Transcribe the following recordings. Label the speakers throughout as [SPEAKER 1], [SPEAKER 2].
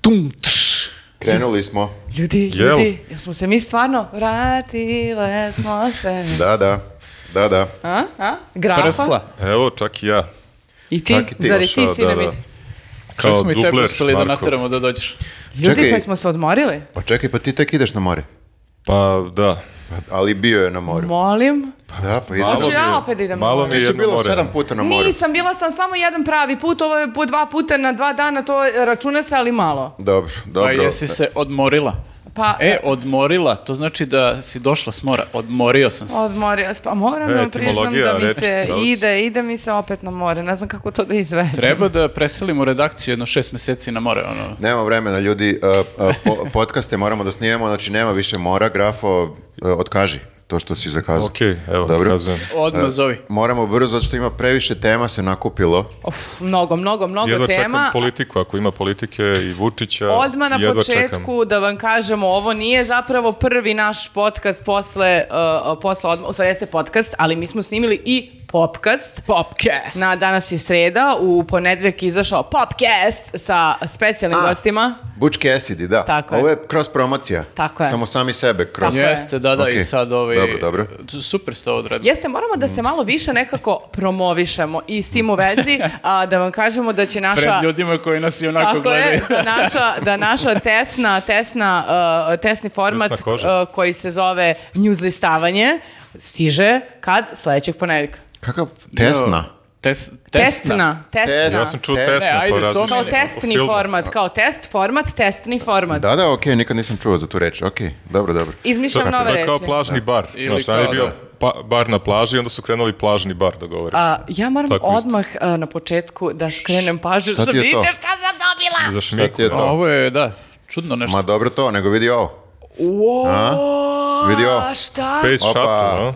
[SPEAKER 1] tum, tš.
[SPEAKER 2] Krenuli smo.
[SPEAKER 3] Ljudi,
[SPEAKER 4] Jel?
[SPEAKER 3] ljudi, jel smo se mi stvarno vratile smo se.
[SPEAKER 2] Da, da. Da, da.
[SPEAKER 3] A? A? Grafa?
[SPEAKER 1] Prsla.
[SPEAKER 4] Evo, čak i ja.
[SPEAKER 3] I ti,
[SPEAKER 4] Čak i ti,
[SPEAKER 3] zar i ti
[SPEAKER 4] Saša,
[SPEAKER 3] si
[SPEAKER 4] da,
[SPEAKER 3] na
[SPEAKER 4] da.
[SPEAKER 3] miti?
[SPEAKER 4] Kao
[SPEAKER 5] Čak smo i tebe
[SPEAKER 4] dubler,
[SPEAKER 5] uspeli da
[SPEAKER 4] Markov.
[SPEAKER 5] nateramo da dođeš.
[SPEAKER 3] Ljudi,
[SPEAKER 2] Čekaj.
[SPEAKER 3] pa smo se odmorili?
[SPEAKER 2] Pa čekaj, pa ti tek ideš na more.
[SPEAKER 4] Pa, da.
[SPEAKER 2] Ali bio je na moru.
[SPEAKER 3] Molim.
[SPEAKER 2] Da, pa idemo.
[SPEAKER 4] Malo
[SPEAKER 3] Hoću
[SPEAKER 4] mi
[SPEAKER 3] ja
[SPEAKER 4] je-
[SPEAKER 3] opet da idem na
[SPEAKER 4] Malo
[SPEAKER 3] more.
[SPEAKER 4] mi je
[SPEAKER 2] Ti si
[SPEAKER 4] Znači, jedno
[SPEAKER 2] bila
[SPEAKER 4] more. da.
[SPEAKER 2] sedam puta
[SPEAKER 4] Pa
[SPEAKER 2] na moru.
[SPEAKER 3] Nisam, bila sam samo jedan pravi put, ovo je po dva puta na dva dana, to je- računa se, ali malo.
[SPEAKER 2] Dobro,
[SPEAKER 5] Pa
[SPEAKER 2] dobro.
[SPEAKER 5] jesi se odmorila.
[SPEAKER 3] Pa,
[SPEAKER 5] E, odmorila, to znači da si došla s mora. Odmorio sam se.
[SPEAKER 3] odmorio, sam. pa moram
[SPEAKER 4] E,
[SPEAKER 3] da vam priznam
[SPEAKER 4] etimologija
[SPEAKER 3] da mi
[SPEAKER 4] reči,
[SPEAKER 3] se
[SPEAKER 4] da li si-
[SPEAKER 3] ide, ide mi se opet na more, ne znam kako to da izvedem.
[SPEAKER 5] Treba da preselimo redakciju jedno šest meseci na more, ono.
[SPEAKER 2] Nema vremena, ljudi. Uh, uh, po- podcaste moramo da snijemo, znači nema više mora. Grafo, uh, otkaži to što si zakazao.
[SPEAKER 4] Okej, evo,
[SPEAKER 2] Dobro.
[SPEAKER 4] kazujem.
[SPEAKER 5] Odmah zovi.
[SPEAKER 2] Moramo brzo, zato što ima previše tema se nakupilo.
[SPEAKER 3] Uf, mnogo, mnogo, mnogo
[SPEAKER 4] Jedva
[SPEAKER 3] tema.
[SPEAKER 4] čekam politiku, ako ima politike i Vučića,
[SPEAKER 3] Odmah na
[SPEAKER 4] jedva čekam.
[SPEAKER 3] početku da vam kažemo, ovo nije zapravo prvi naš podcast posle, uh, posle odmah, u stvari jeste podcast, ali mi smo snimili i popcast.
[SPEAKER 5] Popcast!
[SPEAKER 3] Na danas je sreda, u ponedjeljak je izašao popcast sa specijalnim gostima.
[SPEAKER 2] Butch Cassidy, da.
[SPEAKER 3] Tako je.
[SPEAKER 2] Ovo je kroz promocija.
[SPEAKER 3] Tako je.
[SPEAKER 2] Samo sami sebe kroz...
[SPEAKER 3] Tako je.
[SPEAKER 5] Jeste, da, da,
[SPEAKER 2] Okej.
[SPEAKER 5] i sad ovi...
[SPEAKER 2] Dobro, dobro.
[SPEAKER 5] Super ste ovo odradili.
[SPEAKER 3] Jeste, moramo da
[SPEAKER 4] Mm.
[SPEAKER 3] se malo više nekako promovišemo i s tim u vezi a, da vam kažemo da će naša...
[SPEAKER 5] Pred ljudima koji nas i onako
[SPEAKER 3] Tako
[SPEAKER 5] gledaju.
[SPEAKER 3] je, da naša, da naša tesna, tesna, uh, tesni format
[SPEAKER 4] Tesna koža.
[SPEAKER 3] uh, koji se zove newslistavanje stiže kad? Sledećeg ponedjeljka.
[SPEAKER 2] Kakav tesna.
[SPEAKER 5] Tes, tesna.
[SPEAKER 3] Tesna. Tesna.
[SPEAKER 2] Tesna.
[SPEAKER 4] Ja sam čuo
[SPEAKER 2] Ne,
[SPEAKER 4] tesno,
[SPEAKER 5] ajde,
[SPEAKER 4] to
[SPEAKER 5] to
[SPEAKER 4] razmišljam.
[SPEAKER 3] Kao
[SPEAKER 5] Ne,
[SPEAKER 3] testni
[SPEAKER 4] O filmu.
[SPEAKER 3] format, kao test format, testni format.
[SPEAKER 2] Da, da, okej, nikad nisam čuo za tu reč. Okej, dobro, dobro.
[SPEAKER 3] Izmišljam
[SPEAKER 2] Da.
[SPEAKER 3] nove
[SPEAKER 4] To je
[SPEAKER 3] reči.
[SPEAKER 4] kao plažni bar.
[SPEAKER 5] Ili
[SPEAKER 4] Znaš, on je
[SPEAKER 5] kao,
[SPEAKER 4] bio
[SPEAKER 5] da.
[SPEAKER 4] pa- bar na plaži i onda su krenuli plažni bar da govore.
[SPEAKER 3] A, ja moram
[SPEAKER 4] Tako isto.
[SPEAKER 3] odmah a, na početku da skrenem pažnju.
[SPEAKER 2] Šta
[SPEAKER 3] Šta
[SPEAKER 2] ti je to?
[SPEAKER 3] Vidite šta sam dobila!
[SPEAKER 4] Za
[SPEAKER 2] Šta
[SPEAKER 4] šmiku.
[SPEAKER 2] ti je
[SPEAKER 5] A
[SPEAKER 2] to?
[SPEAKER 5] Ovo je, da, čudno nešto.
[SPEAKER 2] Ma dobro to, nego vidi ovo.
[SPEAKER 3] Wow,
[SPEAKER 2] Vidi ovo.
[SPEAKER 3] Šta?
[SPEAKER 4] Space
[SPEAKER 2] Opa.
[SPEAKER 4] Shuttle, no?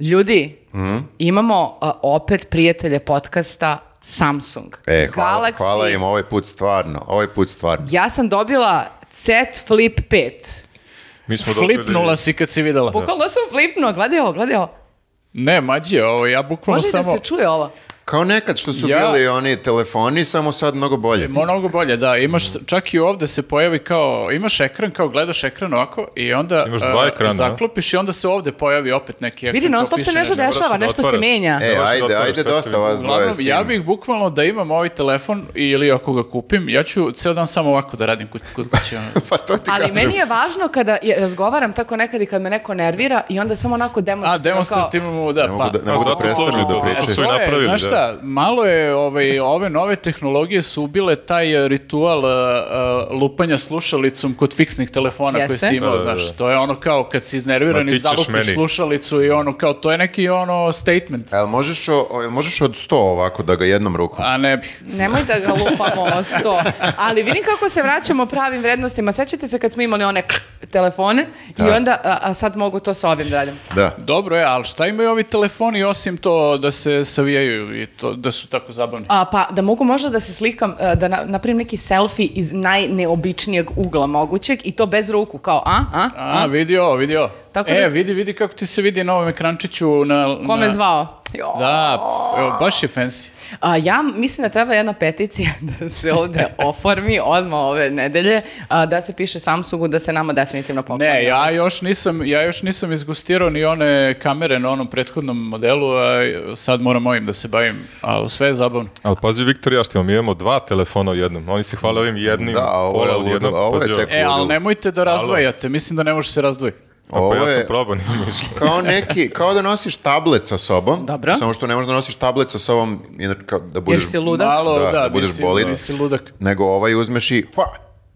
[SPEAKER 3] Ljudi,
[SPEAKER 2] Mhm.
[SPEAKER 3] imamo a, opet prijatelje podcasta Samsung.
[SPEAKER 2] E, hvala,
[SPEAKER 3] Galaxy.
[SPEAKER 2] hvala im ovaj put stvarno, ovaj put stvarno.
[SPEAKER 3] Ja sam dobila Z Flip 5.
[SPEAKER 4] Mi smo da dobili-
[SPEAKER 5] Flipnula si kad si videla.
[SPEAKER 3] Bukvalno sam flipnula, gledaj ovo, gledaj ovo.
[SPEAKER 5] Ne, mađe, ovo ja bukvalno
[SPEAKER 3] Može i da
[SPEAKER 5] samo...
[SPEAKER 3] se čuje ovo.
[SPEAKER 2] Kao nekad što su
[SPEAKER 5] Ja-
[SPEAKER 2] bili oni telefoni, samo sad mnogo bolje.
[SPEAKER 5] Mnogo bolje, da. Imaš, čak i ovde se pojavi kao, imaš ekran, kao gledaš ekran ovako i onda
[SPEAKER 4] Znači, Imaš dva
[SPEAKER 5] a,
[SPEAKER 4] ekrana.
[SPEAKER 5] zaklopiš i onda se ovde pojavi opet neki ekran.
[SPEAKER 3] Vidi,
[SPEAKER 5] kao
[SPEAKER 3] non stop se
[SPEAKER 5] piše
[SPEAKER 3] nešto
[SPEAKER 4] moraš
[SPEAKER 3] dešava,
[SPEAKER 4] da
[SPEAKER 3] nešto se
[SPEAKER 4] otvaraš.
[SPEAKER 3] menja.
[SPEAKER 2] E,
[SPEAKER 4] Ne možeš da
[SPEAKER 2] ajde,
[SPEAKER 4] otvoriš,
[SPEAKER 2] ajde,
[SPEAKER 4] sve se
[SPEAKER 2] dosta
[SPEAKER 4] vidi.
[SPEAKER 2] vas dvoje
[SPEAKER 5] Uglavnom,
[SPEAKER 2] s tim.
[SPEAKER 5] ja bih bukvalno da imam ovaj telefon ili ako ga kupim, ja ću ceo dan samo ovako da radim kod, kod kuće. ono.
[SPEAKER 2] Pa to ti
[SPEAKER 3] Ali
[SPEAKER 2] kažem.
[SPEAKER 3] meni je važno kada je, razgovaram tako nekad i kad me neko nervira i onda samo onako
[SPEAKER 5] A,
[SPEAKER 3] demonstrativno
[SPEAKER 5] demonstrativno mu, da,
[SPEAKER 2] Ne mogu
[SPEAKER 5] pa...
[SPEAKER 2] da, ne
[SPEAKER 4] A,
[SPEAKER 2] mogu da
[SPEAKER 4] zato
[SPEAKER 2] prestanu
[SPEAKER 4] služi
[SPEAKER 2] da
[SPEAKER 4] to, zato
[SPEAKER 2] pričam.
[SPEAKER 4] su i
[SPEAKER 5] To je,
[SPEAKER 4] napravili,
[SPEAKER 5] znaš
[SPEAKER 4] da.
[SPEAKER 5] šta, malo je, ovaj, ove nove tehnologije su ubile taj ritual e, e, lupanja slušalicom kod fiksnih telefona koje
[SPEAKER 3] Jeste.
[SPEAKER 5] si imao,
[SPEAKER 4] Da, da,
[SPEAKER 5] znaš,
[SPEAKER 4] da.
[SPEAKER 5] to je ono kao kad si iznerviran
[SPEAKER 4] Ma,
[SPEAKER 5] i
[SPEAKER 4] ti ćeš
[SPEAKER 5] zalupiš
[SPEAKER 4] meni.
[SPEAKER 5] slušalicu i ono kao, to je neki ono statement,
[SPEAKER 2] Jel E, možeš, o- o- jel možeš od sto ovako da ga jednom rukom?
[SPEAKER 5] a ne bih.
[SPEAKER 3] kao, Nemoj da ga lupamo o sto. Ali vidim kako se vraćamo pravim vrednostima. Sećate se kad smo imali one kr- telefone i
[SPEAKER 2] Da.
[SPEAKER 3] onda, a, a sad mogu to sa ovim da radim.
[SPEAKER 2] Da.
[SPEAKER 5] Dobro je, ali šta imaju ovi telefoni osim to da se savijaju i to, da su tako zabavni?
[SPEAKER 3] A, pa da mogu možda da se slikam, e, da na, napravim neki selfie iz najneobičnijeg ugla mogućeg i to bez ruku, kao a, a, a.
[SPEAKER 5] A, vidi ovo, vidi ovo.
[SPEAKER 3] Tako
[SPEAKER 5] e,
[SPEAKER 3] da-
[SPEAKER 5] vidi, vidi kako ti se vidi na ovom ekrančiću. Na,
[SPEAKER 3] Kome
[SPEAKER 5] na-
[SPEAKER 3] zvao? Jo.
[SPEAKER 5] Da, evo, baš je fancy.
[SPEAKER 3] A, ja mislim da treba jedna peticija da se ovde oformi odmah ove nedelje, a, da se piše Samsungu da se nama definitivno poklanja.
[SPEAKER 5] Ne, ja još nisam, ja još nisam izgustirao ni one kamere na onom prethodnom modelu, a sad moram ovim da se bavim, ali sve je zabavno.
[SPEAKER 4] Ali pazi, Viktor i ja što imamo, mi imamo dva telefona u jednom. Oni se hvale ovim jednim,
[SPEAKER 2] Da, a ovo je
[SPEAKER 4] pola u
[SPEAKER 2] ludo,
[SPEAKER 4] jednom.
[SPEAKER 2] a ovo je
[SPEAKER 4] Pazi,
[SPEAKER 2] tek-
[SPEAKER 5] E, ali
[SPEAKER 2] Ludilo.
[SPEAKER 5] nemojte da razdvajate, mislim da ne može se razdvojiti.
[SPEAKER 4] A
[SPEAKER 2] Ovo
[SPEAKER 4] pa ja sam
[SPEAKER 2] je-
[SPEAKER 4] probao, nisam išao.
[SPEAKER 2] Kao neki, kao da nosiš tablet sa sobom,
[SPEAKER 3] Dobro.
[SPEAKER 2] samo što ne možeš da nosiš tablet sa sobom, inače kao da budeš...
[SPEAKER 3] si ludak?
[SPEAKER 5] Malo,
[SPEAKER 2] Da,
[SPEAKER 5] da,
[SPEAKER 2] da budeš
[SPEAKER 5] nisi,
[SPEAKER 2] bolid.
[SPEAKER 5] nisi ludak.
[SPEAKER 2] Nego ovaj uzmeš i hva,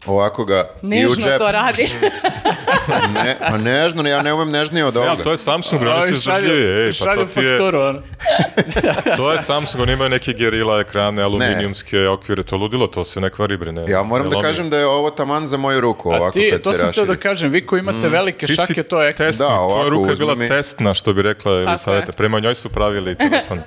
[SPEAKER 2] ovako ga i u
[SPEAKER 3] Nežno
[SPEAKER 2] džep.
[SPEAKER 3] to radi.
[SPEAKER 2] Ne, pa nežno, ja ne umem nežnije od ovoga.
[SPEAKER 4] Ja, to je Samsung, oni su
[SPEAKER 5] Ovi šalju-
[SPEAKER 4] izdržljiviji. Ej, pa to
[SPEAKER 5] šalju
[SPEAKER 4] ti je,
[SPEAKER 5] fakturu, ono.
[SPEAKER 4] to je Samsung, oni imaju neke gerila ekrane, aluminijumske okvire, to je ludilo, to se ne kvari, bre. Ne,
[SPEAKER 2] Ja moram
[SPEAKER 4] ne
[SPEAKER 2] da
[SPEAKER 4] lomi.
[SPEAKER 2] kažem da je ovo taman za moju ruku, ovako
[SPEAKER 5] A ti,
[SPEAKER 2] kad
[SPEAKER 5] to
[SPEAKER 2] se
[SPEAKER 5] sam teo da
[SPEAKER 2] raširi.
[SPEAKER 5] kažem, vi koji imate
[SPEAKER 4] Mm.
[SPEAKER 5] velike
[SPEAKER 4] Ti si
[SPEAKER 5] šake, to je ekstra.
[SPEAKER 4] testni,
[SPEAKER 2] Da, ovako,
[SPEAKER 4] tvoja ruka je bila
[SPEAKER 2] uzmi mi.
[SPEAKER 4] testna, što bi rekla
[SPEAKER 3] je.
[SPEAKER 4] Elisaveta. Prema njoj su pravili telefon.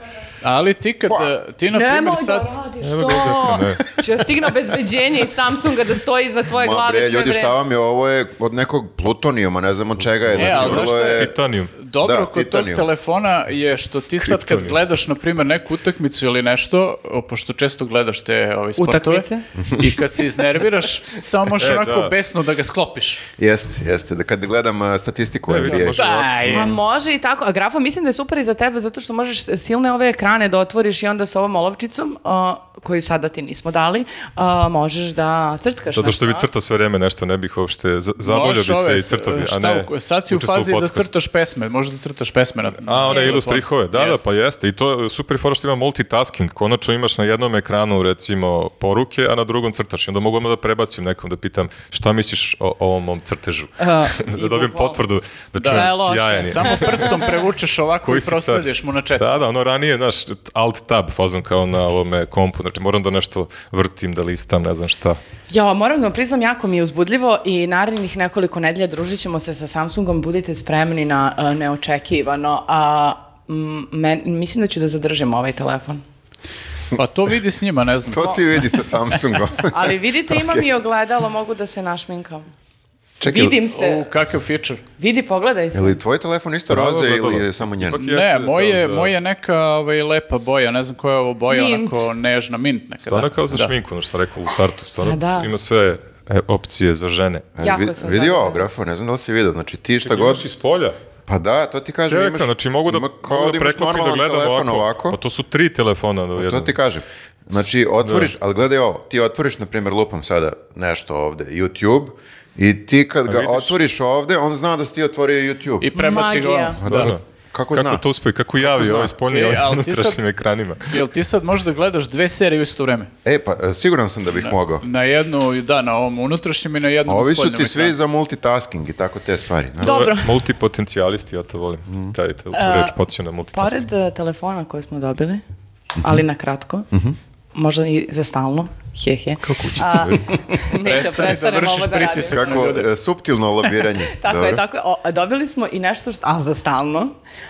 [SPEAKER 5] Ali ti kad,
[SPEAKER 2] Pa,
[SPEAKER 5] eh, ti na
[SPEAKER 3] Nemoj
[SPEAKER 5] primjer
[SPEAKER 3] da
[SPEAKER 5] sad...
[SPEAKER 3] radiš
[SPEAKER 4] Evo ga,
[SPEAKER 3] to.
[SPEAKER 4] ne.
[SPEAKER 3] Će stigne obezbeđenje iz Samsunga da stoji iznad tvoje
[SPEAKER 2] Ma
[SPEAKER 3] glave
[SPEAKER 2] bre,
[SPEAKER 3] sve
[SPEAKER 2] ljudi,
[SPEAKER 3] vreme.
[SPEAKER 2] šta vam je, ovo je od nekog plutonijuma, ne znamo čega je.
[SPEAKER 5] E,
[SPEAKER 2] znači,
[SPEAKER 5] ali znaš
[SPEAKER 2] vrlo
[SPEAKER 5] šta je-
[SPEAKER 2] je...
[SPEAKER 4] Titanijum.
[SPEAKER 5] Dobro
[SPEAKER 2] Da,
[SPEAKER 5] kod
[SPEAKER 2] titanijum.
[SPEAKER 5] tog telefona je što ti sad kad
[SPEAKER 4] Kriptonijum.
[SPEAKER 5] gledaš, na primjer, neku utakmicu ili nešto, o, pošto često gledaš te ove sportove,
[SPEAKER 3] Utakmice.
[SPEAKER 5] i kad se iznerviraš, samo možeš
[SPEAKER 4] E,
[SPEAKER 5] onako
[SPEAKER 4] da.
[SPEAKER 5] besno da ga sklopiš.
[SPEAKER 2] Jeste, jeste. Da kad gledam uh, statistiku
[SPEAKER 4] Ne,
[SPEAKER 2] NBA.
[SPEAKER 4] vidim, može-
[SPEAKER 5] Aj,
[SPEAKER 3] A može i tako. A grafo, mislim da je super i za tebe zato što možeš silne ove ekrane da otvoriš i onda sa ovom olovčicom, a, koju sada ti nismo dali, a, možeš da crtkaš.
[SPEAKER 4] Zato što bi
[SPEAKER 3] nešto.
[SPEAKER 4] crtao sve vreme nešto, ne bih uopšte, za- zabavljao
[SPEAKER 5] Možeš
[SPEAKER 4] bi se
[SPEAKER 5] ove,
[SPEAKER 4] i crtao bi, a
[SPEAKER 5] ovaj šta
[SPEAKER 4] ne
[SPEAKER 5] u- sad si u
[SPEAKER 4] učestvovao
[SPEAKER 5] fazi da
[SPEAKER 4] podcastu.
[SPEAKER 5] crtaš pesme, možda da crtaš pesme na, na
[SPEAKER 4] A, one
[SPEAKER 5] telefonu.
[SPEAKER 4] ilustrihove, da, da,
[SPEAKER 5] E, Jeste.
[SPEAKER 4] pa jeste. I to je super fora što ima multitasking. Konačno imaš na jednom ekranu, recimo, poruke, a na drugom crtaš. I onda mogu odmah da prebacim nekom, da pitam šta misliš o ovom mom crtežu. da
[SPEAKER 3] i
[SPEAKER 4] dobijem
[SPEAKER 3] bukvalno.
[SPEAKER 4] potvrdu, da
[SPEAKER 5] Da,
[SPEAKER 4] čujem
[SPEAKER 3] je loše,
[SPEAKER 4] sjajan je.
[SPEAKER 5] Samo prstom prevučeš ovako
[SPEAKER 4] Koji
[SPEAKER 5] i
[SPEAKER 4] si car?
[SPEAKER 5] prostavljaš mu na čet.
[SPEAKER 4] Da, da, ono ranije, znaš, alt tab fazom kao na ovome kompu, znači moram da nešto vrtim, da listam, ne znam šta.
[SPEAKER 3] Ja, moram da vam priznam, jako mi je uzbudljivo i narednih nekoliko nedelja družit ćemo se sa Samsungom, budite spremni na a, neočekivano, a mm, men- mislim da ću da zadržim ovaj telefon.
[SPEAKER 5] Pa to vidi s njima, ne znam.
[SPEAKER 2] To ti vidi sa Samsungom.
[SPEAKER 3] Ali vidite, imam i ogledalo, mogu da se našminkam. Vidim se.
[SPEAKER 5] U, kakav feature.
[SPEAKER 3] Vidi, pogledaj se.
[SPEAKER 2] Je li tvoj telefon isto
[SPEAKER 4] Pravo
[SPEAKER 2] roze
[SPEAKER 4] ogledalo.
[SPEAKER 2] ili je samo njen?
[SPEAKER 4] Ipak
[SPEAKER 5] Ne,
[SPEAKER 4] Jeste,
[SPEAKER 5] moj je,
[SPEAKER 4] kao za-
[SPEAKER 5] moj je neka ovaj, lepa boja, ne znam koja je ovo boja,
[SPEAKER 3] Mint.
[SPEAKER 5] onako nežna, mint neka.
[SPEAKER 4] Stvarno
[SPEAKER 5] da.
[SPEAKER 4] kao za
[SPEAKER 5] Da.
[SPEAKER 4] šminku, ono što sam rekao u startu, stvarno
[SPEAKER 3] A, da.
[SPEAKER 4] ima sve e, opcije za žene.
[SPEAKER 2] E,
[SPEAKER 3] Jako
[SPEAKER 2] vi-
[SPEAKER 3] sam
[SPEAKER 2] Vidi
[SPEAKER 3] zadovoljna.
[SPEAKER 2] ovo grafo, ne znam da li si vidio. Znači ti šta god...
[SPEAKER 4] Imaš iz polja.
[SPEAKER 2] Pa da, to ti kažem.
[SPEAKER 4] Sve
[SPEAKER 2] imaš-
[SPEAKER 4] ekran, znači mogu da,
[SPEAKER 2] ima-
[SPEAKER 4] mogu
[SPEAKER 2] kao
[SPEAKER 4] da
[SPEAKER 2] da imaš
[SPEAKER 4] preklopim da
[SPEAKER 2] normalan
[SPEAKER 4] gledam
[SPEAKER 2] telefon
[SPEAKER 4] ovako.
[SPEAKER 2] ovako. Pa
[SPEAKER 4] Pa to su tri telefona do
[SPEAKER 2] To
[SPEAKER 4] jednog.
[SPEAKER 2] ti kažem. Znači,
[SPEAKER 4] Da.
[SPEAKER 2] otvoriš, ali gledaj ovo, ti otvoriš, na primjer, lupam sada nešto ovde, YouTube, i ti kad ga
[SPEAKER 4] vidiš?
[SPEAKER 2] otvoriš ovde, on zna da si ti otvorio YouTube.
[SPEAKER 5] I prebaci ga
[SPEAKER 3] Magija.
[SPEAKER 5] ono.
[SPEAKER 2] Pa
[SPEAKER 5] Da.
[SPEAKER 4] Da.
[SPEAKER 2] Kako,
[SPEAKER 4] Kako
[SPEAKER 2] zna?
[SPEAKER 4] to uspe, kako javi
[SPEAKER 2] zna?
[SPEAKER 4] ovaj spoljni
[SPEAKER 5] Ti,
[SPEAKER 4] ovaj na
[SPEAKER 5] ali ti sad-
[SPEAKER 4] unutrašnjim ekranima.
[SPEAKER 5] Jel ti sad možda gledaš dve serije u isto vreme?
[SPEAKER 2] E, pa e, siguran sam da bih mogao.
[SPEAKER 5] Na jednu, da, na ovom unutrašnjem i na jednom
[SPEAKER 2] Ovi su
[SPEAKER 5] spoljnom
[SPEAKER 2] ti svi
[SPEAKER 5] ekranu.
[SPEAKER 2] za multitasking i tako te stvari. znaš.
[SPEAKER 3] Dobro. E,
[SPEAKER 4] Ovo je Multipotencijalisti, ja to volim.
[SPEAKER 2] Mhm.
[SPEAKER 4] Taj, te, tu reč podsjeća na multitasking.
[SPEAKER 3] Pored e, telefona koje smo dobili, ali na kratko, možda i za stalno, he he.
[SPEAKER 4] Kako kućica, vidi.
[SPEAKER 3] Neću
[SPEAKER 5] Prestani da
[SPEAKER 3] prestanem
[SPEAKER 5] vršiš
[SPEAKER 3] ovo da radim.
[SPEAKER 5] pritisak.
[SPEAKER 2] Kako e, suptilno lobiranje.
[SPEAKER 3] Tako
[SPEAKER 2] Dobro.
[SPEAKER 3] je, tako je. O, a dobili smo i nešto, što, a za stalno.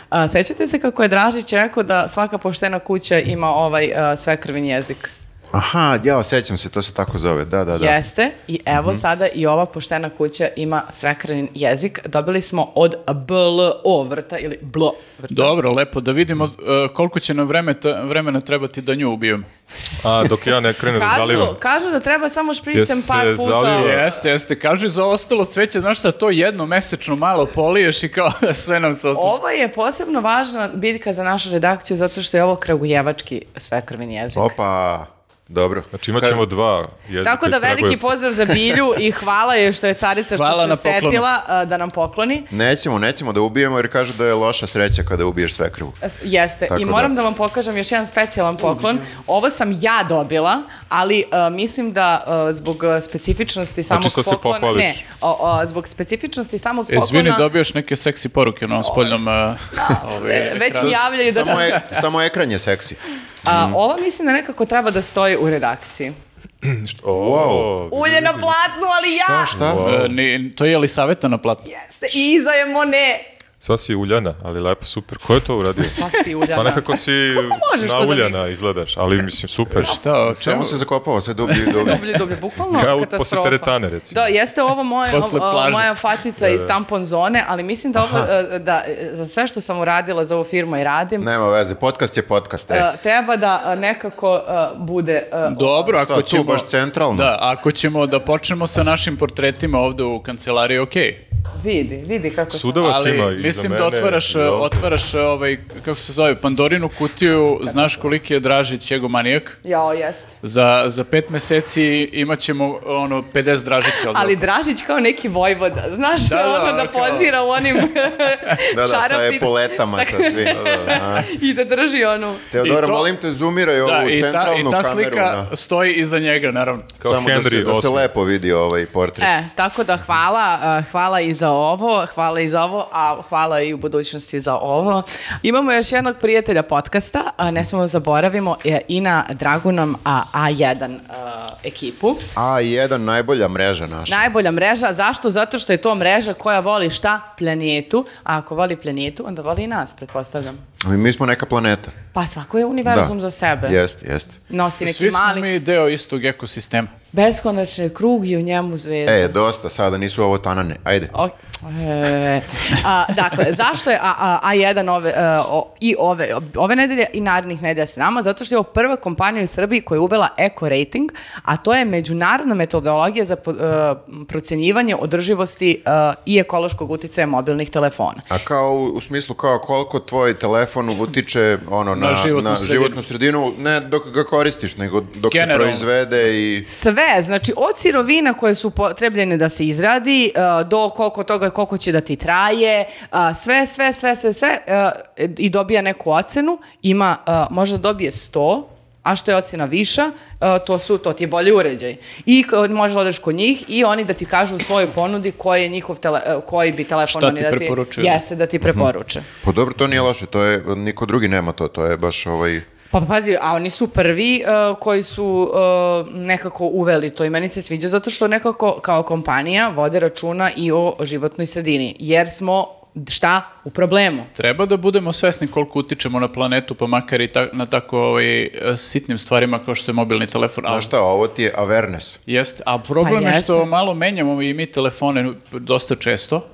[SPEAKER 3] A, sećate se kako je Dražić rekao da svaka poštena kuća ima ovaj a, svekrvin jezik?
[SPEAKER 2] Aha, ja osjećam se, to se tako zove. Da, da, da.
[SPEAKER 3] Jeste. I evo
[SPEAKER 4] Mhm.
[SPEAKER 3] sada i ova poštena kuća ima svekrvin jezik. Dobili smo od BLO vrta ili BLO vrta.
[SPEAKER 5] Dobro, lepo, da vidimo e, koliko će nam vreme ta- vremena trebati da nju ubijemo.
[SPEAKER 4] A, dok ja ne krenem da
[SPEAKER 3] Kažu,
[SPEAKER 4] zalivam.
[SPEAKER 3] kažu da treba samo špricem
[SPEAKER 4] Jesi
[SPEAKER 3] par
[SPEAKER 4] se
[SPEAKER 3] puta.
[SPEAKER 4] zaliva? Da.
[SPEAKER 5] Jeste, jeste, kažu i za ostalo cveće, znaš šta, to jedno mesečno malo poliješ i kao da sve nam se osjeća.
[SPEAKER 3] Ovo je posebno važna biljka za našu redakciju zato što je ovo kragujevački svekrvin jezik.
[SPEAKER 2] Opa, dobro.
[SPEAKER 4] Znači imat ćemo dva jezika.
[SPEAKER 3] Tako da
[SPEAKER 4] iz
[SPEAKER 3] veliki
[SPEAKER 4] Kragujevca.
[SPEAKER 3] pozdrav za Bilju i hvala joj što je carica
[SPEAKER 5] Hvala
[SPEAKER 3] što
[SPEAKER 5] na
[SPEAKER 3] se
[SPEAKER 5] poklonu.
[SPEAKER 3] setila a, da nam pokloni.
[SPEAKER 2] Nećemo, nećemo da ubijemo jer kažu da je loša sreća kada ubiješ svekrvu.
[SPEAKER 3] S- Jeste.
[SPEAKER 2] Tako
[SPEAKER 3] I moram
[SPEAKER 2] da.
[SPEAKER 3] da. vam pokažem još jedan specijalan poklon. Ovo sam ja dobila, ali a, mislim da a, zbog a, specifičnosti samog
[SPEAKER 4] sad se
[SPEAKER 3] poklona...
[SPEAKER 4] pohvališ.
[SPEAKER 3] Ne, o, o, zbog specifičnosti samog
[SPEAKER 5] E,
[SPEAKER 3] poklona...
[SPEAKER 5] Izvini, dobioš neke seksi poruke na ovom spoljnom... e, ovaj,
[SPEAKER 3] e, Već
[SPEAKER 5] ekranu.
[SPEAKER 3] mi javljaju da sam...
[SPEAKER 2] Samo, je, samo ekran je seksi.
[SPEAKER 3] A, ovo mislim da nekako treba da stoji u redakciji.
[SPEAKER 4] Što- O,
[SPEAKER 3] Ulje na platnu, ali ja!
[SPEAKER 2] Šta, šta?
[SPEAKER 5] E, ni- to je li saveta na platnu?
[SPEAKER 3] Jeste, I iza je Monet!
[SPEAKER 4] Sva si uljana, ali lepo, super. Ko je to uradio?
[SPEAKER 3] Sva si uljana.
[SPEAKER 4] Pa nekako si
[SPEAKER 3] možeš to da
[SPEAKER 4] nauljana izgledaš, ali mislim super.
[SPEAKER 5] Šta, o čemu
[SPEAKER 2] Samo se zakopao, sve dublje i dublje.
[SPEAKER 3] Dublje, dublje, bukvalno
[SPEAKER 4] Kao posle
[SPEAKER 3] katastrofa.
[SPEAKER 4] teretane, recimo.
[SPEAKER 3] Da,
[SPEAKER 4] Da,
[SPEAKER 3] jeste ovo moje,
[SPEAKER 5] Posle
[SPEAKER 3] ovo,
[SPEAKER 5] plaže.
[SPEAKER 3] moja facica iz tampon zone, ali mislim da ovo, e, da, e, za sve što sam uradila za ovu firmu i radim,
[SPEAKER 2] Nema veze, podcast je podcast, e.
[SPEAKER 3] e, treba da e, nekako e, bude... e,
[SPEAKER 5] Dobro,
[SPEAKER 2] Šta,
[SPEAKER 5] ako
[SPEAKER 2] tu
[SPEAKER 5] ćemo...
[SPEAKER 2] baš centralno?
[SPEAKER 5] Da, ako ćemo da počnemo sa našim portretima ovde u kancelariji, okej.
[SPEAKER 3] Vidi, vidi kako sam.
[SPEAKER 4] Sudova
[SPEAKER 5] Ali
[SPEAKER 4] svima i za
[SPEAKER 5] mislim
[SPEAKER 4] mene.
[SPEAKER 5] da otvaraš,
[SPEAKER 4] i
[SPEAKER 5] e,
[SPEAKER 4] ovo.
[SPEAKER 5] otvaraš e, ovaj, kako se zove, Pandorinu kutiju, znaš koliki je Dražić egomanijak.
[SPEAKER 3] Jao, jeste.
[SPEAKER 5] Za, za pet meseci imat ćemo ono, 50 Dražića ovde.
[SPEAKER 3] Ali Dražić kao neki vojvoda, znaš,
[SPEAKER 5] Da, da,
[SPEAKER 3] ono da
[SPEAKER 5] kao-
[SPEAKER 3] pozira u onim
[SPEAKER 2] Da, da, sa
[SPEAKER 3] šarapima
[SPEAKER 2] epoletama, sa svim. A,
[SPEAKER 3] i da drži onu.
[SPEAKER 2] Teodora,
[SPEAKER 5] I to-
[SPEAKER 2] molim te, zoomiraj ovu
[SPEAKER 5] Da, i ta,
[SPEAKER 2] centralnu
[SPEAKER 5] i ta
[SPEAKER 2] kameru. da.
[SPEAKER 5] slika
[SPEAKER 2] na-
[SPEAKER 5] stoji iza njega, naravno.
[SPEAKER 4] Kao
[SPEAKER 2] Samo da se,
[SPEAKER 4] Henry
[SPEAKER 2] da se
[SPEAKER 4] VIII.
[SPEAKER 2] lepo vidi ovaj portret.
[SPEAKER 3] E, tako da hvala, a, hvala i za ovo, hvala i za ovo, a hvala i u budućnosti za ovo. Imamo još jednog prijatelja podcasta, a ne smemo da zaboravimo, je i na Dragunom a, A1 a, ekipu.
[SPEAKER 2] A1, najbolja mreža naša.
[SPEAKER 3] Najbolja mreža, zašto? Zato što je to mreža koja voli šta? Planetu. A ako voli planetu, onda voli i nas, pretpostavljam.
[SPEAKER 2] Ali Mi smo neka planeta.
[SPEAKER 3] Pa svako je univerzum
[SPEAKER 2] Da.
[SPEAKER 3] za sebe.
[SPEAKER 2] Jeste, jeste.
[SPEAKER 3] Nosi neki
[SPEAKER 5] Svi smo
[SPEAKER 3] mali,
[SPEAKER 5] mi deo istog ekosistema.
[SPEAKER 3] beskonačni krug i u njemu zvezda.
[SPEAKER 2] E, dosta sada, nisu ovo tanane. Ajde.
[SPEAKER 3] O- e, a, dakle, zašto je A, a, A1 ove, e, o- i ove, ove nedelje i narednih nedelja s nama? Zato što je ovo prva kompanija u Srbiji koja je uvela eko rating, a to je međunarodna metodologija za po- e, procenjivanje održivosti e, i ekološkog uticaja mobilnih telefona.
[SPEAKER 2] A kao u, u smislu kao koliko tvoj telefon utiče ono, na, na, životnu, sredinu. ne dok ga koristiš, nego dok se
[SPEAKER 5] Generalno.
[SPEAKER 2] proizvede i...
[SPEAKER 3] Sve, znači od sirovina koje su potrebljene da se izradi, e, do koliko toga, koliko će da ti traje, a, sve, sve, sve, sve, sve, e, i dobija neku ocenu, ima, e, možda dobije 100, a što je ocena viša, e, to su, to ti je bolji uređaj. I k- možda odeš kod njih i oni da ti kažu u svojoj ponudi koji je njihov tele, e, koji bi telefon
[SPEAKER 5] Šta
[SPEAKER 3] oni
[SPEAKER 5] ti
[SPEAKER 3] da ti,
[SPEAKER 5] preporučuju?
[SPEAKER 3] jeste, da ti preporuče.
[SPEAKER 2] Pa dobro, to nije loše, to je, niko drugi nema to, to je baš ovaj...
[SPEAKER 3] Pa pa, pazi, a oni su prvi uh, koji su uh, nekako uveli to i meni se sviđa zato što nekako kao kompanija vode računa i o životnoj sredini, jer smo šta u problemu.
[SPEAKER 5] Treba da budemo svesni koliko utičemo na planetu, pa makar i ta- na tako ovaj, sitnim stvarima kao što je mobilni telefon.
[SPEAKER 2] Znaš šta, ovo ti je avernes.
[SPEAKER 5] Jeste, a problem
[SPEAKER 3] Pa
[SPEAKER 5] je
[SPEAKER 3] jeste.
[SPEAKER 5] što malo menjamo i mi telefone dosta često.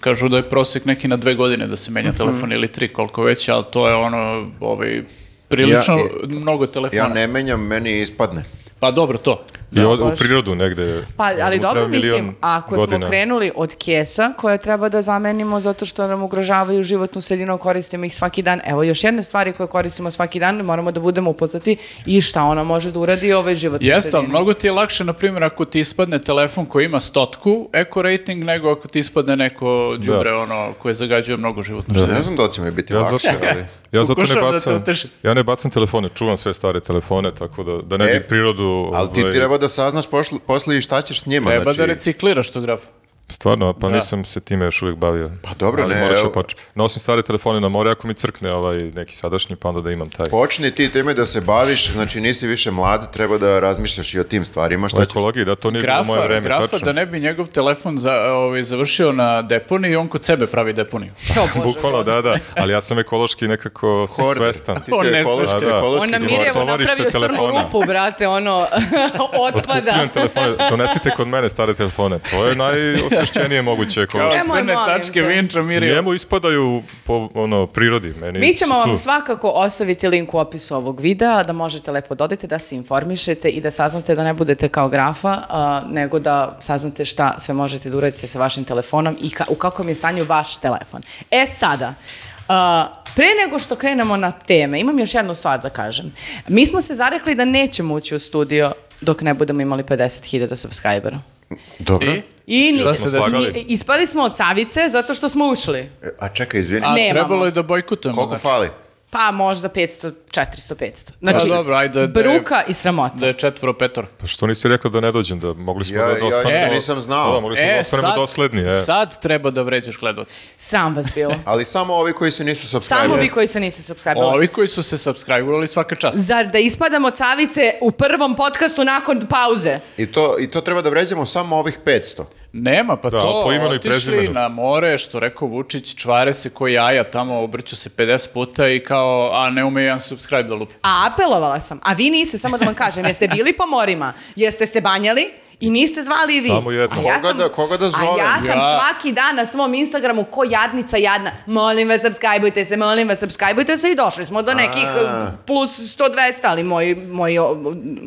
[SPEAKER 5] Kažu da je prosek neki na dve godine da se menja
[SPEAKER 3] Mhm.
[SPEAKER 5] telefon ili tri, koliko već, ali to je ono, ovaj, prilično
[SPEAKER 2] Ja-
[SPEAKER 5] mnogo telefona.
[SPEAKER 2] Ja ne menjam, meni ispadne.
[SPEAKER 5] Pa dobro, to.
[SPEAKER 4] I od- u
[SPEAKER 3] Da, baš.
[SPEAKER 4] prirodu negde.
[SPEAKER 3] Pa, ali
[SPEAKER 4] Mu treba
[SPEAKER 3] dobro mislim,
[SPEAKER 4] milion
[SPEAKER 3] ako smo
[SPEAKER 4] godina.
[SPEAKER 3] krenuli od kesa koje treba da zamenimo zato što nam ugrožavaju životnu sredinu, koristimo ih svaki dan. Evo još jedne stvari koje koristimo svaki dan, moramo da budemo upoznati i šta ona može da uradi ovaj životnu
[SPEAKER 5] Jeste, ali
[SPEAKER 3] sredinu.
[SPEAKER 5] mnogo ti je lakše, na primjer, ako ti ispadne telefon koji ima stotku eko rating, nego ako ti ispadne neko đubre ono, koje zagađuje mnogo životnu sredinu.
[SPEAKER 2] Ne znam da li će mi biti
[SPEAKER 4] Ja
[SPEAKER 2] lakše,
[SPEAKER 4] zato-
[SPEAKER 2] ali...
[SPEAKER 4] Ja zato ne
[SPEAKER 5] Pokušavam da te
[SPEAKER 4] bacam,
[SPEAKER 5] utešim.
[SPEAKER 4] ja ne bacam telefone, čuvam sve stare telefone, tako da, da ne
[SPEAKER 2] E,
[SPEAKER 4] bi prirodu...
[SPEAKER 2] Ali ti
[SPEAKER 4] ovaj,
[SPEAKER 2] treba da saznaš pošl- posle i šta ćeš s njima.
[SPEAKER 5] Treba
[SPEAKER 2] znači,
[SPEAKER 5] da recikliraš to graf.
[SPEAKER 4] Stvarno, pa
[SPEAKER 5] Da.
[SPEAKER 4] nisam se time još uvijek bavio. Pa
[SPEAKER 2] dobro, ne,
[SPEAKER 4] morat ću
[SPEAKER 2] evo-
[SPEAKER 4] poč- Nosim stare telefone na more, ako mi crkne ovaj neki sadašnji, pa onda da imam taj.
[SPEAKER 2] Počni ti time da se baviš, znači nisi više mlad, treba da razmišljaš i o tim stvarima.
[SPEAKER 4] O
[SPEAKER 2] Šta ćeš
[SPEAKER 4] ekologiji, da to nije bilo moje
[SPEAKER 5] Grafa,
[SPEAKER 4] vreme,
[SPEAKER 5] grafa
[SPEAKER 4] tačno.
[SPEAKER 5] da ne bi njegov telefon za, ovaj, završio na deponiji, on kod sebe pravi deponiju.
[SPEAKER 3] Jo, Bože,
[SPEAKER 4] Bukvalno, da, da, ali ja sam ekološki nekako
[SPEAKER 2] Hoarder.
[SPEAKER 4] svestan.
[SPEAKER 2] Ti
[SPEAKER 5] On
[SPEAKER 2] si
[SPEAKER 5] ne
[SPEAKER 2] ekološki,
[SPEAKER 4] zna šta.
[SPEAKER 2] ekološki
[SPEAKER 3] On nam
[SPEAKER 2] gost.
[SPEAKER 3] je evo
[SPEAKER 4] Tovarište
[SPEAKER 3] napravio crnu
[SPEAKER 4] telefona.
[SPEAKER 3] rupu, brate, ono, otpada. da.
[SPEAKER 4] Kupujem telefone, donesite kod mene stare telefone. To je najosvješćenije moguće
[SPEAKER 5] Kao
[SPEAKER 4] ekološki.
[SPEAKER 3] Nemoj,
[SPEAKER 5] crne
[SPEAKER 3] molim
[SPEAKER 5] tačke
[SPEAKER 3] te.
[SPEAKER 5] Vinča Mirija.
[SPEAKER 4] Njemu ispadaju po ono, prirodi. Meni
[SPEAKER 3] Mi ćemo
[SPEAKER 4] su
[SPEAKER 3] vam
[SPEAKER 4] tu.
[SPEAKER 3] svakako ostaviti link u opisu ovog videa da možete lepo dodati, da se informišete i da saznate da ne budete kao grafa, a, nego da saznate šta sve možete da uradite sa vašim telefonom i ka- u kakvom je stanju vaš telefon. E sada, a, pre nego što krenemo na teme, imam još jednu stvar da kažem. Mi smo se zarekli da nećemo ući u studio dok ne budemo imali 50.000 subscribera.
[SPEAKER 2] Dobro.
[SPEAKER 5] I?
[SPEAKER 3] I
[SPEAKER 5] Šta
[SPEAKER 3] ni-
[SPEAKER 5] se
[SPEAKER 4] desilo?
[SPEAKER 3] ni- ispali smo od savice zato što smo ušli.
[SPEAKER 2] E, A čekaj, izvini,
[SPEAKER 5] A
[SPEAKER 3] Nemamo.
[SPEAKER 5] trebalo je da bojkutujemo.
[SPEAKER 2] koliko
[SPEAKER 5] znači.
[SPEAKER 2] fali?
[SPEAKER 3] Pa možda 500, 400, 500. Znači,
[SPEAKER 5] Pa dobro, ajde, da je-
[SPEAKER 3] bruka i sramota.
[SPEAKER 5] Da je četvoro petor.
[SPEAKER 4] Pa što nisi rekao da ne dođem, da mogli smo
[SPEAKER 2] Ja-
[SPEAKER 4] da
[SPEAKER 2] ja-
[SPEAKER 4] dostanemo...
[SPEAKER 2] ja nisam znao.
[SPEAKER 4] Da, Da, mogli smo da ostanemo dosledni. E.
[SPEAKER 5] sad treba da vređaš gledoci.
[SPEAKER 3] Sram vas bilo.
[SPEAKER 2] Ali samo ovi koji se nisu subscribe.
[SPEAKER 3] Samo vi koji se niste subscribe
[SPEAKER 5] Ovi koji su se subscribe-ovali svaka čast.
[SPEAKER 3] Zar da ispadamo cavice u prvom podcastu nakon pauze?
[SPEAKER 2] I to, I to treba da vređamo samo ovih 500.
[SPEAKER 5] Nema, pa
[SPEAKER 4] Da,
[SPEAKER 5] to,
[SPEAKER 4] po imenu i
[SPEAKER 5] otišli
[SPEAKER 4] prezimenu.
[SPEAKER 5] na more, što rekao Vučić, čvare se ko jaja tamo, obrću se 50 puta i kao, a ne ume jedan subscribe da lupi.
[SPEAKER 3] A apelovala sam. A vi niste, samo da vam kažem, jeste bili po morima, jeste se banjali i niste zvali i vi.
[SPEAKER 4] Samo jedno.
[SPEAKER 3] A ja
[SPEAKER 2] Koga
[SPEAKER 3] sam-
[SPEAKER 2] da- koga da
[SPEAKER 3] A ja
[SPEAKER 2] zovem?
[SPEAKER 3] sam
[SPEAKER 5] Ja-
[SPEAKER 3] svaki dan na svom Instagramu ko jadnica jadna. Molim vas, subscribeujte se, molim vas, subscribeujte se i došli smo do nekih
[SPEAKER 2] A.
[SPEAKER 3] eh, plus 100-200, ali moji, moji, o,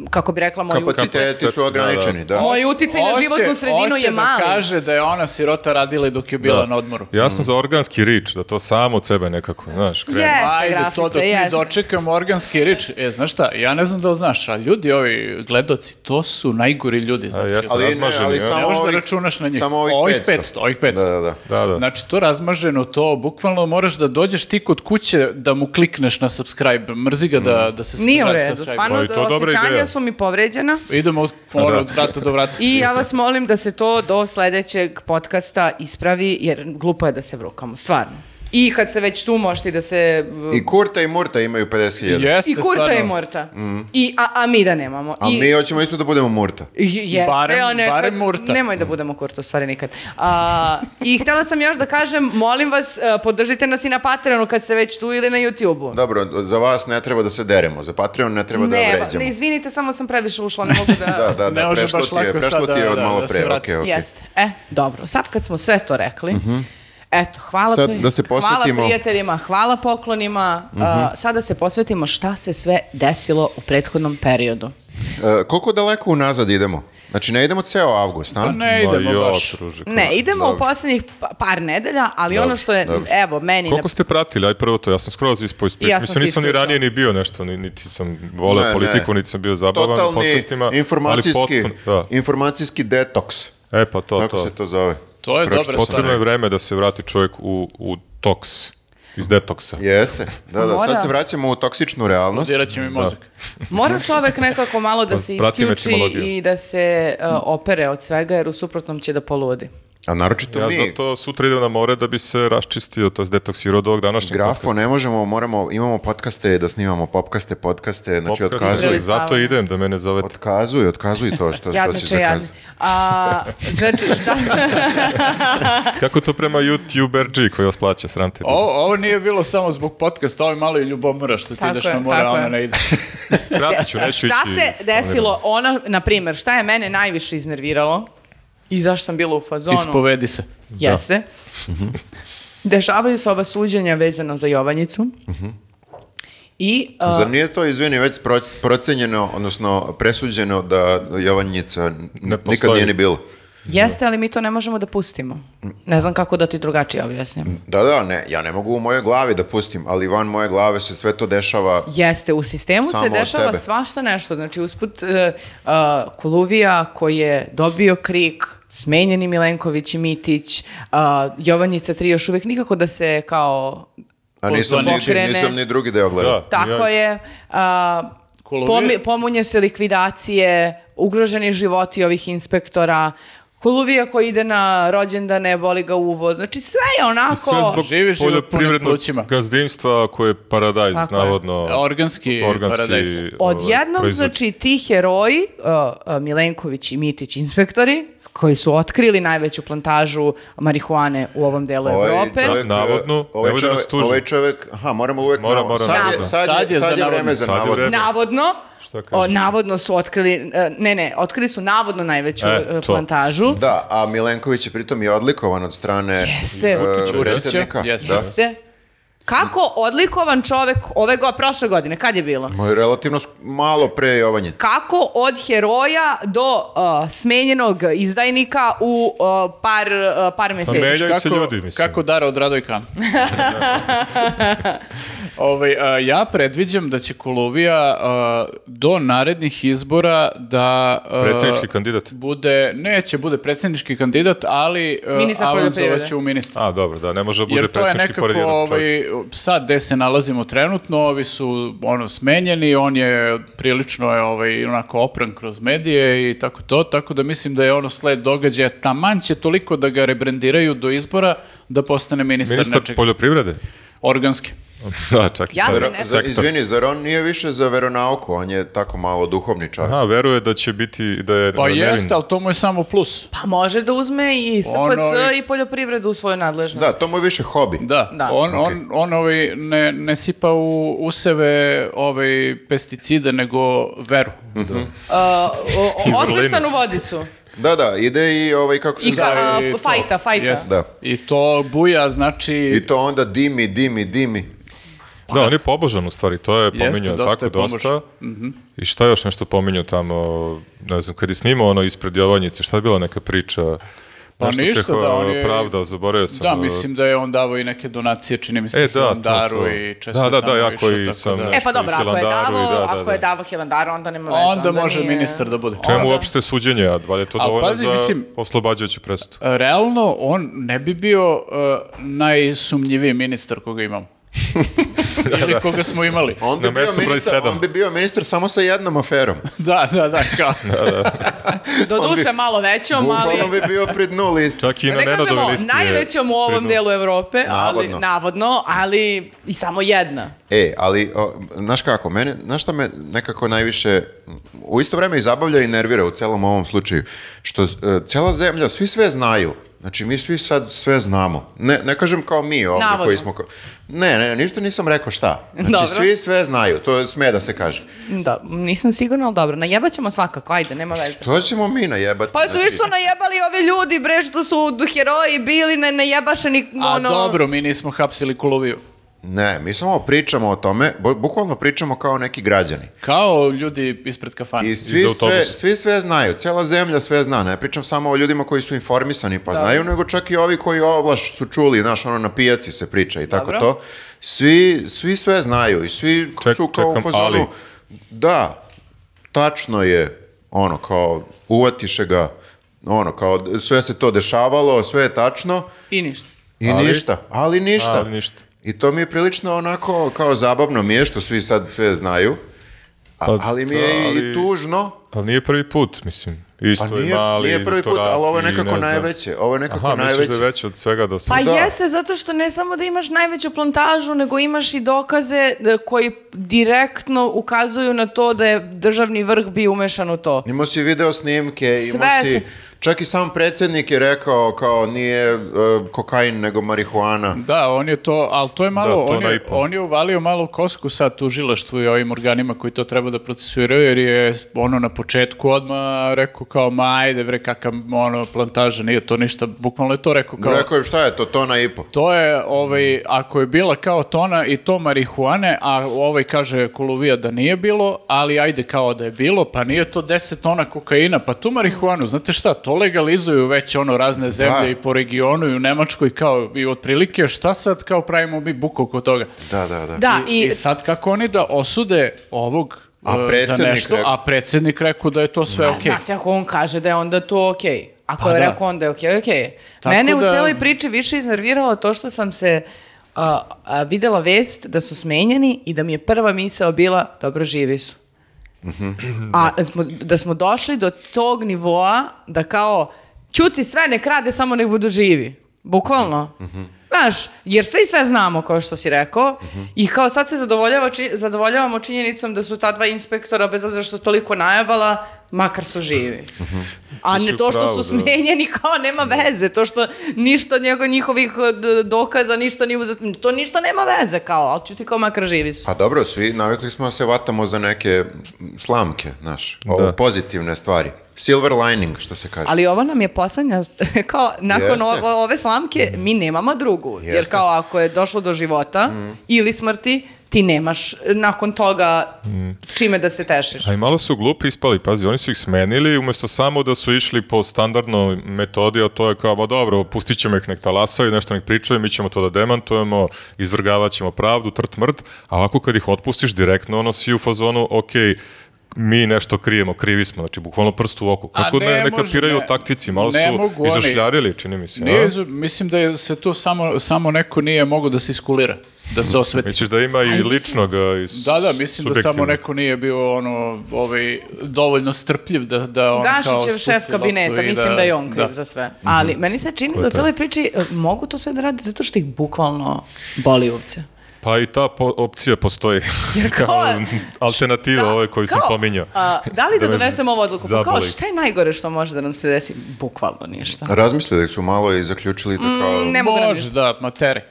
[SPEAKER 3] kako bi rekla, moji
[SPEAKER 2] Kapaciteti su ograničeni, da.
[SPEAKER 3] Moj uticaj na
[SPEAKER 5] Hoće-
[SPEAKER 3] životnu sredinu
[SPEAKER 5] hoće
[SPEAKER 3] je mali.
[SPEAKER 5] da kaže da je ona sirota radila i dok je bila
[SPEAKER 4] Da.
[SPEAKER 5] na odmoru.
[SPEAKER 4] Ja sam za organski rič, da to samo od sebe nekako, znaš, krene.
[SPEAKER 3] Je. Jeste,
[SPEAKER 5] Ajde,
[SPEAKER 3] grafice,
[SPEAKER 5] to da dok mi
[SPEAKER 3] jeste.
[SPEAKER 5] dočekamo organski rič. E, znaš šta, ja ne znam da li znaš, a ljudi, ovi gledoci, to su najgori ljudi.
[SPEAKER 4] A,
[SPEAKER 5] Znači,
[SPEAKER 4] jeste,
[SPEAKER 2] Ali ne,
[SPEAKER 4] razmaženi, e?
[SPEAKER 2] ali
[SPEAKER 4] ja.
[SPEAKER 2] samo-
[SPEAKER 5] ne možeš da
[SPEAKER 2] ovih-
[SPEAKER 5] računaš na njih.
[SPEAKER 2] samo ovih 500.
[SPEAKER 5] Ovih 500,
[SPEAKER 2] Da, da, da.
[SPEAKER 4] Da, da.
[SPEAKER 5] Znači, to razmaženo, to bukvalno moraš da dođeš ti kod kuće da mu klikneš na subscribe. Mrzi ga da,
[SPEAKER 4] Mm.
[SPEAKER 5] da se
[SPEAKER 3] Nije u
[SPEAKER 5] subscribe-
[SPEAKER 3] redu,
[SPEAKER 5] subscribe.
[SPEAKER 3] stvarno
[SPEAKER 4] Ali to je dobra
[SPEAKER 3] osjećanja
[SPEAKER 4] ideja.
[SPEAKER 3] su mi povređena
[SPEAKER 5] Idemo od,
[SPEAKER 4] Da.
[SPEAKER 5] ono, od vrata do vrata.
[SPEAKER 3] i ja vas molim da se to do sledećeg podcasta ispravi jer glupo je da se vrukamo, stvarno. I kad se već tu možete i da se...
[SPEAKER 2] I Kurta i Murta imaju 50.000.
[SPEAKER 5] Jeste,
[SPEAKER 3] I kurta i
[SPEAKER 5] stvarno.
[SPEAKER 3] morta. I, a, a mi da nemamo.
[SPEAKER 2] A
[SPEAKER 3] I,
[SPEAKER 2] mi hoćemo isto da budemo Murta.
[SPEAKER 3] J- Jeste,
[SPEAKER 5] Barem-
[SPEAKER 3] ono je
[SPEAKER 5] barem
[SPEAKER 3] kad-
[SPEAKER 5] murta.
[SPEAKER 3] Nemoj da budemo kurta, u stvari nikad. A, I htjela sam još da kažem, molim vas, e, podržite nas i na Patreonu kad ste već tu ili na YouTubeu.
[SPEAKER 2] Dobro, za vas ne treba da se deremo, za Patreon ne treba da
[SPEAKER 3] ne,
[SPEAKER 2] vređamo.
[SPEAKER 3] ne, izvinite, samo sam previše ušla, ne mogu da...
[SPEAKER 2] Da, da,
[SPEAKER 5] Ne
[SPEAKER 2] da,
[SPEAKER 5] može
[SPEAKER 2] prešlo
[SPEAKER 5] baš
[SPEAKER 2] ti je,
[SPEAKER 5] lako
[SPEAKER 2] prešlo
[SPEAKER 5] sad
[SPEAKER 2] ti je
[SPEAKER 5] da-
[SPEAKER 2] od
[SPEAKER 5] da-
[SPEAKER 2] malo
[SPEAKER 5] da se
[SPEAKER 2] pre,
[SPEAKER 5] vrati.
[SPEAKER 2] okej, okej.
[SPEAKER 3] Jeste. E, dobro, sad kad smo sve to rekli, eto, hvala,
[SPEAKER 2] Sad
[SPEAKER 3] pri-
[SPEAKER 2] da se posvetimo- Mhm.
[SPEAKER 3] hvala prijateljima, hvala poklonima, a, sad da se posvetimo šta se sve desilo u prethodnom periodu.
[SPEAKER 2] E, koliko daleko unazad idemo? Znači, ne idemo ceo avgust, a?
[SPEAKER 5] Pa ne
[SPEAKER 4] Ma
[SPEAKER 5] idemo
[SPEAKER 4] jo,
[SPEAKER 5] baš.
[SPEAKER 4] druže,
[SPEAKER 3] Ne, idemo
[SPEAKER 2] Da, Dobro.
[SPEAKER 3] u posljednjih pa- par nedelja, ali ono što je,
[SPEAKER 2] dobro.
[SPEAKER 3] evo, meni...
[SPEAKER 4] Koliko ste pratili? Aj prvo to, ja sam skroz ispao iz priče.
[SPEAKER 3] Ja sam
[SPEAKER 4] Mislim,
[SPEAKER 3] se
[SPEAKER 4] nisam ni
[SPEAKER 3] isključila.
[SPEAKER 4] ranije ni bio nešto, ni- niti sam voleo
[SPEAKER 2] Ne, ne.
[SPEAKER 4] politiku, niti sam bio zabavan u
[SPEAKER 2] Totalni
[SPEAKER 4] Pa podcastima. ali
[SPEAKER 2] informacijski,
[SPEAKER 4] potpuno-
[SPEAKER 2] informacijski detoks,
[SPEAKER 4] da. E pa to,
[SPEAKER 2] tako
[SPEAKER 4] to.
[SPEAKER 2] se to zove.
[SPEAKER 5] To je
[SPEAKER 2] Proč-
[SPEAKER 5] dobra
[SPEAKER 4] Potrebno je
[SPEAKER 5] stvar.
[SPEAKER 4] vreme da se vrati čovjek u, u toks, iz detoksa.
[SPEAKER 2] Jeste, da, da,
[SPEAKER 3] Mora.
[SPEAKER 2] sad se vraćamo u toksičnu realnost.
[SPEAKER 5] Zirat
[SPEAKER 4] Da.
[SPEAKER 5] će mi mozak.
[SPEAKER 3] Mora čovek nekako malo
[SPEAKER 2] Pa,
[SPEAKER 3] da se
[SPEAKER 4] Pratim
[SPEAKER 3] isključi
[SPEAKER 4] etimologiju.
[SPEAKER 3] i da se
[SPEAKER 2] Mhm.
[SPEAKER 3] uh, opere od svega, jer u suprotnom će da poludi.
[SPEAKER 2] A naročito
[SPEAKER 4] Ja
[SPEAKER 2] mi,
[SPEAKER 4] zato sutra idem na more da bi se raščistio, to je detoksirao od ovog današnjeg
[SPEAKER 2] grafo,
[SPEAKER 4] podcasta.
[SPEAKER 2] ne možemo, moramo, imamo podcaste da snimamo, popkaste, podcaste, znači
[SPEAKER 4] Popkast-
[SPEAKER 2] otkazuju,
[SPEAKER 3] Ili-
[SPEAKER 4] Zato idem da mene zovete.
[SPEAKER 2] otkazuju, otkazuju to što, što si
[SPEAKER 3] Jadniče, jadni.
[SPEAKER 2] zakazao.
[SPEAKER 3] A, znači, šta?
[SPEAKER 4] Kako to prema youtuber koji vas plaća, sram te. bilo.
[SPEAKER 5] Ovo, ovo nije bilo samo zbog podcasta, ovo je malo i ljubomora što ti
[SPEAKER 3] Tako
[SPEAKER 5] ideš
[SPEAKER 3] je,
[SPEAKER 5] na more, a
[SPEAKER 3] tako
[SPEAKER 5] ona
[SPEAKER 3] je.
[SPEAKER 5] ne ide.
[SPEAKER 4] Skratit ću, neću
[SPEAKER 3] šta
[SPEAKER 4] ići.
[SPEAKER 3] se desilo, ono, na primjer, šta je mene najviše iznerviralo i zašto sam bila u fazonu?
[SPEAKER 5] Ispovedi se.
[SPEAKER 2] Da.
[SPEAKER 3] Jeste.
[SPEAKER 2] Mhm.
[SPEAKER 3] Dešavaju se ova suđenja vezano za Jovanjicu.
[SPEAKER 2] Mhm.
[SPEAKER 3] I, e, a,
[SPEAKER 2] Zar nije to, izvini, već proc- procenjeno, odnosno presuđeno da Jovanjica n- nikad
[SPEAKER 4] postoji.
[SPEAKER 2] nije ni bilo?
[SPEAKER 3] jeste, ali mi to ne možemo da pustimo. Ne znam kako da ti drugačije objasnim.
[SPEAKER 2] Da, da, ne, ja ne mogu u mojoj glavi da pustim, ali van moje glave se sve to dešava.
[SPEAKER 3] Jeste, u sistemu
[SPEAKER 2] Samo
[SPEAKER 3] se
[SPEAKER 2] od
[SPEAKER 3] dešava
[SPEAKER 2] sebe.
[SPEAKER 3] svašta nešto. Znači, usput e, a, Koluvija koji je dobio krik, smenjeni Milenković i Mitić, a, Jovanjica 3 još uvijek nikako da se kao...
[SPEAKER 2] A nisam ni,
[SPEAKER 3] Pokrene.
[SPEAKER 2] nisam ni drugi deo gledao.
[SPEAKER 4] Da,
[SPEAKER 3] Tako
[SPEAKER 4] ja-
[SPEAKER 3] je, a,
[SPEAKER 5] Koluvija-
[SPEAKER 3] pomi- pomunje se likvidacije, ugroženi životi ovih inspektora, Koluvija koji ide na rođendane, boli ga uvo. Znači sve je onako...
[SPEAKER 4] I sve zbog
[SPEAKER 5] Živiš život punim
[SPEAKER 4] poljoprivrednog
[SPEAKER 5] plućima.
[SPEAKER 4] gazdinstva koje je paradajz,
[SPEAKER 3] Tako je.
[SPEAKER 4] navodno.
[SPEAKER 5] Organski paradajz.
[SPEAKER 4] ovaj,
[SPEAKER 3] Odjednom,
[SPEAKER 4] proizvod.
[SPEAKER 3] znači, ti heroji, uh, uh, Milenković i Mitić inspektori, koji su otkrili najveću plantažu marihuane u ovom delu Evrope.
[SPEAKER 4] čovjek- Navodno,
[SPEAKER 2] e, ovaj
[SPEAKER 4] nemoj da nas
[SPEAKER 2] čovjek,
[SPEAKER 4] tuži.
[SPEAKER 2] ovaj čovjek, aha, moramo uvek
[SPEAKER 4] Mora,
[SPEAKER 2] navodno.
[SPEAKER 4] mora,
[SPEAKER 2] sad, je,
[SPEAKER 4] navodno.
[SPEAKER 2] sad,
[SPEAKER 5] Sad
[SPEAKER 2] je,
[SPEAKER 5] je za
[SPEAKER 2] sad je
[SPEAKER 5] navodno.
[SPEAKER 2] vreme za
[SPEAKER 4] Sad je
[SPEAKER 2] navodno.
[SPEAKER 4] vreme.
[SPEAKER 3] Navodno,
[SPEAKER 4] Šta kažeš?
[SPEAKER 3] o, navodno su otkrili, e, ne, ne, otkrili su navodno najveću
[SPEAKER 4] E,
[SPEAKER 3] e,
[SPEAKER 4] to.
[SPEAKER 3] plantažu.
[SPEAKER 2] Da, a Milenković je pritom i odlikovan od strane
[SPEAKER 3] Jeste.
[SPEAKER 2] e,
[SPEAKER 3] Vučića,
[SPEAKER 5] Vučića.
[SPEAKER 2] predsjednika.
[SPEAKER 5] Jeste.
[SPEAKER 2] Da.
[SPEAKER 3] Jeste. Kako odlikovan čovek ove go, prošle godine, kad je bilo?
[SPEAKER 2] Ma, Relativno sk- malo pre Jovanjice.
[SPEAKER 3] Kako od heroja do uh, smenjenog izdajnika u uh, par, uh, par
[SPEAKER 4] Pa
[SPEAKER 3] meseci?
[SPEAKER 4] menjaju se ljudi, mislim.
[SPEAKER 5] Kako dara od Radojka. ovaj, a, ja predviđam da će Koluvija a, do narednih izbora da... a,
[SPEAKER 4] Predsjednički kandidat.
[SPEAKER 5] Bude, neće, bude predsjednički kandidat, ali a,
[SPEAKER 3] Ministar poljoprivrede.
[SPEAKER 5] avanzovaće u ministra.
[SPEAKER 4] A, dobro, da, ne može da bude
[SPEAKER 5] Jer to je
[SPEAKER 4] predsjednički
[SPEAKER 5] nekako
[SPEAKER 4] pored jednog čovjeka.
[SPEAKER 5] ovaj, sad gde se nalazimo trenutno, ovi su ono smenjeni, on je prilično je ovaj onako opran kroz medije i tako to, tako da mislim da je ono sled događaja taman će toliko da ga rebrendiraju do izbora da postane ministar,
[SPEAKER 4] Ministar
[SPEAKER 5] nečeg
[SPEAKER 4] poljoprivrede?
[SPEAKER 5] organski.
[SPEAKER 4] Da, čak i
[SPEAKER 3] Ja
[SPEAKER 4] to.
[SPEAKER 3] se
[SPEAKER 2] Vero-
[SPEAKER 3] ne-
[SPEAKER 2] za-
[SPEAKER 4] Sektor.
[SPEAKER 2] izvini, zar on nije više za veronauku, on je tako malo duhovni čovjek.
[SPEAKER 4] Aha, veruje da će biti, da je
[SPEAKER 5] Pa
[SPEAKER 4] nevin.
[SPEAKER 5] jeste, ali to mu je samo plus.
[SPEAKER 3] Pa može da uzme i SPC
[SPEAKER 5] Ono i-
[SPEAKER 3] i poljoprivredu u svoju nadležnost.
[SPEAKER 2] Da, to mu je više hobi.
[SPEAKER 5] Da,
[SPEAKER 3] Da.
[SPEAKER 5] on, on, on ovaj ne, ne sipa u useve ovaj pesticide, nego veru.
[SPEAKER 4] Mhm.
[SPEAKER 3] Uh, o- o-
[SPEAKER 4] Da. vrlinu.
[SPEAKER 3] osveštanu vodicu. E,
[SPEAKER 2] Da, da, ide i ovaj, kako se
[SPEAKER 3] I
[SPEAKER 2] zove,
[SPEAKER 3] ka,
[SPEAKER 5] i
[SPEAKER 3] uh,
[SPEAKER 5] to.
[SPEAKER 3] fajta, fajta.
[SPEAKER 5] Jeste.
[SPEAKER 2] Da.
[SPEAKER 5] I to buja, znači...
[SPEAKER 2] i to onda dimi, dimi, dimi.
[SPEAKER 4] Da, on je pobožan u stvari, to je pominjao
[SPEAKER 5] dosta
[SPEAKER 4] tako
[SPEAKER 5] je pobožan. Mhm.
[SPEAKER 4] dosta. I šta je još nešto pominjao tamo, ne znam, kad je snimao ono ispred Jovanjice, šta je bila neka priča?
[SPEAKER 5] Pa
[SPEAKER 4] Nešto se
[SPEAKER 5] ništa,
[SPEAKER 4] hva-
[SPEAKER 5] da, on je-
[SPEAKER 4] Pravda, zaboravio sam.
[SPEAKER 5] Da, mislim da je on davao i neke donacije, čini mi se,
[SPEAKER 4] E, da, to,
[SPEAKER 5] Hilandaru
[SPEAKER 4] to.
[SPEAKER 5] i često
[SPEAKER 4] Da, da,
[SPEAKER 5] je
[SPEAKER 4] da,
[SPEAKER 5] tamo
[SPEAKER 4] ja koji
[SPEAKER 5] išao, tako
[SPEAKER 4] sam,
[SPEAKER 5] da.
[SPEAKER 4] ne,
[SPEAKER 3] E pa
[SPEAKER 4] Što i
[SPEAKER 3] dobro, ako je
[SPEAKER 4] Hilandaru i
[SPEAKER 3] davo,
[SPEAKER 4] da, da,
[SPEAKER 3] ako je
[SPEAKER 4] da.
[SPEAKER 3] davo Hilandaru, onda nema veze.
[SPEAKER 5] A onda može
[SPEAKER 3] nije-
[SPEAKER 5] ministar da bude.
[SPEAKER 4] Čemu
[SPEAKER 3] Onda-
[SPEAKER 4] uopšte suđenje, a valjda je to
[SPEAKER 5] Ali
[SPEAKER 4] dovoljno
[SPEAKER 5] pazi,
[SPEAKER 4] za
[SPEAKER 5] mislim-
[SPEAKER 4] oslobađajuću presudu.
[SPEAKER 5] Realno, on ne bi bio uh, najsumnjiviji ministar koga imamo.
[SPEAKER 4] Da,
[SPEAKER 5] Ili koga smo imali.
[SPEAKER 2] On bi,
[SPEAKER 4] Na
[SPEAKER 2] bio
[SPEAKER 4] mestu broj
[SPEAKER 2] ministar,
[SPEAKER 4] sedam.
[SPEAKER 2] on bi bio ministar samo sa jednom aferom.
[SPEAKER 5] Da, da, da, kao.
[SPEAKER 3] Do
[SPEAKER 2] On bi-
[SPEAKER 3] duše malo većom, ali...
[SPEAKER 2] Bukvalno bi bio pred nul isto.
[SPEAKER 4] Čak i na
[SPEAKER 3] Da ne
[SPEAKER 4] Nenadove
[SPEAKER 3] kažemo
[SPEAKER 4] listi. je
[SPEAKER 3] najvećom u ovom
[SPEAKER 4] pridružen.
[SPEAKER 3] delu Evrope, ali
[SPEAKER 2] Navodno.
[SPEAKER 3] navodno, ali i samo jedna.
[SPEAKER 2] E, ali, o, znaš kako, mene, znaš šta me nekako najviše u isto vreme i zabavlja i nervira u celom ovom slučaju, što e, cela zemlja, svi sve znaju, znači mi svi sad sve znamo, ne, ne kažem kao mi ovdje
[SPEAKER 3] Navodno.
[SPEAKER 2] koji smo, kao- ne, ne, ništa nisam rekao šta, znači
[SPEAKER 3] Dobro.
[SPEAKER 2] svi sve znaju, to sme da se kaže.
[SPEAKER 3] Da, nisam sigurna, ali dobro. Najebat ćemo svakako, ajde, nema veze.
[SPEAKER 2] Što ćemo mi znači, najebati?
[SPEAKER 3] Pa
[SPEAKER 5] Znači-
[SPEAKER 3] su isto najebali ovi ljudi, bre, što su heroji bili ne, najebašeni,
[SPEAKER 5] A
[SPEAKER 3] ono...
[SPEAKER 5] dobro, mi nismo hapsili Kuloviju.
[SPEAKER 2] Ne, mi samo pričamo o tome, bu- bukvalno pričamo kao neki građani.
[SPEAKER 5] Kao ljudi ispred kafane.
[SPEAKER 2] I svi
[SPEAKER 4] Iz
[SPEAKER 2] sve,
[SPEAKER 4] autobusa.
[SPEAKER 2] svi sve znaju, cela zemlja sve zna, ne pričam samo o ljudima koji su informisani pa znaju, nego čak i ovi koji ovlaš su čuli, znaš, ono na pijaci se priča i tako
[SPEAKER 3] Dobro.
[SPEAKER 2] to. Svi, svi sve znaju i svi
[SPEAKER 4] Ček-
[SPEAKER 2] su kao u
[SPEAKER 4] čekam,
[SPEAKER 2] fazonu,
[SPEAKER 4] ali-
[SPEAKER 2] da, tačno je, ono, kao uvatiše ga, ono, kao sve se to dešavalo, sve je tačno
[SPEAKER 3] I ništa.
[SPEAKER 2] i
[SPEAKER 4] Ali-
[SPEAKER 2] ništa, ali ništa.
[SPEAKER 4] Ali ništa.
[SPEAKER 2] I to mi je prilično onako, kao zabavno mi je što svi sad sve znaju, a-
[SPEAKER 4] Pa
[SPEAKER 2] ali mi je
[SPEAKER 4] da,
[SPEAKER 2] i
[SPEAKER 4] ali-
[SPEAKER 2] tužno,
[SPEAKER 4] Ali nije prvi put, mislim. Isto
[SPEAKER 2] pa
[SPEAKER 4] je
[SPEAKER 2] nije,
[SPEAKER 4] mali.
[SPEAKER 2] nije prvi put,
[SPEAKER 4] doktorat
[SPEAKER 2] ali ovo je
[SPEAKER 4] i ne
[SPEAKER 2] nekako
[SPEAKER 4] znam.
[SPEAKER 2] najveće. Ovo je nekako
[SPEAKER 4] Aha, misliš
[SPEAKER 2] najveće.
[SPEAKER 4] da je veće od svega do
[SPEAKER 3] Pa
[SPEAKER 4] sada?
[SPEAKER 2] Da.
[SPEAKER 3] jeste, zato što ne samo da imaš najveću plantažu, nego imaš i dokaze e, koji direktno ukazuju na to da je državni vrh bio umešan u to.
[SPEAKER 2] Imao si video snimke, imao
[SPEAKER 3] Sve
[SPEAKER 2] si...
[SPEAKER 3] se-
[SPEAKER 2] Čak i sam predsjednik je rekao kao nije e, kokain nego marihuana.
[SPEAKER 5] Da, on je to, ali to je malo,
[SPEAKER 4] Da, to
[SPEAKER 5] on, je,
[SPEAKER 4] naipo.
[SPEAKER 5] on je uvalio malo kosku sad tužilaštvu i ovim organima koji to treba da procesuiraju, jer je ono na početku odmah rekao kao, ma ajde bre, kakav ono, plantaža, nije to ništa, bukvalno je to rekao kao,
[SPEAKER 2] Rekao je šta je to, tona i po.
[SPEAKER 5] to je, ovaj, ako je bila kao tona i to marihuane, a ovaj kaže Koluvija da nije bilo, ali ajde kao da je bilo, pa nije to 10 tona kokaina, pa tu marihuanu, znate šta, to legalizuju već ono razne zemlje
[SPEAKER 2] Da.
[SPEAKER 5] i po regionu i u Nemačkoj kao i otprilike šta sad kao pravimo mi buku oko toga.
[SPEAKER 2] Da, da, da.
[SPEAKER 3] Da, i,
[SPEAKER 5] I sad kako oni da osude ovog
[SPEAKER 2] A
[SPEAKER 5] e, za
[SPEAKER 2] predsednik
[SPEAKER 5] nešto,
[SPEAKER 2] rekao-
[SPEAKER 5] a predsjednik rekao da je to sve okej.
[SPEAKER 3] Zna se ako on kaže da je onda to okej. Ako
[SPEAKER 5] Pa
[SPEAKER 3] je
[SPEAKER 5] da.
[SPEAKER 3] rekao onda je okej, okej.
[SPEAKER 5] Tako
[SPEAKER 3] Mene
[SPEAKER 5] da-
[SPEAKER 3] u celoj priči više iznerviralo to što sam se a, a, videla vest da su smenjeni i da mi je prva misao bila dobro živi su. A da smo, da smo došli do tog nivoa da kao ćuti sve, ne krade, samo nek budu živi. Bukvalno.
[SPEAKER 4] Mhm.
[SPEAKER 3] Znaš, jer sve i sve znamo, kao što si rekao, i kao sad se zadovoljava, či- zadovoljavamo činjenicom da su ta dva inspektora, bez obzira što su toliko najebala, makar su živi. A
[SPEAKER 4] Tu Mhm. si
[SPEAKER 3] ne
[SPEAKER 4] u
[SPEAKER 3] to što
[SPEAKER 4] pravu,
[SPEAKER 3] su
[SPEAKER 4] da.
[SPEAKER 3] smenjeni, kao nema veze, to što ništa njego, njihovih eh, d- dokaza, ništa nije uzet, to ništa nema veze, kao, ali ću ti kao makar živi su.
[SPEAKER 2] Pa dobro, svi navikli smo da se vatamo za neke slamke, znaš, ovo,
[SPEAKER 4] Da.
[SPEAKER 2] pozitivne stvari. Silver lining, što se kaže.
[SPEAKER 3] Ali ovo nam je poslednja, st- kao nakon
[SPEAKER 2] Jeste.
[SPEAKER 3] ovo- ove slamke, mi nemamo drugu. Jer
[SPEAKER 2] Jeste.
[SPEAKER 3] kao ako je došlo do života ili smrti, ti nemaš e, nakon toga čime da se tešiš.
[SPEAKER 4] A Pa i malo su glupi ispali, pazi, oni su ih smenili umjesto samo da su išli po standardnoj metodi, a to je kao, "Ma dobro, pustit ćemo ih nek talasaju, nešto nek pričaju, mi ćemo to da demantujemo, izvrgavat ćemo pravdu, trt mrt, a ovako kad ih otpustiš direktno, ono si u fazonu, ok, mi nešto krijemo, krivi smo, znači bukvalno prst u oku.
[SPEAKER 5] A
[SPEAKER 4] Kako ne,
[SPEAKER 5] ne
[SPEAKER 4] ne,
[SPEAKER 5] može,
[SPEAKER 4] kapiraju
[SPEAKER 5] ne.
[SPEAKER 4] taktici, malo
[SPEAKER 5] Ne
[SPEAKER 4] su
[SPEAKER 5] mogu oni.
[SPEAKER 4] izašljarili, čini mi se. a?
[SPEAKER 5] Nije, izu- mislim da je se tu samo, samo neko nije mogao da se iskulira, da se osveti.
[SPEAKER 4] Misliš da ima i ličnog a, i
[SPEAKER 5] Da, da, mislim da samo
[SPEAKER 4] subjektivnog?
[SPEAKER 5] neko nije bio ono, ovaj, dovoljno strpljiv da, da ono kao
[SPEAKER 3] Gašićev
[SPEAKER 5] spusti
[SPEAKER 3] šef
[SPEAKER 5] loptu
[SPEAKER 3] kabineta,
[SPEAKER 5] i
[SPEAKER 3] mislim da je on kriv
[SPEAKER 5] da.
[SPEAKER 3] za sve. Ali meni se čini da u cijeloj priči e, mogu to sve da rade zato što ih bukvalno boli uvce.
[SPEAKER 4] Pa i ta po- opcija postoji kao, alternativa
[SPEAKER 3] Da,
[SPEAKER 4] ovoj koju sam
[SPEAKER 3] kao,
[SPEAKER 4] pominjao.
[SPEAKER 3] a, da li da,
[SPEAKER 4] me
[SPEAKER 3] donesemo ovu odluku? Pa kao,
[SPEAKER 4] zaboli.
[SPEAKER 3] šta je najgore što može da nam se desi? Bukvalno ništa.
[SPEAKER 2] Razmislili su malo i zaključili da kao...
[SPEAKER 3] Mm, Ne mogu nam ništa.
[SPEAKER 5] Može, da, materi.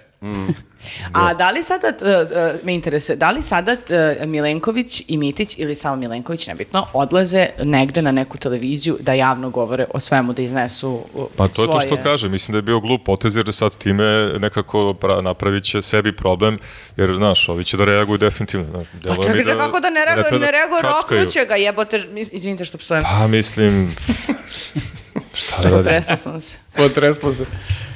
[SPEAKER 3] A da li sada, e, e, me interesuje, da li sada e, Milenković i Mitić ili samo Milenković, nebitno, odlaze negde na neku televiziju da javno govore o svemu, da iznesu e,
[SPEAKER 4] Pa to je to
[SPEAKER 3] svoje-
[SPEAKER 4] što kaže, mislim da je bio glup potez jer sad time nekako pra- napravit će sebi problem, jer znaš, ovi će da reaguju definitivno. Znaš,
[SPEAKER 3] Pa
[SPEAKER 4] deluje mi
[SPEAKER 3] čekaj, da, kako da ne reaguje,
[SPEAKER 4] treba
[SPEAKER 3] ne
[SPEAKER 4] da
[SPEAKER 3] reaguje,
[SPEAKER 4] čačkaju.
[SPEAKER 3] roknuće ga, jebote, mis- izvinite što psujem.
[SPEAKER 4] Pa mislim, šta da radim?
[SPEAKER 3] Tresla sam se.
[SPEAKER 5] Potreslo se.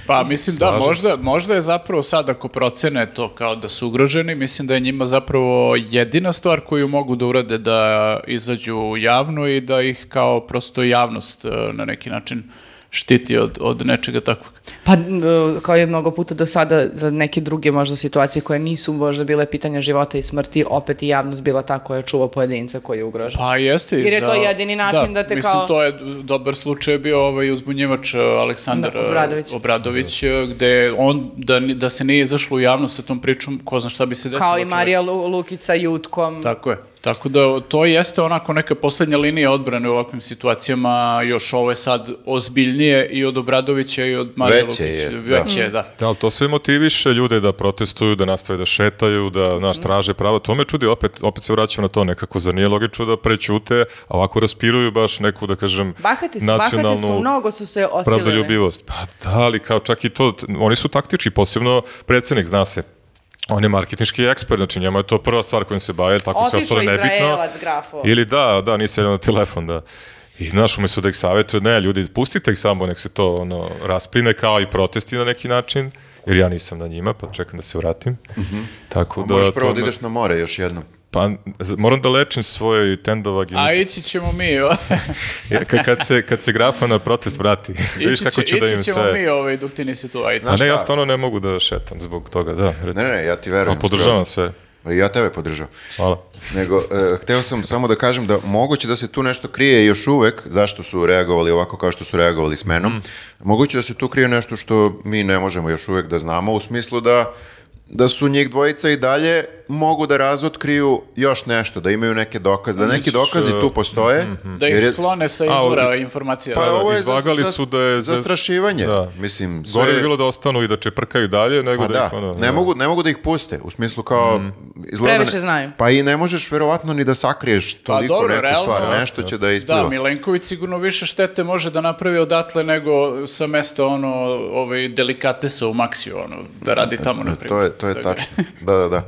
[SPEAKER 5] Pa mislim da,
[SPEAKER 4] Slažem
[SPEAKER 5] možda,
[SPEAKER 4] se.
[SPEAKER 5] možda je zapravo sad ako procene to kao da su ugroženi, mislim da je njima zapravo jedina stvar koju mogu da urade da izađu javno i da ih kao prosto javnost e, na eh, neki način štiti od, od nečega takvog.
[SPEAKER 3] Pa, m, kao je mnogo puta do sada za neke druge možda situacije koje nisu možda bile pitanja života i smrti, opet i javnost bila ta koja čuva pojedinca koji je ugrožen.
[SPEAKER 5] Pa jeste. i
[SPEAKER 3] Jer je
[SPEAKER 5] za-
[SPEAKER 3] to jedini način da te
[SPEAKER 5] mislim,
[SPEAKER 3] kao-
[SPEAKER 5] to je dobar slučaj bio ovaj uzbunjivač e, Aleksandar
[SPEAKER 3] Da,
[SPEAKER 5] e,
[SPEAKER 3] Obradović.
[SPEAKER 5] Obradović, e, gde on, da, ni- da se nije izašlo u javnost sa tom pričom, ko zna šta bi se desilo.
[SPEAKER 3] Kao i
[SPEAKER 5] čoveče.
[SPEAKER 3] Marija Lu- Lukić sa Jutkom.
[SPEAKER 5] Tako je. Tako da to jeste onako neka poslednja linija odbrane u ovakvim situacijama, još ovo je sad ozbiljnije i od Obradovića i od Marija
[SPEAKER 2] Veće je,
[SPEAKER 5] Lukića.
[SPEAKER 2] da.
[SPEAKER 5] Veće je, da.
[SPEAKER 4] Da, ali to sve motiviše ljude da protestuju, da nastave da šetaju, da
[SPEAKER 3] Mhm.
[SPEAKER 4] znaš, traže prava. To me čudi, opet, opet se vraćam na to nekako. Zar nije logično da prećute, a ovako raspiruju baš neku, da kažem,
[SPEAKER 3] Bahati su, bahati su,
[SPEAKER 4] nacionalnu
[SPEAKER 3] mnogo su se osilili.
[SPEAKER 4] pravdoljubivost. Pa da, ali kao čak i to, t- oni su taktički, posebno predsednik, zna se. On je marketnički ekspert, znači njemu je to prva stvar kojom se baje, tako se
[SPEAKER 3] Otišao
[SPEAKER 4] ostalo nebitno.
[SPEAKER 3] Izraelac, grafo.
[SPEAKER 2] Pa.
[SPEAKER 4] Ili da, da, nisi jedan na telefon, da. I znaš, umjesto da ih savjetuje, ne, ljudi, pustite ih samo, nek se to ono, raspline kao i protesti na neki način, jer ja nisam na njima, pa čekam da se vratim. Tako da...
[SPEAKER 2] Mhm. Možeš
[SPEAKER 4] to
[SPEAKER 2] prvo da
[SPEAKER 4] me-
[SPEAKER 2] ideš na more još jednom.
[SPEAKER 4] Pa, z- moram da lečim svoj
[SPEAKER 5] A
[SPEAKER 4] tendovaginitis.
[SPEAKER 5] ići ćemo mi, o-
[SPEAKER 4] Jer ka- kad, se, kad se grafa na protest vrati, vidiš
[SPEAKER 5] ići,
[SPEAKER 4] kako
[SPEAKER 5] će,
[SPEAKER 4] ću da im
[SPEAKER 5] ići ćemo
[SPEAKER 4] sve...
[SPEAKER 5] mi ovaj, dok ti nisi tu, ajde.
[SPEAKER 4] A
[SPEAKER 2] Znaš
[SPEAKER 4] ne, ja
[SPEAKER 2] šta?
[SPEAKER 4] stvarno ne mogu da šetam zbog toga, da, recimo.
[SPEAKER 2] Ne, ne, ja ti verujem.
[SPEAKER 4] Pa podržavam sve.
[SPEAKER 2] skroz. Ja tebe podržavam.
[SPEAKER 4] Hvala.
[SPEAKER 2] Nego, e, hteo sam samo da kažem da moguće da se tu nešto krije još uvek, zašto su reagovali ovako kao što su reagovali s menom.
[SPEAKER 4] Mm.
[SPEAKER 2] Moguće da se tu krije nešto što mi ne možemo još uvek da znamo, u smislu da da su njih dvojica i dalje mogu da razotkriju još nešto, da imaju neke dokaze, da neki
[SPEAKER 4] Misliš,
[SPEAKER 2] dokazi
[SPEAKER 4] e,
[SPEAKER 2] tu postoje.
[SPEAKER 5] Da ih
[SPEAKER 2] jer je-
[SPEAKER 5] sklone sa
[SPEAKER 4] A,
[SPEAKER 5] izvora
[SPEAKER 4] ali-
[SPEAKER 5] informacija.
[SPEAKER 2] Pa
[SPEAKER 5] Da, da.
[SPEAKER 2] ovo je za-
[SPEAKER 4] izvagali
[SPEAKER 2] za-
[SPEAKER 4] su da je za-
[SPEAKER 2] zastrašivanje.
[SPEAKER 4] Da.
[SPEAKER 2] Mislim, sve
[SPEAKER 4] Gore
[SPEAKER 2] je-
[SPEAKER 4] bi bilo da ostanu i da čeprkaju dalje, nego
[SPEAKER 2] Pa
[SPEAKER 4] da,
[SPEAKER 2] da,
[SPEAKER 4] ih ono...
[SPEAKER 2] ne, mogu, ne mogu da ih puste, u smislu kao... izgleda
[SPEAKER 3] Previše
[SPEAKER 2] ne-
[SPEAKER 3] znaju.
[SPEAKER 2] Pa i ne možeš verovatno ni da sakriješ toliko
[SPEAKER 5] dobro,
[SPEAKER 2] neku
[SPEAKER 5] realno-
[SPEAKER 2] stvar, nešto će da ispliva.
[SPEAKER 5] Da, Milenković sigurno više štete može da napravi odatle nego sa mesta ono, ovaj, delikatesa u Maksiju, ono, da radi tamo, na
[SPEAKER 2] To
[SPEAKER 5] primjer.
[SPEAKER 2] je, to je
[SPEAKER 5] Tako da-
[SPEAKER 2] tačno. Da, da, da.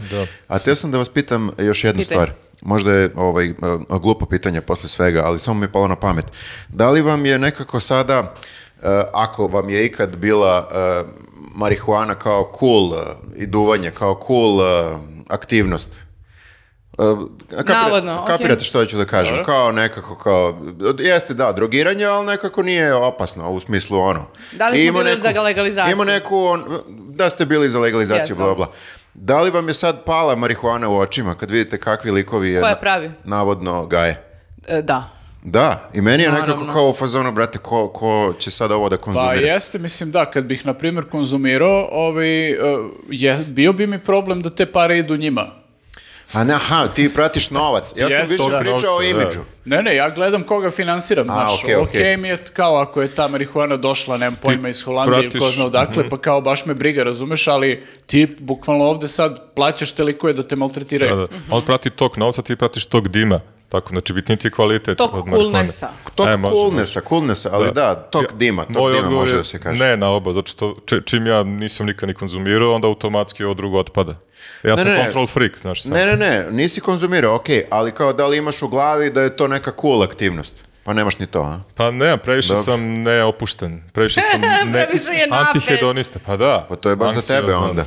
[SPEAKER 2] A teo sam da vas pitam još jednu
[SPEAKER 3] Pitaj.
[SPEAKER 2] stvar. Možda je ovaj, e, glupo pitanje posle svega, ali samo mi je palo na pamet. Da li vam je nekako sada, e, ako vam je ikad bila e, marihuana kao cool e, i duvanje, kao cool e, aktivnost? E, kapira-
[SPEAKER 3] Navodno, okej.
[SPEAKER 2] Kapirate što ću da kažem,
[SPEAKER 5] Dobro.
[SPEAKER 2] kao nekako, kao, jeste da, drogiranje, ali nekako nije opasno u smislu ono.
[SPEAKER 3] Da li smo
[SPEAKER 2] I ima
[SPEAKER 3] bili za legalizaciju?
[SPEAKER 2] Ima neku, on, da ste bili za legalizaciju,
[SPEAKER 3] Jesmo.
[SPEAKER 2] bla, bla. Da li vam je sad pala marihuana u očima kad vidite kakvi likovi je,
[SPEAKER 3] Ko je
[SPEAKER 2] na-
[SPEAKER 3] pravi?
[SPEAKER 2] navodno gaje?
[SPEAKER 3] E, Da.
[SPEAKER 2] Da, i meni je nekako
[SPEAKER 3] Naravno.
[SPEAKER 2] kao u fazonu, brate, ko, ko će sad ovo da
[SPEAKER 5] Pa
[SPEAKER 2] konzumira?
[SPEAKER 5] jeste, mislim da, kad bih, na primjer, konzumirao, ovaj, eh, je, bio bi mi problem da te pare idu njima.
[SPEAKER 2] A ne, aha, ti pratiš novac. Ja sam
[SPEAKER 5] Jeste,
[SPEAKER 2] više
[SPEAKER 5] da.
[SPEAKER 2] pričao o
[SPEAKER 4] Novca, da.
[SPEAKER 2] imidžu.
[SPEAKER 5] Ne, ne, ja gledam koga finansiram, znaš,
[SPEAKER 2] okej,
[SPEAKER 5] okej
[SPEAKER 2] okej.
[SPEAKER 5] mi je kao ako je ta marihuana došla, nemam pojma, iz Holandije ili ko
[SPEAKER 4] pratiš-
[SPEAKER 5] zna
[SPEAKER 2] mhm.
[SPEAKER 5] odakle, pa kao baš me briga, razumeš, ali ti bukvalno ovde sad plaćaš teliko je da te
[SPEAKER 3] E,
[SPEAKER 5] maltretiraju.
[SPEAKER 4] Da, da.
[SPEAKER 3] mhm.
[SPEAKER 4] On prati tok novca, ti pratiš tok dima. Tako, znači bitniji ti je kvalitet.
[SPEAKER 3] Tok
[SPEAKER 4] od marihuane.
[SPEAKER 3] coolnessa.
[SPEAKER 2] Tok
[SPEAKER 4] E, može, može.
[SPEAKER 2] coolnessa, coolnessa, ali da, tok
[SPEAKER 4] Ja,
[SPEAKER 2] dima, tok
[SPEAKER 4] moj
[SPEAKER 2] dima
[SPEAKER 4] odgovor
[SPEAKER 2] može
[SPEAKER 4] je
[SPEAKER 2] da se kaže.
[SPEAKER 4] Ne, na oba, zato što če- čim ja nisam nikad ni konzumirao, onda automatski ovo drugo otpada. Ja sam
[SPEAKER 2] ne, ne.
[SPEAKER 4] control freak, znaš sam.
[SPEAKER 2] Ne, ne, ne, nisi konzumirao, okej, ali kao da li imaš u glavi da je to neka cool aktivnost? Pa nemaš ni to, a?
[SPEAKER 4] Pa ne, previše sam neopušten. Previše sam ne,
[SPEAKER 3] Previše je napet.
[SPEAKER 4] antihedonista, pa da.
[SPEAKER 2] Pa to je baš za tebe
[SPEAKER 4] Anksiozan.
[SPEAKER 2] onda.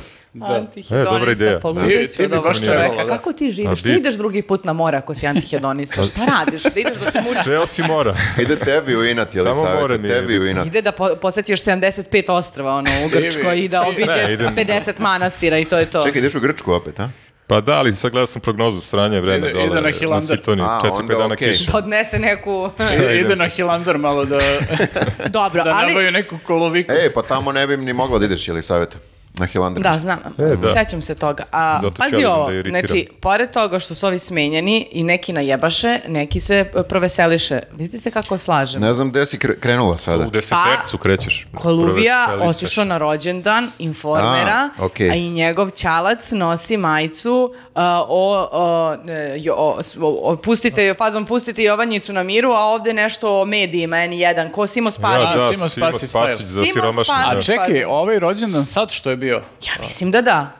[SPEAKER 3] Antihedonista,
[SPEAKER 4] E, dobra ideja.
[SPEAKER 5] Da. Ti- ti bi baš trebalo, da.
[SPEAKER 3] Kako ti živiš?
[SPEAKER 4] A
[SPEAKER 3] Ti
[SPEAKER 4] bi-
[SPEAKER 3] ideš drugi put na more ako si antihedonista. Šta radiš? Da ideš da se mučiš?
[SPEAKER 4] Sve osim mora.
[SPEAKER 2] Ide tebi u inat, jel
[SPEAKER 4] Samo more
[SPEAKER 2] savjeta?
[SPEAKER 4] mi
[SPEAKER 2] Tebi
[SPEAKER 4] ide.
[SPEAKER 2] u inat.
[SPEAKER 3] Ide da po, posetiš 75 ostrava ono, u
[SPEAKER 5] Ti bi-
[SPEAKER 3] Grčkoj i da
[SPEAKER 5] ti-
[SPEAKER 3] obiđe
[SPEAKER 4] Ne, idem-
[SPEAKER 3] 50 manastira i to je to.
[SPEAKER 2] Čekaj, ideš u Grčku opet, a?
[SPEAKER 4] Pa da, ali sad gledao sam prognozu stranje vreme
[SPEAKER 5] Ide-
[SPEAKER 4] dole.
[SPEAKER 5] ide na
[SPEAKER 4] na
[SPEAKER 5] Hilandar.
[SPEAKER 4] Sitoniji,
[SPEAKER 2] A,
[SPEAKER 4] 4-5
[SPEAKER 2] onda
[SPEAKER 4] dana
[SPEAKER 2] okej.
[SPEAKER 4] kiše.
[SPEAKER 3] Da odnese neku...
[SPEAKER 2] da,
[SPEAKER 5] I- Ide na Hilandar malo da,
[SPEAKER 3] Dobro,
[SPEAKER 5] da
[SPEAKER 3] ali...
[SPEAKER 5] nabavio neku koloviku.
[SPEAKER 2] Ej, pa tamo ne bi ni mogla da ideš, jel savjeta? Na Hilandar.
[SPEAKER 3] Da, znam.
[SPEAKER 4] da.
[SPEAKER 3] Sećam se toga. A,
[SPEAKER 4] Zato ću ja
[SPEAKER 3] pazi
[SPEAKER 4] da
[SPEAKER 3] ovo,
[SPEAKER 4] da iritiram.
[SPEAKER 3] znači, pored toga što su ovi smenjeni i neki najebaše, neki se e, proveseliše. Vidite kako slažem.
[SPEAKER 2] Ne znam gde si kre- krenula sada.
[SPEAKER 4] U desetercu krećeš.
[SPEAKER 3] Pa, Koluvija
[SPEAKER 4] Prve strelice.
[SPEAKER 3] otišao na rođendan informera,
[SPEAKER 2] A, okej.
[SPEAKER 3] a i njegov ćalac nosi majicu uh, o, o, ne, jo- o, s- o- o- pustite, fazom pustite Jovanjicu na miru, a ovde nešto o medijima, N1, ko Simo Spasić.
[SPEAKER 4] Ja, da, Simo
[SPEAKER 5] Simo Spasić
[SPEAKER 4] Spasić,
[SPEAKER 5] style.
[SPEAKER 4] za
[SPEAKER 3] Simo
[SPEAKER 4] siromašne.
[SPEAKER 3] Spasić.
[SPEAKER 4] da.
[SPEAKER 5] A čekaj,
[SPEAKER 3] Pazi.
[SPEAKER 5] ovaj rođendan sad što je bio?
[SPEAKER 3] Ja mislim da da.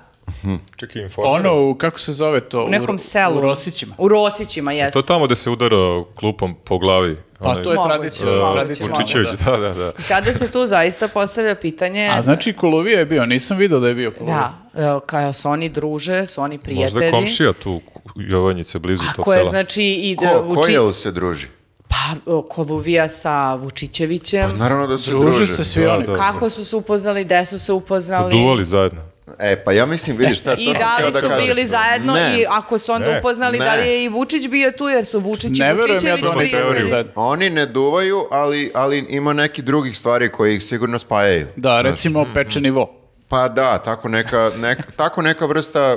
[SPEAKER 4] Čekaj, informer.
[SPEAKER 5] Ono, u- kako se zove to?
[SPEAKER 3] Pa U nekom
[SPEAKER 5] Ro-
[SPEAKER 3] selu.
[SPEAKER 5] U Rosićima.
[SPEAKER 3] U Rosićima, jeste.
[SPEAKER 4] To je tamo gde se udara klupom po glavi. da,
[SPEAKER 5] Pa to je
[SPEAKER 3] Moguće,
[SPEAKER 5] tradicija.
[SPEAKER 3] moguće,
[SPEAKER 5] tradicija.
[SPEAKER 3] moguće.
[SPEAKER 4] Vučićević, da, da, da.
[SPEAKER 3] Sada se tu zaista postavlja pitanje...
[SPEAKER 5] A znači Kolovija je bio, nisam vidio da je bio Kolovija.
[SPEAKER 3] Da, e, kao se oni druže, su oni prijatelji.
[SPEAKER 4] Možda je komšija tu Jovanjice blizu tog
[SPEAKER 3] Ako je,
[SPEAKER 4] sela.
[SPEAKER 3] znači, i
[SPEAKER 2] Ko, ko
[SPEAKER 3] Vuči-
[SPEAKER 2] jel se druži?
[SPEAKER 3] Pa, o, Koluvija sa Vučićevićem.
[SPEAKER 2] Naravno da se druže.
[SPEAKER 5] Druže se svi
[SPEAKER 4] Da,
[SPEAKER 5] oni.
[SPEAKER 4] da.
[SPEAKER 3] Kako su se upoznali, gde su se upoznali.
[SPEAKER 4] Duvali zajedno.
[SPEAKER 2] E, pa ja mislim, vidiš, šta, to
[SPEAKER 3] I
[SPEAKER 2] sam
[SPEAKER 3] da
[SPEAKER 2] htio
[SPEAKER 3] li
[SPEAKER 2] da
[SPEAKER 3] su
[SPEAKER 2] kažem.
[SPEAKER 3] bili zajedno
[SPEAKER 2] Ne.
[SPEAKER 3] i ako su onda
[SPEAKER 4] Ne.
[SPEAKER 3] upoznali, da li je i Vučić bio tu, jer su Vučić i
[SPEAKER 5] Ne verujem ja
[SPEAKER 3] Vučićević
[SPEAKER 5] da oni
[SPEAKER 4] prijatelji.
[SPEAKER 5] pevaju
[SPEAKER 3] prijatelji.
[SPEAKER 5] zajedno.
[SPEAKER 2] Oni ne duvaju, ali, ali ima neki drugih stvari koje ih sigurno spajaju.
[SPEAKER 5] Da, recimo pečeni vo.
[SPEAKER 2] Pa da, tako neka, nek- tako neka vrsta e,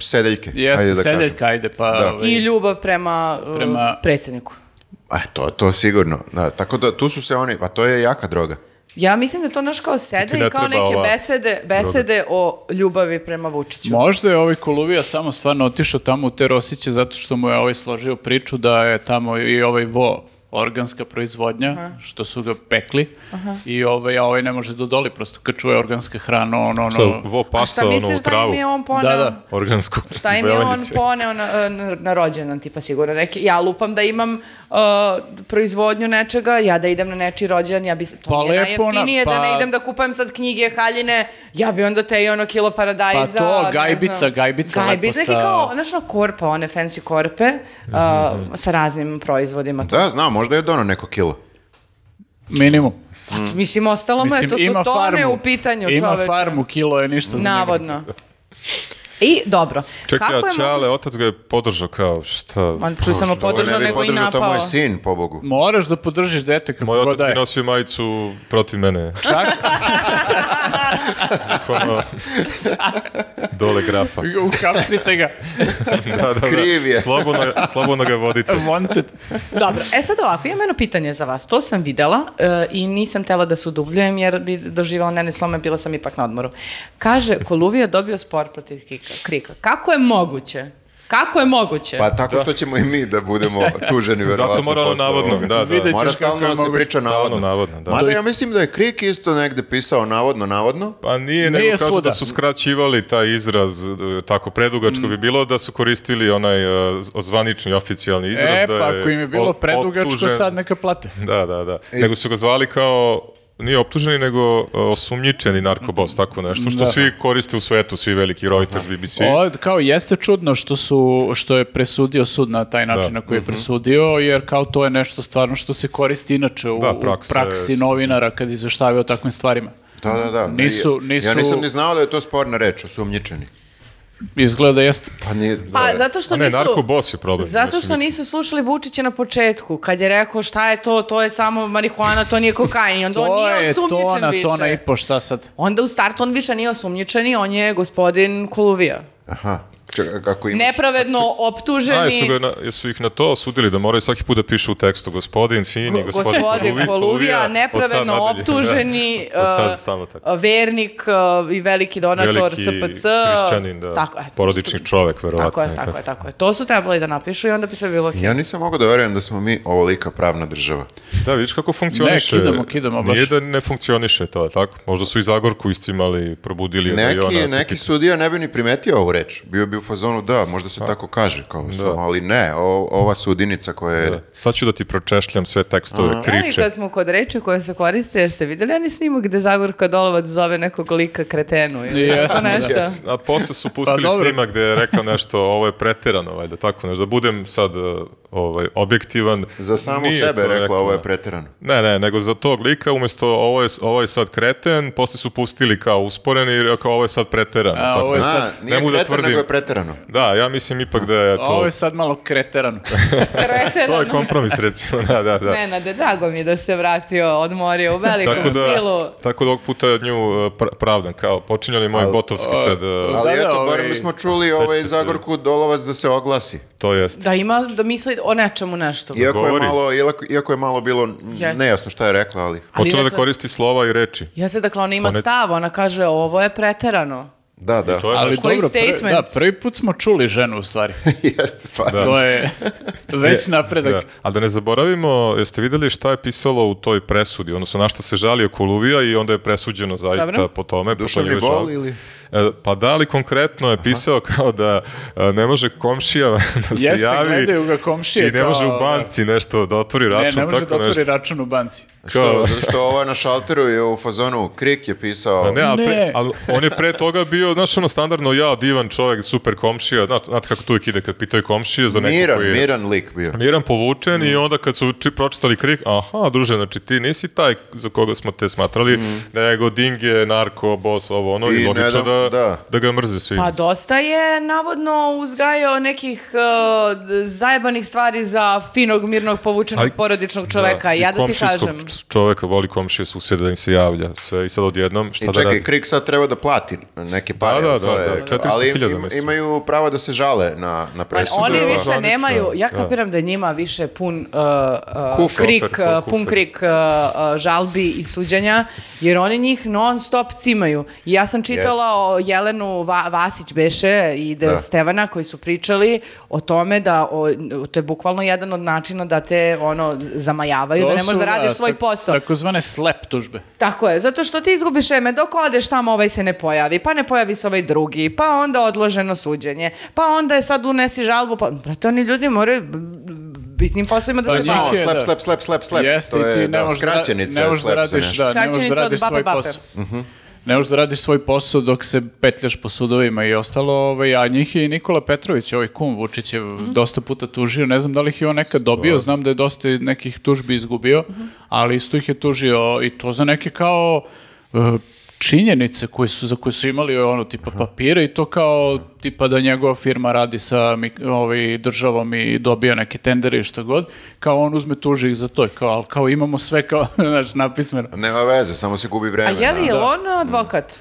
[SPEAKER 2] sedeljke.
[SPEAKER 5] Jeste,
[SPEAKER 2] ajde da kažem.
[SPEAKER 5] sedeljka, ajde, pa...
[SPEAKER 2] Da.
[SPEAKER 5] ovaj,
[SPEAKER 3] I ljubav prema, uh,
[SPEAKER 5] Prema-
[SPEAKER 3] predsjedniku.
[SPEAKER 2] E, to, to sigurno. Da, tako da tu su se oni, pa to je jaka droga.
[SPEAKER 3] Ja mislim da to naš kao sede
[SPEAKER 4] Ti ne
[SPEAKER 3] i kao
[SPEAKER 4] treba
[SPEAKER 3] neke
[SPEAKER 4] ova
[SPEAKER 3] besede, besede o ljubavi prema Vučiću.
[SPEAKER 5] Možda je ovaj Koluvija samo stvarno otišao tamo u te Rosiće zato što mu je ovaj složio priču da je tamo i ovaj vo organska proizvodnja, što su ga pekli i ovaj, a ovaj ne može da odoli prosto kad čuje organska hrana, ono, ono...
[SPEAKER 4] Šta, vo
[SPEAKER 3] A
[SPEAKER 4] pasa
[SPEAKER 3] šta
[SPEAKER 4] ono u
[SPEAKER 3] misliš da
[SPEAKER 4] travu.
[SPEAKER 3] im je on poneo?
[SPEAKER 5] Da, da.
[SPEAKER 4] Organsko.
[SPEAKER 3] Šta im je on
[SPEAKER 4] velenjice.
[SPEAKER 3] poneo na, e, na, na rođendan, tipa sigurno neki, ja lupam da imam uh, proizvodnju nečega, ja da idem na nečiji rođendan, ja bi, to
[SPEAKER 5] Pa
[SPEAKER 3] mi je
[SPEAKER 5] lepo ona-
[SPEAKER 3] najjeftinije da ne
[SPEAKER 5] pa-
[SPEAKER 3] idem da kupujem sad knjige haljine, ja bi onda te i ono kilo
[SPEAKER 5] Pa
[SPEAKER 3] paradajza.
[SPEAKER 5] to,
[SPEAKER 3] ne
[SPEAKER 5] gajbica,
[SPEAKER 3] znam.
[SPEAKER 5] gajbica lepo
[SPEAKER 3] Gajbica, neki
[SPEAKER 5] sa-
[SPEAKER 3] kao, znaš ono korpa, one fancy korpe, uh,
[SPEAKER 5] Mhm.
[SPEAKER 3] sa raznim proizvodima.
[SPEAKER 2] Da, znam, možda je dono neko kilo.
[SPEAKER 5] Minimum.
[SPEAKER 3] Mislim, ostalo mu je, to su
[SPEAKER 5] Mhm. ima
[SPEAKER 3] tone
[SPEAKER 5] farmu.
[SPEAKER 3] u pitanju
[SPEAKER 5] Ima
[SPEAKER 3] čoveče.
[SPEAKER 5] farmu, kilo je ništa za njega.
[SPEAKER 3] Navodno. I dobro.
[SPEAKER 4] Čekaj,
[SPEAKER 3] Kako je
[SPEAKER 4] a Ćale,
[SPEAKER 3] moguće-
[SPEAKER 4] otac ga je podržao kao šta?
[SPEAKER 3] On čuo samo
[SPEAKER 2] Ovo ne
[SPEAKER 3] podržao,
[SPEAKER 2] bi
[SPEAKER 3] nego i
[SPEAKER 2] podržao, To
[SPEAKER 3] napao.
[SPEAKER 2] moj sin, pobogu.
[SPEAKER 5] Moraš da podržiš dete kako
[SPEAKER 4] Moj
[SPEAKER 5] god da
[SPEAKER 4] otac mi
[SPEAKER 5] je.
[SPEAKER 4] nosio majicu protiv mene.
[SPEAKER 5] Čak,
[SPEAKER 4] Ono, dole grafa.
[SPEAKER 5] uhapsite ga.
[SPEAKER 4] Da, da, da.
[SPEAKER 2] Kriv je.
[SPEAKER 4] Slobodno, slobodno ga vodite.
[SPEAKER 5] Wanted.
[SPEAKER 3] Dobro, e sad ovako, imam jedno pitanje za vas. To sam videla e, i nisam tela da se udubljujem jer bi doživjela nene slome, bila sam ipak na odmoru. Kaže, Koluvija dobio spor protiv Kika, Krika. Kako je moguće? Kako je moguće?
[SPEAKER 2] Pa tako što ćemo i mi da budemo tuženi, verovatno.
[SPEAKER 4] Zato moralno
[SPEAKER 2] posle
[SPEAKER 4] navodno.
[SPEAKER 2] ovoga.
[SPEAKER 4] Da, da.
[SPEAKER 5] Vidjet
[SPEAKER 2] Mora
[SPEAKER 5] ćeš kako
[SPEAKER 2] stalno
[SPEAKER 5] je
[SPEAKER 2] da se
[SPEAKER 5] moguće,
[SPEAKER 2] priča
[SPEAKER 4] Stalno
[SPEAKER 2] navodno.
[SPEAKER 4] navodno, da.
[SPEAKER 2] Mada ja mislim da je Krik isto negde pisao navodno, navodno.
[SPEAKER 4] Pa nije, nego
[SPEAKER 5] Nije
[SPEAKER 4] kažu
[SPEAKER 5] svuda.
[SPEAKER 4] da su skraćivali taj izraz, e, tako predugačko bi bilo, da su koristili onaj e, z- zvanični, oficijalni izraz.
[SPEAKER 5] E,
[SPEAKER 4] da
[SPEAKER 5] pa ako im je bilo
[SPEAKER 4] o-
[SPEAKER 5] predugačko,
[SPEAKER 4] optužen-
[SPEAKER 5] sad neka plate.
[SPEAKER 4] Da, da, da. Nego su ga zvali kao nije optuženi, nego e, osumnjičeni narkobos, tako nešto, što
[SPEAKER 5] Da.
[SPEAKER 4] svi koriste u svetu, svi veliki Reuters, BBC.
[SPEAKER 5] O, kao jeste čudno što su što je presudio sud na taj način
[SPEAKER 4] Da.
[SPEAKER 5] na koji je presudio, jer kao to je nešto stvarno što se koristi inače u,
[SPEAKER 4] Da,
[SPEAKER 5] u
[SPEAKER 4] praksa je-
[SPEAKER 5] praksi novinara kad izveštavaju o takvim stvarima.
[SPEAKER 2] Da, da, da.
[SPEAKER 5] Nisu-
[SPEAKER 2] Ja- Ja
[SPEAKER 5] nisu-
[SPEAKER 2] nisam ni znao da je to sporna reč, osumnjičeni.
[SPEAKER 5] Izgleda jeste.
[SPEAKER 2] Pa nije...
[SPEAKER 3] Pa,
[SPEAKER 5] e,
[SPEAKER 2] da.
[SPEAKER 3] zato što
[SPEAKER 4] A ne,
[SPEAKER 3] nisu...
[SPEAKER 4] narkobos je problem. znači,
[SPEAKER 3] Zato što nisu slušali Vučića na početku, kad je rekao šta je to, to je samo marihuana, to nije kokain, i onda on
[SPEAKER 5] To
[SPEAKER 3] nije
[SPEAKER 5] je to
[SPEAKER 3] osumnjičen
[SPEAKER 5] na
[SPEAKER 3] više.
[SPEAKER 5] to na i po šta sad.
[SPEAKER 3] Onda u startu on više nije osumnjičeni, on je gospodin Koluvija.
[SPEAKER 2] Aha. Čekaj, kako imaš...
[SPEAKER 5] Pa,
[SPEAKER 3] Nepravedno
[SPEAKER 4] A, jesu,
[SPEAKER 3] optuženi
[SPEAKER 4] ga na- jesu ih na to osudili da moraju svaki put da pišu u tekstu gospodin Fini, gospodin,
[SPEAKER 3] gospodin
[SPEAKER 4] Koluvi-
[SPEAKER 3] Koluvija,
[SPEAKER 4] od sad
[SPEAKER 3] nepravedno
[SPEAKER 4] nadalje.
[SPEAKER 3] optuženi
[SPEAKER 4] Da. Od sad
[SPEAKER 3] eh,
[SPEAKER 4] stalno tako.
[SPEAKER 3] vernik eh, i veliki donator
[SPEAKER 4] Veliki
[SPEAKER 3] SPC.
[SPEAKER 4] hrišćanin, da,
[SPEAKER 3] Tako, e,
[SPEAKER 4] porodični čovek, verovatno.
[SPEAKER 3] Tako je,
[SPEAKER 4] i
[SPEAKER 3] tako je, tako je. To su trebali da napišu i onda bi sve bilo okej.
[SPEAKER 2] Ja nisam mogao da verujem da smo mi ovolika pravna država.
[SPEAKER 4] Da, vidiš kako funkcioniše.
[SPEAKER 5] Ne, kidamo, kidamo baš.
[SPEAKER 4] Nije da ne funkcioniše to, je tako? Možda su i Zagorku iscimali, probudili. je da i
[SPEAKER 2] Neki,
[SPEAKER 4] ona se
[SPEAKER 2] neki
[SPEAKER 4] pita.
[SPEAKER 2] sudija ne bi ni primetio ovu reč. Bio bi u fazonu, da, možda
[SPEAKER 4] Pa.
[SPEAKER 2] se tako kaže, kao samo, ali ne, o- ova sudinica koja je...
[SPEAKER 4] Da. Sad ću da ti pročešljam sve tekstove,
[SPEAKER 3] Ali
[SPEAKER 4] kriče.
[SPEAKER 3] kad smo kod reči koje se koriste, jeste vidjeli oni snimak gde Zagorka Dolovac zove nekog lika kretenu ili tako
[SPEAKER 5] Jesmo, da.
[SPEAKER 3] nešto?
[SPEAKER 4] A posle su pustili
[SPEAKER 5] Pa dobro.
[SPEAKER 4] snimak gde je rekao nešto, ovo je preterano, valjda, tako nešto. Da budem sad eh, ovaj, objektivan.
[SPEAKER 2] Za samu
[SPEAKER 4] Nije
[SPEAKER 2] sebe
[SPEAKER 4] to
[SPEAKER 2] rekla,
[SPEAKER 4] rekla.
[SPEAKER 2] ovo je preterano.
[SPEAKER 4] Ne, ne, nego za tog lika umjesto ovo je, ovo je sad kreten, posle su pustili kao usporen i rekao ovo je sad preteran.
[SPEAKER 5] A,
[SPEAKER 4] tako.
[SPEAKER 5] ovo je
[SPEAKER 2] A,
[SPEAKER 5] sad-
[SPEAKER 2] nije
[SPEAKER 4] ne mogu da
[SPEAKER 2] kretan,
[SPEAKER 4] tvrdim.
[SPEAKER 2] nego je preterano.
[SPEAKER 4] Da, ja mislim ipak da je
[SPEAKER 5] Ovo
[SPEAKER 4] to... Pa
[SPEAKER 5] je sad malo kreterano.
[SPEAKER 3] Kretenu.
[SPEAKER 4] To je kompromis recimo, da, da, da.
[SPEAKER 3] Nenade, drago mi je da se vratio, odmorio u velikom
[SPEAKER 4] Tako da,
[SPEAKER 3] stilu.
[SPEAKER 4] tako da ovog puta nju eh, pra- pravdam, kao počinjali moj
[SPEAKER 2] Al-
[SPEAKER 4] botovski
[SPEAKER 5] a-
[SPEAKER 4] sad, eh,
[SPEAKER 5] a-
[SPEAKER 2] Ali
[SPEAKER 5] Da, da,
[SPEAKER 2] eto,
[SPEAKER 5] ovaj,
[SPEAKER 2] barem smo čuli ovaj
[SPEAKER 4] se.
[SPEAKER 2] Zagorku Dolovac da se oglasi.
[SPEAKER 4] to jest.
[SPEAKER 3] Da ima, da misli o nečemu nešto.
[SPEAKER 2] Iako je,
[SPEAKER 4] Da Govori.
[SPEAKER 2] malo, iako, iako je malo bilo n-
[SPEAKER 3] Jeste.
[SPEAKER 2] nejasno šta je rekla, ali...
[SPEAKER 3] Ali
[SPEAKER 4] Počela da
[SPEAKER 3] rekla-
[SPEAKER 4] koristi slova i reči.
[SPEAKER 3] Ja se dakle, ona ima
[SPEAKER 4] Ona-
[SPEAKER 3] stav, ona kaže ovo je preterano.
[SPEAKER 2] Da, da.
[SPEAKER 4] To je
[SPEAKER 5] Ali
[SPEAKER 4] nešto. Da.
[SPEAKER 3] Koji
[SPEAKER 5] dobro, prvi,
[SPEAKER 3] statement?
[SPEAKER 5] da, prvi put smo čuli ženu u stvari.
[SPEAKER 2] Jeste, stvarno.
[SPEAKER 5] To je već
[SPEAKER 4] E,
[SPEAKER 5] napredak.
[SPEAKER 4] Da. A da ne zaboravimo, jeste vidjeli šta je pisalo u toj presudi, odnosno na šta se žalio Koluvija i onda je presuđeno zaista
[SPEAKER 3] Dobro.
[SPEAKER 4] po tome. pošto
[SPEAKER 2] Duševni
[SPEAKER 4] njegove
[SPEAKER 2] bol
[SPEAKER 4] žalbe.
[SPEAKER 2] ili-
[SPEAKER 4] E, Pa da li konkretno je pisao kao da e, ne može komšija da se
[SPEAKER 5] Jeste,
[SPEAKER 4] javi
[SPEAKER 5] gledaju ga komšije
[SPEAKER 4] i ne može
[SPEAKER 5] kao,
[SPEAKER 4] u banci nešto da otvori račun,
[SPEAKER 5] Ne, ne može da
[SPEAKER 4] tako
[SPEAKER 5] otvori
[SPEAKER 4] nešto.
[SPEAKER 5] račun u banci.
[SPEAKER 2] Što,
[SPEAKER 4] Kao-
[SPEAKER 2] zato što ovo na šalteru je u fazonu Krik je pisao.
[SPEAKER 4] Pa ne, ali,
[SPEAKER 5] Ne.
[SPEAKER 4] pre, ali on je pre toga bio, znaš, ono standardno, ja, divan čovjek, super komšija, znate, znate kako tu uvijek ide kad pitaju komšije za neko
[SPEAKER 2] miran,
[SPEAKER 4] koji je...
[SPEAKER 2] miran lik bio.
[SPEAKER 4] Miran Pa povučen
[SPEAKER 2] Mm.
[SPEAKER 4] i onda kad su či pročitali krik, aha, druže, znači ti nisi taj za koga smo te smatrali, nego ding je narko, bos, ovo, ono, i,
[SPEAKER 2] Mm. I
[SPEAKER 4] logično
[SPEAKER 2] ne da-
[SPEAKER 4] da,
[SPEAKER 2] da.
[SPEAKER 4] da. ga mrze svi.
[SPEAKER 3] Pa dosta je navodno uzgajao nekih uh, d- zajebanih stvari za finog, mirnog, povučenog,
[SPEAKER 4] Aj,
[SPEAKER 3] porodičnog čoveka.
[SPEAKER 4] i
[SPEAKER 3] ja da ti
[SPEAKER 4] komšijskog
[SPEAKER 3] kažem.
[SPEAKER 4] č- čoveka voli komšije susjeda da im se javlja sve i sad odjednom šta
[SPEAKER 2] I
[SPEAKER 4] da
[SPEAKER 2] čekaj,
[SPEAKER 4] radi.
[SPEAKER 2] Krik sad treba da plati neke pare.
[SPEAKER 4] Da, da,
[SPEAKER 2] jel to
[SPEAKER 4] da,
[SPEAKER 2] je-
[SPEAKER 4] da, 400.000
[SPEAKER 2] ali im- im-
[SPEAKER 4] mislim.
[SPEAKER 2] imaju pravo da se žale na, na
[SPEAKER 3] Pa
[SPEAKER 2] presudu.
[SPEAKER 3] oni
[SPEAKER 4] da,
[SPEAKER 3] više
[SPEAKER 4] zvanično,
[SPEAKER 3] nemaju, ja
[SPEAKER 4] da.
[SPEAKER 3] kapiram da je njima više pun uh, uh,
[SPEAKER 2] Kufer.
[SPEAKER 3] krik,
[SPEAKER 4] Kufer, kao
[SPEAKER 3] uh, pun
[SPEAKER 4] kufer.
[SPEAKER 3] krik uh, uh, žalbi i suđenja, jer oni njih non stop cimaju. I ja sam čitala o Jelenu Va- Vasić Beše i De
[SPEAKER 2] Da.
[SPEAKER 3] Stevana koji su pričali o tome da o, to je bukvalno jedan od načina da te ono z- zamajavaju, da ne možeš da radiš svoj posao.
[SPEAKER 5] Takozvane slep tužbe.
[SPEAKER 3] Tako je, zato što ti izgubiš vreme, dok odeš tamo ovaj se ne pojavi, pa ne pojavi se ovaj drugi, pa onda odloženo suđenje, pa onda je sad unesi žalbu, pa brate, oni ljudi moraju b- b- bitnim poslovima da
[SPEAKER 5] Pa
[SPEAKER 3] se
[SPEAKER 5] njih
[SPEAKER 2] Samo
[SPEAKER 3] bave.
[SPEAKER 5] je-
[SPEAKER 2] slep,
[SPEAKER 5] da.
[SPEAKER 2] slep, slep, slep, slep.
[SPEAKER 5] Jeste,
[SPEAKER 2] to
[SPEAKER 5] i
[SPEAKER 2] je,
[SPEAKER 5] ti ne
[SPEAKER 2] da,
[SPEAKER 5] možeš da,
[SPEAKER 2] skraćenica
[SPEAKER 5] ne
[SPEAKER 2] je
[SPEAKER 5] možeš da
[SPEAKER 2] slep za
[SPEAKER 5] radiš,
[SPEAKER 2] nešto.
[SPEAKER 5] da, ne možeš da
[SPEAKER 3] Skraćenica od
[SPEAKER 5] radiš
[SPEAKER 3] Babe
[SPEAKER 5] svoj
[SPEAKER 3] Bape.
[SPEAKER 5] posao. Ne možeš da radiš svoj posao dok se petljaš po sudovima i ostalo, ovaj, a njih je i Nikola Petrović, ovaj kum Vučićev, dosta puta tužio, ne znam da li ih je on nekad dobio, znam da je dosta nekih tužbi izgubio, ali isto ih je tužio i to za neke kao e, činjenice koje su, za koje su imali ono tipa papire i to kao tipa da njegova firma radi sa mik- ovaj, državom i dobija neke tendere i što god, kao on uzme tuži ih za to, i kao, ali kao imamo sve kao, znaš, napismeno.
[SPEAKER 2] Nema veze, samo se gubi
[SPEAKER 3] A
[SPEAKER 2] vreme.
[SPEAKER 3] je li
[SPEAKER 2] da.
[SPEAKER 3] je on advokat?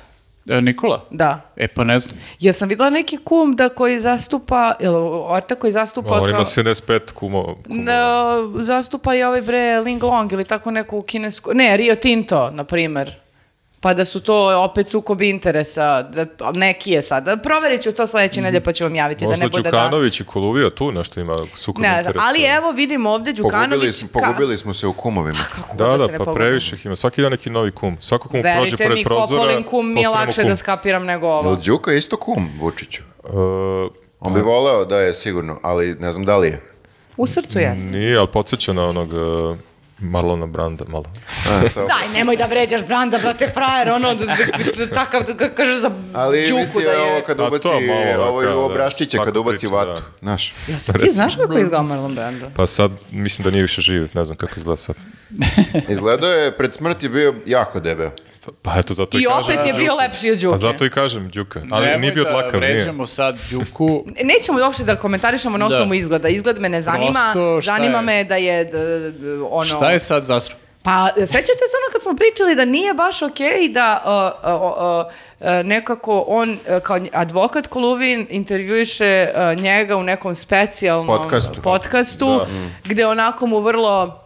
[SPEAKER 5] E, Nikola?
[SPEAKER 3] Da.
[SPEAKER 5] E pa ne znam.
[SPEAKER 3] Jer sam videla neki kum da koji zastupa, ili orta koji zastupa
[SPEAKER 4] on ima
[SPEAKER 3] Pa kao- Da
[SPEAKER 4] 75 kumo, kumova.
[SPEAKER 3] Na- zastupa i ovaj bre Ling Long ili tako neko u kinesku, ne, Rio Tinto, na primer. Pa da su to opet sukobi interesa, da, neki je sada. Proverit ću to sledeće nedelje pa ću vam javiti da
[SPEAKER 4] Mhm. Možda
[SPEAKER 3] ne bude da...
[SPEAKER 4] Đukanović i Koluvija tu nešto ima sukob
[SPEAKER 3] Ne,
[SPEAKER 4] interesa.
[SPEAKER 3] ali evo vidim ovdje
[SPEAKER 2] Pogubili,
[SPEAKER 3] Đukanović...
[SPEAKER 2] smo- pogubili smo se u kumovima.
[SPEAKER 3] kako
[SPEAKER 4] Da,
[SPEAKER 3] da
[SPEAKER 4] da,
[SPEAKER 3] se ne
[SPEAKER 4] pa
[SPEAKER 3] pogubim.
[SPEAKER 4] previše ih ima. Svaki dan neki novi kum. Svako kum prođe
[SPEAKER 3] Verite
[SPEAKER 4] pored
[SPEAKER 3] mi,
[SPEAKER 4] prozora.
[SPEAKER 3] Kopolin kum mi je
[SPEAKER 4] postane mu
[SPEAKER 3] lakše
[SPEAKER 4] kum.
[SPEAKER 3] da skapiram nego
[SPEAKER 2] Jel
[SPEAKER 3] ovo.
[SPEAKER 2] Đuka je isto kum Vučiću?
[SPEAKER 4] E,
[SPEAKER 2] On
[SPEAKER 5] Pa-
[SPEAKER 2] bi voleo da je sigurno, ali ne znam da li je.
[SPEAKER 3] U srcu jasno.
[SPEAKER 4] Nije, ali podsjeća na onog e, Marlona Branda malo.
[SPEAKER 2] A, sa-
[SPEAKER 3] Daj, nemoj da vređaš Branda, brate, frajer, ono, da, da- da- takav, da ga kažeš za
[SPEAKER 2] Ali
[SPEAKER 3] Đuku
[SPEAKER 2] mislio
[SPEAKER 3] da
[SPEAKER 2] je ovo
[SPEAKER 3] je...
[SPEAKER 2] kad
[SPEAKER 5] Pa
[SPEAKER 4] A to
[SPEAKER 2] ubaci,
[SPEAKER 4] malo,
[SPEAKER 2] ovo je
[SPEAKER 4] kao
[SPEAKER 2] u
[SPEAKER 4] da,
[SPEAKER 2] obraščiće kad
[SPEAKER 4] svaka
[SPEAKER 2] ubaci
[SPEAKER 4] priča,
[SPEAKER 2] vatu.
[SPEAKER 4] da.
[SPEAKER 2] Znaš,
[SPEAKER 3] Jesi ti znaš kako izgleda Marlon Brando?
[SPEAKER 4] Pa sad mislim da nije više živ, ne znam kako izgleda sad.
[SPEAKER 2] izgledao je, pred smrt je bio jako debel.
[SPEAKER 4] Pa eto, zato i,
[SPEAKER 3] I
[SPEAKER 4] kažem.
[SPEAKER 3] opet je bio lepši od Đuke.
[SPEAKER 4] Pa zato i kažem Đuka. Ali
[SPEAKER 5] Nemoj
[SPEAKER 4] nije bio
[SPEAKER 5] da
[SPEAKER 4] dlakav, nije.
[SPEAKER 5] vređamo sad Đuku.
[SPEAKER 3] Nećemo uopšte da komentarišemo na
[SPEAKER 5] Da.
[SPEAKER 3] osnovu izgleda. Izgled me ne zanima.
[SPEAKER 5] Prosto, šta
[SPEAKER 3] Zanima
[SPEAKER 5] je?
[SPEAKER 3] me da je d- d- ono...
[SPEAKER 5] Šta je sad zasro?
[SPEAKER 3] Pa sećate se ono kad smo pričali da nije baš okej da uh, uh, uh, uh, nekako on uh, kao nj- advokat Koluvin intervjuiše uh, njega u nekom specijalnom
[SPEAKER 2] Podcastu.
[SPEAKER 3] podcastu,
[SPEAKER 4] Da.
[SPEAKER 3] gde onako mu vrlo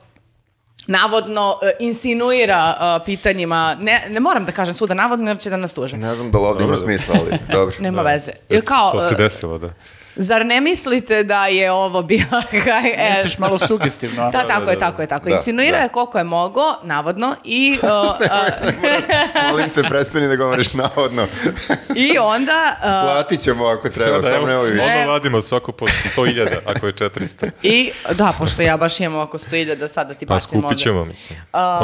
[SPEAKER 3] navodno uh, insinuira uh, pitanjima, ne, ne moram da kažem suda navodno jer će da nas tuže.
[SPEAKER 2] Ne znam da li ovdje ima
[SPEAKER 4] da.
[SPEAKER 2] smisla, ali dobro.
[SPEAKER 3] Nema
[SPEAKER 4] Da.
[SPEAKER 3] veze. Jer kao,
[SPEAKER 4] to se
[SPEAKER 3] uh,
[SPEAKER 4] desilo, da.
[SPEAKER 3] Zar ne mislite da je ovo bila... e,
[SPEAKER 5] Misliš pa, malo sugestivno, a?
[SPEAKER 3] Da, tako je, tako je, tako je.
[SPEAKER 2] Da,
[SPEAKER 3] Insinuirao
[SPEAKER 2] da.
[SPEAKER 3] je koliko je mogao, navodno, i, uh, uh,
[SPEAKER 2] Molim te, prestani da govoriš navodno.
[SPEAKER 3] i onda... uh,
[SPEAKER 2] Platit ćemo ako treba,
[SPEAKER 5] Da,
[SPEAKER 2] samo nemoj više.
[SPEAKER 3] E.
[SPEAKER 4] Ono vadimo svako po 100.000, ako je 400.
[SPEAKER 3] i, da, pošto ja baš imam oko 100.000 da sada ti
[SPEAKER 4] Pa
[SPEAKER 3] bacim ovdje.
[SPEAKER 4] skupit ćemo, mislim.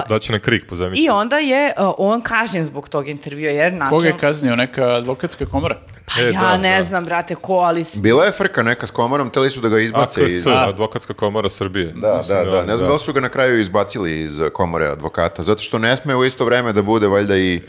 [SPEAKER 4] Daće nam krik, pozajmit
[SPEAKER 3] I
[SPEAKER 4] ćemo.
[SPEAKER 3] onda je uh, on kažnjen zbog tog intervjua, jer
[SPEAKER 5] Koga
[SPEAKER 3] način...
[SPEAKER 5] je kaznio? Neka advokatska komora?
[SPEAKER 3] Pa
[SPEAKER 4] E,
[SPEAKER 3] ja
[SPEAKER 4] da,
[SPEAKER 3] ne
[SPEAKER 4] da.
[SPEAKER 3] znam, brate, ko, ali... s-
[SPEAKER 2] Bila je frka neka s komorom, teli su da ga izbace iz...
[SPEAKER 4] AKS,
[SPEAKER 2] Da,
[SPEAKER 4] Advokatska komora Srbije.
[SPEAKER 2] da,
[SPEAKER 4] Mislim
[SPEAKER 2] da, Ne znam da li su ga na kraju izbacili iz e, komore advokata, zato što ne sme u isto vreme da bude valjda i,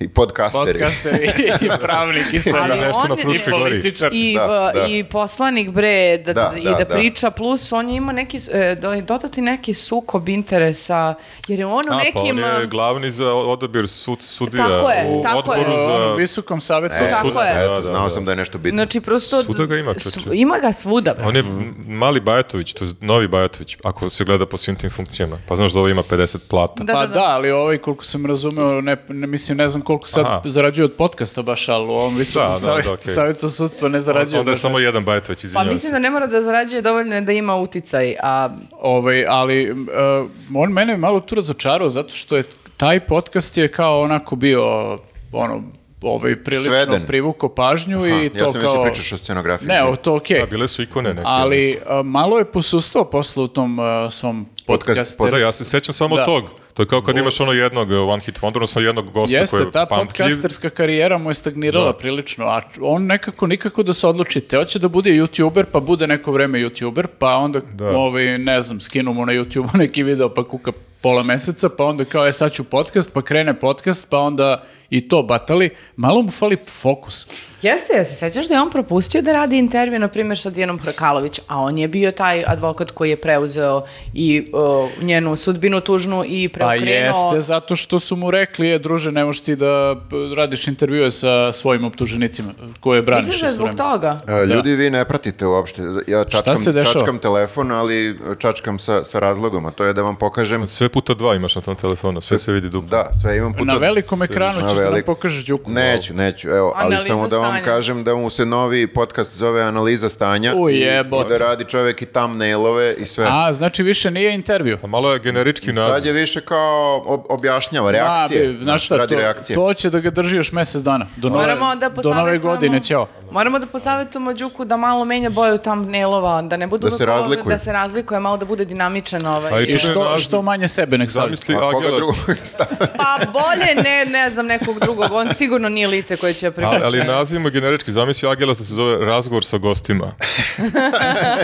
[SPEAKER 2] i podcasteri.
[SPEAKER 5] Podcaster i pravnik i sve.
[SPEAKER 3] Ali
[SPEAKER 5] da.
[SPEAKER 4] nešto
[SPEAKER 3] on
[SPEAKER 4] na
[SPEAKER 3] je-
[SPEAKER 5] I
[SPEAKER 4] Fruškoj gori.
[SPEAKER 5] političar.
[SPEAKER 3] I,
[SPEAKER 2] Da,
[SPEAKER 3] uh,
[SPEAKER 2] da.
[SPEAKER 3] i poslanik bre da,
[SPEAKER 2] Da,
[SPEAKER 3] i
[SPEAKER 2] da,
[SPEAKER 3] da,
[SPEAKER 2] da.
[SPEAKER 3] priča plus on je imao neki e, do- dodati neki sukob interesa jer je on u
[SPEAKER 4] A, pa
[SPEAKER 3] nekim
[SPEAKER 4] on je
[SPEAKER 3] um,
[SPEAKER 4] glavni za odabir sud, sudija
[SPEAKER 3] Tako je,
[SPEAKER 4] u
[SPEAKER 3] tako je.
[SPEAKER 4] odboru
[SPEAKER 5] U
[SPEAKER 4] za...
[SPEAKER 5] onom visokom savjetu.
[SPEAKER 2] E,
[SPEAKER 3] Tako
[SPEAKER 2] eto,
[SPEAKER 3] je.
[SPEAKER 4] Da, da,
[SPEAKER 2] znao
[SPEAKER 4] da.
[SPEAKER 2] sam da je nešto bitno.
[SPEAKER 3] Znači prosto...
[SPEAKER 4] Svuda ga ima, čoveče.
[SPEAKER 3] sv- Ima ga svuda. bre.
[SPEAKER 4] Da. On je
[SPEAKER 2] Mhm.
[SPEAKER 4] mali Bajatović, to je novi Bajatović, ako se gleda po svim tim funkcijama. Pa znaš da ovo ima 50 plata.
[SPEAKER 3] Da,
[SPEAKER 5] pa
[SPEAKER 3] da,
[SPEAKER 5] da,
[SPEAKER 3] da.
[SPEAKER 5] ali ovaj, koliko sam razumeo, ne, ne, mislim, ne znam koliko sad
[SPEAKER 4] Aha.
[SPEAKER 5] zarađuje od podcasta baš, ali u ovom visokom
[SPEAKER 4] Da, da,
[SPEAKER 5] savjet-
[SPEAKER 4] da, okej.
[SPEAKER 5] savjetu sudstva ne
[SPEAKER 3] da,
[SPEAKER 5] zarađuje.
[SPEAKER 4] Onda je
[SPEAKER 5] baš
[SPEAKER 4] samo jedan Bajatović,
[SPEAKER 3] Pa
[SPEAKER 4] izvinjavam
[SPEAKER 3] mislim
[SPEAKER 4] se.
[SPEAKER 3] da ne mora da zarađuje dovoljno je da ima uticaj, a
[SPEAKER 5] Ovaj, ali m, e, on mene je malo tu razočarao zato što je taj podcast je kao onako bio ono ovaj, prilično
[SPEAKER 2] Sveden.
[SPEAKER 5] privukao pažnju
[SPEAKER 2] Ha,
[SPEAKER 5] i to
[SPEAKER 2] ja sam
[SPEAKER 5] kao...
[SPEAKER 2] mislio pričaš o scenografiji.
[SPEAKER 5] Ne, o, to okej.
[SPEAKER 4] Da, bile su ikone neke.
[SPEAKER 5] Ali a, malo je posustao posle u tom a, svom podcastu.
[SPEAKER 4] Da, ja se sećam samo
[SPEAKER 5] Da.
[SPEAKER 4] tog. To je kao kad imaš ono jednog eh, one hit wonder, odnosno jednog gosta koji
[SPEAKER 5] Jeste,
[SPEAKER 4] je
[SPEAKER 5] ta
[SPEAKER 4] pamtljiv. Da.
[SPEAKER 5] podcasterska karijera mu je stagnirala prilično, a on nekako nikako da se odluči. Teo će da bude youtuber, pa bude neko vreme youtuber, pa onda,
[SPEAKER 4] Da.
[SPEAKER 5] ovaj, ne znam, skinu mu na YouTube neki video, pa kuka pola meseca, pa onda kao, je sad ću podcast, pa krene podcast, pa onda i to batali. Malo mu fali fokus.
[SPEAKER 3] Jeste, jel se sećaš da je on propustio da radi intervju, na primjer, sa Dijanom Hrkalović, a on je bio taj advokat koji je preuzeo i o, njenu sudbinu tužnu i
[SPEAKER 5] Pa
[SPEAKER 3] preokrenuo...
[SPEAKER 5] jeste, zato što su mu rekli, je, druže, ne možeš ti da p- radiš intervjue sa svojim optuženicima koje braniš.
[SPEAKER 3] Misliš da je
[SPEAKER 5] isto
[SPEAKER 3] zbog
[SPEAKER 5] vreme.
[SPEAKER 3] toga?
[SPEAKER 2] E, Ljudi, vi ne pratite uopšte. Ja čačkam,
[SPEAKER 5] se dešava?
[SPEAKER 2] čačkam telefon, ali čačkam sa, sa razlogom, a to je da vam pokažem
[SPEAKER 4] Sve puta dva imaš na tom telefonu, sve se vidi duplo.
[SPEAKER 2] Da, sve imam puta.
[SPEAKER 5] Na velikom ekranu
[SPEAKER 2] Na
[SPEAKER 5] ćeš da nam
[SPEAKER 2] velik-
[SPEAKER 5] pokažeš Đuku.
[SPEAKER 2] Neću, neću, evo, ali
[SPEAKER 3] Analiza
[SPEAKER 2] samo da vam
[SPEAKER 3] stanja.
[SPEAKER 2] kažem da mu se novi podcast zove Analiza stanja
[SPEAKER 5] U
[SPEAKER 2] i-
[SPEAKER 5] jebote.
[SPEAKER 2] i da radi čovek i thumbnailove i sve.
[SPEAKER 5] A, znači više nije intervju.
[SPEAKER 4] A Pa malo je generički
[SPEAKER 2] Sad
[SPEAKER 4] naziv.
[SPEAKER 2] je više kao ob- objašnjava reakcije, Znači,
[SPEAKER 5] Ma, znaš šta,
[SPEAKER 2] radi
[SPEAKER 5] to,
[SPEAKER 2] reakcije.
[SPEAKER 5] to će da ga drži još mesec dana. Do nove,
[SPEAKER 3] Moramo da
[SPEAKER 5] do
[SPEAKER 3] posavetujemo...
[SPEAKER 5] nove godine, ćao.
[SPEAKER 3] Moramo da posavetujemo Đuku da malo menja boju thumbnailova, da ne budu...
[SPEAKER 2] Da se
[SPEAKER 3] uvek ovo-
[SPEAKER 2] razlikuju.
[SPEAKER 3] Da se razlikuje, malo da bude dinamičan ovaj.
[SPEAKER 4] Pa i
[SPEAKER 5] I
[SPEAKER 4] To je
[SPEAKER 5] što,
[SPEAKER 4] naziv.
[SPEAKER 5] što manje sebe nek stavi.
[SPEAKER 4] Zamisli
[SPEAKER 2] A koga
[SPEAKER 4] Agelas.
[SPEAKER 2] drugog da stavim?
[SPEAKER 3] Pa bolje ne, ne znam, nekog drugog. On sigurno nije lice koje će
[SPEAKER 4] Ali, ali
[SPEAKER 3] privući.
[SPEAKER 4] nazivimo generički, zamisli Agelas da se zove razgovor sa gostima.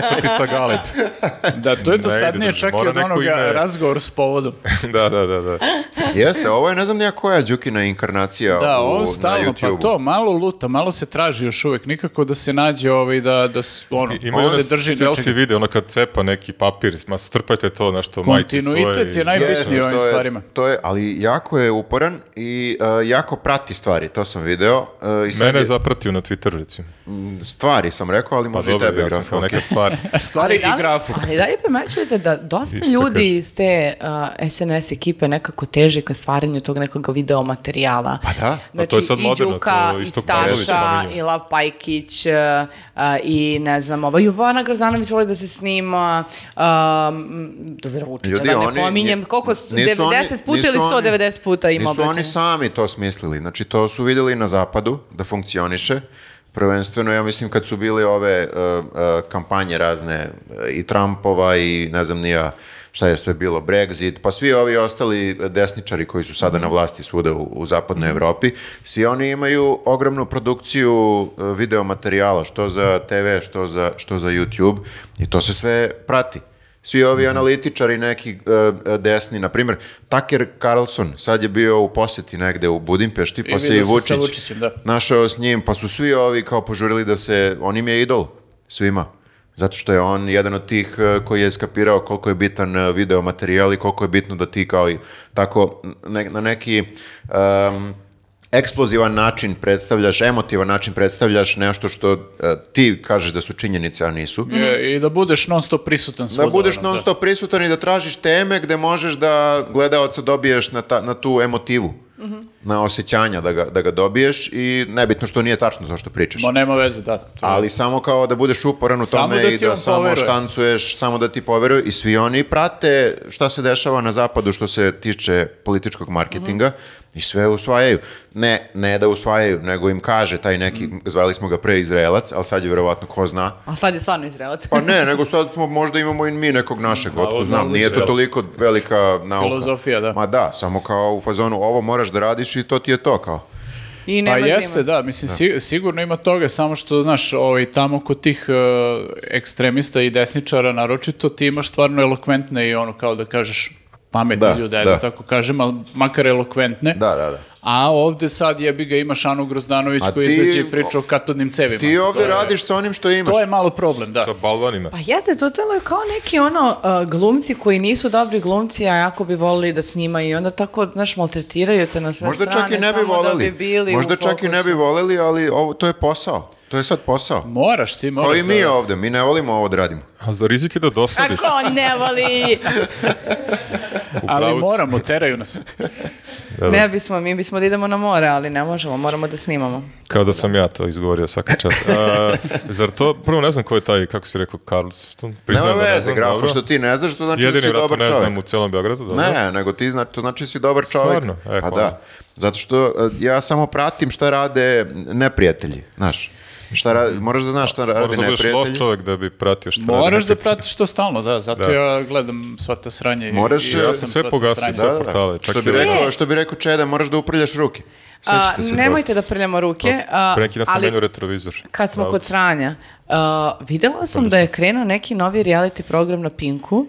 [SPEAKER 4] Crtica Galeb.
[SPEAKER 5] Da, to je
[SPEAKER 4] Ne
[SPEAKER 5] dosadnije
[SPEAKER 4] ide,
[SPEAKER 5] čak i
[SPEAKER 4] mora
[SPEAKER 5] od
[SPEAKER 4] neko
[SPEAKER 5] onoga
[SPEAKER 4] ime.
[SPEAKER 5] razgovor s povodom.
[SPEAKER 4] da, da, da, da.
[SPEAKER 2] Jeste, ovo je ne znam nija koja Đukina inkarnacija
[SPEAKER 5] Da,
[SPEAKER 2] u,
[SPEAKER 5] on
[SPEAKER 2] na
[SPEAKER 5] stalno,
[SPEAKER 2] youtube
[SPEAKER 5] pa to, malo luta, malo se traži još uvek, nikako da se nađe ovaj, da, da s- ono,
[SPEAKER 4] I- Ima
[SPEAKER 5] on se drži
[SPEAKER 4] drži selfie
[SPEAKER 5] nečega.
[SPEAKER 4] video, ono kad cepa neki papir, ma strpajte to na što majci svoje.
[SPEAKER 5] Kontinuitet
[SPEAKER 4] i-
[SPEAKER 5] je najbitniji u
[SPEAKER 2] to
[SPEAKER 5] ovim
[SPEAKER 2] je-
[SPEAKER 5] stvarima.
[SPEAKER 2] To je, ali jako je uporan i uh, jako prati stvari, to sam video. uh, i sad
[SPEAKER 4] Mene
[SPEAKER 2] je-
[SPEAKER 4] je zapratio na Twitteru, recimo.
[SPEAKER 2] Stvari sam rekao, ali
[SPEAKER 4] Pa
[SPEAKER 2] može
[SPEAKER 4] dobro,
[SPEAKER 2] i tebe
[SPEAKER 4] ja sam
[SPEAKER 2] Graf,
[SPEAKER 4] kao
[SPEAKER 2] okej.
[SPEAKER 4] neke stvari.
[SPEAKER 5] E, Stvari
[SPEAKER 3] da,
[SPEAKER 5] i grafu.
[SPEAKER 3] Ali da li primećujete da dosta
[SPEAKER 4] Isto
[SPEAKER 3] ljudi iz te uh, SNS ekipe nekako teži ka stvaranju tog nekog video materijala? Pa
[SPEAKER 2] da.
[SPEAKER 4] Pa to je sad
[SPEAKER 3] i
[SPEAKER 4] moderno,
[SPEAKER 3] Đuka,
[SPEAKER 4] to
[SPEAKER 3] i
[SPEAKER 4] Istok Pavlović
[SPEAKER 3] Staša,
[SPEAKER 4] spominje.
[SPEAKER 3] i Lav Pajkić, uh, uh, i ne znam, ova Jubana Grazanović voli da se snima, um, dobro Vučića,
[SPEAKER 2] Ljudi,
[SPEAKER 3] da ne
[SPEAKER 2] oni-
[SPEAKER 3] pominjem, koliko,
[SPEAKER 2] nisu oni-
[SPEAKER 3] 90 puta
[SPEAKER 2] nisu
[SPEAKER 3] ili
[SPEAKER 2] oni-
[SPEAKER 3] 190 puta ima
[SPEAKER 2] Nisu
[SPEAKER 3] obraćanje?
[SPEAKER 2] oni sami to smislili, znači to su vidjeli na zapadu da funkcioniše, prvenstveno ja mislim kad su bili ove uh, uh, kampanje razne uh, i Trumpova i ne znam nija šta je sve bilo, Brexit, pa svi ovi ostali desničari koji su sada na vlasti svuda u, u zapadnoj Evropi, svi oni imaju ogromnu produkciju uh, video materijala, što za TV, što za, što za YouTube i to se sve prati. Svi
[SPEAKER 5] Mhm.
[SPEAKER 2] ovi analitičari neki e, desni, na primjer, Tucker Carlson sad je bio u posjeti negde u Budimpešti, pa
[SPEAKER 5] I
[SPEAKER 2] se i
[SPEAKER 5] vidio se
[SPEAKER 2] Vučić
[SPEAKER 5] sa Vučićem, da.
[SPEAKER 2] našao s njim, pa su svi ovi kao požurili da se, on im je idol svima, zato što je on jedan od tih e, koji je skapirao koliko je bitan e, video materijal i koliko je bitno da ti kao i tako ne- na neki... em, eksplozivan način predstavljaš, emotivan način predstavljaš nešto što e, ti kažeš da su činjenice, a nisu.
[SPEAKER 3] Mhm.
[SPEAKER 5] I da budeš non stop prisutan
[SPEAKER 2] Da
[SPEAKER 5] svuda,
[SPEAKER 2] budeš
[SPEAKER 5] ono,
[SPEAKER 2] non stop prisutan i da tražiš teme gde možeš da gledaoca dobiješ na, ta- na tu emotivu,
[SPEAKER 5] Mhm.
[SPEAKER 2] na osjećanja da ga, da ga dobiješ i nebitno što nije tačno to što pričaš.
[SPEAKER 5] Ma nema veze, da. To je-
[SPEAKER 2] Ali samo kao da budeš uporan u
[SPEAKER 5] Samo
[SPEAKER 2] tome
[SPEAKER 5] da
[SPEAKER 2] i
[SPEAKER 5] ti
[SPEAKER 2] da
[SPEAKER 5] on
[SPEAKER 2] samo
[SPEAKER 5] poveruje.
[SPEAKER 2] štancuješ, samo da ti poveruju i svi oni prate šta se dešava na zapadu što se tiče političkog marketinga
[SPEAKER 5] Mhm.
[SPEAKER 2] i sve usvajaju. Ne, ne da usvajaju, nego im kaže taj neki,
[SPEAKER 5] Mhm.
[SPEAKER 2] zvali smo ga pre Izraelac, ali sad je verovatno ko zna,
[SPEAKER 3] A sad je stvarno Izraelac.
[SPEAKER 2] pa ne, nego sad smo, možda imamo i mi nekog našeg, otko znam, nije to toliko velika nauka.
[SPEAKER 5] Filozofija, da.
[SPEAKER 2] Ma da, samo kao u fazonu, ovo moraš da radiš i to ti je to kao.
[SPEAKER 3] I
[SPEAKER 5] Pa
[SPEAKER 3] nema zime.
[SPEAKER 5] jeste, da, mislim, si- sigurno ima toga, samo što, znaš, ovaj, tamo kod tih e, ekstremista i desničara, naročito, ti imaš stvarno elokventne i ono, kao da kažeš, pametne
[SPEAKER 2] Da,
[SPEAKER 5] ljude, ajde
[SPEAKER 2] da.
[SPEAKER 5] da. tako kažem, ali makar elokventne.
[SPEAKER 2] Da, da, da.
[SPEAKER 5] A ovde sad jebi ga imaš Anu Grozdanović
[SPEAKER 2] A
[SPEAKER 5] koji
[SPEAKER 2] ti-
[SPEAKER 5] izađe i priča o katodnim cevima.
[SPEAKER 2] Ti
[SPEAKER 5] To
[SPEAKER 2] ovdje
[SPEAKER 5] je-
[SPEAKER 2] radiš sa onim što imaš.
[SPEAKER 5] To je malo problem, da.
[SPEAKER 4] Sa balvanima.
[SPEAKER 3] Pa jeste, totalno je kao neki ono uh, glumci koji nisu dobri glumci, a jako bi volili da snimaju i onda tako, znaš, maltretiraju te na sve
[SPEAKER 2] Možda
[SPEAKER 3] strane.
[SPEAKER 2] čak i ne bi
[SPEAKER 3] samo
[SPEAKER 2] voleli.
[SPEAKER 3] Da bi bili u
[SPEAKER 2] Možda čak i ne bi
[SPEAKER 3] fokusu.
[SPEAKER 2] voleli, ali ovo, to je posao. To je sad posao.
[SPEAKER 5] Moraš ti, moraš.
[SPEAKER 2] Kao Pa i mi
[SPEAKER 5] da-
[SPEAKER 2] ovdje, mi ne volimo ovo da radimo.
[SPEAKER 4] A za rizik je da dosadiš.
[SPEAKER 3] Kako on ne voli?
[SPEAKER 4] U
[SPEAKER 5] Ali
[SPEAKER 4] pravu si.
[SPEAKER 5] moramo, teraju nas.
[SPEAKER 4] Da, da.
[SPEAKER 3] Ne bismo, mi bismo da idemo na more, ali ne možemo, moramo da snimamo.
[SPEAKER 4] Kao da sam ja to izgovorio svaka čast. A, zar to, prvo ne znam ko je taj, kako si rekao, Carlston?
[SPEAKER 2] Nema
[SPEAKER 4] da ne
[SPEAKER 2] veze,
[SPEAKER 4] znam,
[SPEAKER 2] grafo,
[SPEAKER 4] dobro.
[SPEAKER 2] što ti ne znaš, to znači da
[SPEAKER 4] Jedini
[SPEAKER 2] si
[SPEAKER 4] rat
[SPEAKER 2] dobar
[SPEAKER 4] ne
[SPEAKER 2] čovjek.
[SPEAKER 4] znam u celom Beogradu, dobro.
[SPEAKER 2] Ne, nego ti zna, to znači si dobar čovjek.
[SPEAKER 4] da. Stvarno? E,
[SPEAKER 2] pa
[SPEAKER 4] hvala.
[SPEAKER 2] da. Zato što e, ja samo pratim šta rade neprijatelji, znaš. Šta radi, moraš da znaš šta rade
[SPEAKER 4] Moraš Mhm. da budeš loš
[SPEAKER 2] neprijatelji.
[SPEAKER 4] čovjek da bi pratio šta radi
[SPEAKER 5] Moraš da
[SPEAKER 4] neprijatelj.
[SPEAKER 5] pratiš to stalno, da, zato
[SPEAKER 4] Da.
[SPEAKER 5] ja gledam sva ta sranja. i-
[SPEAKER 2] Moraš, e,
[SPEAKER 5] i
[SPEAKER 2] ja
[SPEAKER 4] sam
[SPEAKER 5] sam
[SPEAKER 4] sve
[SPEAKER 5] sva ta
[SPEAKER 4] pogasio,
[SPEAKER 5] sranja.
[SPEAKER 4] sve. portale, čak
[SPEAKER 2] Da, što,
[SPEAKER 4] i
[SPEAKER 2] bi
[SPEAKER 4] ove.
[SPEAKER 2] rekao, što bi rekao Čeda, moraš da uprljaš ruke.
[SPEAKER 3] A,
[SPEAKER 2] Sećate se Pa, toga?
[SPEAKER 3] nemojte da prljamo ruke, a,
[SPEAKER 4] Prekida sam
[SPEAKER 3] ali
[SPEAKER 4] menio retrovizor.
[SPEAKER 3] kad smo
[SPEAKER 4] Da.
[SPEAKER 3] kod sranja, a, videla sam da je krenuo neki novi reality program na Pinku,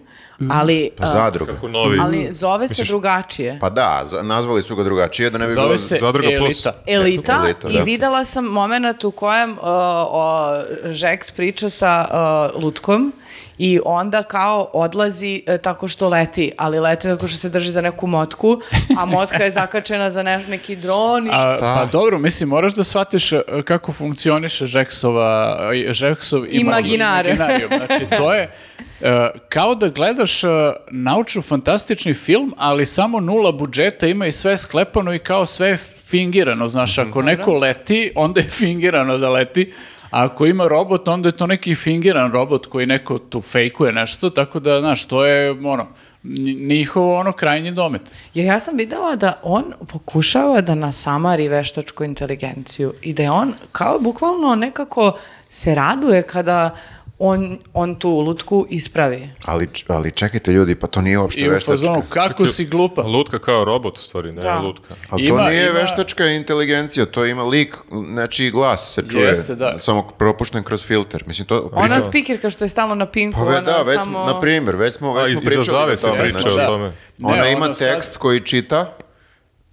[SPEAKER 3] ali,
[SPEAKER 2] Pa
[SPEAKER 3] a,
[SPEAKER 2] zadruga.
[SPEAKER 4] Da. Kako novi.
[SPEAKER 3] ali zove se drugačije.
[SPEAKER 2] Pa da, za- nazvali su ga drugačije, da ne bi bilo...
[SPEAKER 5] Zove se
[SPEAKER 4] Zadruga plus.
[SPEAKER 5] Elita.
[SPEAKER 3] Elita,
[SPEAKER 2] Elita,
[SPEAKER 3] i
[SPEAKER 2] da.
[SPEAKER 3] videla sam moment u kojem uh, o, Žeks priča sa uh, Lutkom i onda kao odlazi uh, tako što leti, ali leti tako što se drži za neku motku, a motka je zakačena za neš, neki dron i
[SPEAKER 5] A,
[SPEAKER 2] Šta?
[SPEAKER 5] pa dobro, mislim, moraš da shvatiš e, kako funkcioniše Žeksova, e, Žeksov
[SPEAKER 3] Imaginar.
[SPEAKER 5] imaginarijum. Znači, to je e, kao da gledaš e, naučno-fantastični film, ali samo nula budžeta ima i sve je sklepano i kao sve je fingirano. Znaš, ako neko leti, onda je fingirano da leti, a ako ima robot, onda je to neki fingiran robot koji neko tu fejkuje nešto, tako da, znaš, to je, ono, nj- njihovo ono krajnji domet.
[SPEAKER 3] Jer ja sam videla da on pokušava da nasamari veštačku inteligenciju i da je on kao bukvalno nekako se raduje kada on, on tu lutku ispravi.
[SPEAKER 2] Ali, č- ali čekajte ljudi, pa to nije uopšte
[SPEAKER 5] I u
[SPEAKER 2] veštačka.
[SPEAKER 5] fazonu, kako si glupa?
[SPEAKER 4] Lutka kao robot, u stvari, ne
[SPEAKER 3] Da.
[SPEAKER 4] lutka.
[SPEAKER 2] Ali
[SPEAKER 5] Ima-
[SPEAKER 2] to nije
[SPEAKER 5] ima-
[SPEAKER 2] veštačka inteligencija, to ima lik, znači glas se čuje.
[SPEAKER 5] Jeste, da.
[SPEAKER 2] Samo propušten kroz filter. Mislim, to pričamo.
[SPEAKER 3] Ona spikerka što je stalno na pinku,
[SPEAKER 2] Pa ve,
[SPEAKER 3] ona
[SPEAKER 2] da, već,
[SPEAKER 3] samo...
[SPEAKER 2] smo, na primjer, već smo,
[SPEAKER 4] A,
[SPEAKER 2] već
[SPEAKER 4] iz-
[SPEAKER 2] smo
[SPEAKER 4] iza
[SPEAKER 2] pričali o
[SPEAKER 4] zavese
[SPEAKER 2] tome.
[SPEAKER 4] priča
[SPEAKER 2] znači,
[SPEAKER 5] da.
[SPEAKER 4] o tome.
[SPEAKER 5] Ne,
[SPEAKER 2] ona
[SPEAKER 5] ono
[SPEAKER 2] ima
[SPEAKER 5] sad-
[SPEAKER 2] tekst koji čita,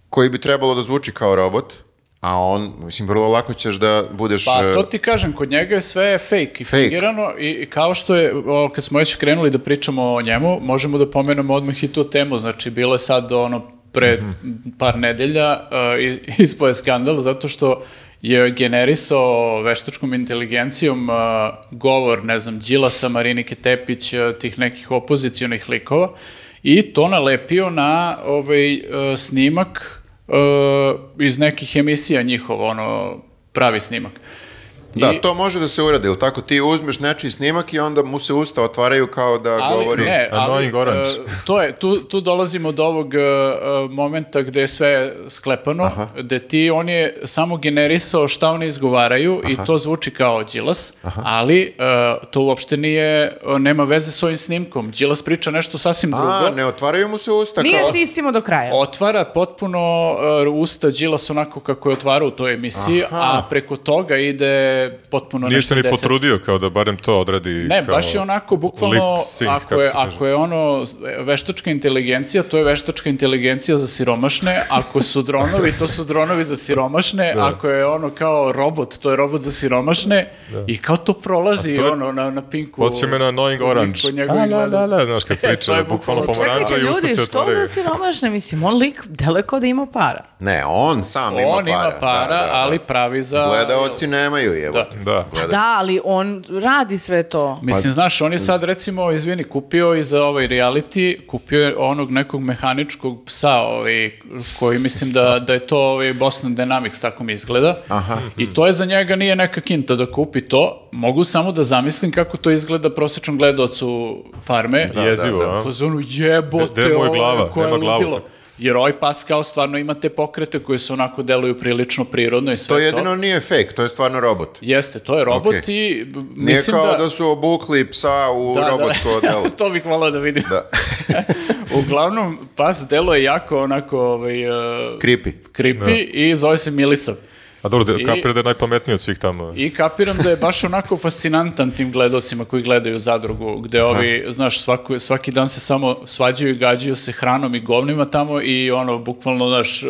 [SPEAKER 2] koji bi trebalo da zvuči kao robot, a on, mislim, vrlo lako ćeš da budeš...
[SPEAKER 5] Pa to
[SPEAKER 2] e,
[SPEAKER 5] ti kažem, kod njega je sve fake i
[SPEAKER 2] Fake.
[SPEAKER 5] fingirano i, i kao što je, o, kad smo već krenuli da pričamo o njemu, možemo da pomenemo odmah i tu temu, znači bilo je sad ono pre par nedelja uh, ispao je skandal zato što je generisao veštačkom inteligencijom uh, govor, ne znam, Đilasa, Marinike Tepić, uh, tih nekih opozicionih likova i to nalepio na ovaj uh, snimak uh, iz nekih emisija njihova, ono pravi snimak.
[SPEAKER 2] da,
[SPEAKER 5] i-
[SPEAKER 2] to može da se uradi, ili tako? Ti uzmeš nečiji snimak i onda mu se usta otvaraju kao da
[SPEAKER 5] ali,
[SPEAKER 2] govori...
[SPEAKER 5] Ne, ali,
[SPEAKER 4] Annoying orange.
[SPEAKER 5] e, to je, tu, tu dolazimo do ovog e, e, momenta gde je sve sklepano, gde ti, on je samo generisao šta oni izgovaraju i to zvuči kao Đilas, ali e, to uopšte nije, e, nema veze s ovim snimkom. Đilas priča nešto sasvim
[SPEAKER 2] A,
[SPEAKER 5] drugo.
[SPEAKER 2] ne otvaraju mu se usta
[SPEAKER 3] Nije
[SPEAKER 2] kao...
[SPEAKER 3] se istimo do kraja.
[SPEAKER 5] Otvara potpuno e, usta Đilas onako kako je otvarao u toj emisiji, a preko toga ide potpuno
[SPEAKER 4] Nije
[SPEAKER 5] nešto
[SPEAKER 4] se ni
[SPEAKER 5] deseto.
[SPEAKER 4] potrudio kao da barem to odradi.
[SPEAKER 5] Ne,
[SPEAKER 4] kao
[SPEAKER 5] baš je onako, bukvalno,
[SPEAKER 4] lip sync,
[SPEAKER 5] ako,
[SPEAKER 4] kako
[SPEAKER 5] je,
[SPEAKER 4] se kaže.
[SPEAKER 5] ako je ono veštačka inteligencija, to je veštačka inteligencija za siromašne, ako su dronovi, to su dronovi za siromašne,
[SPEAKER 4] Da.
[SPEAKER 5] ako je ono kao robot, to je robot za siromašne, i kao to prolazi
[SPEAKER 4] Da. A to je-
[SPEAKER 5] ono na, na pinku.
[SPEAKER 4] Podsjeća me na Annoying
[SPEAKER 5] Kod
[SPEAKER 4] Orange.
[SPEAKER 5] njegovih
[SPEAKER 4] A, da, da,
[SPEAKER 5] gledanja.
[SPEAKER 4] da, znaš kad
[SPEAKER 5] to je
[SPEAKER 4] priča, da bukvalno
[SPEAKER 5] bukvalno-
[SPEAKER 4] pomaranđa
[SPEAKER 3] Čekajte
[SPEAKER 4] i usta
[SPEAKER 3] ljudi,
[SPEAKER 4] se
[SPEAKER 3] što
[SPEAKER 4] otvaraju.
[SPEAKER 3] za siromašne? Mislim, on lik daleko da ima para.
[SPEAKER 2] Ne, on sam ima para.
[SPEAKER 5] On ima para,
[SPEAKER 2] da, da, da.
[SPEAKER 5] ali pravi za...
[SPEAKER 2] Gledaoci nemaju, evo.
[SPEAKER 5] Da.
[SPEAKER 4] Da.
[SPEAKER 3] Da, ali on radi sve to.
[SPEAKER 5] Mislim,
[SPEAKER 4] Pa,
[SPEAKER 5] znaš, on je
[SPEAKER 4] e.
[SPEAKER 5] sad recimo, izvini, kupio i za ovaj reality, kupio je onog nekog mehaničkog psa, ovaj, koji mislim da, da je to ovaj Boston Dynamics, tako mi izgleda.
[SPEAKER 2] Aha.
[SPEAKER 5] I to je za njega nije neka kinta da kupi to. Mogu samo da zamislim kako to izgleda prosječnom gledocu farme.
[SPEAKER 4] Da, Jezivo,
[SPEAKER 2] da, da.
[SPEAKER 5] U
[SPEAKER 4] a?
[SPEAKER 5] fazonu jebote,
[SPEAKER 4] Gde- gde mu je
[SPEAKER 5] ovo je
[SPEAKER 4] glava?
[SPEAKER 5] koje
[SPEAKER 4] Nema glavu,
[SPEAKER 5] ludilo.
[SPEAKER 4] tako.
[SPEAKER 5] Jer ovaj pas kao stvarno ima te pokrete koji se onako deluju prilično prirodno i sve
[SPEAKER 2] To
[SPEAKER 5] to.
[SPEAKER 2] jedino nije fake, to je stvarno robot.
[SPEAKER 5] Jeste, to je robot
[SPEAKER 2] Okej.
[SPEAKER 5] i b-
[SPEAKER 2] Nije
[SPEAKER 5] mislim Da,
[SPEAKER 2] kao da... su obukli psa u robotsko odelo.
[SPEAKER 5] to bih volao da vidim.
[SPEAKER 2] Da.
[SPEAKER 5] Uglavnom, pas delo je jako onako ovaj, uh,
[SPEAKER 2] Creepy.
[SPEAKER 5] creepy
[SPEAKER 2] Da.
[SPEAKER 5] i zove se Milisav.
[SPEAKER 4] A dobro, da-
[SPEAKER 5] I-
[SPEAKER 4] kapira da je najpametniji od svih tamo.
[SPEAKER 5] I kapiram da je baš onako fascinantan tim gledocima koji gledaju zadrugu, gde ovi, znaš, svaku, svaki dan se samo svađaju i gađaju se hranom i govnima tamo i ono, bukvalno, znaš, uh,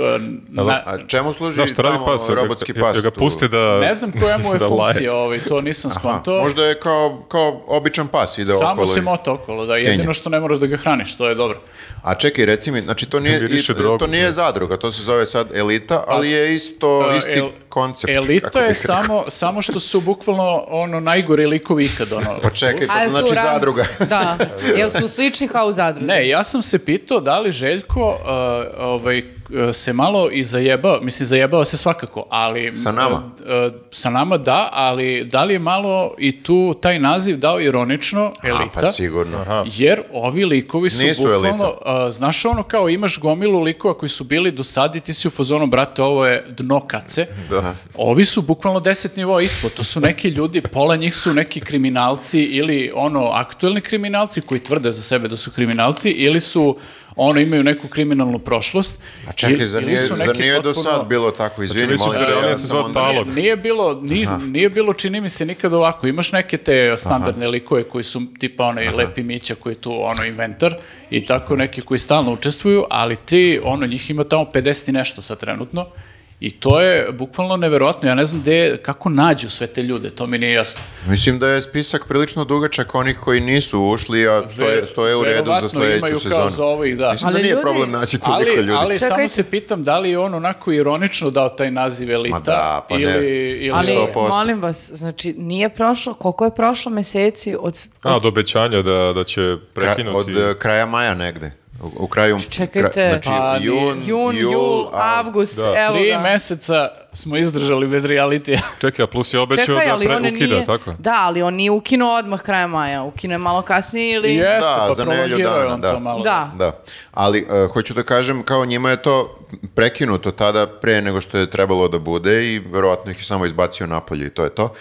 [SPEAKER 5] na-
[SPEAKER 2] A čemu služi
[SPEAKER 4] Znaš, šta Da, radi
[SPEAKER 2] tamo
[SPEAKER 4] pas? Jel ga-
[SPEAKER 2] robotski
[SPEAKER 4] jel
[SPEAKER 2] pas?
[SPEAKER 4] ga
[SPEAKER 2] tu?
[SPEAKER 4] pusti da...
[SPEAKER 5] ne znam koja mu je
[SPEAKER 4] da laje?
[SPEAKER 5] funkcija, ovaj, to nisam
[SPEAKER 2] A,
[SPEAKER 5] skonto.
[SPEAKER 2] Možda je kao, kao običan pas ide
[SPEAKER 5] Samo
[SPEAKER 2] okolo. i-
[SPEAKER 5] se mota okolo, da, jedino
[SPEAKER 2] Kenja.
[SPEAKER 5] što ne moraš da ga hraniš, to je dobro.
[SPEAKER 2] A čekaj, reci mi, znači to nije,
[SPEAKER 4] Miriše
[SPEAKER 2] i-
[SPEAKER 4] drogu,
[SPEAKER 2] to nije
[SPEAKER 4] da.
[SPEAKER 2] zadruga, to se zove sad elita, ali je isto,
[SPEAKER 5] Uh,
[SPEAKER 2] isti
[SPEAKER 5] Pa- el-
[SPEAKER 2] koncept. kako
[SPEAKER 5] Elita
[SPEAKER 2] bih
[SPEAKER 5] je
[SPEAKER 2] rekao.
[SPEAKER 5] samo, samo što su bukvalno ono najgori likovi ikad. Ono.
[SPEAKER 2] Pa čekaj,
[SPEAKER 3] A
[SPEAKER 2] pa to
[SPEAKER 3] jel su
[SPEAKER 2] znači
[SPEAKER 3] ram-
[SPEAKER 2] zadruga.
[SPEAKER 3] da, jel su slični kao u zadruzi?
[SPEAKER 5] Ne, ja sam se pitao da li Željko uh, ovaj, e, se malo i zajebao, mislim zajebao se svakako, ali...
[SPEAKER 2] Sa nama?
[SPEAKER 5] e, e, sa nama da, ali da li je malo i tu taj naziv dao ironično, elita?
[SPEAKER 2] A, pa sigurno.
[SPEAKER 4] Aha.
[SPEAKER 5] Jer ovi likovi su
[SPEAKER 2] Nisu
[SPEAKER 5] bukvalno,
[SPEAKER 2] elita.
[SPEAKER 5] a, znaš ono kao imaš gomilu likova koji su bili do sad i ti si u fazonu, brate, ovo je dno kace.
[SPEAKER 4] Da.
[SPEAKER 5] Ovi su bukvalno deset nivoa ispod, to su neki ljudi, pola njih su neki kriminalci ili ono aktuelni kriminalci koji tvrde za sebe da su kriminalci ili su ono imaju neku kriminalnu prošlost.
[SPEAKER 2] A čekaj,
[SPEAKER 5] ili-
[SPEAKER 2] zar
[SPEAKER 5] ili
[SPEAKER 2] nije,
[SPEAKER 5] su neki
[SPEAKER 2] zar nije do
[SPEAKER 5] potpuno-
[SPEAKER 2] sad bilo tako? Izvini,
[SPEAKER 4] nisu
[SPEAKER 2] molim
[SPEAKER 4] bili,
[SPEAKER 2] te,
[SPEAKER 4] ali
[SPEAKER 2] ja
[SPEAKER 4] se
[SPEAKER 2] sam
[SPEAKER 4] zove
[SPEAKER 2] onda-
[SPEAKER 4] Talog.
[SPEAKER 5] Nije bilo, ni, nije bilo, čini mi se, nikad ovako. Imaš neke te standardne likove koji su tipa onaj Lepi Mića koji je tu ono inventar i tako neke koji stalno učestvuju, ali ti, ono, njih ima tamo 50 i nešto sad trenutno i to je bukvalno neverovatno. Ja ne znam gde, kako nađu sve te ljude, to mi nije jasno.
[SPEAKER 2] Mislim da je spisak prilično dugačak onih koji nisu ušli, a stoje, stoje u redu
[SPEAKER 5] Verovatno
[SPEAKER 2] za sledeću
[SPEAKER 5] imaju
[SPEAKER 2] sezonu.
[SPEAKER 5] kao za ovih, da.
[SPEAKER 2] Mislim da
[SPEAKER 3] Ali
[SPEAKER 2] nije
[SPEAKER 3] ljudi-
[SPEAKER 2] problem naći toliko
[SPEAKER 5] Ali,
[SPEAKER 2] ljudi.
[SPEAKER 5] ali samo
[SPEAKER 3] Čekajte.
[SPEAKER 5] se pitam da li je on onako ironično dao taj naziv elita
[SPEAKER 2] Ma da, pa ne.
[SPEAKER 5] ili, ili
[SPEAKER 3] Ali,
[SPEAKER 2] 100%.
[SPEAKER 3] molim vas, znači, nije prošlo, koliko je prošlo meseci od...
[SPEAKER 4] A, od obećanja da, da će
[SPEAKER 2] Kra-
[SPEAKER 4] prekinuti.
[SPEAKER 2] od e, kraja maja negde. U, u kraju...
[SPEAKER 3] Čekajte.
[SPEAKER 2] znači,
[SPEAKER 5] Pa nije.
[SPEAKER 2] jun,
[SPEAKER 3] Jun,
[SPEAKER 2] jul,
[SPEAKER 3] jul,
[SPEAKER 2] a-
[SPEAKER 3] avgust,
[SPEAKER 4] Da.
[SPEAKER 3] evo
[SPEAKER 5] Tri
[SPEAKER 3] ga.
[SPEAKER 5] meseca smo izdržali bez realitija.
[SPEAKER 4] Čekaj, a plus je obećao
[SPEAKER 3] Čekaj,
[SPEAKER 4] da
[SPEAKER 3] ali
[SPEAKER 4] pre,
[SPEAKER 3] on
[SPEAKER 4] ukida,
[SPEAKER 3] nije...
[SPEAKER 4] tako?
[SPEAKER 3] Da, ali on nije ukinuo odmah krajem maja. Ukinuo je malo kasnije ili...
[SPEAKER 5] Jeste,
[SPEAKER 2] Da,
[SPEAKER 5] pa
[SPEAKER 2] za nedelju
[SPEAKER 5] prolongirao je
[SPEAKER 2] dana,
[SPEAKER 5] on
[SPEAKER 2] da.
[SPEAKER 5] to malo.
[SPEAKER 3] Da.
[SPEAKER 2] Da, ali e, hoću da kažem, kao njima je to prekinuto tada pre nego što je trebalo da bude i verovatno ih je samo izbacio napolje i to je to.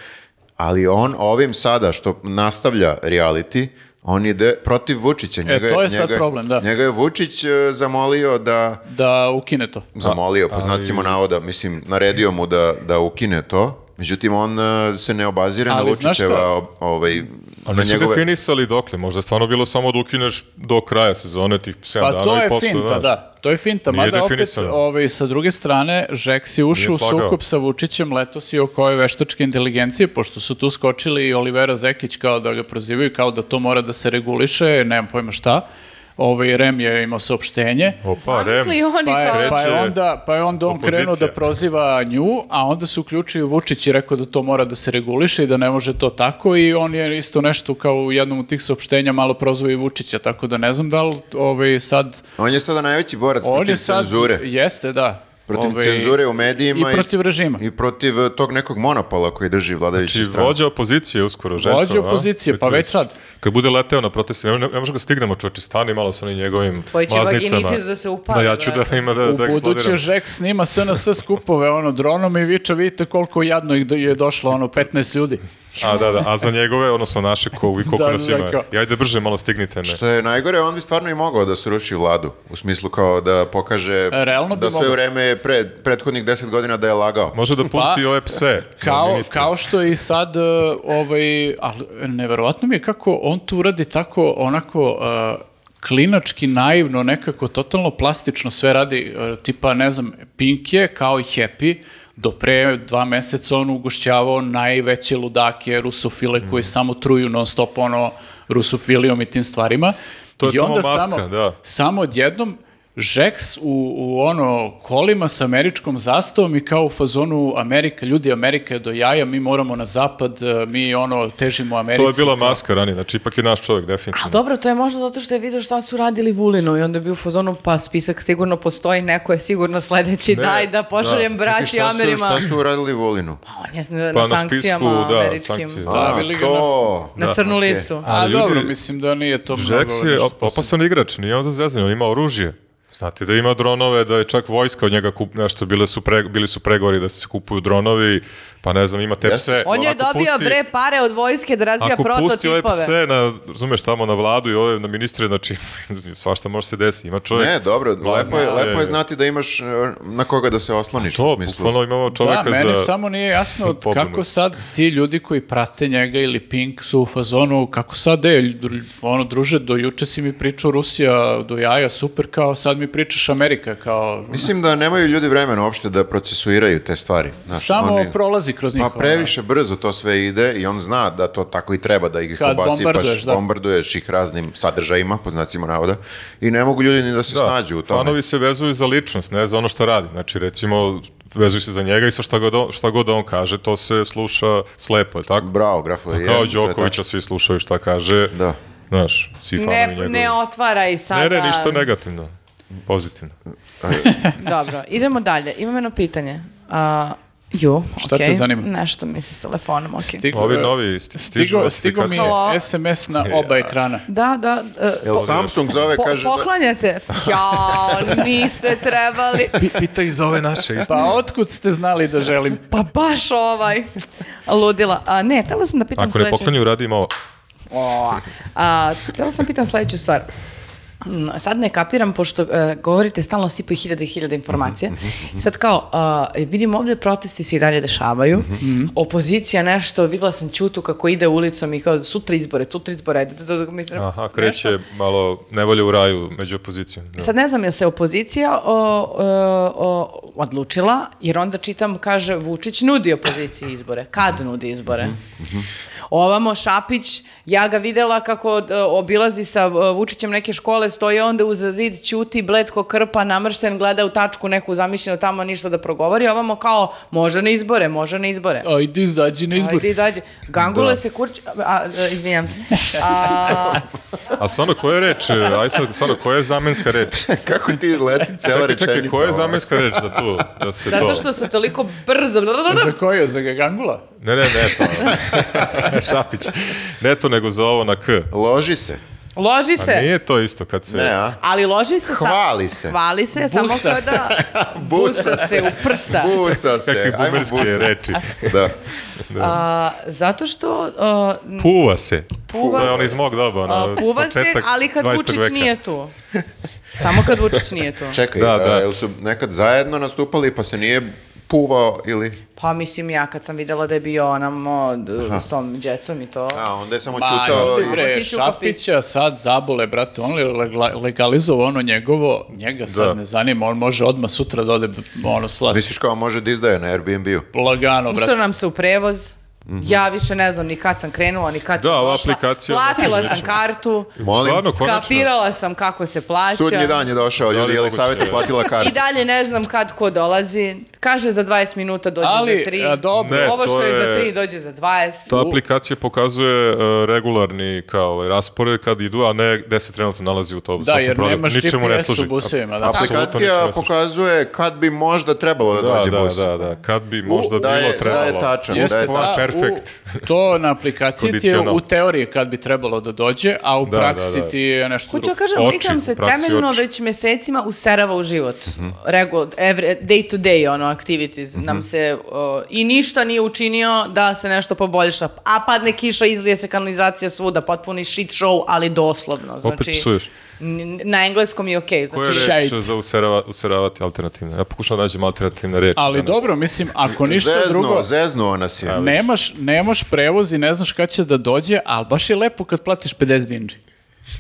[SPEAKER 2] Ali on ovim sada što nastavlja reality, on ide protiv Vučića. Njega,
[SPEAKER 5] E, to je sad
[SPEAKER 2] njega-
[SPEAKER 5] problem, da.
[SPEAKER 2] Njega je Vučić e, zamolio da
[SPEAKER 5] Da ukine to.
[SPEAKER 2] zamolio, po znacima navoda, mislim, naredio mu da, da ukine to. Međutim, on e, se ne obazire na
[SPEAKER 5] Ali znaš šta?
[SPEAKER 2] Vučićeva o- ovaj,
[SPEAKER 4] A
[SPEAKER 2] na
[SPEAKER 4] nisu
[SPEAKER 2] njegove...
[SPEAKER 4] definisali dokle, možda je stvarno bilo samo da ukineš do kraja sezone tih 7
[SPEAKER 5] Pa
[SPEAKER 4] dana
[SPEAKER 5] to
[SPEAKER 4] i
[SPEAKER 5] je
[SPEAKER 4] posle,
[SPEAKER 5] finta,
[SPEAKER 4] znaš.
[SPEAKER 5] da. To je finta,
[SPEAKER 4] Nije
[SPEAKER 5] mada opet
[SPEAKER 4] definisano.
[SPEAKER 5] ovaj, sa druge strane, Žeks je ušao
[SPEAKER 4] Nije
[SPEAKER 5] u
[SPEAKER 4] slagao.
[SPEAKER 5] sukob sa Vučićem letos i oko ove veštačke inteligencije, pošto su tu skočili i Olivera Zekić kao da ga prozivaju, kao da to mora da se reguliše, nemam pojma šta. Ovaj, Rem je imao saopštenje.
[SPEAKER 4] Opa, Rem.
[SPEAKER 3] Zamisli oni
[SPEAKER 5] Pa je,
[SPEAKER 3] kao...
[SPEAKER 5] pa je
[SPEAKER 4] Kreće
[SPEAKER 5] onda, pa je onda on
[SPEAKER 4] opozicija.
[SPEAKER 5] krenuo da proziva nju, a onda se uključio Vučić i rekao da to mora da se reguliše i da ne može to tako i on je isto nešto kao u jednom od tih saopštenja malo prozvao i Vučića, tako da ne znam da li ovaj, sad...
[SPEAKER 2] On je sada najveći borac
[SPEAKER 5] On
[SPEAKER 2] protiv
[SPEAKER 5] je sad...
[SPEAKER 2] cenzure.
[SPEAKER 5] Jeste, da.
[SPEAKER 2] Protiv
[SPEAKER 5] Ovaj,
[SPEAKER 2] cenzure u medijima
[SPEAKER 5] I protiv režima.
[SPEAKER 2] i protiv e, tog nekog monopola koji drži vladajući
[SPEAKER 4] Znači,
[SPEAKER 2] strana.
[SPEAKER 4] vođa opozicije uskoro, Željko.
[SPEAKER 5] Vođa
[SPEAKER 4] a?
[SPEAKER 5] opozicije, pa već sad.
[SPEAKER 4] Kad bude leteo na proteste, ne, ne, ne možemo ga stignemo, čoče, stani malo sa onim njegovim
[SPEAKER 3] Tvoj će
[SPEAKER 4] maznicama.
[SPEAKER 3] vaginitis da se upali,
[SPEAKER 4] Da, ja ću
[SPEAKER 3] brate.
[SPEAKER 4] da ima da,
[SPEAKER 5] U
[SPEAKER 4] da
[SPEAKER 5] buduće
[SPEAKER 4] eksplodiram.
[SPEAKER 5] Žek snima SNS skupove ono dronom i viče vidite koliko jadno ih do- je došlo ono 15 ljudi.
[SPEAKER 4] A, da, da, a za njegove, odnosno naše, ko, i koliko
[SPEAKER 5] Da,
[SPEAKER 4] nas
[SPEAKER 5] da,
[SPEAKER 4] ima.
[SPEAKER 5] kao-
[SPEAKER 4] I ajde brže, malo stignite me.
[SPEAKER 2] Što je najgore, on bi stvarno i mogao da sruši vladu, u smislu kao da pokaže
[SPEAKER 5] realno bi
[SPEAKER 2] da sve
[SPEAKER 5] mogao.
[SPEAKER 2] vreme je pred, prethodnih deset godina da je lagao.
[SPEAKER 4] Može da pusti
[SPEAKER 5] Pa,
[SPEAKER 4] ove pse.
[SPEAKER 5] Kao,
[SPEAKER 4] ministre.
[SPEAKER 5] kao što je i sad, e, ovaj, ali neverovatno mi je kako on tu uradi tako onako e, klinački, naivno, nekako totalno plastično sve radi, e, tipa, ne znam, Pink je kao i Happy, do pre dva meseca on ugošćavao najveće ludake, rusofile
[SPEAKER 4] Mm.
[SPEAKER 5] koji samo truju non stop, ono, rusofilijom i tim stvarima.
[SPEAKER 4] To je
[SPEAKER 5] I
[SPEAKER 4] samo
[SPEAKER 5] onda
[SPEAKER 4] maska, da.
[SPEAKER 5] samo odjednom Žeks u, u ono kolima sa američkom zastavom i kao u fazonu Amerika, ljudi Amerika je do jaja, mi moramo na zapad, e, mi ono težimo Americi.
[SPEAKER 4] To je bila maska ranije, znači ipak je naš čovjek, definitivno.
[SPEAKER 3] Ali dobro, to je možda zato što je vidio šta su radili Vulinu i onda je bio u fazonu, pa spisak sigurno postoji, neko je sigurno sledeći,
[SPEAKER 4] Ne,
[SPEAKER 3] daj da pošaljem
[SPEAKER 2] Čekaj,
[SPEAKER 3] braći
[SPEAKER 2] šta su,
[SPEAKER 3] Amerima.
[SPEAKER 2] šta su uradili Volinu?
[SPEAKER 3] Pa On je na,
[SPEAKER 4] Pa na
[SPEAKER 3] sankcijama
[SPEAKER 4] spisku, da,
[SPEAKER 3] američkim.
[SPEAKER 4] sankcije.
[SPEAKER 2] A,
[SPEAKER 5] Stavili ga na-
[SPEAKER 2] to.
[SPEAKER 3] Na crnu listu.
[SPEAKER 5] A
[SPEAKER 4] Ali
[SPEAKER 5] dobro,
[SPEAKER 4] ljudi,
[SPEAKER 5] mislim da nije to mnogo.
[SPEAKER 4] Žeks je
[SPEAKER 5] nešto
[SPEAKER 4] op- opasan igrač, nije on za zvezdanje, on ima oružje. Znate da ima dronove, da je čak vojska od njega kup, nešto, bile su pre, bili su pregovori da se kupuju dronovi, pa ne znam, ima te
[SPEAKER 2] Jeste.
[SPEAKER 4] pse.
[SPEAKER 3] On je
[SPEAKER 4] Ako
[SPEAKER 3] dobio
[SPEAKER 4] pusti-
[SPEAKER 3] bre pare od vojske da razvija
[SPEAKER 4] Ako pusti
[SPEAKER 3] prototipove.
[SPEAKER 4] ove pse, na, razumeš, tamo na vladu i ove na ministre, znači, svašta može se desiti. Ima čovjek...
[SPEAKER 2] Ne, dobro, lepo je,
[SPEAKER 4] glavnice.
[SPEAKER 2] lepo je znati da imaš e, na koga da se osloniš u
[SPEAKER 4] To,
[SPEAKER 2] smislu.
[SPEAKER 4] bukvalno imamo čovjeka
[SPEAKER 5] Da, meni
[SPEAKER 4] za...
[SPEAKER 5] samo nije jasno
[SPEAKER 4] pobunu.
[SPEAKER 5] kako sad ti ljudi koji prate njega ili Pink su u fazonu, kako sad je, ono, druže, do juče si mi pričao Rusija, do jaja, super, kao sad mi pričaš Amerika, kao...
[SPEAKER 2] Mislim da nemaju ljudi vremena uopšte da procesuiraju te stvari. Znaš,
[SPEAKER 5] samo
[SPEAKER 2] oni-
[SPEAKER 5] prolazi kroz njih.
[SPEAKER 2] Pa
[SPEAKER 5] ono.
[SPEAKER 2] previše brzo to sve ide i on zna da to tako i treba, da ih
[SPEAKER 5] Kad
[SPEAKER 2] obasipaš,
[SPEAKER 5] bombarduješ, da.
[SPEAKER 2] bombarduješ ih raznim sadržajima, po znacima navoda, i ne mogu ljudi ni da se
[SPEAKER 4] Da,
[SPEAKER 2] snađu u tome.
[SPEAKER 4] Fanovi se vezuju za ličnost, ne za ono što radi. Znači, recimo, vezuju se za njega i sa šta god on, šta god on kaže, to se sluša slepo, je li tako?
[SPEAKER 2] Bravo, grafo je.
[SPEAKER 4] Kao Đokovića svi slušaju šta kaže.
[SPEAKER 2] Da.
[SPEAKER 4] Znaš, svi fanovi
[SPEAKER 3] Ne,
[SPEAKER 4] njegovi.
[SPEAKER 3] ne otvara i sada...
[SPEAKER 4] Ne, ne, ništa negativno. Pozitivno.
[SPEAKER 3] Dobro, idemo dalje. Imam jedno pitanje. A, ju,
[SPEAKER 5] Šta te
[SPEAKER 3] okej.
[SPEAKER 5] zanima?
[SPEAKER 3] Nešto mi se s telefonom, okej.
[SPEAKER 5] Stig-
[SPEAKER 4] Ovi novi sti, stižu
[SPEAKER 5] Stigo, stigo mi
[SPEAKER 4] notifikacije.
[SPEAKER 5] je SMS na oba ekrana.
[SPEAKER 3] Da, da. e,
[SPEAKER 2] Jel Samsung zove,
[SPEAKER 3] po-
[SPEAKER 2] kaže da...
[SPEAKER 3] poklanjate? Jao, niste trebali.
[SPEAKER 4] Pitaj za ove naše isto.
[SPEAKER 5] Pa otkud ste znali da želim?
[SPEAKER 3] Pa baš ovaj. Ludila. A, ne, tela sam da pitam
[SPEAKER 4] Ako ne
[SPEAKER 3] sledeće-
[SPEAKER 4] poklanju, radimo ovo.
[SPEAKER 3] O, a, htjela sam pitan sljedeću stvar. Mm, Sad ne kapiram, pošto e, govorite stalno sipaju hiljade i hiljade informacija. I Sad kao, e, vidim ovdje protesti se i dalje dešavaju. Opozicija nešto, vidjela sam Ćutu kako ide ulicom i kao sutra izbore, sutra izbore. d- d- d- mi treba-
[SPEAKER 4] Aha, kreće malo nevolje u raju među opozicijom. Da.
[SPEAKER 3] Sad ne znam je se opozicija o, o, o, odlučila, jer onda čitam, kaže, Vučić nudi opoziciji izbore. Kad nudi izbore?
[SPEAKER 4] Mhm,
[SPEAKER 3] Ovamo Šapić, ja ga videla kako d- obilazi sa e, Vučićem neke škole, stoji onda uz zid, ćuti, bletko krpa, namršten, gleda u tačku neku zamišljenu, tamo ništa da progovori. Ovamo kao, može na izbore, može na izbore.
[SPEAKER 5] Ajde, izađi na izbor.
[SPEAKER 3] Ajde, izađi. Gangule
[SPEAKER 4] Da.
[SPEAKER 3] se kurči... A, e, izvinjam se. A,
[SPEAKER 4] A stvarno, koja je reč? e, Aj sad, stvarno, koja je zamenska reč?
[SPEAKER 2] Kako ti izleti cijela
[SPEAKER 4] Čekaj,
[SPEAKER 2] rečenica?
[SPEAKER 4] čekaj, koja je
[SPEAKER 2] ono?
[SPEAKER 4] zamenska reč za tu? Da se
[SPEAKER 3] zato
[SPEAKER 4] to-
[SPEAKER 3] što se toliko brzo...
[SPEAKER 5] Za koju? Za Gagangula?
[SPEAKER 4] Ne, ne, ne, to. Šapić. Ne to, nego za ovo na K.
[SPEAKER 2] Loži se.
[SPEAKER 3] Loži
[SPEAKER 4] A
[SPEAKER 3] se.
[SPEAKER 4] nije to isto kad se...
[SPEAKER 2] Ne, a?
[SPEAKER 3] Ali loži se sa-
[SPEAKER 2] Hvali se.
[SPEAKER 3] Hvali se, samo
[SPEAKER 5] Busa
[SPEAKER 3] kao
[SPEAKER 5] se.
[SPEAKER 3] da... Busa se u prsa.
[SPEAKER 2] Busa se.
[SPEAKER 4] Kakve
[SPEAKER 2] ajmo
[SPEAKER 4] bumerske
[SPEAKER 2] busa.
[SPEAKER 4] reči.
[SPEAKER 2] Da.
[SPEAKER 3] A, zato što a, n-
[SPEAKER 4] Puva se.
[SPEAKER 3] Puva
[SPEAKER 4] to je on
[SPEAKER 3] se.
[SPEAKER 4] iz mog doba.
[SPEAKER 3] a,
[SPEAKER 4] Ona,
[SPEAKER 3] puva se, ali kad Vučić nije tu. Samo kad Vučić nije tu.
[SPEAKER 2] Čekaj,
[SPEAKER 4] Da,
[SPEAKER 2] a,
[SPEAKER 4] da.
[SPEAKER 2] jel su nekad zajedno nastupali pa se nije puvao ili...
[SPEAKER 3] Pa mislim ja kad sam vidjela da je bio onam o, d- s tom djecom i to.
[SPEAKER 2] A, Da, onda je samo
[SPEAKER 5] Ma,
[SPEAKER 2] čutao...
[SPEAKER 5] joj,
[SPEAKER 2] i-
[SPEAKER 5] bre,
[SPEAKER 3] Otići u kafić.
[SPEAKER 5] Šapića sad zabole, brate, on li legla- legalizovao ono njegovo, njega sad
[SPEAKER 4] Da.
[SPEAKER 5] ne zanima, on može odmah sutra da ode ono s vlasti.
[SPEAKER 2] Misliš kao može da izdaje na Airbnb-u?
[SPEAKER 5] Lagano, brate.
[SPEAKER 3] Ustao nam se u prevoz. Ja više ne znam ni kad sam krenula, ni kad
[SPEAKER 4] Mhm. Da,
[SPEAKER 3] sam
[SPEAKER 4] ova
[SPEAKER 3] došla.
[SPEAKER 4] aplikacija ne
[SPEAKER 3] Platila
[SPEAKER 4] kaže
[SPEAKER 3] sam
[SPEAKER 4] ništa.
[SPEAKER 3] kartu.
[SPEAKER 2] Molim?
[SPEAKER 4] Stvarno, konačno.
[SPEAKER 3] Skapirala sam kako se plaća.
[SPEAKER 2] Sudnji dan je došao,
[SPEAKER 4] Da li
[SPEAKER 2] ljudi,
[SPEAKER 4] je
[SPEAKER 2] je li
[SPEAKER 4] moguće?
[SPEAKER 2] savjeta platila kartu?
[SPEAKER 3] I da. dalje ne znam kad ko dolazi. Kaže za 20 minuta dođe
[SPEAKER 5] Ali,
[SPEAKER 3] za 3.
[SPEAKER 5] a, dobro.
[SPEAKER 4] Ne,
[SPEAKER 3] Ovo
[SPEAKER 4] to
[SPEAKER 3] što je,
[SPEAKER 4] je-
[SPEAKER 3] za 3 dođe za 20.
[SPEAKER 4] Ta aplikacija pokazuje e, regularni kao ovaj, raspored kad idu, a ne gde se trenutno nalazi autobus.
[SPEAKER 5] Da,
[SPEAKER 4] to sam
[SPEAKER 5] jer
[SPEAKER 4] provjerio.
[SPEAKER 5] nemaš
[SPEAKER 4] Ničemu ne
[SPEAKER 5] GPS u
[SPEAKER 4] služi.
[SPEAKER 5] busevima, da.
[SPEAKER 4] Apsolutno ničemu
[SPEAKER 2] Aplikacija
[SPEAKER 4] ne služi.
[SPEAKER 2] pokazuje kad bi možda trebalo da, dođe
[SPEAKER 4] da,
[SPEAKER 2] bus.
[SPEAKER 4] da, da, da. Kad bi možda
[SPEAKER 2] U, da
[SPEAKER 4] bilo
[SPEAKER 2] je- da
[SPEAKER 4] trebalo.
[SPEAKER 2] je tačan,
[SPEAKER 4] Bus
[SPEAKER 2] da je tačan.
[SPEAKER 4] plan perfect.
[SPEAKER 5] u- to na aplikaciji ti je
[SPEAKER 4] Kondicional.
[SPEAKER 5] u teoriji kad bi trebalo da dođe, a u
[SPEAKER 4] Da,
[SPEAKER 5] praksi
[SPEAKER 4] da, da.
[SPEAKER 5] ti je nešto
[SPEAKER 3] Hoću
[SPEAKER 5] drugo.
[SPEAKER 3] ja kažem,
[SPEAKER 4] Oči,
[SPEAKER 3] likam se
[SPEAKER 4] u praksi
[SPEAKER 3] temeljno
[SPEAKER 4] oči. Mhm.
[SPEAKER 3] već mesecima userava u život. Regu- every- day to day ono, activities nam se o, i ništa nije učinio da se nešto poboljša. A padne kiša, izlije se kanalizacija svuda, potpuni shit show, ali doslovno.
[SPEAKER 4] Opet
[SPEAKER 3] Znači,
[SPEAKER 4] psuješ.
[SPEAKER 3] n- na engleskom je okej.
[SPEAKER 4] Koja
[SPEAKER 3] Znači,
[SPEAKER 4] je reč
[SPEAKER 5] Shite.
[SPEAKER 4] za userava, useravati alternativno? Ja pokušam da nađem alternativne reči.
[SPEAKER 5] Ali
[SPEAKER 4] danas.
[SPEAKER 5] dobro, mislim, ako ništa
[SPEAKER 2] Zeznuo,
[SPEAKER 5] drugo...
[SPEAKER 2] zeznuo nas je.
[SPEAKER 5] Nemaš, nemaš prevoz i ne znaš kada će da dođe, ali baš je lepo kad platiš 50 dinđi.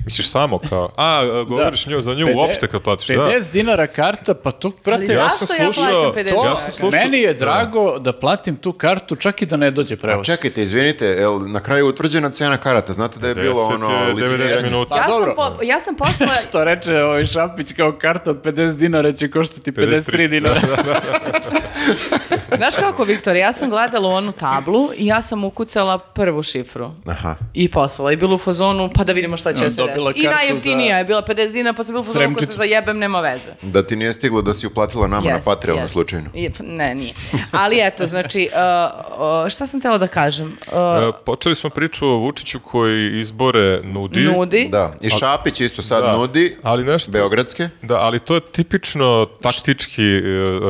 [SPEAKER 4] Misliš samo kao,
[SPEAKER 5] Da.
[SPEAKER 4] a, e, govoriš nju, za nju uopšte kad platiš, da.
[SPEAKER 5] 50 dinara karta, pa to, brate,
[SPEAKER 3] Ali
[SPEAKER 4] Ja
[SPEAKER 5] ja
[SPEAKER 4] sam
[SPEAKER 3] Zašto ja
[SPEAKER 4] slušao,
[SPEAKER 3] plaćam 50
[SPEAKER 5] to,
[SPEAKER 4] ja sam slušao.
[SPEAKER 5] meni je drago da platim tu kartu čak i da ne dođe prevoz.
[SPEAKER 2] Čekajte, izvinite, jel na kraju je utvrđena cena karata? Znate da je bilo
[SPEAKER 4] 10
[SPEAKER 2] ono
[SPEAKER 4] je 90
[SPEAKER 2] licemiranje?
[SPEAKER 4] minuta.
[SPEAKER 3] ja, sam
[SPEAKER 5] Pa dobro.
[SPEAKER 3] po- ja sam postala...
[SPEAKER 5] Što reče ovaj Šapić kao karta od 50 dinara će koštati 53 dinara.
[SPEAKER 4] Da,
[SPEAKER 3] Znaš kako, Viktor, ja sam gledala u onu tablu i ja sam ukucala prvu šifru.
[SPEAKER 2] Aha.
[SPEAKER 3] I poslala. I bilo u fazonu, pa da vidimo šta će se
[SPEAKER 5] Dobila
[SPEAKER 3] desiti. I
[SPEAKER 5] kartu
[SPEAKER 3] najjeftinija
[SPEAKER 5] za-
[SPEAKER 3] je bila 50 dina, pa sam bila u fazonu, ako se
[SPEAKER 5] Sremčicu.
[SPEAKER 3] zajebem, nema veze.
[SPEAKER 2] Da ti nije stiglo da si uplatila nama
[SPEAKER 3] Jest,
[SPEAKER 2] na Patreonu
[SPEAKER 3] jest.
[SPEAKER 2] slučajno.
[SPEAKER 3] Je, p- ne, nije. Ali eto, znači, uh, uh, šta sam htjela da kažem? Uh,
[SPEAKER 4] E, Počeli smo priču o Vučiću koji izbore nudi.
[SPEAKER 3] nudi.
[SPEAKER 2] Da, i Šapić isto sad
[SPEAKER 4] Da,
[SPEAKER 2] nudi,
[SPEAKER 4] ali nešto-
[SPEAKER 2] Beogradske.
[SPEAKER 4] Da, ali to je tipično taktički e,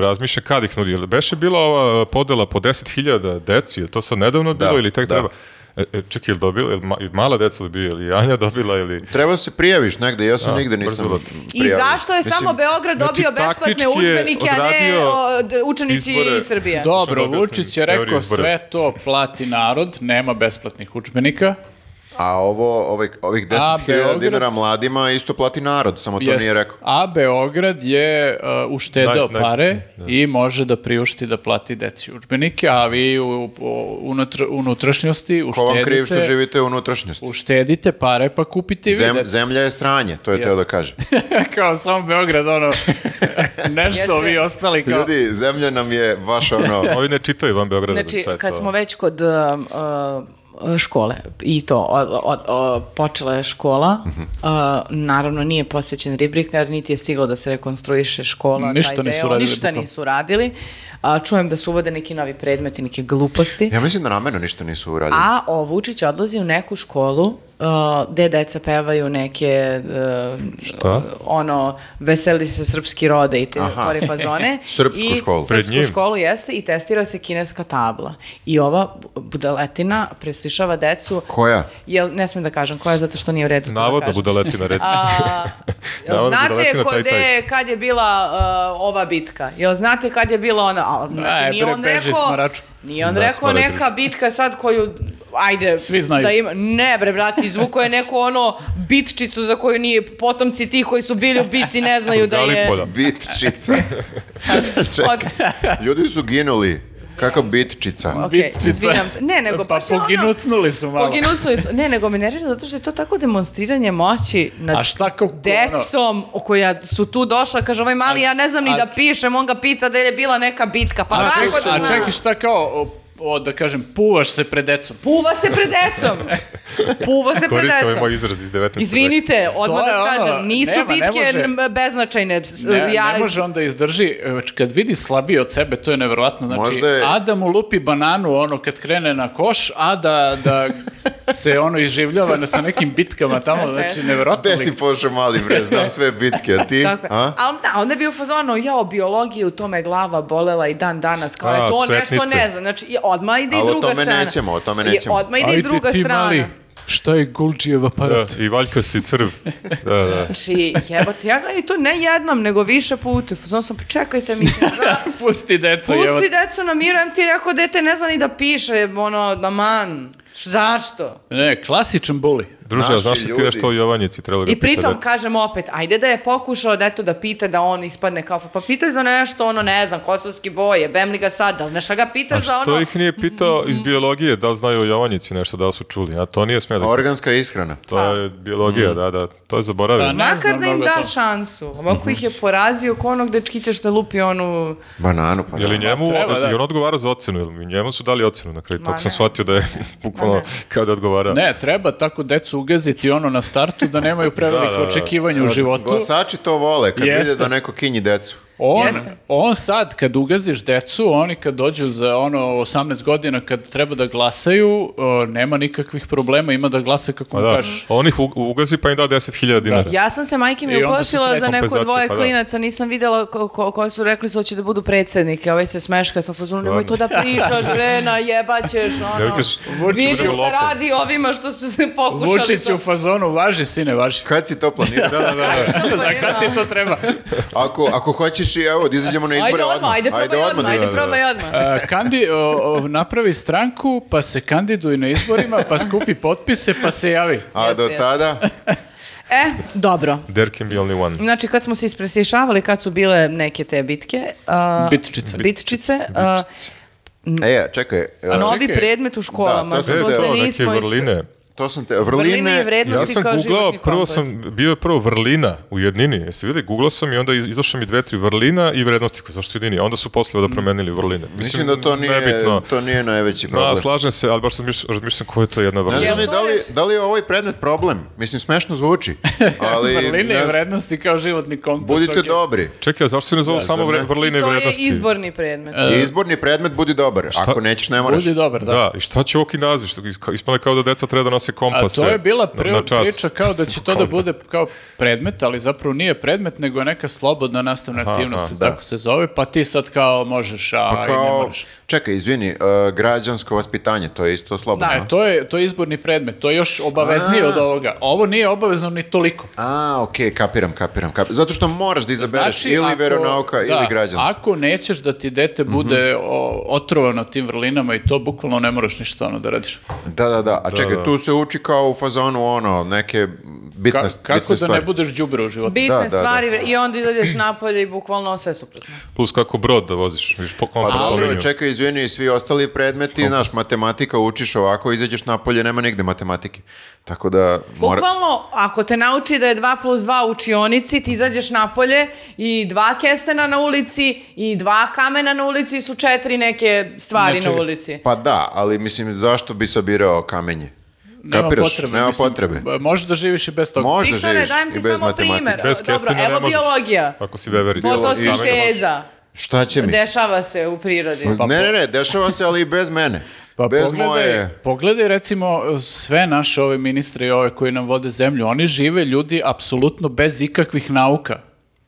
[SPEAKER 4] razmišlja kad ih nudi. Jel Beše bila ova podela po 10.000 deci, je to sad nedavno bilo ili tek
[SPEAKER 2] da.
[SPEAKER 4] treba? E, e, čekaj, je dobila, je mala deca dobila, ili Anja dobila, ili...
[SPEAKER 2] Treba da se prijaviš negde, ja sam
[SPEAKER 4] Da,
[SPEAKER 2] nigde nisam
[SPEAKER 4] brzo da-
[SPEAKER 3] I
[SPEAKER 2] prijavljen.
[SPEAKER 3] zašto je samo Beograd
[SPEAKER 4] znači,
[SPEAKER 3] dobio besplatne
[SPEAKER 4] taktički je
[SPEAKER 3] udžbenike, a ne
[SPEAKER 4] odradio
[SPEAKER 3] o, d- učenici
[SPEAKER 4] izbore.
[SPEAKER 3] iz Srbije?
[SPEAKER 5] Dobro,
[SPEAKER 4] Što da objasnim,
[SPEAKER 5] Vučić je
[SPEAKER 4] teoriju
[SPEAKER 5] rekao
[SPEAKER 4] izbora.
[SPEAKER 5] sve to plati narod, nema besplatnih učbenika.
[SPEAKER 2] A ovo, ovih, ovih 10.000
[SPEAKER 5] Beograd?
[SPEAKER 2] dinara mladima isto plati narod, samo to
[SPEAKER 5] Jeste.
[SPEAKER 2] nije rekao.
[SPEAKER 5] A Beograd je uh,
[SPEAKER 4] Naj-
[SPEAKER 5] uštedeo
[SPEAKER 4] naj-
[SPEAKER 5] pare i može da priušti da plati deci učbenike, a vi u, u, unutr- unutrašnjosti
[SPEAKER 2] Ko vam kriv što
[SPEAKER 5] uštedite,
[SPEAKER 2] živite u unutrašnjosti?
[SPEAKER 5] uštedite pare pa kupite i vi
[SPEAKER 2] Zem-
[SPEAKER 5] deci.
[SPEAKER 2] zemlja je sranje, to je teo da
[SPEAKER 5] Jeste.
[SPEAKER 2] kaže.
[SPEAKER 5] kao samo Beograd, ono, nešto
[SPEAKER 3] Jeste.
[SPEAKER 5] vi ostali kao...
[SPEAKER 2] Ljudi, zemlja nam je vaš ono...
[SPEAKER 4] Ovi ne čitaju van Beograda.
[SPEAKER 3] Znači,
[SPEAKER 4] sve
[SPEAKER 3] kad
[SPEAKER 4] to.
[SPEAKER 3] smo već kod um, uh, e, škole i to od, od, o, počela je škola
[SPEAKER 4] Mhm.
[SPEAKER 3] E, naravno nije posvećen ribnikar niti je stiglo da se rekonstruiše škola
[SPEAKER 5] Ništa
[SPEAKER 3] taj
[SPEAKER 5] nisu
[SPEAKER 3] deo,
[SPEAKER 5] radili
[SPEAKER 3] ništa
[SPEAKER 5] bukvalno.
[SPEAKER 3] nisu radili A, čujem da su uvode neki novi predmeti neke gluposti
[SPEAKER 2] Ja mislim da namjerno ništa nisu uradili.
[SPEAKER 3] a o, Vučić odlazi u neku školu uh, gde deca pevaju neke uh,
[SPEAKER 4] Šta?
[SPEAKER 3] ono veseli se srpski rode i te
[SPEAKER 2] Aha.
[SPEAKER 3] kore fazone.
[SPEAKER 2] Srpsku
[SPEAKER 3] I
[SPEAKER 2] školu.
[SPEAKER 4] Pred
[SPEAKER 3] Srpsku
[SPEAKER 4] njim.
[SPEAKER 3] školu jeste i testira se kineska tabla. I ova bu- budaletina preslišava decu.
[SPEAKER 2] Koja?
[SPEAKER 3] Jel, ne smijem da kažem koja, zato što nije u redu to da
[SPEAKER 4] Navodno
[SPEAKER 3] kažem.
[SPEAKER 4] budaletina, reci.
[SPEAKER 3] A, jel
[SPEAKER 4] Navodno
[SPEAKER 3] znate
[SPEAKER 4] budaletina,
[SPEAKER 3] ko,
[SPEAKER 4] taj, taj.
[SPEAKER 3] gde- kad je bila uh, ova bitka? Jel znate kad je bila ona? A, znači,
[SPEAKER 5] E,
[SPEAKER 3] nije
[SPEAKER 5] bre,
[SPEAKER 3] on
[SPEAKER 5] beži,
[SPEAKER 3] rekao,
[SPEAKER 5] smaraču.
[SPEAKER 3] nije on
[SPEAKER 4] Da,
[SPEAKER 3] rekao
[SPEAKER 4] smarač.
[SPEAKER 3] neka bitka sad koju ajde
[SPEAKER 5] Svi znaju.
[SPEAKER 3] da ima ne bre brati izvuko je neko ono bitčicu za koju nije potomci tih koji su bili u bici ne znaju da je
[SPEAKER 4] Galipolja.
[SPEAKER 2] Bitčica. Čekaj, ljudi su ginuli. Kako bitčica?
[SPEAKER 3] Ok,
[SPEAKER 5] Bitčica.
[SPEAKER 3] izvinjam se. Ne, nego
[SPEAKER 5] pa
[SPEAKER 3] baš je ono-
[SPEAKER 5] poginucnuli su malo.
[SPEAKER 3] Poginucnuli su. Ne, nego me nervira zato što je to tako demonstriranje moći nad
[SPEAKER 5] A šta kako ono-
[SPEAKER 3] decom o koja su tu došla, kaže ovaj mali, ja ne znam ni
[SPEAKER 5] a-
[SPEAKER 3] da pišem, on ga pita da je bila neka bitka, pa
[SPEAKER 5] A
[SPEAKER 3] kako
[SPEAKER 5] čekaj,
[SPEAKER 3] da
[SPEAKER 5] a
[SPEAKER 3] zna?
[SPEAKER 5] čekaj šta kao, o, o, da kažem, puvaš se pred decom.
[SPEAKER 3] Puva se pred decom. Puva se pred
[SPEAKER 2] ovaj
[SPEAKER 4] Koristio je moj
[SPEAKER 3] decom.
[SPEAKER 4] izraz iz 19.
[SPEAKER 3] Izvinite, odmah
[SPEAKER 5] To je
[SPEAKER 3] da
[SPEAKER 5] ono,
[SPEAKER 3] kažem, nisu
[SPEAKER 5] nema, ne
[SPEAKER 3] bitke
[SPEAKER 5] može.
[SPEAKER 3] n- beznačajne. S-
[SPEAKER 5] Ne,
[SPEAKER 3] ja-
[SPEAKER 5] ne može onda izdrži, e, kad vidi slabiji od sebe, to je nevjerojatno. Znači,
[SPEAKER 2] Možda je-
[SPEAKER 5] Ada mu lupi bananu ono kad krene na koš, a da, da se ono iživljava na- sa nekim bitkama tamo, znači nevjerojatno.
[SPEAKER 2] Gde si
[SPEAKER 5] lik.
[SPEAKER 2] pošao mali bre, znam sve bitke, a ti?
[SPEAKER 3] Tako je.
[SPEAKER 2] A?
[SPEAKER 3] Ali da, onda je bio u fazonu, jao, biologiju, to me glava bolela i dan danas, kao
[SPEAKER 4] A,
[SPEAKER 3] je to nešto
[SPEAKER 4] cvetnice.
[SPEAKER 3] ne znam. Znači, i odmah ide
[SPEAKER 2] Ali
[SPEAKER 3] i
[SPEAKER 2] o
[SPEAKER 3] druga
[SPEAKER 2] tome
[SPEAKER 3] strana.
[SPEAKER 2] nećemo, o tome nećemo.
[SPEAKER 3] I odmah ide i
[SPEAKER 5] Ajde
[SPEAKER 3] druga
[SPEAKER 5] ti
[SPEAKER 3] strana.
[SPEAKER 5] mali, šta je Gulđijev
[SPEAKER 4] Da,
[SPEAKER 5] aparat?
[SPEAKER 4] i valjkasti crv. Da, da.
[SPEAKER 3] Znači, jebote, ja gledam i to ne jednom, nego više puta. Znači sam, pa čekajte, mislim, da,
[SPEAKER 5] Pusti deco, evo.
[SPEAKER 3] pusti decu na miru, em ti rekao, dete ne zna ni da piše, ono, da man, š- zašto?
[SPEAKER 5] Ne, klasičan buli.
[SPEAKER 4] Druže, a
[SPEAKER 2] Naši
[SPEAKER 4] znaš li ti
[SPEAKER 2] ljudi.
[SPEAKER 4] nešto o Jovanjici da trebalo ga
[SPEAKER 3] I pritom,
[SPEAKER 4] pitati?
[SPEAKER 3] kažem opet, ajde da je pokušao da eto da pita da on ispadne kao, pa pitaj za nešto, ono, ne znam, kosovski boje, bem li ga sad, ali nešto ga
[SPEAKER 4] A
[SPEAKER 3] pitaš za ono... Mm,
[SPEAKER 4] što ih nije pitao iz biologije da li znaju o Jovanjici nešto, da li su čuli? A to nije smio da
[SPEAKER 2] Organska ishrana.
[SPEAKER 4] To je biologija, da, da. To je
[SPEAKER 5] Pa
[SPEAKER 4] zaboravio.
[SPEAKER 5] ne.
[SPEAKER 3] Makar
[SPEAKER 5] znam
[SPEAKER 3] da im
[SPEAKER 5] mnogo
[SPEAKER 3] da
[SPEAKER 5] to.
[SPEAKER 3] šansu. Ovako ih je porazio ko onog dečkića što lupi onu...
[SPEAKER 2] Bananu, pa
[SPEAKER 4] Je li
[SPEAKER 2] da.
[SPEAKER 4] njemu,
[SPEAKER 5] treba, da.
[SPEAKER 4] je on odgovara za ocenu, je li njemu su dali ocenu na kraju,
[SPEAKER 3] Ma
[SPEAKER 4] tako
[SPEAKER 3] ne.
[SPEAKER 4] sam shvatio da je bukvalno kao da odgovara.
[SPEAKER 5] Ne, treba tako decu ugaziti ono na startu da nemaju preveliko
[SPEAKER 4] Da, da, da.
[SPEAKER 5] očekivanja u životu.
[SPEAKER 2] Glasači to vole, kad
[SPEAKER 5] Jeste.
[SPEAKER 2] vide da neko kinji decu.
[SPEAKER 5] On,
[SPEAKER 3] Jeste.
[SPEAKER 5] on sad kad ugaziš decu, oni kad dođu za ono 18 godina kad treba da glasaju, o, nema nikakvih problema, ima da glasa kako
[SPEAKER 4] Pa
[SPEAKER 5] mu
[SPEAKER 4] da,
[SPEAKER 5] kažeš.
[SPEAKER 4] on ih u- ugazi pa im da 10.000 dinara.
[SPEAKER 3] Ja sam se majke
[SPEAKER 5] I
[SPEAKER 3] mi
[SPEAKER 5] onda su
[SPEAKER 3] uplašila
[SPEAKER 5] sve
[SPEAKER 3] za neko
[SPEAKER 4] kompenzacije,
[SPEAKER 3] dvoje
[SPEAKER 4] pa da.
[SPEAKER 3] klinaca, nisam vidjela ko, ko- koji su rekli su hoće da budu predsjednike, ovaj se smeška, sam pozorno, nemoj to da pričaš, vrena, jebaćeš,
[SPEAKER 4] Ne
[SPEAKER 3] ono.
[SPEAKER 4] kažeš,
[SPEAKER 3] Vidiš
[SPEAKER 4] Vučiću,
[SPEAKER 3] šta
[SPEAKER 4] lopov.
[SPEAKER 3] radi ovima što su se pokušali.
[SPEAKER 5] Vučić
[SPEAKER 3] to-
[SPEAKER 5] u fazonu, važi sine, važi.
[SPEAKER 2] Kad si to planirao?
[SPEAKER 4] Da, da, da, da.
[SPEAKER 3] Pa
[SPEAKER 5] Za kad ti to treba?
[SPEAKER 2] Ako, ako hoćeš i evo, da izađemo na izbore
[SPEAKER 3] Ajde odmah, ajde probaj odmah, ajde
[SPEAKER 2] da, da, da.
[SPEAKER 3] probaj odmah.
[SPEAKER 5] A, kandi, o, o, napravi stranku, pa se kandiduj na izborima, pa skupi potpise, pa se javi.
[SPEAKER 2] A do
[SPEAKER 3] Jeste,
[SPEAKER 2] tada,
[SPEAKER 3] E, dobro.
[SPEAKER 4] There can be only one.
[SPEAKER 3] Znači, kad smo se ispresišavali, kad su bile neke te bitke, a,
[SPEAKER 5] Bitčice.
[SPEAKER 3] bitčice, a,
[SPEAKER 2] e, čekaj, e,
[SPEAKER 3] Mm-hmm. novi
[SPEAKER 5] čekaj.
[SPEAKER 3] predmet u školama,
[SPEAKER 2] Da,
[SPEAKER 3] to,
[SPEAKER 2] to je
[SPEAKER 4] E,
[SPEAKER 3] se
[SPEAKER 4] to, neke
[SPEAKER 3] nismo ispre-
[SPEAKER 4] vrline.
[SPEAKER 2] to sam te,
[SPEAKER 3] Vrline i
[SPEAKER 2] vrline,
[SPEAKER 4] Ja
[SPEAKER 3] vrednosti
[SPEAKER 4] sam
[SPEAKER 3] kao
[SPEAKER 4] googlao,
[SPEAKER 3] životni
[SPEAKER 4] prvo
[SPEAKER 3] kompleks.
[SPEAKER 4] sam, bio je prvo vrlina u jednini, jesi vidi, googlao sam i onda iz- izašlo mi dve, tri vrlina i vrednosti koje zašto jedini, onda su posle
[SPEAKER 3] Mm.
[SPEAKER 4] da promenili vrline.
[SPEAKER 2] mislim da to nije,
[SPEAKER 4] nebitno.
[SPEAKER 2] to nije najveći
[SPEAKER 4] Da,
[SPEAKER 2] problem.
[SPEAKER 4] slažem se, ali baš sam miš- razmišljam koja je to jedna vrlina.
[SPEAKER 2] Ne znam
[SPEAKER 3] Jel
[SPEAKER 2] ni
[SPEAKER 3] to
[SPEAKER 2] da li,
[SPEAKER 3] još-
[SPEAKER 2] da li je ovaj predmet problem. Mislim, smešno zvuči, ali
[SPEAKER 5] Vrline i
[SPEAKER 2] ne znam,
[SPEAKER 5] vrednosti kao životni kompas.
[SPEAKER 2] budite
[SPEAKER 5] ok.
[SPEAKER 2] dobri.
[SPEAKER 4] Čekaj, a zašto se ne zove samo
[SPEAKER 2] zar ne?
[SPEAKER 4] vre- vrline i
[SPEAKER 3] To je
[SPEAKER 4] vrednosti?
[SPEAKER 3] izborni predmet.
[SPEAKER 2] I izborni predmet budi dobar. Ako nećeš, ne moraš.
[SPEAKER 5] Budi dobar, da.
[SPEAKER 4] Da, i šta će ovaki naziv? Što- ka- Ispane kao da deca treba da nose
[SPEAKER 5] A
[SPEAKER 4] kompase.
[SPEAKER 5] Pa to je bila
[SPEAKER 4] na-
[SPEAKER 5] pri-
[SPEAKER 4] na čas.
[SPEAKER 5] priča kao da će to da bude kao predmet, ali zapravo nije predmet, nego je neka slobodna nastavna aktivnost,
[SPEAKER 4] aha,
[SPEAKER 2] da.
[SPEAKER 5] tako se zove, pa ti sad kao možeš, a
[SPEAKER 2] Pa
[SPEAKER 5] i ne
[SPEAKER 2] kao,
[SPEAKER 5] možeš.
[SPEAKER 2] čekaj, izvini, e, građansko vaspitanje, to je isto slobodno.
[SPEAKER 5] E, to je, to je izborni predmet, to je još obaveznije
[SPEAKER 2] A.
[SPEAKER 5] od ovoga. Ovo nije obavezno ni toliko.
[SPEAKER 2] A, okej, kapiram, kapiram, kapiram. Zato što moraš da izabereš ili
[SPEAKER 5] Znači, ako-
[SPEAKER 2] veronauka
[SPEAKER 5] da,
[SPEAKER 2] ili Mhm. građansko.
[SPEAKER 5] Ako nećeš da ti dete bude o- otrovano tim vrlinama i to bukvalno ne moraš ništa ono da radiš.
[SPEAKER 2] Da, da, da. A čekaj,
[SPEAKER 4] da.
[SPEAKER 2] tu se uči kao u fazonu ono, neke bitna,
[SPEAKER 5] Ka- kako
[SPEAKER 2] bitna
[SPEAKER 5] da
[SPEAKER 2] stvar.
[SPEAKER 5] ne budeš đubre u životu?
[SPEAKER 3] Bitne
[SPEAKER 2] Da, da, da.
[SPEAKER 3] stvari i onda ideš napolje i bukvalno sve suprotno.
[SPEAKER 4] Plus kako brod da voziš, viš po
[SPEAKER 2] Pa
[SPEAKER 4] kompastu
[SPEAKER 2] dobro,
[SPEAKER 4] liniju.
[SPEAKER 2] čekaj, izvini, svi ostali predmeti, znaš, matematika učiš ovako, izađeš napolje, nema nigde matematike. Tako da mora...
[SPEAKER 3] Bukvalno, ako te nauči da je 2 plus 2 u učionici, ti izađeš napolje i dva kestena na ulici i dva kamena na ulici su četiri neke stvari
[SPEAKER 5] Znači,
[SPEAKER 3] na ulici.
[SPEAKER 2] Pa da, ali mislim, zašto bi sabirao kamenje?
[SPEAKER 5] Nema
[SPEAKER 2] Kapiraš?
[SPEAKER 5] potrebe.
[SPEAKER 2] Nema
[SPEAKER 5] mislim,
[SPEAKER 2] potrebe.
[SPEAKER 5] b- Možeš da živiš i bez toga.
[SPEAKER 2] Možda
[SPEAKER 3] Viktore,
[SPEAKER 2] živiš
[SPEAKER 3] dajem
[SPEAKER 2] i
[SPEAKER 3] ti
[SPEAKER 2] bez
[SPEAKER 3] samo
[SPEAKER 2] matematike.
[SPEAKER 3] primer.
[SPEAKER 4] Bez
[SPEAKER 3] Dobro,
[SPEAKER 4] kestena ne
[SPEAKER 3] evo
[SPEAKER 4] možeš. Pa
[SPEAKER 3] biologija.
[SPEAKER 4] Ako si veverica. Pa
[SPEAKER 3] Fotosinteza.
[SPEAKER 2] Šta će mi?
[SPEAKER 3] Dešava se u prirodi.
[SPEAKER 2] ne, ne, ne, Pa, dešava se, ali i bez mene.
[SPEAKER 5] Pa
[SPEAKER 2] bez moje...
[SPEAKER 5] Pogledaj recimo e, sve naše ove ministre i ove koji nam vode zemlju. Oni žive ljudi apsolutno bez ikakvih nauka.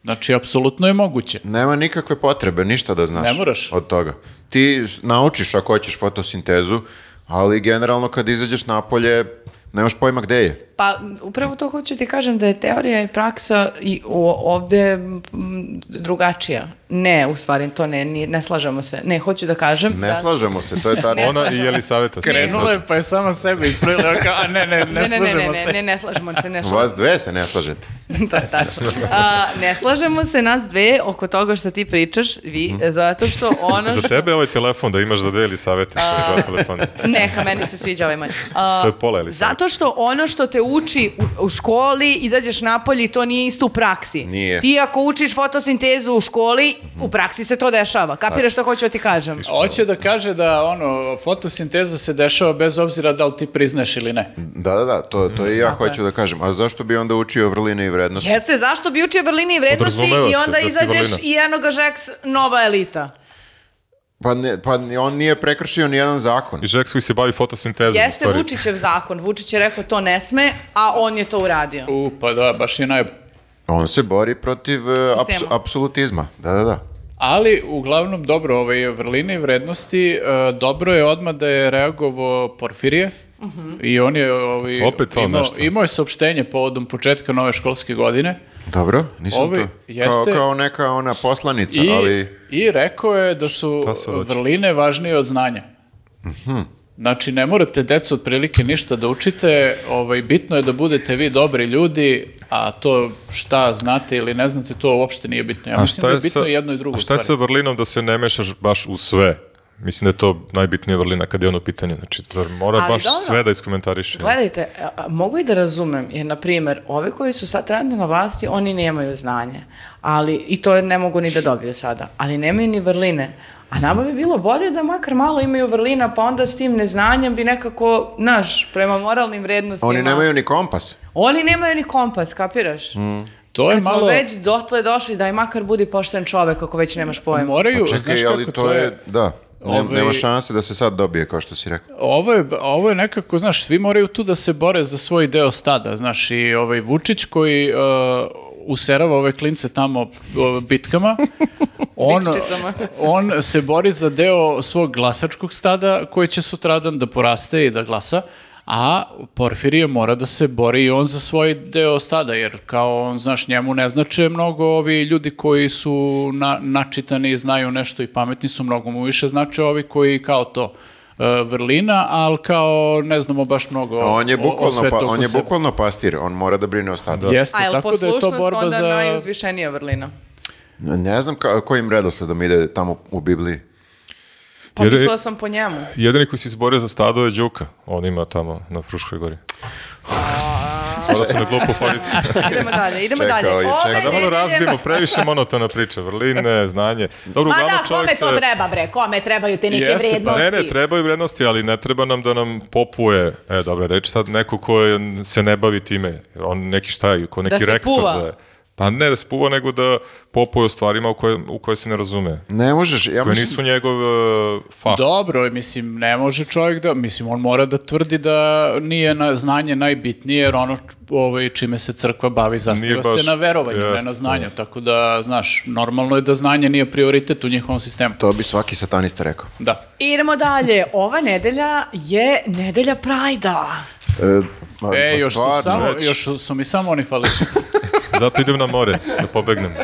[SPEAKER 5] Znači, apsolutno je moguće.
[SPEAKER 2] Nema nikakve potrebe, ništa da znaš
[SPEAKER 5] Ne moraš.
[SPEAKER 2] od toga. Ti s- naučiš ako hoćeš fotosintezu, ali generalno kad izađeš napolje, nemaš pojma gde je.
[SPEAKER 3] Pa upravo to hoću ti kažem da je teorija i praksa i o, ovde m, drugačija. Ne, u stvari to ne, nije- ne slažemo se. Ne, hoću da kažem.
[SPEAKER 2] Ne
[SPEAKER 3] da,
[SPEAKER 2] slažemo se, to je tačno.
[SPEAKER 4] Ona i Elisaveta. se ne
[SPEAKER 5] Krenula
[SPEAKER 4] slažu.
[SPEAKER 5] je pa je sama sebe ispravila. Evo kao, A ne, ne, ne,
[SPEAKER 3] Ne, ne, ne, ne,
[SPEAKER 5] slažemo
[SPEAKER 3] ne,
[SPEAKER 5] se.
[SPEAKER 3] ne, ne slažemo se, ne slažemo
[SPEAKER 2] Vas dve se ne slažete.
[SPEAKER 3] to je tačno. A, ne slažemo se nas dve oko toga što ti pričaš, vi, zato što ono
[SPEAKER 4] Mhm. Za
[SPEAKER 3] što...
[SPEAKER 4] tebe je ovaj telefon da imaš za dve Elisavete, što je dva telefona.
[SPEAKER 3] Neka, meni se sviđa ovaj manj. A,
[SPEAKER 4] To je pola Elisaveta.
[SPEAKER 3] Zato što ono što te uči u, u školi, izađeš napolje i to nije isto u praksi.
[SPEAKER 2] Nije.
[SPEAKER 3] Ti ako učiš fotosintezu u školi, u praksi se to dešava. Kapiraš što hoću da ti kažem?
[SPEAKER 5] Hoće da kaže da ono, fotosinteza se dešava bez obzira da li ti priznaš ili ne.
[SPEAKER 2] Da, da, da, to, to i ja
[SPEAKER 3] Tako je.
[SPEAKER 2] hoću da kažem. A zašto bi onda učio vrline i vrednosti?
[SPEAKER 3] Jeste, zašto bi učio vrline i vrednosti
[SPEAKER 4] Podrazumeva
[SPEAKER 3] i
[SPEAKER 4] se
[SPEAKER 3] onda
[SPEAKER 4] da si
[SPEAKER 3] izađeš
[SPEAKER 4] vrlina.
[SPEAKER 3] i enoga žeks nova elita?
[SPEAKER 2] Pa, ne, pa ni- on nije prekršio ni jedan zakon.
[SPEAKER 4] I Žeks koji se bavi fotosintezom. u
[SPEAKER 3] Jeste
[SPEAKER 4] stvari.
[SPEAKER 3] Vučićev zakon. Vučić je rekao to ne sme, a on je to uradio.
[SPEAKER 5] U, pa da, baš je naj...
[SPEAKER 2] On se bori protiv e,
[SPEAKER 3] Sistema.
[SPEAKER 2] apsu- apsolutizma. Da, da, da.
[SPEAKER 5] Ali, uglavnom, dobro, ovaj, vrline i vrednosti, e, dobro je odmah da je reagovao Porfirije,
[SPEAKER 3] Mhm.
[SPEAKER 5] I on je ovaj,
[SPEAKER 4] Opet on
[SPEAKER 5] imao,
[SPEAKER 4] nešto.
[SPEAKER 5] imao je saopštenje povodom početka nove školske godine
[SPEAKER 2] Dobro, nisam
[SPEAKER 5] Ovi-
[SPEAKER 2] to.
[SPEAKER 5] jeste-
[SPEAKER 2] Kao, kao neka ona poslanica,
[SPEAKER 5] i,
[SPEAKER 2] ali...
[SPEAKER 5] i rekao je da su
[SPEAKER 4] Šta sad hoće? Mhm.
[SPEAKER 5] vrline važnije od znanja. Znači, ne morate decu otprilike ništa da učite, ovaj, bitno je da budete vi dobri ljudi, a to šta znate ili ne znate, to uopšte nije bitno. Ja
[SPEAKER 4] A
[SPEAKER 5] mislim
[SPEAKER 4] šta
[SPEAKER 5] da je
[SPEAKER 4] je,
[SPEAKER 5] bitno
[SPEAKER 4] sa,
[SPEAKER 5] i jedno i drugo.
[SPEAKER 4] a šta je
[SPEAKER 5] stvari.
[SPEAKER 4] sa vrlinom da se ne mešaš baš u sve? Mislim da je to najbitnija vrlina kad je ono pitanje. Znači, zar mora
[SPEAKER 3] Ali
[SPEAKER 4] baš
[SPEAKER 3] dobro.
[SPEAKER 4] sve da iskomentariše?
[SPEAKER 3] Gledajte, a- a mogu i da razumem, jer, na primjer, ove koji su sad trenutno na vlasti, oni nemaju znanje, ali, i to ne mogu ni da dobiju sada, ali nemaju ni vrline. A nama bi bilo bolje da makar malo imaju vrlina, pa onda s tim neznanjem bi nekako, znaš, prema moralnim vrednostima...
[SPEAKER 2] Oni nemaju Mm. ni kompas.
[SPEAKER 3] Oni nemaju ni kompas, kapiraš?
[SPEAKER 5] To je
[SPEAKER 3] Kad smo
[SPEAKER 5] malo...
[SPEAKER 3] već dotle došli, daj makar budi pošten čovek ako već nemaš pojma.
[SPEAKER 5] Moraju,
[SPEAKER 2] Pa Čekaj,
[SPEAKER 5] znaš
[SPEAKER 2] ali
[SPEAKER 5] kako
[SPEAKER 2] to je... Da, ne-
[SPEAKER 5] Ovaj-
[SPEAKER 2] nema šanse da se sad dobije, kao što si rekao.
[SPEAKER 5] Ovo je, ovo je nekako, znaš, svi moraju tu da se bore za svoj deo stada, znaš, i ovaj Vučić koji uh, userava ove klince tamo uh, bitkama, on,
[SPEAKER 3] Bitkicama.
[SPEAKER 5] on se bori za deo svog glasačkog stada koji će sutradan da poraste i da glasa, a Porfirije mora da se bori i on za svoj deo stada, jer kao on, znaš, njemu ne znače mnogo ovi ljudi koji su na, načitani i znaju nešto i pametni su, mnogo mu više znače ovi koji kao to, e, vrlina, ali kao ne znamo baš mnogo o,
[SPEAKER 2] On je
[SPEAKER 5] o
[SPEAKER 2] bukvalno, pa,
[SPEAKER 5] svetu
[SPEAKER 2] on
[SPEAKER 5] oko
[SPEAKER 2] je
[SPEAKER 5] sebe.
[SPEAKER 2] bukvalno pastir, on mora da brine o stadu.
[SPEAKER 5] Jeste,
[SPEAKER 3] A je li
[SPEAKER 5] tako da je to
[SPEAKER 3] poslušnost
[SPEAKER 5] borba
[SPEAKER 3] onda
[SPEAKER 5] za...
[SPEAKER 3] najuzvišenija vrlina?
[SPEAKER 2] Ne znam ka, kojim redosledom ide tamo u Bibliji.
[SPEAKER 3] Pa
[SPEAKER 4] Jer je-
[SPEAKER 3] mislila sam po njemu.
[SPEAKER 4] Jedini koji se izborio za stado je Đuka. On ima tamo na Fruškoj gori. Hvala se na glupu foricu.
[SPEAKER 3] Idemo dalje, idemo
[SPEAKER 2] Čekao
[SPEAKER 3] dalje. Ovaj
[SPEAKER 2] je,
[SPEAKER 3] Ove
[SPEAKER 2] čekao.
[SPEAKER 4] A da malo
[SPEAKER 3] nedelje-
[SPEAKER 4] razbijemo, previše monotona priča, vrline, znanje. Dobro,
[SPEAKER 3] Ma
[SPEAKER 4] uglavnom
[SPEAKER 3] da, kome
[SPEAKER 4] čovjek
[SPEAKER 3] to
[SPEAKER 4] se-
[SPEAKER 3] treba bre, kome trebaju te neke
[SPEAKER 5] Jeste, pa-
[SPEAKER 3] vrijednosti?
[SPEAKER 4] Ne, ne, trebaju vrednosti, ali ne treba nam da nam popuje, e, dobra reč, sad neko ko je- se ne bavi time, on neki šta je, ko neki
[SPEAKER 3] se
[SPEAKER 4] rektor.
[SPEAKER 3] puva.
[SPEAKER 4] Da je. Pa ne da se puva, nego da popuje o stvarima u koje, u koje se ne razume.
[SPEAKER 2] Ne možeš, ja
[SPEAKER 4] Koje
[SPEAKER 2] mislim...
[SPEAKER 4] nisu njegov e, fah.
[SPEAKER 5] Dobro, mislim, ne može čovjek da, mislim, on mora da tvrdi da nije na, znanje najbitnije, jer ono č- ovaj, čime se crkva bavi zasniva
[SPEAKER 4] Nije baš-
[SPEAKER 5] se na verovanju, ne
[SPEAKER 4] jeste,
[SPEAKER 5] na znanju, tako da, znaš, normalno je da znanje nije prioritet u njihovom sistemu.
[SPEAKER 2] To bi svaki satanista rekao.
[SPEAKER 5] Da.
[SPEAKER 3] Idemo dalje, ova nedelja je nedelja Prajda.
[SPEAKER 2] E, pa-
[SPEAKER 5] E,
[SPEAKER 2] pa
[SPEAKER 5] još, su
[SPEAKER 2] stvarno.
[SPEAKER 5] samo,
[SPEAKER 4] već.
[SPEAKER 5] još su mi samo oni falili.
[SPEAKER 4] Zato idem na more, da pobegnem.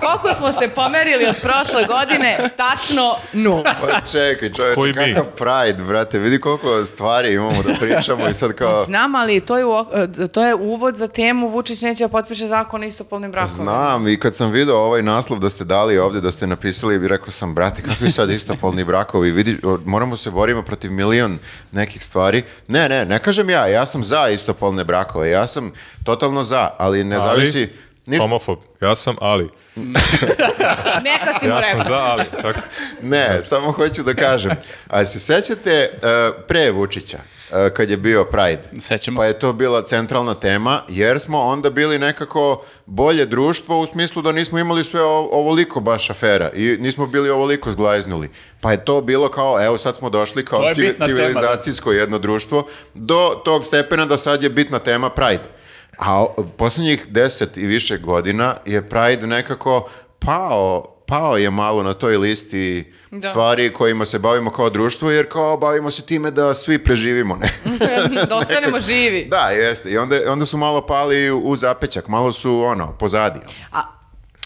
[SPEAKER 3] Koliko smo se pomerili od prošle godine? Tačno nula.
[SPEAKER 2] Pa čekaj,
[SPEAKER 4] Koji
[SPEAKER 2] čovječe,
[SPEAKER 4] mi?
[SPEAKER 2] kakav pride, brate, vidi koliko stvari imamo da pričamo i sad kao...
[SPEAKER 3] Znam, ali to je, u ok- to je uvod za temu Vučić neće da potpiše zakon o istopolnim brakovima.
[SPEAKER 2] Znam, i kad sam video ovaj naslov da ste dali ovdje, da ste napisali, bi rekao sam, brate, kakvi sad istopolni brakovi, vidi, o, moramo se borimo protiv milion nekih stvari. Ne, ne, ne kažem ja, ja sam za istopolne brakove, ja sam totalno za, ali ne zavisi... Niš,
[SPEAKER 4] Homofob. Ja sam ali.
[SPEAKER 3] Neka si mu
[SPEAKER 4] Ja sam
[SPEAKER 3] rekao.
[SPEAKER 4] za ali. Tako.
[SPEAKER 2] ne, samo hoću da kažem. A se sećate uh, pre Vučića, uh, kad je bio Pride?
[SPEAKER 5] Sećamo
[SPEAKER 2] Pa
[SPEAKER 5] se.
[SPEAKER 2] je to bila centralna tema, jer smo onda bili nekako bolje društvo u smislu da nismo imali sve o- ovoliko baš afera i nismo bili ovoliko zglajznuli. Pa je to bilo kao, evo sad smo došli kao
[SPEAKER 5] To je
[SPEAKER 2] civi-
[SPEAKER 5] bitna tema, da.
[SPEAKER 2] civilizacijsko jedno društvo do tog stepena da sad je bitna tema Pride. A o- posljednjih deset i više godina je Pride nekako pao, pao je malo na toj listi
[SPEAKER 3] Da.
[SPEAKER 2] stvari kojima se bavimo kao društvo, jer kao bavimo se time da svi preživimo, ne?
[SPEAKER 3] da ostanemo živi.
[SPEAKER 2] Da, jeste. I onda, onda su malo pali u- u zapećak, malo su ono, pozadi.
[SPEAKER 3] A,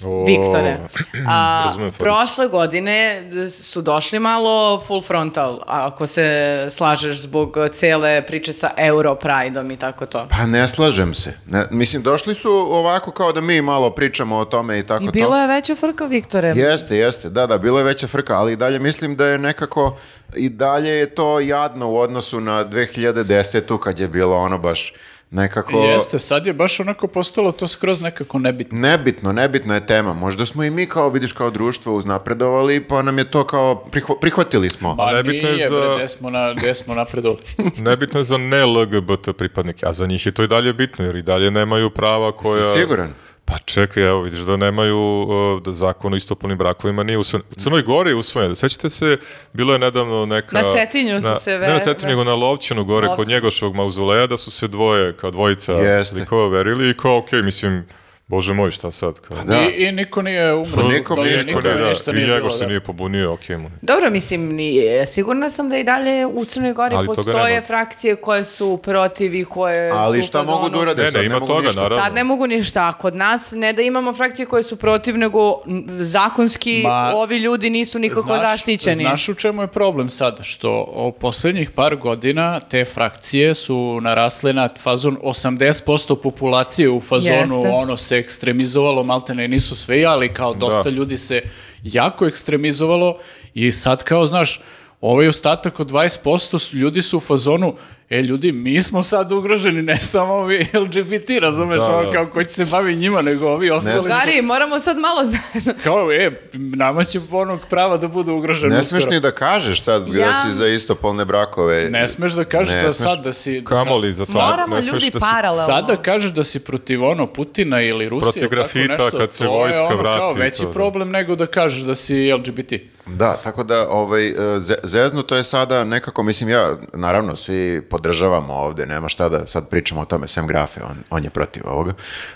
[SPEAKER 4] O,
[SPEAKER 3] Viktore, a,
[SPEAKER 4] razumem,
[SPEAKER 3] prošle godine d- su došli malo full frontal, ako se slažeš zbog cele priče sa Euro Prideom i tako to.
[SPEAKER 2] Pa ne slažem se. Ne, mislim, došli su ovako kao da mi malo pričamo o tome i tako
[SPEAKER 3] I
[SPEAKER 2] to.
[SPEAKER 3] bilo je veća frka, Viktore.
[SPEAKER 2] Jeste, jeste, da, da, bila je veća frka, ali i dalje mislim da je nekako, i dalje je to jadno u odnosu na 2010. kad je bilo ono baš nekako...
[SPEAKER 5] Jeste, sad je baš onako postalo to skroz nekako nebitno.
[SPEAKER 2] Nebitno, nebitna je tema. Možda smo i mi kao, vidiš, kao društvo uznapredovali, pa nam je to kao, prihva- prihvatili smo.
[SPEAKER 5] Pa
[SPEAKER 4] nebitno je
[SPEAKER 5] nije,
[SPEAKER 4] za-
[SPEAKER 5] bre, gde smo, na, gde smo napredovali.
[SPEAKER 4] Nebitno je za ne LGBT pripadnike, a za njih je to i dalje bitno, jer i dalje nemaju prava koja...
[SPEAKER 2] Si siguran?
[SPEAKER 4] Pa čekaj, evo vidiš da nemaju uh, da zakon o istopolnim brakovima nije usvojen. U Crnoj Gori je usvojen. Sećate se, bilo je nedavno neka...
[SPEAKER 3] Na Cetinju su se
[SPEAKER 4] Ne na
[SPEAKER 3] ve-
[SPEAKER 4] Cetinju, nego na Lovćinu gore, kod
[SPEAKER 3] Lovćinu.
[SPEAKER 4] njegoševog mauzoleja, da su se dvoje, kao dvojica
[SPEAKER 2] Jeste.
[SPEAKER 4] likova verili i kao, okej, mislim, bože moj, šta sad? Kao,
[SPEAKER 2] Da.
[SPEAKER 5] I, I niko nije umro.
[SPEAKER 2] Pa nikom
[SPEAKER 5] To je,
[SPEAKER 2] ništa,
[SPEAKER 5] nikome
[SPEAKER 2] ne, da.
[SPEAKER 5] ništa
[SPEAKER 4] I
[SPEAKER 5] nije
[SPEAKER 4] njegov
[SPEAKER 5] bilo,
[SPEAKER 4] se
[SPEAKER 5] da.
[SPEAKER 4] nije pobunio, okej mu.
[SPEAKER 3] Dobro, mislim, nije. sigurna sam da i dalje u Crnoj Gori
[SPEAKER 4] Ali toga
[SPEAKER 3] postoje
[SPEAKER 4] nema.
[SPEAKER 3] frakcije koje su protiv i koje su...
[SPEAKER 2] Ali
[SPEAKER 3] u
[SPEAKER 2] šta mogu
[SPEAKER 3] fazonu-
[SPEAKER 2] da urade?
[SPEAKER 4] Ne, ne,
[SPEAKER 2] Sad
[SPEAKER 4] ima
[SPEAKER 2] mogu
[SPEAKER 4] toga,
[SPEAKER 2] ništa.
[SPEAKER 4] naravno.
[SPEAKER 3] Sad ne mogu ništa, a kod nas ne da imamo frakcije koje su protiv, nego m, zakonski
[SPEAKER 5] Ma,
[SPEAKER 3] ovi ljudi nisu nikako zaštićeni.
[SPEAKER 5] Znaš u čemu je problem sada? Što o poslednjih par godina te frakcije su narasle na fazon 80% populacije u fazonu,
[SPEAKER 3] Jeste.
[SPEAKER 5] ono se ekstremizovalo, maltene nisu svi, ali kao dosta
[SPEAKER 4] Da.
[SPEAKER 5] ljudi se jako ekstremizovalo i sad kao, znaš, ovaj ostatak od 20% su- ljudi su u fazonu, e ljudi, mi smo sad ugroženi, ne samo ovi LGBT, razumeš,
[SPEAKER 4] Da,
[SPEAKER 5] ono
[SPEAKER 4] da.
[SPEAKER 5] kao ko će se bavi njima, nego ovi ostali. su-
[SPEAKER 3] Drugari, moramo sad malo zajedno.
[SPEAKER 5] kao, e, nama će onog prava da bude ugroženo.
[SPEAKER 2] Ne smeš ni da kažeš sad da
[SPEAKER 3] Ja-
[SPEAKER 2] si za istopolne brakove.
[SPEAKER 5] Ne smeš da kažeš
[SPEAKER 2] Ne
[SPEAKER 5] da
[SPEAKER 2] smeš.
[SPEAKER 5] sad da si... da
[SPEAKER 4] Kamoli za to.
[SPEAKER 3] Moramo
[SPEAKER 4] ne smeš
[SPEAKER 3] ljudi
[SPEAKER 4] da si-
[SPEAKER 5] sad-
[SPEAKER 3] paralelno.
[SPEAKER 5] Sada kažeš da si protiv ono Putina ili Rusije,
[SPEAKER 4] Protiv
[SPEAKER 5] ili tako
[SPEAKER 4] grafita,
[SPEAKER 5] nešto,
[SPEAKER 4] kad se
[SPEAKER 5] to je
[SPEAKER 4] vojska
[SPEAKER 5] ono Kao
[SPEAKER 4] vrati,
[SPEAKER 5] veći
[SPEAKER 4] to da.
[SPEAKER 5] problem nego da kažeš da si LGBT.
[SPEAKER 2] Da, tako da ovaj, e, ze- zezno to je sada nekako, mislim ja, naravno svi podržavamo ovde, nema šta da sad pričamo o tome, sem grafe, on, on je protiv ovoga,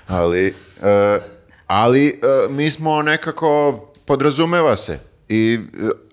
[SPEAKER 2] ali, e, ali e, mi smo nekako, podrazumeva se i e,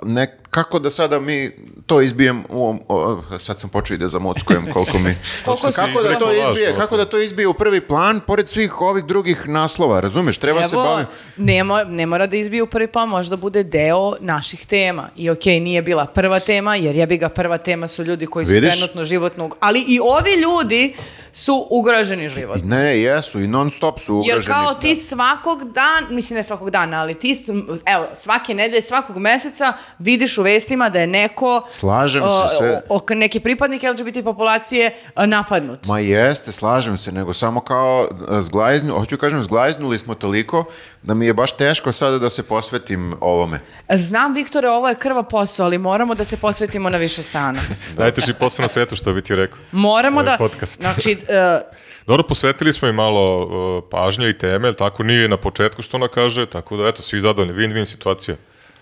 [SPEAKER 2] ne, kako da sada mi to izbijem u, om- o, sad sam počeo i da zamockujem koliko mi
[SPEAKER 3] Koliko si
[SPEAKER 2] kako da to
[SPEAKER 4] izrekao
[SPEAKER 2] izbije
[SPEAKER 4] lažno.
[SPEAKER 2] kako da to izbije u prvi plan pored svih ovih drugih naslova razumeš treba se
[SPEAKER 3] Evo,
[SPEAKER 2] baviti
[SPEAKER 3] ne, mo- ne mora da izbiju prvi pa možda bude deo naših tema. I okej, nije bila prva tema, jer jebi ga prva tema su ljudi koji su
[SPEAKER 2] Vidiš?
[SPEAKER 3] trenutno životno... ug- Ali i ovi ljudi su ugroženi život.
[SPEAKER 2] ne jesu i non stop su ugroženi
[SPEAKER 3] Jer kao ti svakog dana, mislim ne svakog dana, ali ti, s- m, evo, svake nedelje, svakog meseca vidiš u vestima da je neko,
[SPEAKER 2] Slažem
[SPEAKER 3] o-
[SPEAKER 2] se sve.
[SPEAKER 3] o- ok- neki pripadnik LGBT populacije a, napadnut.
[SPEAKER 2] Ma jeste, slažem se, nego samo kao e, zglajznu, hoću kažem, zglajznuli smo toliko da mi je baš teško sada da se posvetim ovome.
[SPEAKER 3] Znam, Viktore, ovo je krva posao, ali moramo da se posvetimo na više strana.
[SPEAKER 4] Da, Najteži posao na svetu, što bi ti rekao.
[SPEAKER 3] Moramo
[SPEAKER 4] Ovo
[SPEAKER 3] da...
[SPEAKER 4] je podcast.
[SPEAKER 3] Znači, e,
[SPEAKER 4] Dobro, posvetili smo i malo uh, pažnje i teme, jel tako nije na početku što ona kaže, tako da eto, svi zadovoljni, win-win situacija.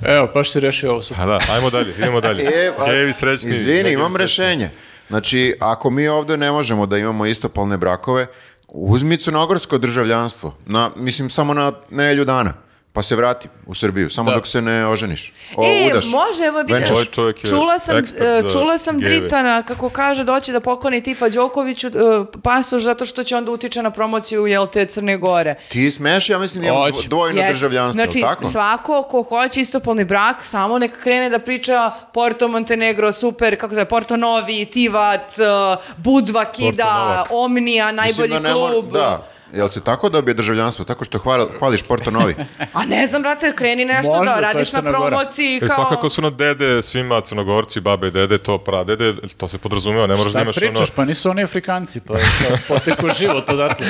[SPEAKER 5] Evo, baš si rešio ovo super.
[SPEAKER 4] Pa da, ajmo dalje, idemo dalje.
[SPEAKER 2] E, pa,
[SPEAKER 4] Gejevi srećni.
[SPEAKER 2] Izvini,
[SPEAKER 4] negevi
[SPEAKER 2] imam
[SPEAKER 4] srećni.
[SPEAKER 2] rešenje. Znači, ako mi ovdje ne možemo da imamo istopolne brakove, uzmi crnogorsko državljanstvo. Na, mislim, samo na nelju dana. pa se vrati u Srbiju, samo
[SPEAKER 5] Da.
[SPEAKER 2] dok se ne oženiš. O,
[SPEAKER 3] e,
[SPEAKER 2] udaš. Znači,
[SPEAKER 3] može, evo vidiš.
[SPEAKER 2] Venčaš.
[SPEAKER 4] Ovaj čovjek je
[SPEAKER 3] Čula sam,
[SPEAKER 4] ekspert
[SPEAKER 3] e,
[SPEAKER 4] za
[SPEAKER 3] čula sam
[SPEAKER 4] gejeve.
[SPEAKER 3] Britana kako kaže da hoće da pokloni tipa Đokoviću e, pasoš zato što će onda utiče na promociju jel te Crne Gore.
[SPEAKER 2] Ti smeš, ja mislim, imam
[SPEAKER 5] Hoću.
[SPEAKER 2] dvojno
[SPEAKER 3] Jes.
[SPEAKER 2] državljanstvo,
[SPEAKER 3] znači,
[SPEAKER 2] jel tako?
[SPEAKER 3] svako ko hoće istopolni brak, samo neka krene da priča Porto Montenegro, super, kako se zove, Porto Novi, Tivat, e, Budva Kida,
[SPEAKER 4] Novak.
[SPEAKER 3] Omnija, najbolji
[SPEAKER 2] Mislim da ne mora-
[SPEAKER 3] klub.
[SPEAKER 2] Da, jel se tako dobije državljanstvo? Tako što hvala, hvališ Porto Novi.
[SPEAKER 3] A ne znam, brate, kreni nešto
[SPEAKER 5] Možda, to
[SPEAKER 3] da
[SPEAKER 5] je
[SPEAKER 3] radiš na
[SPEAKER 5] Crna Gora.
[SPEAKER 3] promociji.
[SPEAKER 4] E,
[SPEAKER 3] kao...
[SPEAKER 4] svakako su na dede svima crnogorci, babe, dede, to pradede, to se podrazumeva, ne moraš da
[SPEAKER 5] Šta
[SPEAKER 4] imaš
[SPEAKER 5] pričaš, pa nisu oni Afrikanci, pa šta, poteku život odatle.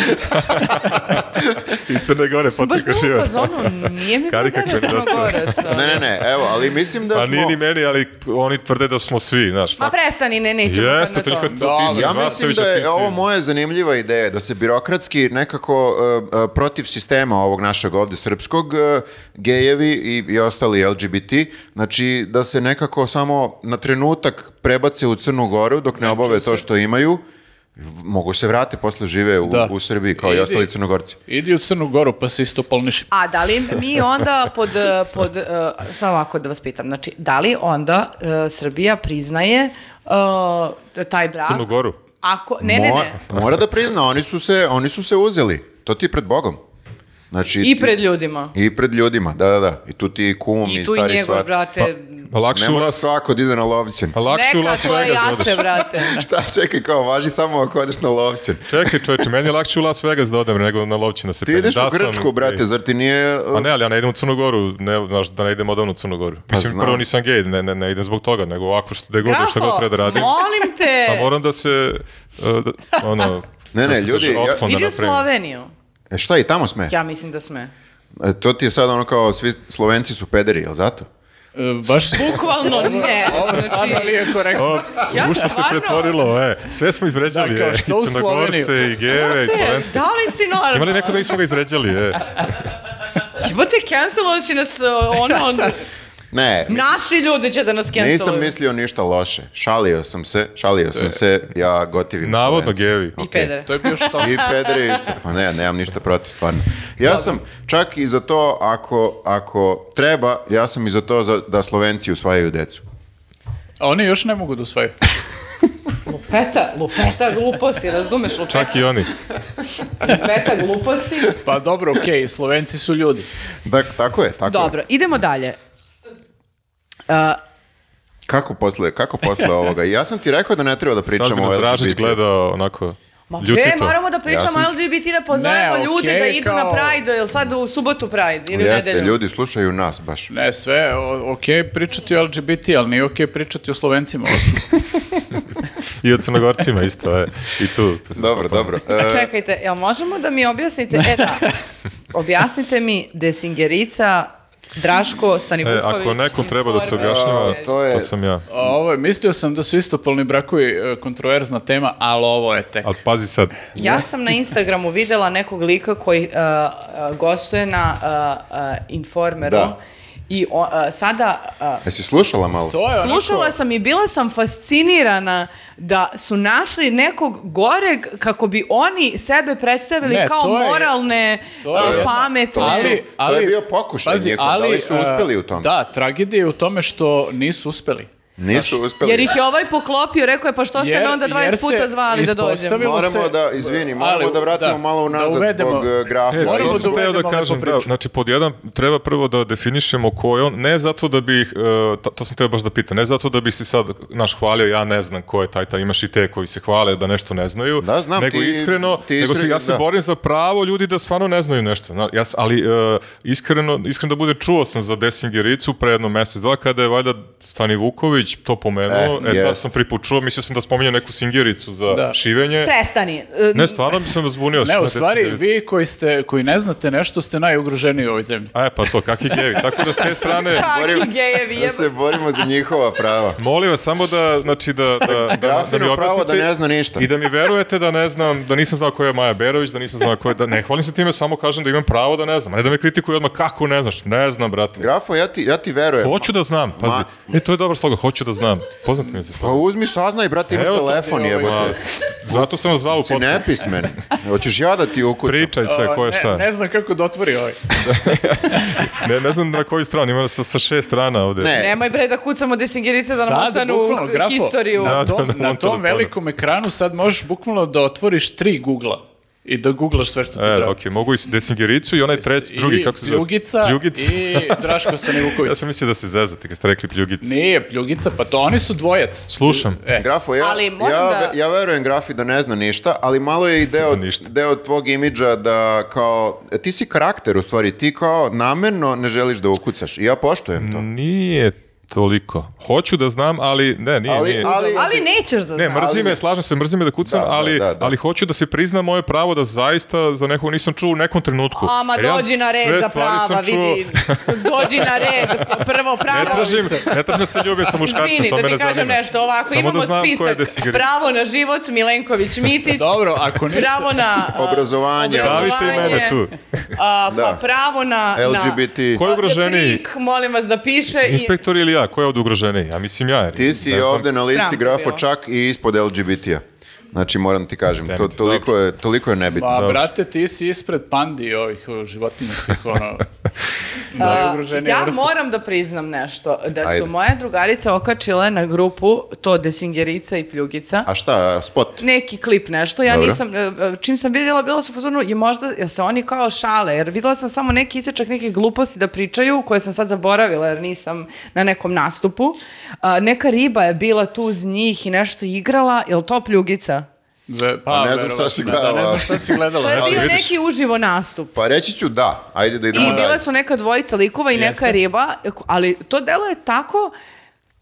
[SPEAKER 4] ono... I Crne Gore, pa
[SPEAKER 3] Baš
[SPEAKER 4] ti
[SPEAKER 3] bilo u fazonu, nije mi
[SPEAKER 4] Karika
[SPEAKER 3] podara
[SPEAKER 4] Kvendosta.
[SPEAKER 3] Crnogoraca.
[SPEAKER 2] Ne, ne, ne, evo, ali mislim da
[SPEAKER 4] Pa
[SPEAKER 2] smo...
[SPEAKER 4] nije ni meni, ali oni tvrde da smo svi, znaš.
[SPEAKER 3] Ma prestani, ne, nećemo
[SPEAKER 4] Jeste,
[SPEAKER 3] sad na
[SPEAKER 4] toliko
[SPEAKER 3] to.
[SPEAKER 4] je to ti si
[SPEAKER 2] Ja mislim
[SPEAKER 4] Vasović,
[SPEAKER 2] da
[SPEAKER 4] a ti
[SPEAKER 2] je
[SPEAKER 4] si-
[SPEAKER 2] ovo moja zanimljiva ideja, da se birokratski nekako e, e, protiv sistema ovog našeg ovde srpskog, e, gejevi i, i ostali LGBT, znači da se nekako samo na trenutak prebace u Crnu Goru dok ne obave to što imaju, v- mogu se vrate posle žive u,
[SPEAKER 5] Da.
[SPEAKER 2] u Srbiji kao i
[SPEAKER 5] Idi.
[SPEAKER 2] ostali crnogorci.
[SPEAKER 5] Idi u Crnu Goru pa se istopolniš.
[SPEAKER 3] A da li mi onda pod, eh, pod eh, samo ovako da vas pitam, znači, da li onda eh, Srbija priznaje eh, taj brak?
[SPEAKER 4] Crnu Goru.
[SPEAKER 3] Ako, ne, ne, ne.
[SPEAKER 2] Mo- mora da prizna, oni su se, oni su se uzeli. To ti je pred Bogom. Znači,
[SPEAKER 3] I pred ljudima.
[SPEAKER 2] I pred ljudima, da, da, da. I tu ti i kum i,
[SPEAKER 3] I tu i
[SPEAKER 2] stari
[SPEAKER 3] njegov,
[SPEAKER 2] svat.
[SPEAKER 3] brate.
[SPEAKER 4] Pa lakše
[SPEAKER 2] Ne
[SPEAKER 4] u
[SPEAKER 2] mora
[SPEAKER 4] Las,
[SPEAKER 2] svako da ide na lovćen.
[SPEAKER 4] pa lakše u
[SPEAKER 3] Neka
[SPEAKER 4] Las
[SPEAKER 3] to je
[SPEAKER 4] Vegas
[SPEAKER 3] jače,
[SPEAKER 4] odeš.
[SPEAKER 3] brate.
[SPEAKER 2] Šta, čekaj, kao, važi samo ako odeš na lovćen.
[SPEAKER 4] Čekaj čoveče, meni je lakše u Las Vegas da odem nego na lovčina se
[SPEAKER 2] Ti
[SPEAKER 4] penjem.
[SPEAKER 2] ideš
[SPEAKER 4] Da
[SPEAKER 2] u
[SPEAKER 4] sam-
[SPEAKER 2] Grčku, brate, zar ti nije... uh,
[SPEAKER 4] Pa ne, ali ja ne idem u Crnu Goru, ne, znaš, da ne idem odavno u Crnu Goru.
[SPEAKER 2] Pa
[SPEAKER 4] Mislim,
[SPEAKER 2] znam.
[SPEAKER 4] prvo nisam gej, ne, ne, ne idem zbog toga, nego ovako što, da god, šta god
[SPEAKER 3] Grafo,
[SPEAKER 4] treba da radim.
[SPEAKER 3] molim te,
[SPEAKER 4] A moram da se, uh, da, ono,
[SPEAKER 2] Ne, ne,
[SPEAKER 4] kako se
[SPEAKER 2] ljudi,
[SPEAKER 4] kaže,
[SPEAKER 2] ja-
[SPEAKER 4] otklon da
[SPEAKER 3] idi u
[SPEAKER 4] napravim.
[SPEAKER 3] Sloveniju.
[SPEAKER 2] E, šta, i tamo sme?
[SPEAKER 3] Ja mislim da sme.
[SPEAKER 2] E, to ti je sad ono kao, svi Slovenci su pederi, jel zato?
[SPEAKER 5] E, baš
[SPEAKER 3] Bukvalno ne.
[SPEAKER 5] Ovo stvarno
[SPEAKER 3] Znači,
[SPEAKER 5] nije korektno.
[SPEAKER 4] O,
[SPEAKER 3] Ja
[SPEAKER 4] u šta se
[SPEAKER 3] stvarno-
[SPEAKER 4] pretvorilo, e, sve smo izvređali,
[SPEAKER 5] Da, kao
[SPEAKER 4] e, i
[SPEAKER 5] što u
[SPEAKER 4] Crnogorce,
[SPEAKER 5] Sloveniju.
[SPEAKER 4] i geve,
[SPEAKER 3] Brate,
[SPEAKER 4] i Slovence.
[SPEAKER 3] da li si normalan?
[SPEAKER 4] Ima li neko da nismo ga izvređali, e?
[SPEAKER 3] Jebote, cancelovat će nas uh, ono,
[SPEAKER 4] Da.
[SPEAKER 3] on-
[SPEAKER 2] Ne, mi-
[SPEAKER 3] naši ljudi će da nas canceluju.
[SPEAKER 2] nisam mislio ništa loše. Šalio sam se, šalio sam se, ja gotivim
[SPEAKER 4] E, Navodno
[SPEAKER 2] Slovence.
[SPEAKER 4] gevi.
[SPEAKER 3] I
[SPEAKER 2] Ok.
[SPEAKER 3] pedere.
[SPEAKER 5] To je bio što
[SPEAKER 2] I pederi isto. Pa ne, nemam ništa protiv, stvarno. Ja sam čak i za to, ako, ako treba, ja sam i za to za, da Slovenci usvajaju decu.
[SPEAKER 5] A oni još ne mogu da usvaju.
[SPEAKER 3] Lupeta, lupeta gluposti, razumeš? Lupeta,
[SPEAKER 4] Čak i oni.
[SPEAKER 3] lupeta gluposti.
[SPEAKER 5] Pa dobro, okej, Slovenci su ljudi.
[SPEAKER 2] Dak, Da, tako je, tako je.
[SPEAKER 3] Dobro, idemo dalje. Uh,
[SPEAKER 2] Kako posle, kako posle ovoga? Ja sam ti rekao da ne treba da
[SPEAKER 4] Sad bi
[SPEAKER 2] pričamo
[SPEAKER 4] nas
[SPEAKER 2] o
[SPEAKER 4] Dražić
[SPEAKER 2] LGBT.
[SPEAKER 4] gledao onako
[SPEAKER 3] ma bre,
[SPEAKER 4] ljutito.
[SPEAKER 3] moramo da pričamo
[SPEAKER 2] Ja sam-
[SPEAKER 3] o LGBT, da pozovemo
[SPEAKER 5] Ne,
[SPEAKER 3] ljude
[SPEAKER 5] okej,
[SPEAKER 3] da idu na
[SPEAKER 5] kao-
[SPEAKER 3] Pride, jel sad u subotu Pride ili u
[SPEAKER 2] Jeste,
[SPEAKER 3] nedelju?
[SPEAKER 2] ljudi slušaju nas baš.
[SPEAKER 5] Ne, sve, o, okej pričati o LGBT, ali nije okej pričati o Slovencima.
[SPEAKER 4] I o Crnogorcima isto, e. I tu. tu se
[SPEAKER 2] Dobro,
[SPEAKER 4] zapam-
[SPEAKER 2] dobro.
[SPEAKER 3] A
[SPEAKER 2] E,
[SPEAKER 3] čekajte, jel možemo da mi objasnite, e da, objasnite mi desingerica Draško
[SPEAKER 4] E,
[SPEAKER 3] Stanivuković.
[SPEAKER 4] ako nekom treba da se objašnjava,
[SPEAKER 2] A, E, to
[SPEAKER 4] to,
[SPEAKER 2] je-
[SPEAKER 4] sam ja.
[SPEAKER 5] A Ovo je, mislio sam da su istopolni brakovi e, kontroverzna tema, ali ovo je tek.
[SPEAKER 4] Ali pazi sad,
[SPEAKER 3] Ja sam na Instagramu videla nekog lika koji uh, uh, gostuje na uh, uh, Informeru
[SPEAKER 2] Da.
[SPEAKER 3] i o- uh, sada uh,
[SPEAKER 2] Jesi slušala malo?
[SPEAKER 5] To je onako-
[SPEAKER 3] slušala sam i bila sam fascinirana da su našli nekog goreg kako bi oni sebe predstavili
[SPEAKER 5] Ne,
[SPEAKER 3] kao
[SPEAKER 5] to je-
[SPEAKER 3] moralne
[SPEAKER 5] to
[SPEAKER 3] uh,
[SPEAKER 5] je jedna-
[SPEAKER 3] pametne.
[SPEAKER 2] To su- to je bio pokušaj njihov, da li su
[SPEAKER 5] e,
[SPEAKER 2] uspeli u tome?
[SPEAKER 5] Da, tragedija je u tome što nisu uspeli.
[SPEAKER 2] Nisu uspeli.
[SPEAKER 3] Jer ih je ovaj poklopio, rekao je pa što ste
[SPEAKER 5] Jer-
[SPEAKER 3] me onda 20
[SPEAKER 5] jer se
[SPEAKER 3] puta zvali da dođem.
[SPEAKER 5] ispostavilo
[SPEAKER 2] Moramo
[SPEAKER 5] se-
[SPEAKER 2] da, izvini, moramo
[SPEAKER 5] Ali,
[SPEAKER 2] da vratimo
[SPEAKER 5] da,
[SPEAKER 2] malo
[SPEAKER 5] da
[SPEAKER 2] unazad
[SPEAKER 5] uvedemo-
[SPEAKER 2] zbog e, grafa.
[SPEAKER 4] E,
[SPEAKER 5] Moramo
[SPEAKER 4] to
[SPEAKER 5] da
[SPEAKER 4] sam teo da
[SPEAKER 5] uvedemo
[SPEAKER 4] kažem,
[SPEAKER 5] lepo
[SPEAKER 4] da,
[SPEAKER 5] priču.
[SPEAKER 4] znači pod jedan treba prvo da definišemo ko je on, ne zato da bih, e, ta- to sam teo baš da pitam, ne zato da bi se sad naš hvalio, ja ne znam ko je taj, taj, imaš i te koji se hvale da nešto ne znaju,
[SPEAKER 2] Da, znam,
[SPEAKER 4] nego
[SPEAKER 2] ti-
[SPEAKER 4] iskreno,
[SPEAKER 2] ti
[SPEAKER 4] nego se,
[SPEAKER 2] iskreno,
[SPEAKER 4] ja se
[SPEAKER 2] da.
[SPEAKER 4] borim za pravo ljudi da stvarno ne znaju nešto, na- ja, s- ali e, iskreno, iskreno da bude čuo sam za Desingericu pre jedno mesec, dva, kada je valjda Stani Vuković to pomenuo,
[SPEAKER 2] E,
[SPEAKER 4] e, da
[SPEAKER 2] jest.
[SPEAKER 4] sam pripučuo, mislio sam da spominje neku Singericu za
[SPEAKER 5] Da.
[SPEAKER 4] šivenje,
[SPEAKER 3] Prestani. e,
[SPEAKER 4] ne, stvarno mi sam zbunio.
[SPEAKER 5] Ne,
[SPEAKER 4] na
[SPEAKER 5] u stvari,
[SPEAKER 4] Desingericu.
[SPEAKER 5] vi koji, ste, koji ne znate nešto ste najugroženiji u ovoj zemlji.
[SPEAKER 4] A e, pa to, kakvi gevi. Tako da s te strane,
[SPEAKER 3] Kakvi gejevi,
[SPEAKER 2] da se borimo za njihova prava.
[SPEAKER 4] molim vas samo da, znači, da, da, da, da mi
[SPEAKER 2] Grafino pravo da
[SPEAKER 4] objasnite
[SPEAKER 2] ne zna ništa.
[SPEAKER 4] i da mi verujete da ne znam, da nisam znao ko je Maja Berović, da nisam znao ko je, da ne hvalim se time, samo kažem da imam pravo da ne znam, a ne da me kritikuju odmah kako ne znaš, ne znam, brate.
[SPEAKER 2] Grafo, ja ti, ja ti verujem.
[SPEAKER 4] Hoću da znam, pazi.
[SPEAKER 2] Ma-
[SPEAKER 4] E, to je dobar slogan, hoću hoću da znam. Poznat mi je za
[SPEAKER 2] Pa
[SPEAKER 4] to.
[SPEAKER 2] uzmi saznaj, brate, imaš
[SPEAKER 4] Evo to ti je
[SPEAKER 2] telefon,
[SPEAKER 4] Ma,
[SPEAKER 5] ovaj-
[SPEAKER 2] jebote.
[SPEAKER 4] zato sam vas zvao u
[SPEAKER 2] Si
[SPEAKER 4] podcast.
[SPEAKER 2] nepismen. Hoćeš ja da ti ukucam?
[SPEAKER 4] Pričaj sve, E, ko je šta.
[SPEAKER 5] Ne, ne znam kako da otvori ovaj.
[SPEAKER 4] Ne, ne znam na koju stranu, ima sa, sa šest strana ovde.
[SPEAKER 2] Ne.
[SPEAKER 3] Nemoj bre da kucamo desingirice da nam
[SPEAKER 5] Sad,
[SPEAKER 3] ostanu
[SPEAKER 5] bukvalno, grafo.
[SPEAKER 3] historiju.
[SPEAKER 4] Da.
[SPEAKER 5] Na tom,
[SPEAKER 4] na
[SPEAKER 5] na tom
[SPEAKER 4] telefonu.
[SPEAKER 5] velikom ekranu sad možeš bukvalno da otvoriš tri Google-a i da googlaš sve što ti
[SPEAKER 4] E,
[SPEAKER 5] treba.
[SPEAKER 4] ok, mogu i s- desingericu i onaj treć, drugi,
[SPEAKER 5] I
[SPEAKER 4] kako se zove?
[SPEAKER 5] Pljugica,
[SPEAKER 4] Pljugica.
[SPEAKER 5] i Draško Stanivuković.
[SPEAKER 4] Ja sam mislio da se zezate kad ste rekli pljugica.
[SPEAKER 5] Nije Pljugica, pa to oni su dvojac.
[SPEAKER 4] Slušam.
[SPEAKER 5] E,
[SPEAKER 2] Grafo, ja,
[SPEAKER 3] Ali moram
[SPEAKER 2] ja,
[SPEAKER 3] da-
[SPEAKER 2] ja verujem Grafi da ne zna ništa, ali malo je i deo,
[SPEAKER 4] Za ništa.
[SPEAKER 2] deo tvog imidža da kao, ti si karakter u stvari, ti kao namerno ne želiš da ukucaš i ja poštujem
[SPEAKER 4] Mm,
[SPEAKER 2] to.
[SPEAKER 4] Nije toliko. Hoću da znam, ali ne, nije,
[SPEAKER 2] Ali,
[SPEAKER 4] nije.
[SPEAKER 2] ali,
[SPEAKER 3] Ali nećeš da
[SPEAKER 4] Ne,
[SPEAKER 3] znaš.
[SPEAKER 4] mrzi me, slažem se, mrzi me da kucam,
[SPEAKER 2] Da, da,
[SPEAKER 4] ali,
[SPEAKER 2] da, da.
[SPEAKER 4] ali hoću da se prizna moje pravo da zaista za nekog nisam čuo u nekom trenutku.
[SPEAKER 3] Ama
[SPEAKER 4] Jer ja
[SPEAKER 3] dođi na red
[SPEAKER 4] sve
[SPEAKER 3] za
[SPEAKER 4] stvari
[SPEAKER 3] prava,
[SPEAKER 4] sam čuo-
[SPEAKER 3] vidi. Dođi na red, prvo pravo.
[SPEAKER 4] Ne tražim, ne tražim da se ljubim sa muškarcem,
[SPEAKER 3] Izvini,
[SPEAKER 4] to
[SPEAKER 3] da
[SPEAKER 4] me
[SPEAKER 3] ti
[SPEAKER 4] ne zanima.
[SPEAKER 3] kažem nešto, ovako
[SPEAKER 4] Samo
[SPEAKER 3] imamo
[SPEAKER 4] da znam ko je
[SPEAKER 3] spisak.
[SPEAKER 4] desigrica.
[SPEAKER 3] Pravo na život, Milenković Mitić.
[SPEAKER 5] dobro, ako ništa...
[SPEAKER 3] Pravo na... a,
[SPEAKER 2] Obrazovanje.
[SPEAKER 4] Stavite i mene tu.
[SPEAKER 3] a,
[SPEAKER 2] Da.
[SPEAKER 3] pa pravo na... na-
[SPEAKER 2] LGBT.
[SPEAKER 4] Ko je ugroženiji?
[SPEAKER 3] Krik, molim vas da piše. i-
[SPEAKER 4] Inspektor ili ja? Ko je ovde ugroženiji? Ja mislim ja. jer
[SPEAKER 2] Ti si
[SPEAKER 4] ne znam.
[SPEAKER 2] ovde na
[SPEAKER 3] Sram
[SPEAKER 2] listi
[SPEAKER 3] te
[SPEAKER 2] grafo
[SPEAKER 3] bilo.
[SPEAKER 2] čak i ispod LGBT-a. Znači moram ti kažem, to,
[SPEAKER 4] Temite,
[SPEAKER 2] toliko, je, toliko je nebitno.
[SPEAKER 5] Ma,
[SPEAKER 4] Dobro.
[SPEAKER 5] brate, ti si ispred pandi i ovih o, životinja svih, ono... da. najugroženija
[SPEAKER 3] ja
[SPEAKER 5] vrsta.
[SPEAKER 3] moram da priznam nešto. Da su
[SPEAKER 2] Ajde.
[SPEAKER 3] moje drugarice okačile na grupu to Desingerica i Pljugica.
[SPEAKER 2] A šta, spot?
[SPEAKER 3] neki klip nešto, ja
[SPEAKER 2] Dobro.
[SPEAKER 3] nisam, e, e, čim sam vidjela, bila sam u fazonu, i možda jel se oni kao šale, jer vidjela sam samo neki isječak, neke gluposti da pričaju, koje sam sad zaboravila, jer nisam na nekom nastupu. A, neka riba je bila tu uz njih i nešto igrala, jel to pljugica?
[SPEAKER 5] Ve-
[SPEAKER 2] Pa
[SPEAKER 5] Pa,
[SPEAKER 2] ne znam šta
[SPEAKER 5] verovatno,
[SPEAKER 2] si
[SPEAKER 5] da,
[SPEAKER 2] gledala.
[SPEAKER 5] ne znam šta si
[SPEAKER 3] To
[SPEAKER 5] gledala.
[SPEAKER 3] je
[SPEAKER 5] ali-
[SPEAKER 3] bio
[SPEAKER 4] vidiš.
[SPEAKER 3] neki uživo nastup.
[SPEAKER 2] Pa reći ću da, ajde da idemo
[SPEAKER 3] I
[SPEAKER 2] dalje.
[SPEAKER 3] bila su neka dvojica likova i neka
[SPEAKER 5] Jeste.
[SPEAKER 3] riba, ali to delo je tako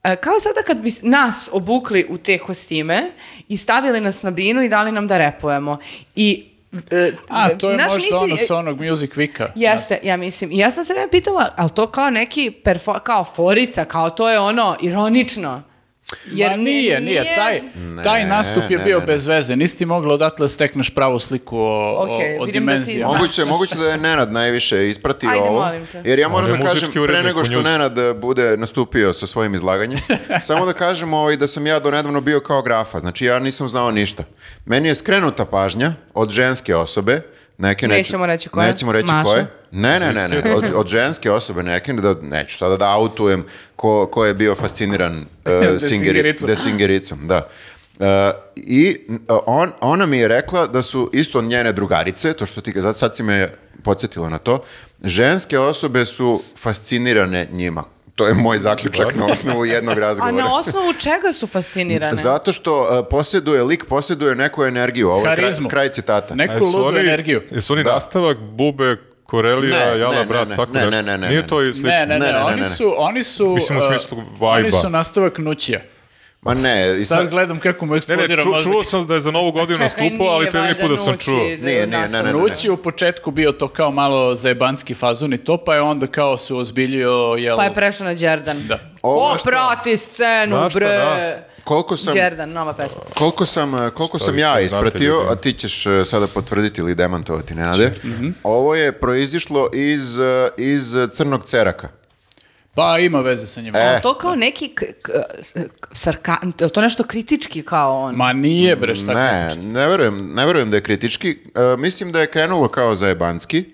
[SPEAKER 3] e, kao sada kad bi nas obukli u te kostime i stavili nas na binu i dali nam da repujemo. I e,
[SPEAKER 5] A, to je
[SPEAKER 3] znaš,
[SPEAKER 5] možda
[SPEAKER 3] nisi-
[SPEAKER 5] ono sa onog Music Vika.
[SPEAKER 3] Jeste, ja mislim. I ja sam se ne pitala, ali to kao neki, perfo, kao forica, kao to je ono, ironično.
[SPEAKER 5] Jer nije, nije, taj, taj nastup je
[SPEAKER 2] ne,
[SPEAKER 5] bio
[SPEAKER 2] ne, ne.
[SPEAKER 5] bez veze. Nisi ti mogla odatle da stekneš pravu sliku o,
[SPEAKER 3] Ok,
[SPEAKER 5] o, o
[SPEAKER 3] vidim da ti
[SPEAKER 5] dimenzijama.
[SPEAKER 3] znaš.
[SPEAKER 2] Moguće, moguće da je Nenad najviše ispratio
[SPEAKER 3] Ajde,
[SPEAKER 2] ovo.
[SPEAKER 3] molim te.
[SPEAKER 2] Jer ja moram
[SPEAKER 4] On je
[SPEAKER 2] da kažem,
[SPEAKER 4] muzički
[SPEAKER 2] pre
[SPEAKER 4] urednik
[SPEAKER 2] nego
[SPEAKER 4] u
[SPEAKER 2] što
[SPEAKER 4] njuzu.
[SPEAKER 2] Nenad e, bude nastupio sa svojim izlaganjem, samo da kažem ovaj, da sam ja do nedavno bio kao grafa. Znači ja nisam znao ništa. Meni je skrenuta pažnja od ženske osobe, neke neću-
[SPEAKER 3] Nećemo reći koja.
[SPEAKER 2] Nećemo reći
[SPEAKER 3] Maša.
[SPEAKER 2] koje. Ne, ne, ne, ne, od, od ženske osobe neke, da, neću sada da autujem ko, ko je bio fasciniran e, singeri,
[SPEAKER 5] Desingericom.
[SPEAKER 2] desingericom, da. E, I n- on, ona mi je rekla da su isto njene drugarice, to što ti sad, sad si me podsjetila na to, ženske osobe su fascinirane njima. To je moj zaključak na osnovu jednog
[SPEAKER 3] A
[SPEAKER 2] razgovora.
[SPEAKER 3] na osnovu čega su fascinirane?
[SPEAKER 2] Zato što e, posjeduje, lik posjeduje neku energiju. Ovo je kraj,
[SPEAKER 5] Harizmu.
[SPEAKER 2] kraj citata.
[SPEAKER 4] A
[SPEAKER 5] Neku
[SPEAKER 4] jesu
[SPEAKER 5] ludu
[SPEAKER 4] oni-
[SPEAKER 5] energiju.
[SPEAKER 4] Jesu
[SPEAKER 3] Da.
[SPEAKER 4] oni nastavak, bube, korelija,
[SPEAKER 2] Ne, ne,
[SPEAKER 4] jala,
[SPEAKER 2] ne,
[SPEAKER 4] brat,
[SPEAKER 2] ne,
[SPEAKER 4] tako
[SPEAKER 2] ne,
[SPEAKER 4] nešto?
[SPEAKER 2] ne, ne, ne, ne.
[SPEAKER 4] Nije to i slično?
[SPEAKER 5] Ne, ne, ne,
[SPEAKER 2] Ne, ne, ne, ne.
[SPEAKER 5] oni su, oni su,
[SPEAKER 4] Mislim u
[SPEAKER 5] uh,
[SPEAKER 4] smislu
[SPEAKER 5] oni
[SPEAKER 4] vajba.
[SPEAKER 5] su nastavak nućija.
[SPEAKER 2] Ma ne, i
[SPEAKER 5] Sad gledam kako mu
[SPEAKER 4] Ne, ne,
[SPEAKER 5] eksplodira
[SPEAKER 4] ču-
[SPEAKER 5] mozak.
[SPEAKER 4] čuo sam da je za novu godinu
[SPEAKER 3] Čekaj,
[SPEAKER 4] nastupao, ali
[SPEAKER 3] nije
[SPEAKER 4] prvi
[SPEAKER 3] valjda
[SPEAKER 4] put da sam
[SPEAKER 3] nući,
[SPEAKER 4] čuo.
[SPEAKER 3] da
[SPEAKER 2] Nije,
[SPEAKER 3] je
[SPEAKER 2] nije, ne,
[SPEAKER 3] nastavak.
[SPEAKER 2] ne, ne.
[SPEAKER 5] Nući je u početku bio to kao malo zajebanski fazon i to, pa je onda kao se ozbiljio, jel...
[SPEAKER 3] Pa je prešao na Đerdan.
[SPEAKER 5] Da.
[SPEAKER 2] Ovo
[SPEAKER 3] Ko
[SPEAKER 2] šta?
[SPEAKER 3] prati scenu,
[SPEAKER 4] Znaš šta,
[SPEAKER 3] bre?
[SPEAKER 4] da.
[SPEAKER 2] Koliko sam,
[SPEAKER 3] Đerdan, nova pesma.
[SPEAKER 2] koliko sam, eh, koliko sam
[SPEAKER 4] vi
[SPEAKER 2] ja
[SPEAKER 4] sve znate,
[SPEAKER 2] ispratio,
[SPEAKER 4] ljudi?
[SPEAKER 2] a ti ćeš eh, sada potvrditi ili demantovati, Nenade, ovo je proizišlo iz, eh, iz crnog ceraka.
[SPEAKER 5] Pa ima veze sa njima.
[SPEAKER 2] E.
[SPEAKER 3] To kao neki k- k- s- k- sarka, je li to nešto kritički kao on.
[SPEAKER 5] Ma nije bre, šta
[SPEAKER 2] Ne,
[SPEAKER 5] kritično.
[SPEAKER 2] ne verujem, ne verujem da je kritički. Eh, mislim da je krenulo kao zajebanski,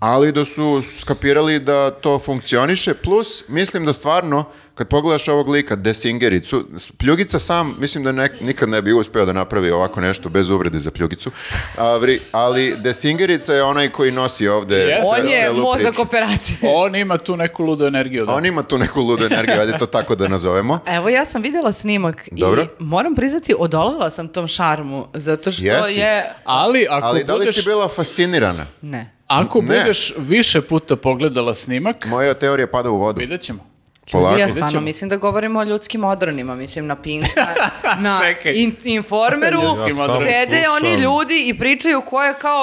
[SPEAKER 2] ali da su skapirali da to funkcioniše, plus mislim da stvarno, kad pogledaš ovog lika, desingericu, s- Pljugica sam, mislim da ne- nikad ne bi uspeo da napravi ovako nešto bez uvrede za Pljugicu, a, vri- ali desingerica je onaj koji nosi ovde
[SPEAKER 5] Jeste.
[SPEAKER 2] ce-
[SPEAKER 3] on je
[SPEAKER 2] celu
[SPEAKER 3] mozak
[SPEAKER 2] priču.
[SPEAKER 3] operacije.
[SPEAKER 5] On ima tu neku ludu energiju. Da.
[SPEAKER 2] On ima tu neku ludu energiju, ajde to tako da nazovemo.
[SPEAKER 3] Evo ja sam vidjela snimak
[SPEAKER 2] Dobro.
[SPEAKER 3] i moram priznati odolela sam tom šarmu zato što
[SPEAKER 2] Jesi.
[SPEAKER 3] je
[SPEAKER 5] Ali ako
[SPEAKER 2] Ali da li
[SPEAKER 5] budeš,
[SPEAKER 2] si bila fascinirana?
[SPEAKER 3] ne.
[SPEAKER 5] ako
[SPEAKER 2] Ne.
[SPEAKER 5] budeš više puta pogledala snimak,
[SPEAKER 2] Moja teorija pada u vodu.
[SPEAKER 5] vidjet ćemo.
[SPEAKER 2] Polako.
[SPEAKER 3] ja stvarno
[SPEAKER 5] ćemo.
[SPEAKER 3] mislim da govorimo o ljudskim odronima, mislim na Pink, na, na
[SPEAKER 5] Čekaj.
[SPEAKER 3] in- informeru,
[SPEAKER 5] Ljudskim
[SPEAKER 4] odronima.
[SPEAKER 3] sede
[SPEAKER 4] Slušam.
[SPEAKER 3] oni ljudi i pričaju ko je kao,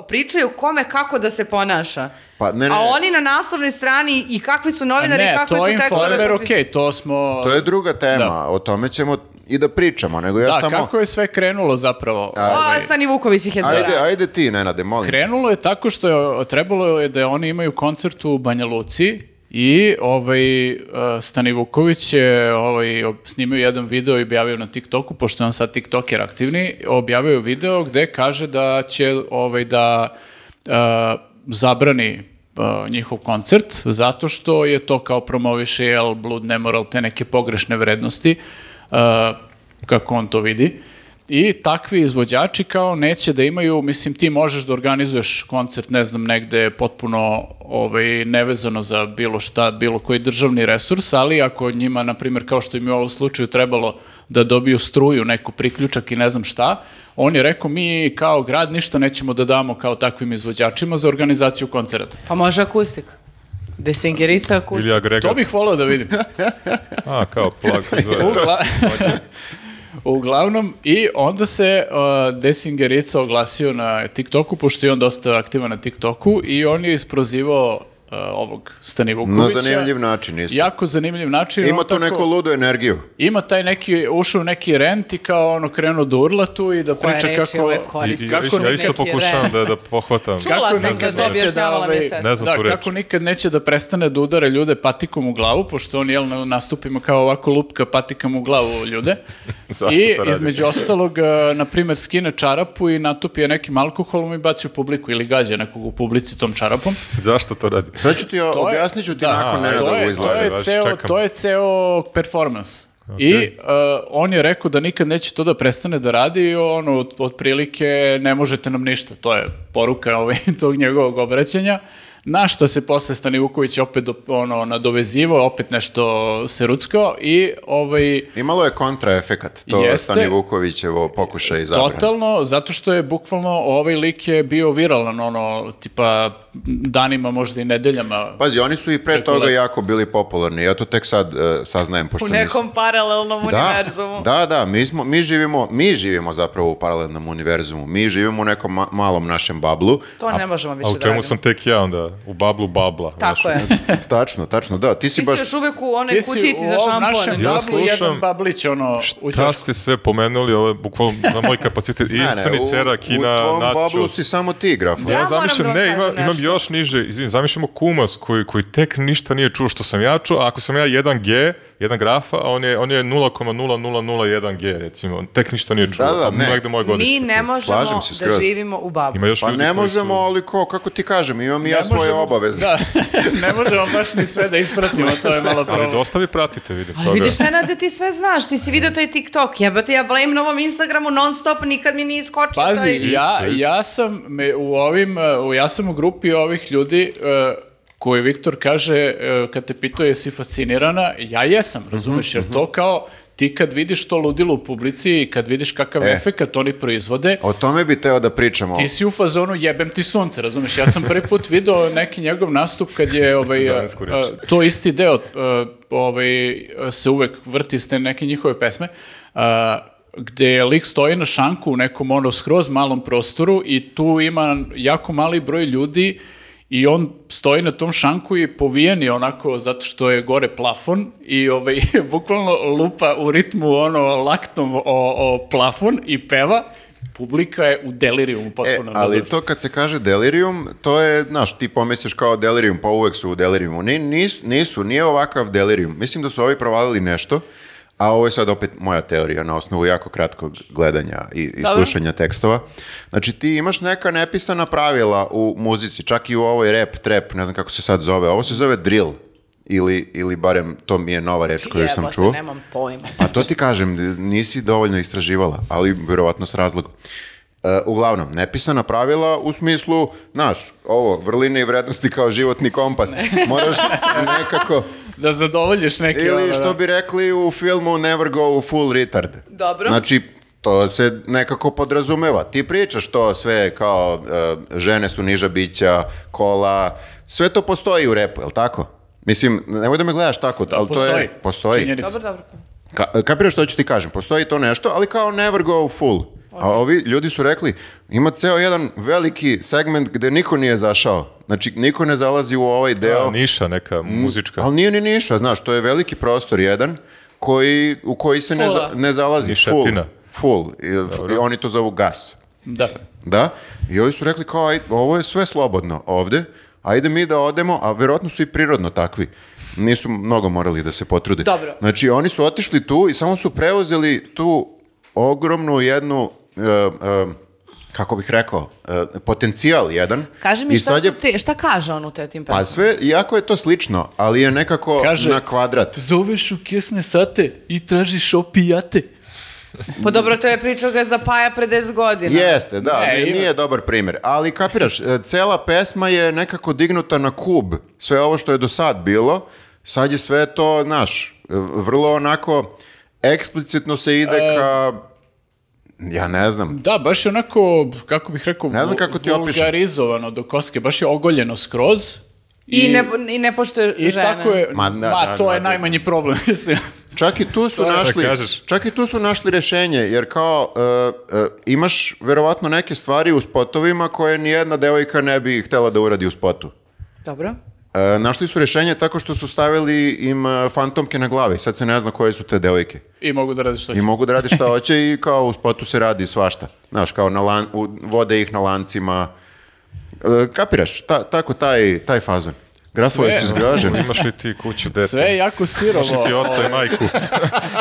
[SPEAKER 3] uh, pričaju kome kako da se ponaša.
[SPEAKER 2] Pa, ne, ne,
[SPEAKER 3] A
[SPEAKER 2] ne.
[SPEAKER 3] oni na naslovnoj strani i kakvi su
[SPEAKER 5] A
[SPEAKER 3] novinari,
[SPEAKER 5] ne,
[SPEAKER 3] kakvi
[SPEAKER 5] to
[SPEAKER 3] su
[SPEAKER 5] je
[SPEAKER 3] tekstove
[SPEAKER 5] informer,
[SPEAKER 3] napisali.
[SPEAKER 5] okej, to smo...
[SPEAKER 2] To je druga tema,
[SPEAKER 5] Da.
[SPEAKER 2] o tome ćemo i da pričamo, nego ja
[SPEAKER 5] da,
[SPEAKER 2] samo...
[SPEAKER 5] kako je sve krenulo zapravo?
[SPEAKER 3] A,
[SPEAKER 5] ovaj?
[SPEAKER 3] Stani Vuković ih je
[SPEAKER 2] Ajde,
[SPEAKER 5] Da.
[SPEAKER 3] zaboravio.
[SPEAKER 2] ajde ti, Nenade, molim.
[SPEAKER 5] Krenulo je tako što je, trebalo je da oni imaju koncert u Banja Luci I ovaj, e, Stanivuković je ovaj, ob- snimio jedan video i objavio na TikToku, pošto je on sad TikToker aktivni, objavio je video gde kaže da će ovaj, da e, zabrani e, njihov koncert, zato što je to kao promoviše jel, blud nemoral, te neke pogrešne vrednosti, e, kako on to vidi. I takvi izvođači kao neće da imaju, mislim ti možeš da organizuješ koncert, ne znam, negde potpuno ovaj, nevezano za bilo šta, bilo koji državni resurs, ali ako njima, na primjer, kao što im je u ovom slučaju trebalo da dobiju struju, neku priključak i ne znam šta, on je rekao mi kao grad ništa nećemo da damo kao takvim izvođačima za organizaciju koncerata.
[SPEAKER 3] Pa može akustik. Desingerica akustik.
[SPEAKER 4] Ili agregat.
[SPEAKER 5] To bih volao da vidim.
[SPEAKER 4] A, kao plug. Zove.
[SPEAKER 5] Ugla- Uglavnom, i onda se uh, Desingerica oglasio na TikToku, pošto je on dosta aktivan na TikToku, i on je isprozivao uh, ovog
[SPEAKER 2] Na
[SPEAKER 5] Stanivukovića.
[SPEAKER 2] zanimljiv način isto.
[SPEAKER 5] Jako zanimljiv način.
[SPEAKER 2] Ima
[SPEAKER 5] on
[SPEAKER 2] tu
[SPEAKER 5] tako-
[SPEAKER 2] neku ludu energiju.
[SPEAKER 5] Ima taj neki, ušao u neki rent i kao ono krenuo da urla tu i da
[SPEAKER 3] Koje
[SPEAKER 5] priča
[SPEAKER 3] reči
[SPEAKER 5] kako...
[SPEAKER 3] ove
[SPEAKER 4] I, i,
[SPEAKER 3] koriste?
[SPEAKER 4] ja isto- ja isto
[SPEAKER 3] Neki
[SPEAKER 4] pokušavam
[SPEAKER 3] rem.
[SPEAKER 4] da, da pohvatam.
[SPEAKER 3] Čula
[SPEAKER 5] Kako
[SPEAKER 3] sam
[SPEAKER 5] ne
[SPEAKER 3] kad
[SPEAKER 5] znam
[SPEAKER 3] to
[SPEAKER 5] da li će
[SPEAKER 3] objašnjavala
[SPEAKER 5] da, ovaj,
[SPEAKER 3] mi se.
[SPEAKER 4] Ne znam
[SPEAKER 5] da,
[SPEAKER 4] tu reč.
[SPEAKER 5] kako nikad neće da prestane da udara ljude patikom u glavu, pošto on jel, na nastupima kao ovako lupka patikama u glavu ljude.
[SPEAKER 4] Zašto
[SPEAKER 5] I
[SPEAKER 4] to radi?
[SPEAKER 5] između ostalog, e, na primjer, skine čarapu i natupi je nekim alkoholom i baci u publiku ili gađa nekog u publici tom čarapom.
[SPEAKER 4] Zašto to radi?
[SPEAKER 2] Sad ću ti,
[SPEAKER 5] To je-
[SPEAKER 2] objasnit ću ti
[SPEAKER 5] da,
[SPEAKER 2] nakon
[SPEAKER 4] a,
[SPEAKER 2] Nenada
[SPEAKER 5] to
[SPEAKER 2] ovo
[SPEAKER 5] je, to,
[SPEAKER 2] izlaganje.
[SPEAKER 5] je
[SPEAKER 4] baš
[SPEAKER 5] ceo,
[SPEAKER 4] čekam.
[SPEAKER 5] to je ceo performans. I e, on je rekao da nikad neće to da prestane da radi i ono, od- otprilike ne možete nam ništa. To je poruka ovaj, tog njegovog obraćanja. Na što se posle Stanivuković opet do- ono, nadovezivao, opet nešto se ruckao i ovaj,
[SPEAKER 2] Imalo je kontraefekat, to
[SPEAKER 5] Jeste.
[SPEAKER 2] Stani Vukovićevo pokušaj i zabrana.
[SPEAKER 5] Totalno, zato što je bukvalno ovaj lik je bio viralan, ono, tipa danima, možda i nedeljama.
[SPEAKER 2] Pazi, oni su i pre
[SPEAKER 5] Preko
[SPEAKER 2] toga
[SPEAKER 5] leta.
[SPEAKER 2] jako bili popularni. Ja to tek sad e, saznajem, pošto
[SPEAKER 3] U
[SPEAKER 2] nisam-
[SPEAKER 3] nekom paralelnom univerzumu.
[SPEAKER 2] Da, da, mi, smo, mi, živimo, mi živimo zapravo u paralelnom univerzumu. Mi živimo u nekom ma- malom našem bablu.
[SPEAKER 3] To ne možemo više
[SPEAKER 4] A
[SPEAKER 3] da
[SPEAKER 4] u čemu
[SPEAKER 3] radimo.
[SPEAKER 4] sam tek ja onda? U bablu babla. znaš.
[SPEAKER 3] Tako je.
[SPEAKER 2] tačno, tačno, da. Ti si
[SPEAKER 3] Ti si
[SPEAKER 2] baš...
[SPEAKER 3] još uvek u onoj
[SPEAKER 5] Ti si
[SPEAKER 3] kutijici
[SPEAKER 5] u
[SPEAKER 3] za
[SPEAKER 5] ovom
[SPEAKER 3] šampone.
[SPEAKER 5] našem
[SPEAKER 4] Ja
[SPEAKER 5] bablu jedan
[SPEAKER 4] slušam-
[SPEAKER 5] bablić, ono, u
[SPEAKER 4] Šta
[SPEAKER 5] ćošku.
[SPEAKER 4] ste sve pomenuli, ovo je bukvalno za moj kapacitet. I
[SPEAKER 2] Ne, ne, u-
[SPEAKER 4] crni cera,
[SPEAKER 2] U
[SPEAKER 4] kina,
[SPEAKER 2] tvom bablu si
[SPEAKER 4] nachos.
[SPEAKER 2] samo ti, grafo.
[SPEAKER 3] Ja
[SPEAKER 4] Pa Ja
[SPEAKER 3] moram
[SPEAKER 4] zamišljam,
[SPEAKER 3] da vam
[SPEAKER 4] ne,
[SPEAKER 3] kažem
[SPEAKER 4] ima, imam
[SPEAKER 3] nešto.
[SPEAKER 4] još niže, izvin, zamišljamo kumas koji, koji tek ništa nije čuo što sam ja čuo, a ako sam ja 1G, jedan grafa, a on je, on je 0,0001G, recimo, tek ništa nije čuo,
[SPEAKER 2] Da, da,
[SPEAKER 4] a
[SPEAKER 2] ne.
[SPEAKER 4] negde moje
[SPEAKER 3] Mi
[SPEAKER 4] godište.
[SPEAKER 3] ne
[SPEAKER 2] Slažem
[SPEAKER 3] možemo
[SPEAKER 2] se
[SPEAKER 3] da
[SPEAKER 2] skroz.
[SPEAKER 3] živimo u babu.
[SPEAKER 4] Ima još
[SPEAKER 2] Pa
[SPEAKER 4] ljudi
[SPEAKER 2] ne
[SPEAKER 4] koji
[SPEAKER 2] možemo,
[SPEAKER 4] su-
[SPEAKER 2] ali ko, kako ti kažem, imam i
[SPEAKER 5] Ne
[SPEAKER 2] ja svoje
[SPEAKER 5] možemo-
[SPEAKER 2] obaveze.
[SPEAKER 5] Da, ne možemo baš ni sve da ispratimo, to je malo problem.
[SPEAKER 4] Ali dosta vi pratite, vidim
[SPEAKER 3] Ali
[SPEAKER 4] toga.
[SPEAKER 3] vidiš, Nenade, ti sve znaš, ti si vidio taj TikTok, jebate, ja blame na ovom Instagramu non stop, nikad mi nije iskočio taj...
[SPEAKER 5] Pazi, ja,
[SPEAKER 4] Isto, isto.
[SPEAKER 5] ja sam me u ovim, e, u- ja sam u grupi ovih ljudi e, koji Viktor kaže, e, kad te pitao jesi fascinirana, ja jesam,
[SPEAKER 4] Mhm,
[SPEAKER 5] razumeš, jer to kao ti kad vidiš to ludilo u publici i kad vidiš kakav
[SPEAKER 2] E.
[SPEAKER 5] efekat oni proizvode,
[SPEAKER 2] O tome bi teo da pričamo.
[SPEAKER 5] ti si u fazonu jebem ti sunce, razumeš? Ja sam prvi put video neki njegov nastup kad je ovaj,
[SPEAKER 4] Partizansko reče.
[SPEAKER 5] a, to isti deo a, ovaj, se uvek vrti s te neke njihove pesme, a, gde lik stoji na šanku u nekom ono skroz malom prostoru i tu ima jako mali broj ljudi i on stoji na tom šanku i povijen je onako zato što je gore plafon i ovaj, bukvalno lupa u ritmu ono laktom o, o plafon i peva publika je u delirijumu
[SPEAKER 2] E,
[SPEAKER 5] potpuno.
[SPEAKER 2] ali
[SPEAKER 5] razumeš?
[SPEAKER 2] to kad se kaže delirium, to je, znaš, ti pomisliš kao delirium, pa uvek su u deliriumu. Ni, nisu, nisu, nije ovakav delirium. Mislim da su ovi provalili nešto, a ovo je sad opet moja teorija na osnovu jako kratkog gledanja i, i
[SPEAKER 3] Dobro.
[SPEAKER 2] slušanja tekstova. Znači ti imaš neka nepisana pravila u muzici, čak i u ovoj rap, trap, ne znam kako se sad zove. Ovo se zove drill ili, ili barem to mi je nova reč koju sam
[SPEAKER 3] Jebote,
[SPEAKER 2] čuo.
[SPEAKER 3] nemam pojma.
[SPEAKER 2] Pa to ti kažem, nisi dovoljno istraživala, ali vjerovatno s razlogom. E, uglavnom, nepisana pravila u smislu, znaš, ovo, vrline i vrednosti kao životni kompas. Moraš nekako,
[SPEAKER 5] Da zadovoljiš neke... ono,
[SPEAKER 2] ili što
[SPEAKER 5] da.
[SPEAKER 2] bi rekli u filmu Never go u full retard.
[SPEAKER 3] Dobro.
[SPEAKER 2] Znači, to se nekako podrazumeva. Ti pričaš to sve kao e, žene su niža bića, kola, sve to postoji u repu, jel tako? Mislim, nemoj da me gledaš tako, ali to je... Postoji.
[SPEAKER 5] Činjenica.
[SPEAKER 3] Dobro, dobro.
[SPEAKER 2] Ka, kapiraš što ću ti kažem, postoji to nešto, ali kao never go full. A ovi ljudi su rekli, ima ceo jedan veliki segment gde niko nije zašao. Znači, niko ne zalazi u ovaj
[SPEAKER 4] Da,
[SPEAKER 2] deo.
[SPEAKER 4] niša neka, muzička.
[SPEAKER 2] Mm, ali nije ni niša, znaš, to je veliki prostor jedan koji, u koji se ne, za-
[SPEAKER 3] Fula.
[SPEAKER 2] ne zalazi.
[SPEAKER 4] Nišetina.
[SPEAKER 2] Full. Full. I, i oni to zovu gas.
[SPEAKER 5] Da.
[SPEAKER 2] Da? I ovi su rekli kao, aj, ovo je sve slobodno ovde. ajde mi da odemo, a verovatno su i prirodno takvi. Nisu mnogo morali da se potrude.
[SPEAKER 3] Dobro.
[SPEAKER 2] Znači, oni su otišli tu i samo su preuzeli tu ogromnu jednu, e, e, kako bih rekao, e, potencijal jedan.
[SPEAKER 3] Kaži mi
[SPEAKER 2] I
[SPEAKER 3] šta,
[SPEAKER 2] sad je-
[SPEAKER 3] su te, šta kaže on u te tim
[SPEAKER 2] Pa
[SPEAKER 3] pesmama?
[SPEAKER 2] sve, jako je to slično, ali je nekako
[SPEAKER 5] Kaže-
[SPEAKER 2] na kvadrat.
[SPEAKER 5] Zoveš u kjesne sate i tražiš opijate.
[SPEAKER 3] Pa dobro, to je pričao ga za Paja pre 10 godina.
[SPEAKER 2] Jeste, da,
[SPEAKER 5] Ne,
[SPEAKER 2] ni-
[SPEAKER 5] ima-
[SPEAKER 2] nije dobar primjer. Ali kapiraš, e, cela pesma je nekako dignuta na kub. Sve ovo što je do sad bilo, sad je sve to, znaš, e, vrlo onako eksplicitno se ide
[SPEAKER 5] E.
[SPEAKER 2] ka... Ja ne znam.
[SPEAKER 5] Da, baš je onako, kako bih rekao,
[SPEAKER 2] Ne znam kako ti
[SPEAKER 5] vul-
[SPEAKER 2] opišem.
[SPEAKER 5] vulgarizovano do koske, baš je ogoljeno skroz.
[SPEAKER 3] I, ne, I ne poštuje
[SPEAKER 5] I
[SPEAKER 3] žene.
[SPEAKER 5] tako je,
[SPEAKER 2] Ma,
[SPEAKER 5] ma,
[SPEAKER 2] da, da,
[SPEAKER 5] to
[SPEAKER 2] da,
[SPEAKER 5] je
[SPEAKER 2] da.
[SPEAKER 5] najmanji problem, mislim.
[SPEAKER 2] Čak i tu su našli,
[SPEAKER 4] kažeš?
[SPEAKER 2] čak i tu su našli rješenje, jer kao e, e, imaš verovatno neke stvari u spotovima koje nijedna devojka ne bi htjela da uradi u spotu.
[SPEAKER 3] Dobro.
[SPEAKER 2] E, našli su rješenje tako što su stavili im e, fantomke na glave i sad se ne zna koje su te devojke.
[SPEAKER 5] I mogu da radi što
[SPEAKER 2] I
[SPEAKER 5] ću.
[SPEAKER 2] mogu da radi šta hoće i kao u spotu se radi svašta. Znaš, kao na lan- u- vode ih na lancima. E, kapiraš, ta, tako taj, taj fazon. Grafo je
[SPEAKER 5] Sve.
[SPEAKER 2] si zgražen.
[SPEAKER 4] Imaš li ti kuću, dete?
[SPEAKER 5] Sve je jako sirovo.
[SPEAKER 4] Imaš li ti oca i majku?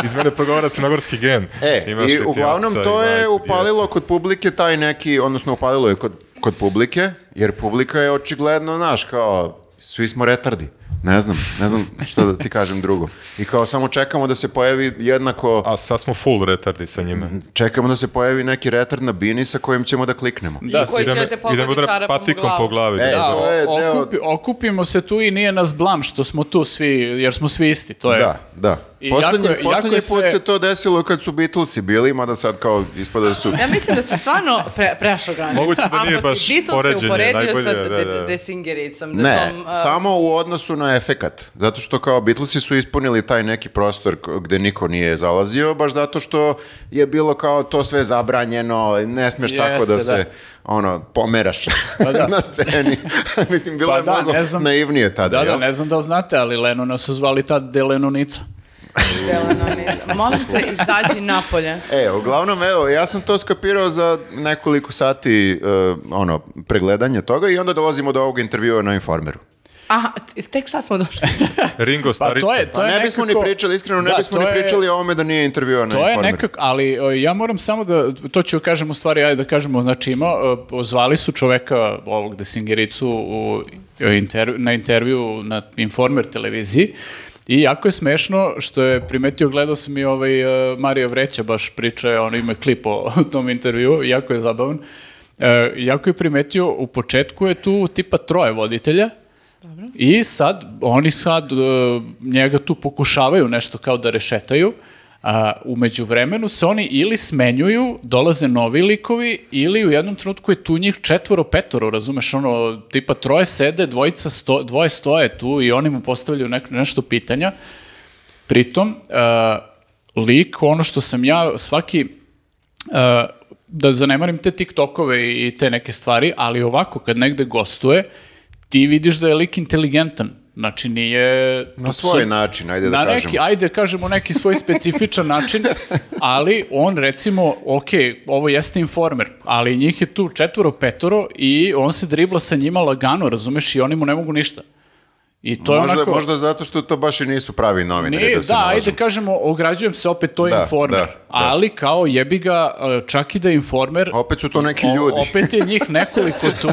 [SPEAKER 4] Iz mene progovara crnogorski gen.
[SPEAKER 2] E,
[SPEAKER 4] Imaš li
[SPEAKER 2] i
[SPEAKER 4] ti
[SPEAKER 2] uglavnom
[SPEAKER 4] oca i
[SPEAKER 2] to je
[SPEAKER 4] majku,
[SPEAKER 2] upalilo kod publike taj neki, odnosno upalilo je kod, kod publike, jer publika je očigledno, znaš, kao, svi smo retardi. Ne znam, ne znam što da ti kažem drugo. I kao samo čekamo da se pojavi jednako...
[SPEAKER 4] dijete? A sad smo full retardi sa njime.
[SPEAKER 2] Čekamo da se pojavi neki retard na bini sa kojim ćemo da kliknemo.
[SPEAKER 5] Da,
[SPEAKER 3] Koji će
[SPEAKER 4] Idemo-
[SPEAKER 3] te pogodi
[SPEAKER 4] idemo da
[SPEAKER 3] čarapom u
[SPEAKER 4] patikom
[SPEAKER 3] glavu.
[SPEAKER 4] po glavi.
[SPEAKER 2] E,
[SPEAKER 4] da,
[SPEAKER 5] Da,
[SPEAKER 2] to je
[SPEAKER 5] o-
[SPEAKER 2] deo-
[SPEAKER 5] okupi- okupimo se tu i nije nas blam što smo tu svi, jer smo svi isti, to Pa je.
[SPEAKER 2] Da, da.
[SPEAKER 5] I
[SPEAKER 2] Poslednji,
[SPEAKER 5] jako je- jako
[SPEAKER 2] poslednji
[SPEAKER 5] je
[SPEAKER 2] put
[SPEAKER 5] sve-
[SPEAKER 2] se to desilo kad su Beatlesi bili, mada sad kao ispada da su...
[SPEAKER 3] Ja mislim da se stvarno pre, prešao granicu.
[SPEAKER 4] Moguće da nije
[SPEAKER 3] Ako
[SPEAKER 4] baš
[SPEAKER 3] si Beatles se
[SPEAKER 4] poređenje,
[SPEAKER 3] uporedio
[SPEAKER 4] najbolje,
[SPEAKER 3] sa
[SPEAKER 4] da,
[SPEAKER 3] de-
[SPEAKER 4] da.
[SPEAKER 3] de- Desingericom. da
[SPEAKER 2] Ne,
[SPEAKER 3] tom, uh,
[SPEAKER 2] samo u odnosu na efekat. Zato što kao Beatlesi su ispunili taj neki prostor k- gde niko nije zalazio, baš zato što je bilo kao to sve zabranjeno, ne smiješ tako
[SPEAKER 5] Jeste,
[SPEAKER 2] da
[SPEAKER 5] da.
[SPEAKER 2] se ono, pomeraš
[SPEAKER 5] da.
[SPEAKER 2] na sceni. Mislim, bilo
[SPEAKER 5] Pa
[SPEAKER 2] je
[SPEAKER 5] da,
[SPEAKER 2] mnogo
[SPEAKER 5] ne znam.
[SPEAKER 2] naivnije tada.
[SPEAKER 5] Da, da,
[SPEAKER 2] jel?
[SPEAKER 5] ne znam da li znate, ali Lenona su zvali tad Delenunica.
[SPEAKER 3] Zelenonica. Molim te, izađi napolje.
[SPEAKER 2] E, uglavnom, evo, ja sam to skapirao za nekoliko sati e, ono, pregledanja toga i onda dolazimo do ovog intervjua na Informeru.
[SPEAKER 3] Aha, t- tek sad smo došli.
[SPEAKER 4] Ringo
[SPEAKER 5] Pa
[SPEAKER 4] starica.
[SPEAKER 5] to je, to
[SPEAKER 2] Pa
[SPEAKER 5] je
[SPEAKER 2] ne bismo
[SPEAKER 5] nekako-
[SPEAKER 2] ni pričali, iskreno, ne
[SPEAKER 5] Da,
[SPEAKER 2] bismo
[SPEAKER 5] to
[SPEAKER 2] ni
[SPEAKER 5] je-
[SPEAKER 2] pričali o ovome da nije intervjua na
[SPEAKER 5] To je
[SPEAKER 2] Informeru.
[SPEAKER 5] nekako, ali e, ja moram samo da, to ću kažem u stvari, ajde da kažemo, znači ima, e, zvali su čoveka ovog Desingericu u, e, interv- na intervju na Informer televiziji i jako je smešno što je primetio, gledao sam i ovaj e, Mario Vreća baš priča, on ima klip o o tom intervju, jako je zabavan. E, jako je primetio, u početku je tu tipa troje voditelja, i sad, oni sad e, njega tu pokušavaju nešto kao da rešetaju, a u međuvremenu se oni ili smenjuju, dolaze novi likovi, ili u jednom trenutku je tu njih četvoro, petoro, razumeš, ono, tipa troje sede, dvojica sto, dvoje stoje tu i oni mu postavljaju nek, nešto pitanja. Pritom, e, lik, ono što sam ja, svaki, e, da zanemarim te TikTokove i te neke stvari, ali ovako, kad negde gostuje, ti vidiš da je lik inteligentan. Znači, nije...
[SPEAKER 2] Na svoj način, ajde da
[SPEAKER 5] Na neki,
[SPEAKER 2] kažemo.
[SPEAKER 5] ajde kažemo neki svoj specifičan način, ali on recimo, ok, ovo jeste informer, ali njih je tu četvoro, petoro i on se dribla sa njima lagano, razumeš, i oni mu ne mogu ništa. I to
[SPEAKER 2] možda,
[SPEAKER 5] je onako...
[SPEAKER 2] možda zato što to baš i nisu pravi novinari
[SPEAKER 5] Nije,
[SPEAKER 2] da
[SPEAKER 5] da,
[SPEAKER 2] se nalažu.
[SPEAKER 5] ajde kažemo, ograđujem se opet, to je
[SPEAKER 2] Da,
[SPEAKER 5] informer.
[SPEAKER 2] da, da.
[SPEAKER 5] Ali kao jebi ga, e, čak i da je informer,
[SPEAKER 2] Opet su to neki
[SPEAKER 5] o-
[SPEAKER 2] ljudi.
[SPEAKER 5] opet je njih nekoliko tu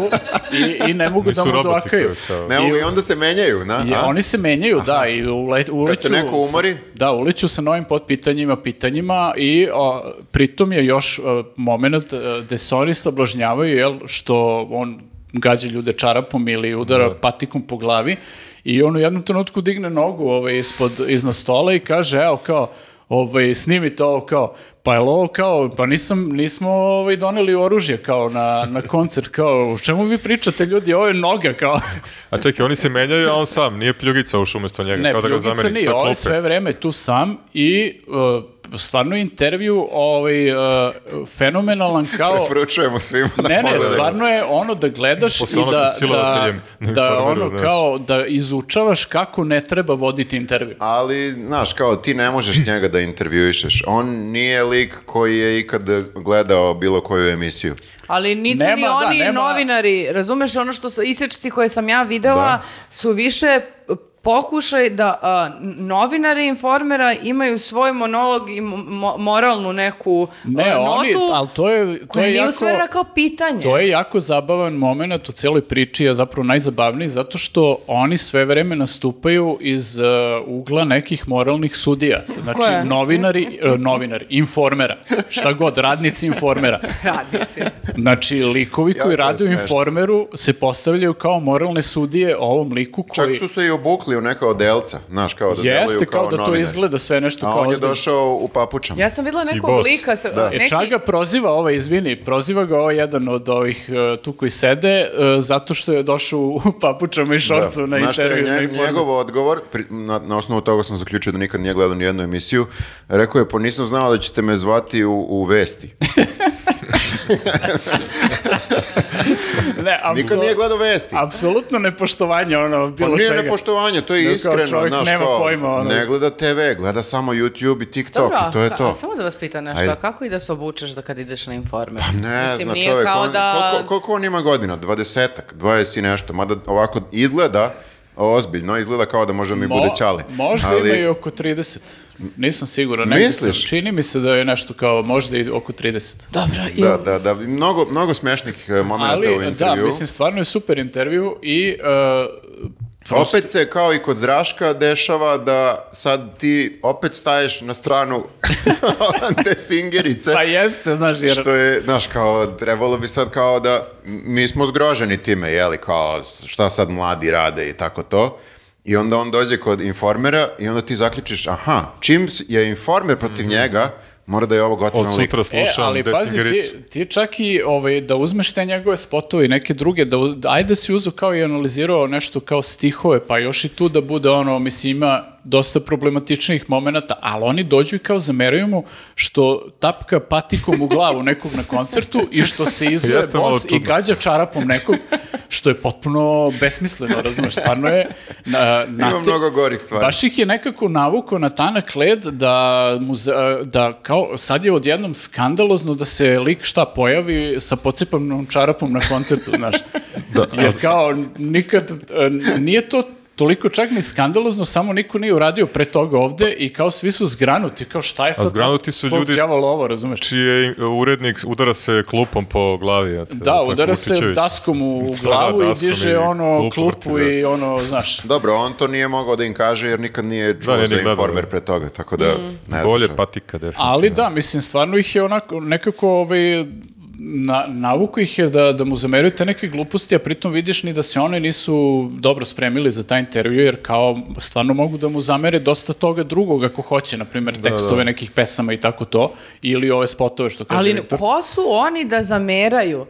[SPEAKER 5] i, i ne mogu
[SPEAKER 4] Nisu
[SPEAKER 5] da mu
[SPEAKER 4] roboti
[SPEAKER 5] doakaju.
[SPEAKER 4] koji to-
[SPEAKER 2] Ne, mogu, i onda se menjaju, na?
[SPEAKER 5] I
[SPEAKER 2] a?
[SPEAKER 5] oni se menjaju, da, i ule- uleću...
[SPEAKER 2] se neko umori?
[SPEAKER 5] sa- Da, uleću sa novim potpitanjima, pitanjima i o, pritom je još o, moment e, gde se oni sablažnjavaju, jel, što on gađa ljude čarapom ili
[SPEAKER 2] Da.
[SPEAKER 5] udara patikom po glavi i on u jednom trenutku digne nogu ovaj, ispod, iznad stola i kaže, evo kao, ovaj, snimite ovo kao, pa je ovo kao, pa nisam, nismo ovaj, doneli oružje kao na, na koncert, kao, o čemu vi pričate ljudi, ovo je noga kao.
[SPEAKER 4] A čekaj, oni se menjaju, a on sam, nije pljugica ušao umjesto njega.
[SPEAKER 5] Ne,
[SPEAKER 4] kao da ga
[SPEAKER 5] Pljugica
[SPEAKER 4] zameni
[SPEAKER 5] nije,
[SPEAKER 4] sa
[SPEAKER 5] on je
[SPEAKER 4] klupe.
[SPEAKER 5] sve vreme tu sam i uh, stvarno intervju ovaj, uh, fenomenalan kao...
[SPEAKER 2] Preporučujemo svima da
[SPEAKER 5] Ne, ne,
[SPEAKER 2] pogledaju.
[SPEAKER 5] stvarno je ono da gledaš
[SPEAKER 4] Posle
[SPEAKER 5] i
[SPEAKER 4] onog
[SPEAKER 5] da,
[SPEAKER 4] sa
[SPEAKER 5] da,
[SPEAKER 4] silovateljem na
[SPEAKER 5] da
[SPEAKER 4] Informeru,
[SPEAKER 5] ono
[SPEAKER 4] znaš.
[SPEAKER 5] kao da izučavaš kako ne treba voditi intervju.
[SPEAKER 2] Ali, znaš, kao ti ne možeš njega da intervjuišeš. On nije lik lik koji je ikad gledao bilo koju emisiju.
[SPEAKER 3] Ali nisu
[SPEAKER 5] Nema,
[SPEAKER 3] ni
[SPEAKER 5] da,
[SPEAKER 3] oni
[SPEAKER 5] nema-
[SPEAKER 3] novinari, razumeš, ono što su isječci koje sam ja videla
[SPEAKER 2] Da.
[SPEAKER 3] su više pokušaj da a, n- novinari informera imaju svoj monolog i mo- moralnu neku
[SPEAKER 5] Ne,
[SPEAKER 3] a,
[SPEAKER 5] oni,
[SPEAKER 3] notu
[SPEAKER 5] ali to je, to
[SPEAKER 3] koja
[SPEAKER 5] je
[SPEAKER 3] nije
[SPEAKER 5] jako...
[SPEAKER 3] usmerena kao pitanje.
[SPEAKER 5] To je jako zabavan moment u celoj priči, a zapravo najzabavniji, zato što oni sve vreme nastupaju iz uh, ugla nekih moralnih sudija. Znači,
[SPEAKER 3] Koje?
[SPEAKER 5] novinari, e, novinari, informera, šta god, radnici informera.
[SPEAKER 3] Radnici.
[SPEAKER 5] Znači, likovi koji
[SPEAKER 2] Jako je
[SPEAKER 5] rade u
[SPEAKER 2] smešno.
[SPEAKER 5] informeru se postavljaju kao moralne sudije ovom liku
[SPEAKER 2] Čak
[SPEAKER 5] koji...
[SPEAKER 2] su se i obukli u neka odelca, znaš, kao da
[SPEAKER 5] Jeste,
[SPEAKER 2] deluju kao,
[SPEAKER 5] kao, da to
[SPEAKER 2] novinari.
[SPEAKER 5] izgleda sve nešto
[SPEAKER 2] A
[SPEAKER 5] kao
[SPEAKER 2] on je
[SPEAKER 5] ozbiljno.
[SPEAKER 2] došao u papučama.
[SPEAKER 3] Ja sam videla nekog
[SPEAKER 4] bos.
[SPEAKER 3] lika, sa,
[SPEAKER 2] Da.
[SPEAKER 5] E,
[SPEAKER 3] neki,
[SPEAKER 5] Čaga proziva ovaj, izvini, proziva ga ovaj jedan od ovih e, tu koji sede, e, zato što je došao u papučama i šorcu na
[SPEAKER 2] Da. Znaš šta je
[SPEAKER 5] intervju. na
[SPEAKER 2] nje-
[SPEAKER 5] Informeru.
[SPEAKER 2] njegov odgovor, pri- na, na osnovu toga sam zaključio da nikad nije gledao nijednu emisiju, rekao je, pa nisam znao da ćete me zvati u, u vesti.
[SPEAKER 5] Ne,
[SPEAKER 2] Nikad
[SPEAKER 5] apsol-
[SPEAKER 2] nije gledao vesti.
[SPEAKER 5] Apsolutno nepoštovanje ono
[SPEAKER 2] Pa
[SPEAKER 5] bilo
[SPEAKER 2] nije
[SPEAKER 5] čega.
[SPEAKER 2] nepoštovanje, to je
[SPEAKER 5] Kao
[SPEAKER 2] iskreno.
[SPEAKER 5] čovjek
[SPEAKER 2] znaš,
[SPEAKER 5] nema
[SPEAKER 2] kao,
[SPEAKER 5] pojma, ono.
[SPEAKER 2] Ne gleda TV, gleda samo YouTube i TikTok
[SPEAKER 3] Dobro,
[SPEAKER 2] i to je
[SPEAKER 3] ka-
[SPEAKER 2] to.
[SPEAKER 3] samo da vas pitam nešto,
[SPEAKER 2] Ajde.
[SPEAKER 3] a kako i da se obučeš da kad ideš na informer?
[SPEAKER 5] Pa
[SPEAKER 2] Ne
[SPEAKER 3] Mislim,
[SPEAKER 2] zna
[SPEAKER 3] nije
[SPEAKER 2] čovjek,
[SPEAKER 3] kao
[SPEAKER 2] on,
[SPEAKER 3] da...
[SPEAKER 2] koliko, koliko on ima godina? Dvadesetak, dvajest i nešto, mada ovako izgleda ozbiljno, izgleda kao da možda mi
[SPEAKER 5] Mo-
[SPEAKER 2] bude ćale.
[SPEAKER 5] možda
[SPEAKER 2] Ali-
[SPEAKER 5] ima i oko 30. Nisam siguran. negdje sam.
[SPEAKER 2] Misliš?
[SPEAKER 5] Čini mi se da je nešto kao možda i oko 30.
[SPEAKER 3] Dobro, i-
[SPEAKER 2] Da, da, da, mnogo, mnogo smešnih eh, momenata u
[SPEAKER 5] Ali,
[SPEAKER 2] intervju.
[SPEAKER 5] da, mislim, stvarno je super intervju i... e, prosto-
[SPEAKER 2] Opet se kao i kod Draška dešava da sad ti opet staješ na stranu te singerice.
[SPEAKER 5] Pa jeste, znaš, jer...
[SPEAKER 2] Što je, znaš, kao, trebalo bi sad kao da mi smo zgroženi time, jeli, kao šta sad mladi rade i tako to. I onda on dođe kod informera i onda ti zaključiš, aha, čim je informer protiv njega, mora da je ovo
[SPEAKER 4] Od
[SPEAKER 2] gotovo lik.
[SPEAKER 4] sutra slušam
[SPEAKER 5] e, ali pazi,
[SPEAKER 4] Desingericu.
[SPEAKER 5] ti, ti čak i ovaj, da uzmeš te njegove spotove i neke druge, da, u- da ajde si uzu kao i analizirao nešto kao stihove, pa još i tu da bude ono, mislim, ima dosta problematičnih momenata, ali oni dođu i kao zameraju mu što tapka patikom u glavu nekog na koncertu i što se izuje
[SPEAKER 4] Jeste malo
[SPEAKER 5] bos i
[SPEAKER 4] čudno.
[SPEAKER 5] gađa čarapom nekog, što je potpuno besmisleno, razumeš, stvarno je... Na,
[SPEAKER 2] Ima
[SPEAKER 5] nati-
[SPEAKER 2] mnogo gorih stvari.
[SPEAKER 5] Baš ih je nekako navukao na tanak led da, mu, za- da kao sad je odjednom skandalozno da se lik šta pojavi sa pocepanom čarapom na koncertu, znaš.
[SPEAKER 4] Da.
[SPEAKER 5] Jer kao nikad e, nije to toliko čak ni skandalozno, samo niko nije uradio pre toga ovde i kao svi su zgranuti, kao šta je sad?
[SPEAKER 4] zgranuti su
[SPEAKER 5] kog
[SPEAKER 4] ljudi-
[SPEAKER 5] đavola ovo, razumeš?
[SPEAKER 4] čiji je urednik udara se klupom po glavi. znate,
[SPEAKER 5] Da,
[SPEAKER 4] tako,
[SPEAKER 5] udara se
[SPEAKER 4] Vučićević.
[SPEAKER 5] daskom u
[SPEAKER 4] Da,
[SPEAKER 5] glavu i
[SPEAKER 4] daskom
[SPEAKER 5] diže ono
[SPEAKER 4] klupu
[SPEAKER 5] klupu
[SPEAKER 4] vrti, da.
[SPEAKER 5] i ono, znaš,
[SPEAKER 2] Dobro, on to nije mogao da im kaže jer nikad nije čuo
[SPEAKER 4] nije ni
[SPEAKER 2] za
[SPEAKER 4] gledao,
[SPEAKER 2] informer
[SPEAKER 4] da.
[SPEAKER 2] pre toga, tako da ne znam
[SPEAKER 4] Bolje
[SPEAKER 2] čak.
[SPEAKER 4] patika, definitivno.
[SPEAKER 5] Ali da, mislim, stvarno ih je onako, nekako ovaj, na, navuku ih je da, da mu zameraju te neke gluposti, a pritom vidiš ni da se one nisu dobro spremili za taj intervju, jer kao stvarno mogu da mu zamere dosta toga drugog ako hoće, na primjer, tekstove nekih pesama i tako to, ili ove spotove što kaže
[SPEAKER 3] Ali
[SPEAKER 5] Viktor.
[SPEAKER 3] ko su oni da zameraju?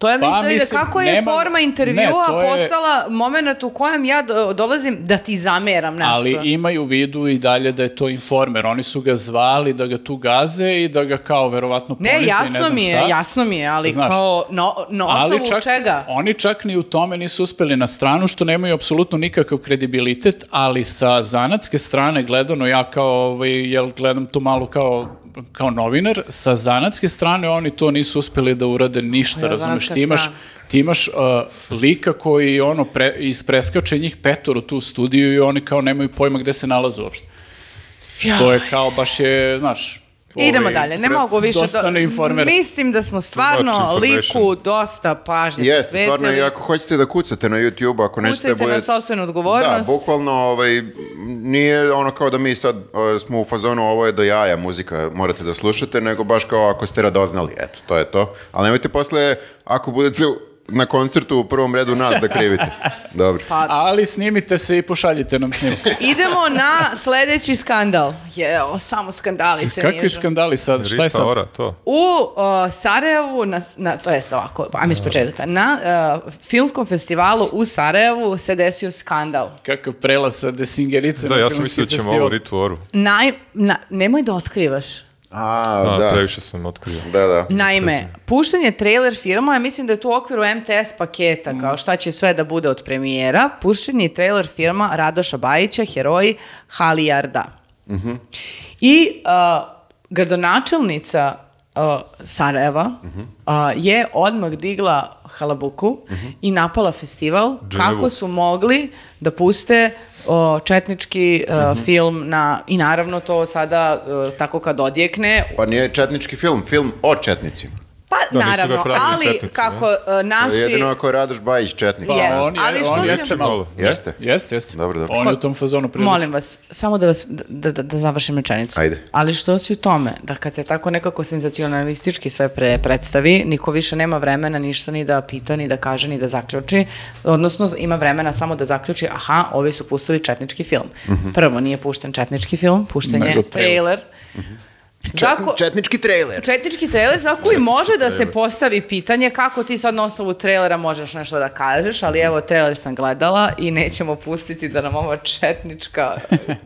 [SPEAKER 3] To je
[SPEAKER 5] Pa,
[SPEAKER 3] mislim,
[SPEAKER 5] mislim,
[SPEAKER 3] da kako je
[SPEAKER 5] nema-
[SPEAKER 3] forma
[SPEAKER 5] ne,
[SPEAKER 3] intervjua
[SPEAKER 5] to je-
[SPEAKER 3] postala moment u kojem ja do- dolazim da ti zameram nešto.
[SPEAKER 5] Ali imaju u vidu i dalje da je to informer. Oni su ga zvali da ga tu gaze i da ga kao verovatno ponize i
[SPEAKER 3] Ne,
[SPEAKER 5] ne
[SPEAKER 3] jasno
[SPEAKER 5] znam
[SPEAKER 3] mi je,
[SPEAKER 5] šta. da
[SPEAKER 3] jasno mi je, ali
[SPEAKER 5] Znaš.
[SPEAKER 3] kao no, na osnovu čega?
[SPEAKER 5] Oni čak ni u tome nisu uspeli na stranu, što nemaju apsolutno nikakav kredibilitet, ali sa zanatske strane gledano, ja kao, ovaj, jel gledam to malo kao, kao novinar, sa zanatske strane oni to nisu uspeli da urade ništa,
[SPEAKER 3] Ja,
[SPEAKER 5] razumeš,
[SPEAKER 3] zanatska
[SPEAKER 5] ti imaš,
[SPEAKER 3] strana.
[SPEAKER 5] ti imaš uh, lika koji ono pre, ispreskače njih petoru tu u studiju i oni kao nemaju pojma gde se nalaze uopšte. Što je kao, baš je, znaš...
[SPEAKER 3] Idemo
[SPEAKER 5] ovaj,
[SPEAKER 3] dalje, ne mogu više.
[SPEAKER 5] dosta
[SPEAKER 3] do-
[SPEAKER 5] neinformera.
[SPEAKER 3] Mislim da smo stvarno
[SPEAKER 4] Much information.
[SPEAKER 3] liku dosta pažnje
[SPEAKER 2] Jeste, stvarno,
[SPEAKER 3] posvetili.
[SPEAKER 2] i ako hoćete da kucate na YouTube, ako nećete da
[SPEAKER 3] Kucajte na
[SPEAKER 2] budete-
[SPEAKER 3] sopstvenu odgovornost.
[SPEAKER 2] Da, bukvalno, ovaj, nije ono kao da mi sad e, smo u fazonu ovo je do jaja muzika, morate da slušate, nego baš kao ako ste radoznali, eto, to je to. Ali nemojte posle, ako budete u- na koncertu u prvom redu nas da krivite. Dobro.
[SPEAKER 3] Pa-
[SPEAKER 5] Ali snimite se i pošaljite nam snimak.
[SPEAKER 3] Idemo na sledeći skandal. Jeo, samo skandali se
[SPEAKER 5] Kakvi
[SPEAKER 3] nižu.
[SPEAKER 5] skandali sad? Šta je
[SPEAKER 4] Rita
[SPEAKER 5] sad?
[SPEAKER 4] Ora, to.
[SPEAKER 3] U o, Sarajevu, na, na, to jest ovako, ajmo iz početka, na e, filmskom festivalu u Sarajevu se desio skandal.
[SPEAKER 5] Kakav prelaz sa desingerice
[SPEAKER 4] Da,
[SPEAKER 5] na
[SPEAKER 4] ja sam
[SPEAKER 5] filmski
[SPEAKER 4] mislio da ćemo
[SPEAKER 5] festival.
[SPEAKER 4] ovo Ritu Oru.
[SPEAKER 3] Naj, na, nemoj da otkrivaš.
[SPEAKER 2] A,
[SPEAKER 4] A,
[SPEAKER 2] da.
[SPEAKER 4] previše sam otkrio.
[SPEAKER 2] Da, da.
[SPEAKER 3] Naime, puštanje trailer filma, ja mislim da je tu u okviru MTS paketa, kao šta će sve da bude od premijera, puštanje trailer filma Radoša Bajića, heroji Halijarda. I uh, gradonačelnica uh, Sarajeva uh, je odmah digla halabuku i napala festival
[SPEAKER 4] Dženevu.
[SPEAKER 3] kako su mogli da puste uh, četnički uh, film na, i naravno to sada uh, tako kad odjekne,
[SPEAKER 2] Pa nije četnički film, film o četnicima.
[SPEAKER 3] pa
[SPEAKER 4] Da, nisu ga
[SPEAKER 3] naravno,
[SPEAKER 4] pravili
[SPEAKER 3] ali
[SPEAKER 4] četnici,
[SPEAKER 3] kako uh, naši...
[SPEAKER 2] Jedino ako je Radoš Bajić četnik.
[SPEAKER 5] Pa,
[SPEAKER 3] Jeste.
[SPEAKER 5] on je,
[SPEAKER 3] Ali što
[SPEAKER 5] on
[SPEAKER 3] se-
[SPEAKER 5] jeste malo.
[SPEAKER 2] Jeste?
[SPEAKER 5] Jeste, jeste.
[SPEAKER 2] Dobro, dobro.
[SPEAKER 5] On je u tom fazonu prilično.
[SPEAKER 3] Molim vas, samo da, vas, da, da, da završim rečenicu.
[SPEAKER 2] Ajde.
[SPEAKER 3] Ali što si u tome, da kad se tako nekako senzacionalistički sve pre predstavi, niko više nema vremena ništa ni da pita, ni da kaže, ni da zaključi, odnosno ima vremena samo da zaključi, aha, ovi su pustili četnički film.
[SPEAKER 4] Mhm.
[SPEAKER 3] Prvo, nije pušten četnički film, pušten je
[SPEAKER 5] Nego trailer. Mhm.
[SPEAKER 3] trailer. Zako,
[SPEAKER 2] Četnički trailer.
[SPEAKER 3] četnički trailer za koji može da se postavi pitanje kako ti sad na osnovu trailera možeš nešto da kažeš, ali evo trailer sam gledala i nećemo pustiti da nam ova četnička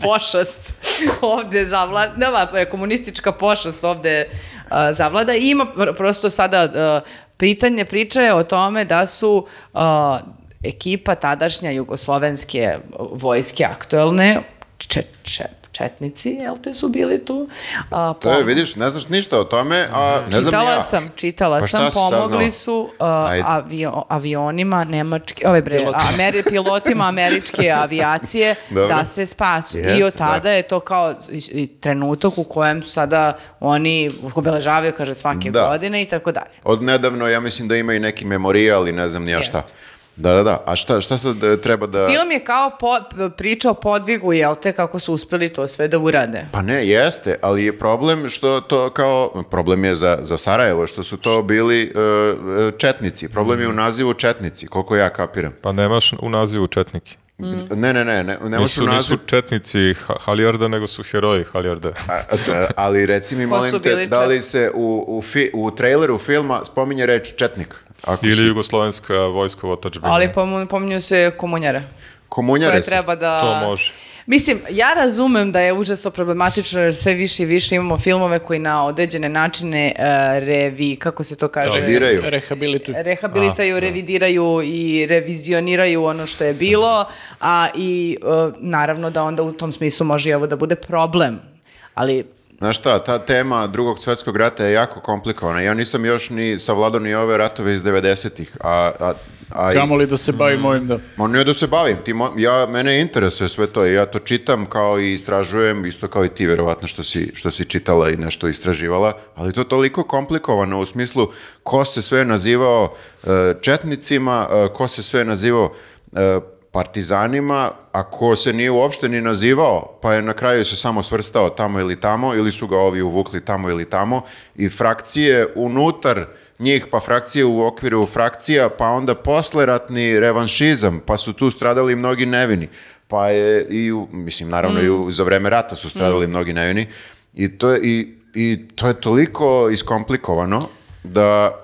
[SPEAKER 3] pošast ovde zavlada, ne ova komunistička pošast ovde a, zavlada i ima pr- prosto sada a, pitanje priče je o tome da su a, ekipa tadašnja jugoslovenske vojske aktuelne če, če, četnici, jel te su bili tu? A,
[SPEAKER 2] To je, vidiš, ne znaš ništa o tome, a
[SPEAKER 3] Da. Mhm.
[SPEAKER 2] ne znam ni
[SPEAKER 3] Čitala
[SPEAKER 2] ja.
[SPEAKER 3] sam, čitala
[SPEAKER 2] Pa šta
[SPEAKER 3] sam,
[SPEAKER 2] si
[SPEAKER 3] pomogli
[SPEAKER 2] saznala?
[SPEAKER 3] su uh,
[SPEAKER 2] Ajde.
[SPEAKER 3] avio- avionima nemački, ove bre, Ameri, pilotima američke avijacije
[SPEAKER 2] Dobro.
[SPEAKER 3] da se spasu. I
[SPEAKER 2] Jeste,
[SPEAKER 3] od tada
[SPEAKER 2] da.
[SPEAKER 3] je to kao i- i trenutak u kojem su sada oni obeležavaju, kaže, svake
[SPEAKER 2] Da.
[SPEAKER 3] godine i tako dalje.
[SPEAKER 2] Od nedavno, ja mislim da ima i neki memorijal i ne znam ni ja šta.
[SPEAKER 3] Jeste.
[SPEAKER 2] Da, da, da. A šta, šta sad e, treba da...
[SPEAKER 3] Film je kao po, priča o podvigu, jel te, kako su uspeli to sve da urade.
[SPEAKER 2] Pa ne, jeste, ali je problem što to kao, problem je za, za Sarajevo, što su to bili e, e, četnici. Problem
[SPEAKER 3] Mhm.
[SPEAKER 2] je u nazivu četnici, koliko ja kapiram.
[SPEAKER 4] Pa nemaš u nazivu četniki.
[SPEAKER 3] Mhm.
[SPEAKER 2] Ne, ne, ne, ne, ne
[SPEAKER 4] Nisu,
[SPEAKER 2] u
[SPEAKER 4] nisu
[SPEAKER 2] naziv,
[SPEAKER 4] četnici Ha- Halijarda, nego su heroji Halijarda.
[SPEAKER 2] A, a, ali reci mi,
[SPEAKER 3] Ko su
[SPEAKER 2] molim te,
[SPEAKER 3] bili
[SPEAKER 2] da li se u, u, fi, u traileru filma spominje reč četnik? Ako
[SPEAKER 4] Ili
[SPEAKER 2] Ili...
[SPEAKER 4] jugoslovenska vojska u otadžbini.
[SPEAKER 3] Ali pomu- pominju se komunjare. koje
[SPEAKER 2] Komunjare se.
[SPEAKER 3] treba da...
[SPEAKER 4] To može.
[SPEAKER 3] Mislim, ja razumem da je užasno problematično jer sve više i više imamo filmove koji na određene načine e, revi, kako se to kaže?
[SPEAKER 2] Diraju.
[SPEAKER 5] Rehabilituj.
[SPEAKER 3] Rehabilitaju, revidiraju i revizioniraju ono što je bilo, a i e, naravno da onda u tom smislu može i ovo da bude problem. Ali
[SPEAKER 2] Znaš šta, ta tema drugog svjetskog rata je jako komplikovana. Ja nisam još ni savladao ni ove ratove iz 90-ih, a, a, a i-
[SPEAKER 5] Kamo li da se
[SPEAKER 4] Mm.
[SPEAKER 5] bavim ovim da...
[SPEAKER 2] Ma ne da se bavim, ti mo- ja, mene interesuje sve to, i ja to čitam kao i istražujem, isto kao i ti verovatno što si, što si čitala i nešto istraživala, ali to je toliko komplikovano u smislu ko se sve nazivao e, četnicima, e, ko se sve nazivao e, partizanima, a ko se nije uopšte ni nazivao, pa je na kraju se samo svrstao tamo ili tamo, ili su ga ovi uvukli tamo ili tamo, i frakcije unutar njih, pa frakcije u okviru frakcija, pa onda posleratni revanšizam, pa su tu stradali mnogi nevini, pa je i, u, mislim, naravno i
[SPEAKER 3] Mm.
[SPEAKER 2] u, za vreme rata su stradali mnogi nevini, i to je, i, i to je toliko iskomplikovano da,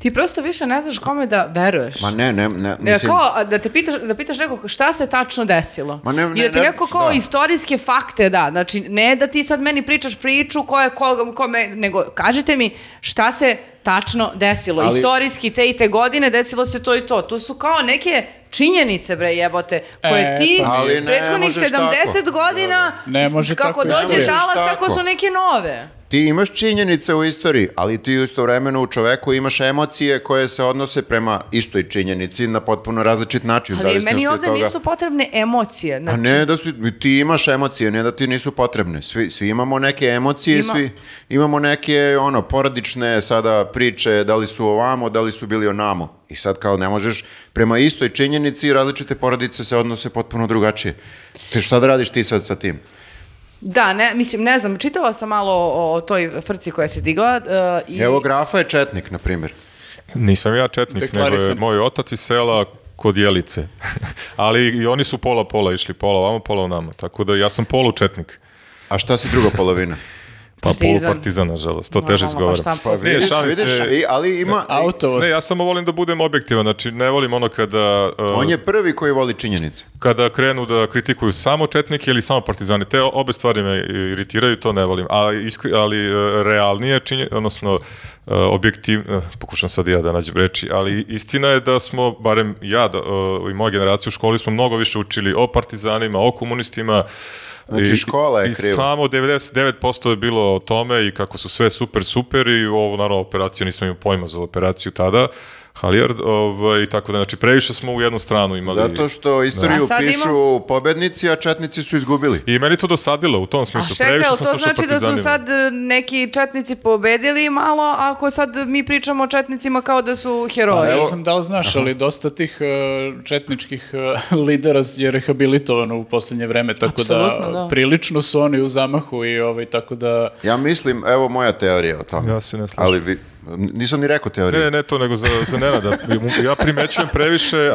[SPEAKER 3] ti prosto više ne znaš kome da veruješ.
[SPEAKER 2] ma ne, ne, ne,
[SPEAKER 3] E,
[SPEAKER 2] mislim,
[SPEAKER 3] kao a, da te pitaš, da pitaš nekog šta se tačno desilo.
[SPEAKER 2] Ma ne, ne,
[SPEAKER 3] I da ti
[SPEAKER 2] ne,
[SPEAKER 3] neko kao
[SPEAKER 2] da.
[SPEAKER 3] istorijske fakte da. Znači, ne da ti sad meni pričaš priču ko je koga, kome, nego kažite mi šta se tačno desilo.
[SPEAKER 2] Ali-
[SPEAKER 3] Istorijski te i te godine desilo se to i to. To su kao neke činjenice, bre, jebote, koje
[SPEAKER 5] E,
[SPEAKER 3] ti
[SPEAKER 5] pa
[SPEAKER 2] nije. Ali ne
[SPEAKER 3] prethodnih
[SPEAKER 2] možeš
[SPEAKER 3] 70
[SPEAKER 2] tako. Da,
[SPEAKER 3] godina,
[SPEAKER 5] Ne
[SPEAKER 3] s-
[SPEAKER 5] može
[SPEAKER 3] kako
[SPEAKER 5] tako
[SPEAKER 3] dođe
[SPEAKER 5] istorija.
[SPEAKER 3] žalac,
[SPEAKER 2] Ne možeš
[SPEAKER 3] tako su
[SPEAKER 2] tako.
[SPEAKER 3] neke nove.
[SPEAKER 2] Ti imaš činjenice u istoriji, ali ti istovremeno u čoveku imaš emocije koje se odnose prema istoj činjenici na potpuno različit način.
[SPEAKER 3] Ali
[SPEAKER 2] zavisno
[SPEAKER 3] meni
[SPEAKER 2] od
[SPEAKER 3] ovde
[SPEAKER 2] toga.
[SPEAKER 3] nisu potrebne emocije.
[SPEAKER 2] A
[SPEAKER 3] Znači,
[SPEAKER 2] ne da su, ti imaš emocije, ne da ti nisu potrebne. Svi, svi imamo neke emocije,
[SPEAKER 3] Ima-
[SPEAKER 2] svi imamo neke ono porodične sada priče, da li su ovamo, da li su bili onamo. I sad kao ne možeš prema istoj činjenici različite porodice se odnose potpuno drugačije. Te šta da radiš ti sad sa tim?
[SPEAKER 3] Da, ne, mislim, ne znam, čitala sam malo o, o toj frci koja se digla e, i...
[SPEAKER 2] Evo grafa je četnik, na primjer.
[SPEAKER 4] Nisam ja četnik, nego je
[SPEAKER 5] Deklarisan.
[SPEAKER 4] moj otac iz sela kod Jelice. Ali i oni su pola-pola išli, pola vamo, pola nama. Tako da ja sam pa polučetnik.
[SPEAKER 2] A šta si druga polovina?
[SPEAKER 4] Pa
[SPEAKER 3] Partizan.
[SPEAKER 4] polupartizan, nažalost. To
[SPEAKER 3] Normalno,
[SPEAKER 4] teže
[SPEAKER 3] pa
[SPEAKER 4] izgovaram.
[SPEAKER 3] šta
[SPEAKER 2] Pa
[SPEAKER 3] Ne,
[SPEAKER 2] vidiš,
[SPEAKER 4] šalim
[SPEAKER 2] vidiš,
[SPEAKER 4] se.
[SPEAKER 2] i- ali ima...
[SPEAKER 5] Autovo
[SPEAKER 4] Ne, ja samo volim da budem objektivan, znači ne volim ono kada, uh,
[SPEAKER 2] On je prvi koji voli činjenice.
[SPEAKER 4] kada krenu da kritikuju samo četnike ili samo partizane. Te obe stvari me iritiraju, to ne volim. A iskri- ali uh, realnije, činje, e, odnosno e, objektiv, e, pokušam sad i ja da nađem reči, ali istina je da smo, barem ja da, e, i moja generacija u školi smo mnogo više učili o partizanima, o komunistima,
[SPEAKER 2] Znači,
[SPEAKER 4] i-
[SPEAKER 2] škola je
[SPEAKER 4] i
[SPEAKER 2] kriva.
[SPEAKER 4] samo 99% je bilo o tome i kako su sve super, super i ovo, naravno, operaciju, nisam imao pojma za operaciju tada, Halijard, ovaj, tako da, znači, previše smo u jednu stranu imali.
[SPEAKER 2] Zato što
[SPEAKER 3] A
[SPEAKER 2] istoriju
[SPEAKER 3] sad
[SPEAKER 2] pišu pobednici, a četnici su izgubili.
[SPEAKER 4] I meni to dosadilo u tom
[SPEAKER 3] A
[SPEAKER 4] smislu.
[SPEAKER 3] čekaj,
[SPEAKER 4] Previše pa
[SPEAKER 3] ali
[SPEAKER 4] sam
[SPEAKER 3] to
[SPEAKER 4] slušao
[SPEAKER 3] znači da su
[SPEAKER 4] Partizanima.
[SPEAKER 3] sad e, neki četnici pobedili malo, ako sad mi pričamo o četnicima kao da su heroji.
[SPEAKER 5] Pa, ne znam da li znaš, ali dosta tih e, četničkih e, lidera je rehabilitovano u posljednje vreme, tako
[SPEAKER 3] Apsolutno,
[SPEAKER 5] da,
[SPEAKER 3] da.
[SPEAKER 5] prilično su oni u zamahu i ovaj, tako da...
[SPEAKER 2] Ja mislim, evo moja teorija o tome.
[SPEAKER 4] Ja se ne slažem.
[SPEAKER 2] Ali vi, n- nisam ni rekao teoriju.
[SPEAKER 4] Ne, ne, ne to, nego za, za Nenada. Ja primećujem previše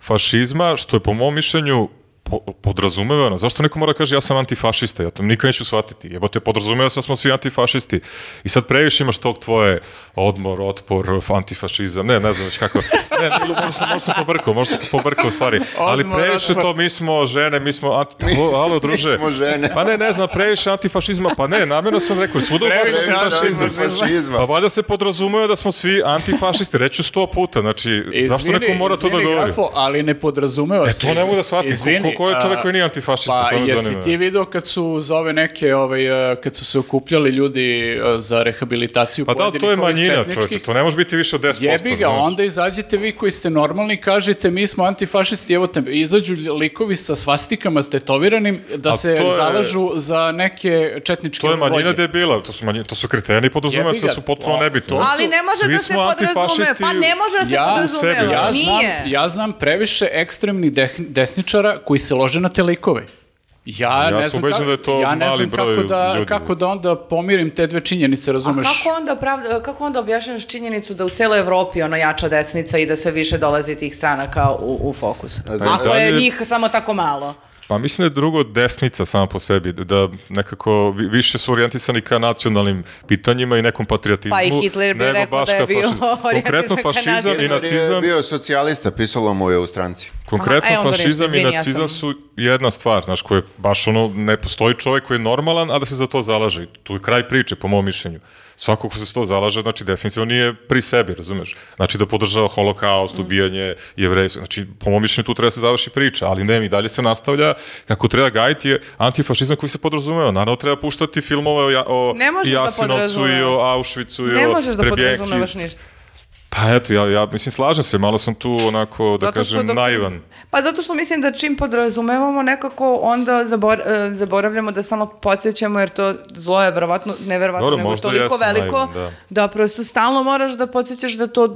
[SPEAKER 4] antifašizma, što je po mom mišljenju po, podrazumevano. Zašto neko mora da kaže ja sam antifašista, ja to nikad neću shvatiti. Jebote, podrazumeva se da smo svi antifašisti. I sad previše imaš tog tvoje odmor, otpor, antifašizam, ne, ne znam već kako. Ne, ne, možda sam, možda sam pobrkao, možda sam pobrkao stvari. Ali
[SPEAKER 5] Odmor,
[SPEAKER 4] previše
[SPEAKER 5] otpor.
[SPEAKER 4] to, mi smo žene, mi smo... Anti... Alo, alo, druže.
[SPEAKER 2] smo žene.
[SPEAKER 4] Pa ne, ne znam, previše antifašizma, pa ne, namjerno sam rekao, svuda u
[SPEAKER 5] Previše
[SPEAKER 4] Bosni je antifašizam.
[SPEAKER 2] antifašizma.
[SPEAKER 4] Pa valjda se podrazumeva da smo svi antifašisti, reću sto puta, znači zašto neko mora to da
[SPEAKER 5] izvini,
[SPEAKER 4] govori?
[SPEAKER 5] Grafo, ali ne podrazumeva
[SPEAKER 4] E,
[SPEAKER 5] se.
[SPEAKER 4] to ne mogu da shvatim, ko-
[SPEAKER 5] Izvini,
[SPEAKER 4] ko- ko je čovjek
[SPEAKER 5] a,
[SPEAKER 4] koji nije antifašista,
[SPEAKER 5] Pa
[SPEAKER 4] stvarno me
[SPEAKER 5] jesi
[SPEAKER 4] zanima.
[SPEAKER 5] ti video kad su za ove neke, ovaj, e, kad su se okupljali ljudi e, za rehabilitaciju
[SPEAKER 4] Pa da, ali to je
[SPEAKER 5] pojedinih ovih
[SPEAKER 4] manjina,
[SPEAKER 5] četničkih?
[SPEAKER 4] čovječe, to ne može biti više od 10%.
[SPEAKER 5] Jebi ga,
[SPEAKER 4] znaš.
[SPEAKER 5] onda izađite vi koji ste normalni, kažete mi smo antifašisti, evo te, izađu likovi sa svastikama, s tetoviranim, da
[SPEAKER 4] A
[SPEAKER 5] se
[SPEAKER 4] to je-
[SPEAKER 5] zalažu za neke četničke
[SPEAKER 4] To je manjina
[SPEAKER 5] vođe.
[SPEAKER 4] debila, to su, manji, to su kreteni, podrazumeva
[SPEAKER 5] Jebi
[SPEAKER 4] se da
[SPEAKER 5] ga,
[SPEAKER 4] su potpuno
[SPEAKER 5] to-
[SPEAKER 4] nebitno.
[SPEAKER 5] to
[SPEAKER 3] Ali ne može
[SPEAKER 4] Svi
[SPEAKER 3] da se
[SPEAKER 4] smo
[SPEAKER 3] podrazumeva.
[SPEAKER 4] antifašisti
[SPEAKER 3] Pa ne može da se
[SPEAKER 5] Ja u
[SPEAKER 4] sebi,
[SPEAKER 3] podrazumeva.
[SPEAKER 5] Ja znam,
[SPEAKER 3] Nije.
[SPEAKER 5] ja znam previše ekstremnih deh- desničara koji se lože na te likove. Ja,
[SPEAKER 4] Ja
[SPEAKER 5] ne
[SPEAKER 4] sam
[SPEAKER 5] znam,
[SPEAKER 4] ubeđen
[SPEAKER 5] kako,
[SPEAKER 4] da je to
[SPEAKER 5] ja ne
[SPEAKER 4] mali
[SPEAKER 5] znam
[SPEAKER 4] broj
[SPEAKER 5] kako, da,
[SPEAKER 4] ljudi.
[SPEAKER 5] kako da onda pomirim te dve činjenice,
[SPEAKER 3] A
[SPEAKER 5] razumeš?
[SPEAKER 3] kako onda, pravda, kako onda objašnjaš činjenicu da u celoj Evropi ono jača desnica i da sve više dolazi tih stranaka u, u fokus?
[SPEAKER 2] za-
[SPEAKER 3] Ako je
[SPEAKER 4] dalje-
[SPEAKER 3] njih samo tako malo.
[SPEAKER 4] Pa mislim da je drugo desnica sama po sebi, da nekako vi- više su orijentisani ka nacionalnim pitanjima i nekom patriotizmu.
[SPEAKER 3] Pa i Hitler bi
[SPEAKER 4] nego
[SPEAKER 3] rekao
[SPEAKER 4] baš
[SPEAKER 3] da je
[SPEAKER 4] ka
[SPEAKER 3] bio
[SPEAKER 4] fašizmu. Konkretno
[SPEAKER 3] orijentisan ka
[SPEAKER 4] fašizam i
[SPEAKER 3] nacionalnim.
[SPEAKER 4] nacizam
[SPEAKER 2] Bio je socijalista, pisalo mu je u stranci.
[SPEAKER 4] Konkretno
[SPEAKER 3] Aha, e, onda ništa,
[SPEAKER 4] fašizam
[SPEAKER 3] izvini,
[SPEAKER 4] i
[SPEAKER 3] ja
[SPEAKER 4] nacizam
[SPEAKER 3] sam-
[SPEAKER 4] su jedna stvar, znaš, koja je baš ono, ne postoji čovjek koji je normalan, a da se za to zalaže. I Tu je kraj priče, po mom mišljenju. Svako ko se za to zalaže, znači, definitivno nije pri sebi, razumeš? Znači, da podržava holokaust,
[SPEAKER 3] Mhm.
[SPEAKER 4] ubijanje jevrejstva. Znači, po mom mišljenju, tu treba se završi priča, ali ne, i dalje se nastavlja kako treba gajiti je antifašizam koji se podrazumeva. Naravno, treba puštati filmove o, ja, o
[SPEAKER 3] Ne možeš da
[SPEAKER 4] Jasenovcu i o
[SPEAKER 3] podrazumevaš.
[SPEAKER 4] Auschwitzu i
[SPEAKER 3] ne
[SPEAKER 4] o
[SPEAKER 3] možeš da
[SPEAKER 4] Trebjenki.
[SPEAKER 3] podrazumevaš ništa.
[SPEAKER 4] Pa eto, ja, ja mislim, slažem se, malo sam tu onako, da
[SPEAKER 3] Zato što
[SPEAKER 4] kažem,
[SPEAKER 3] dok-
[SPEAKER 4] naivan.
[SPEAKER 3] Pa zato što mislim da čim podrazumevamo nekako onda zabor, e, zaboravljamo da samo podsjećamo jer to zlo je verovatno, ne verovatno,
[SPEAKER 4] Dobro,
[SPEAKER 3] nego je
[SPEAKER 4] možda
[SPEAKER 3] toliko
[SPEAKER 4] jesam
[SPEAKER 3] veliko
[SPEAKER 4] naivan, da.
[SPEAKER 3] da. prosto stalno moraš da podsjećaš da to m,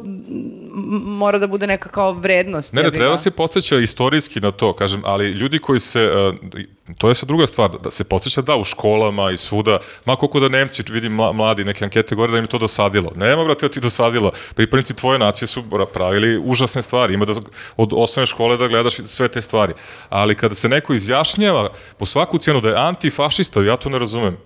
[SPEAKER 3] mora da bude neka kao vrednost.
[SPEAKER 4] Ne, ne,
[SPEAKER 3] jebi ga.
[SPEAKER 4] treba da se podsjeća istorijski na to, kažem, ali ljudi koji se, e, to je sad druga stvar, da se podsjeća da u školama i svuda, ma koliko da Nemci, vidim mla- mladi, neke ankete gore da im je to dosadilo. Nema, brate, da ti dosadilo. Pripadnici tvoje nacije su bra- pravili užasne stvari, ima da od osnovne škole da gledaš sve te stvari. Ali kada se neko izjašnjava po svaku cijenu da je antifašista, ja to ne razumem.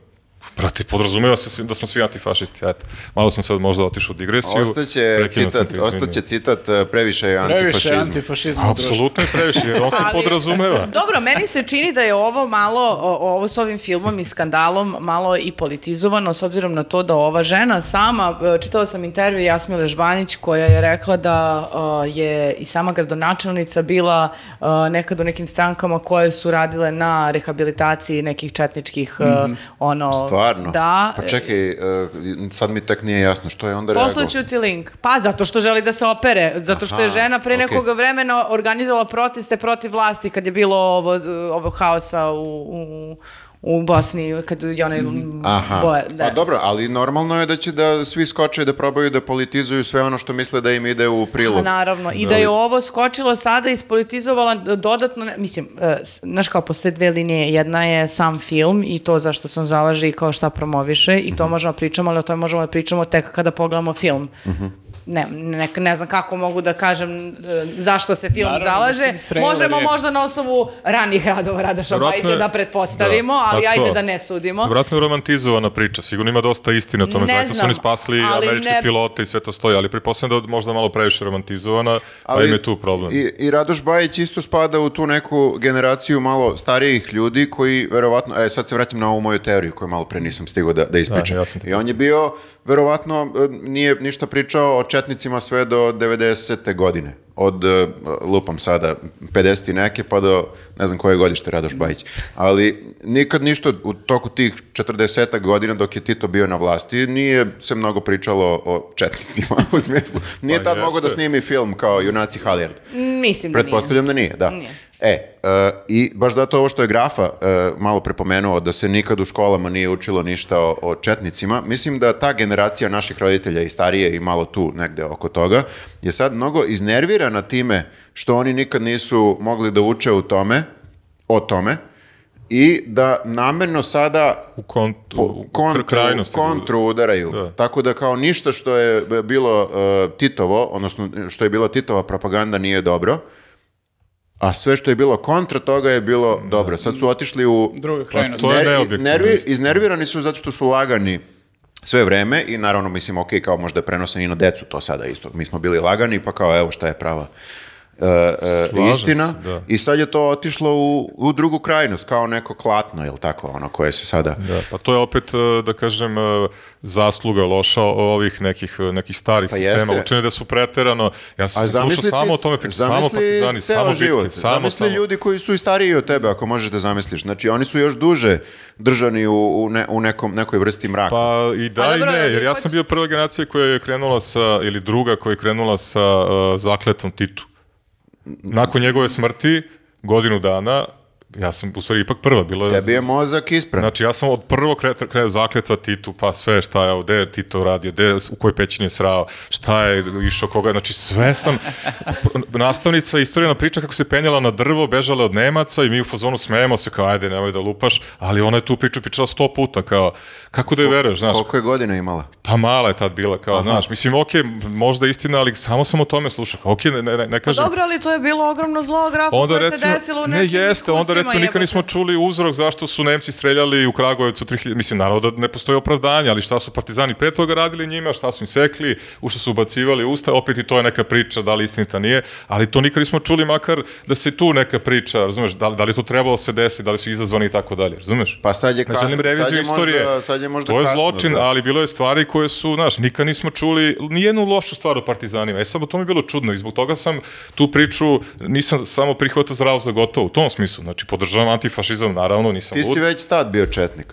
[SPEAKER 4] Brate, podrazumeva se da smo svi antifašisti. Eto, malo sam sad možda otišao u digresiju.
[SPEAKER 2] Ostaće
[SPEAKER 4] Prekinuo sam
[SPEAKER 2] citat,
[SPEAKER 4] te, izvini.
[SPEAKER 2] ostaće citat e, previše je
[SPEAKER 5] Previše
[SPEAKER 2] antifašizma.
[SPEAKER 5] antifašizma u društvu.
[SPEAKER 4] Apsolutno je previše, jer on se
[SPEAKER 3] Ali-
[SPEAKER 4] podrazumeva.
[SPEAKER 3] Dobro, meni se čini da je ovo malo, o- ovo s ovim filmom i skandalom, malo i politizovano, s obzirom na to da ova žena sama, e, čitala sam intervju Jasmile Žbanić koja je rekla da e, je i sama gradonačelnica bila e, nekad u nekim strankama koje su radile na rehabilitaciji nekih četničkih, e, ono...
[SPEAKER 2] Mhm. Stvarno?
[SPEAKER 3] Da.
[SPEAKER 2] Pa čekaj, e, sad mi tak nije jasno što je onda reagovao.
[SPEAKER 3] Poslaću ti link. Pa, zato što želi da se opere. Zato što je
[SPEAKER 2] Aha,
[SPEAKER 3] žena pre
[SPEAKER 2] okej.
[SPEAKER 3] nekog vremena organizovala proteste protiv vlasti kad je bilo ovo, ovo haosa u, u, u Bosni, kad je onaj...
[SPEAKER 2] Aha,
[SPEAKER 3] boje- da.
[SPEAKER 2] pa dobro, ali normalno je da će da svi skoče i da probaju da politizuju sve ono što misle da im ide u
[SPEAKER 3] Pa
[SPEAKER 2] prilog.
[SPEAKER 3] naravno. I da je ovo skočilo sada i ispolitizovala dodatno, ne- mislim, e, s- znaš kao, postoje dve linije. Jedna je sam film i to zašto se on
[SPEAKER 4] Mhm.
[SPEAKER 3] da
[SPEAKER 4] Mhm.
[SPEAKER 3] zalaže i kao šta promoviše i to možemo pričamo, ali o tome možemo da pričamo tek kada pogledamo film. ne, ne, ne znam kako mogu da kažem e, zašto se film
[SPEAKER 5] Naravno,
[SPEAKER 3] zalaže.
[SPEAKER 5] mislim, trailer
[SPEAKER 3] Možemo
[SPEAKER 5] je-
[SPEAKER 3] možda na osnovu ranih radova Radoša
[SPEAKER 4] Verovatno
[SPEAKER 3] Bajića
[SPEAKER 4] je-
[SPEAKER 3] da pretpostavimo,
[SPEAKER 4] da, pa
[SPEAKER 3] ali
[SPEAKER 4] to.
[SPEAKER 3] ajde da ne sudimo.
[SPEAKER 4] Vratno je romantizovana priča, sigurno ima dosta istine o
[SPEAKER 3] Ne
[SPEAKER 4] tome, zaista su
[SPEAKER 3] znam,
[SPEAKER 4] oni spasli
[SPEAKER 3] ali
[SPEAKER 4] američke
[SPEAKER 3] ne-
[SPEAKER 4] pilote i sve to stoji, ali pretpostavljam da je možda malo previše romantizovana, pa im je tu problem.
[SPEAKER 2] I, I Radoš Bajić isto spada u tu neku generaciju malo starijih ljudi koji verovatno, e sad se vraćam na ovu moju teoriju koju malo pre nisam stigao da, da ispričam.
[SPEAKER 4] Da, ja sam tako.
[SPEAKER 2] I on je bio, verovatno, e, nije ništa pričao o četnicima sve do 90. godine. Od, e, lupam sada, 50 i neke pa do ne znam koje godište Radoš Bajić. Ali nikad ništa u toku tih 40 godina dok je Tito bio na vlasti nije se mnogo pričalo o četnicima u smislu. Nije
[SPEAKER 4] Pa
[SPEAKER 2] tad mogao da
[SPEAKER 4] jeste.
[SPEAKER 2] snimi film kao Junaci Haliard.
[SPEAKER 3] Mislim da nije.
[SPEAKER 2] Pretpostavljam da nije, da.
[SPEAKER 3] Nije.
[SPEAKER 2] E, e, i baš zato ovo što je Grafa e, malo prepomenuo da se nikad u školama nije učilo ništa o, o četnicima, mislim da ta generacija naših roditelja i starije i malo tu negde oko toga je sad mnogo iznervirana time što oni nikad nisu mogli da uče u tome, o tome, i da namerno sada
[SPEAKER 4] U, kont, u, u
[SPEAKER 2] kontru,
[SPEAKER 4] kr- krajnosti.
[SPEAKER 2] kontru udaraju.
[SPEAKER 4] Da.
[SPEAKER 2] Tako da kao ništa što je b- bilo e, Titovo, odnosno što je bila Titova propaganda nije dobro, a sve što je bilo kontra toga je bilo dobro. Sad su otišli u...
[SPEAKER 5] Druga krajnost.
[SPEAKER 4] Da. Pa to je
[SPEAKER 2] Ner-
[SPEAKER 4] neobjektivno,
[SPEAKER 2] nervi-
[SPEAKER 4] isto.
[SPEAKER 2] iznervirani su zato što su lagani sve vreme i naravno mislim ok, kao možda je prenosen i na decu to sada isto. Mi smo bili lagani pa kao evo šta je prava e, e,
[SPEAKER 4] Slažem
[SPEAKER 2] istina
[SPEAKER 4] se, da.
[SPEAKER 2] i sad je to otišlo u, u drugu krajnost kao neko klatno ili tako ono koje se sada
[SPEAKER 4] Da, pa to je opet, e, da kažem, e, zasluga loša ovih nekih, e, nekih starih
[SPEAKER 2] Pa jeste.
[SPEAKER 4] sistema. Učine da su preterano, ja sam slušao samo o tome, priče, samo
[SPEAKER 2] zamisli
[SPEAKER 4] partizani,
[SPEAKER 2] ceo
[SPEAKER 4] samo bitke,
[SPEAKER 2] život.
[SPEAKER 4] samo,
[SPEAKER 2] zamisli
[SPEAKER 4] samo.
[SPEAKER 2] ljudi koji su i stariji od tebe, ako možeš da zamisliš. Znači, oni su još duže držani u, u, ne, u nekom, nekoj vrsti mraka.
[SPEAKER 4] Pa i da
[SPEAKER 3] Pa
[SPEAKER 4] i
[SPEAKER 3] dobro,
[SPEAKER 4] ne,
[SPEAKER 3] ali
[SPEAKER 4] jer ja
[SPEAKER 3] ipak-
[SPEAKER 4] sam bio prva generacija koja je krenula sa, ili druga koja je krenula sa uh, zakletom Titu. Nakon njegove smrti, godinu dana, ja sam u stvari ipak prva bila.
[SPEAKER 2] Tebi je mozak ispran.
[SPEAKER 4] Znači, ja sam od prvog kreta kreja zakletva Titu, pa sve šta je, gde je Tito radio, gde, je- u kojoj pećini je srao, šta je išao, koga, znači sve sam, pr- nastavnica istorijena priča kako se penjala na drvo, bežala od Nemaca i mi u fazonu smejemo se kao, ajde, nemoj da lupaš, ali ona je tu priču pričala sto puta, kao, kako da je veruješ, znaš,
[SPEAKER 2] Koliko je godina imala?
[SPEAKER 4] pa mala je tad bila, kao, znaš, mislim, okej, m- možda je istina, ali samo sam o tome slušao, kao, okej, ne, ne, ne kažem.
[SPEAKER 3] Pa Dobro, ali to je bilo ogromno zlo grafu
[SPEAKER 4] Onda
[SPEAKER 3] koje
[SPEAKER 4] recimo,
[SPEAKER 3] se desilo u
[SPEAKER 4] ne
[SPEAKER 3] nečijim
[SPEAKER 4] jeste, onda
[SPEAKER 3] iskustvima,
[SPEAKER 4] recimo nikad
[SPEAKER 3] jebote.
[SPEAKER 4] nismo čuli uzrok zašto su Nemci streljali u Kragujevcu 3000, mislim naravno da ne postoji opravdanje, ali šta su partizani pre toga radili njima, šta su im sekli, u šta su ubacivali usta, opet i to je neka priča, da li istinita nije, ali to nikad nismo čuli makar da se tu neka priča, razumeš, da, li- da li je to trebalo se desiti, da li su izazvani i tako dalje, razumeš?
[SPEAKER 2] Pa sad je,
[SPEAKER 4] Ne želim
[SPEAKER 2] kasno- sad
[SPEAKER 4] reviziju
[SPEAKER 2] je
[SPEAKER 4] istorije.
[SPEAKER 2] možda, sad je možda
[SPEAKER 4] to je
[SPEAKER 2] kasno
[SPEAKER 4] zločin,
[SPEAKER 2] za-
[SPEAKER 4] ali bilo je stvari koje su, znaš, nikad nismo čuli nijednu lošu stvar o partizanima. E samo to mi je bilo čudno i zbog toga sam tu priču nisam samo prihvatao zdravo za gotovo u tom smislu. Znači, podržavam antifašizam, naravno, nisam
[SPEAKER 2] Ti
[SPEAKER 4] lud.
[SPEAKER 2] si već tad bio četnik.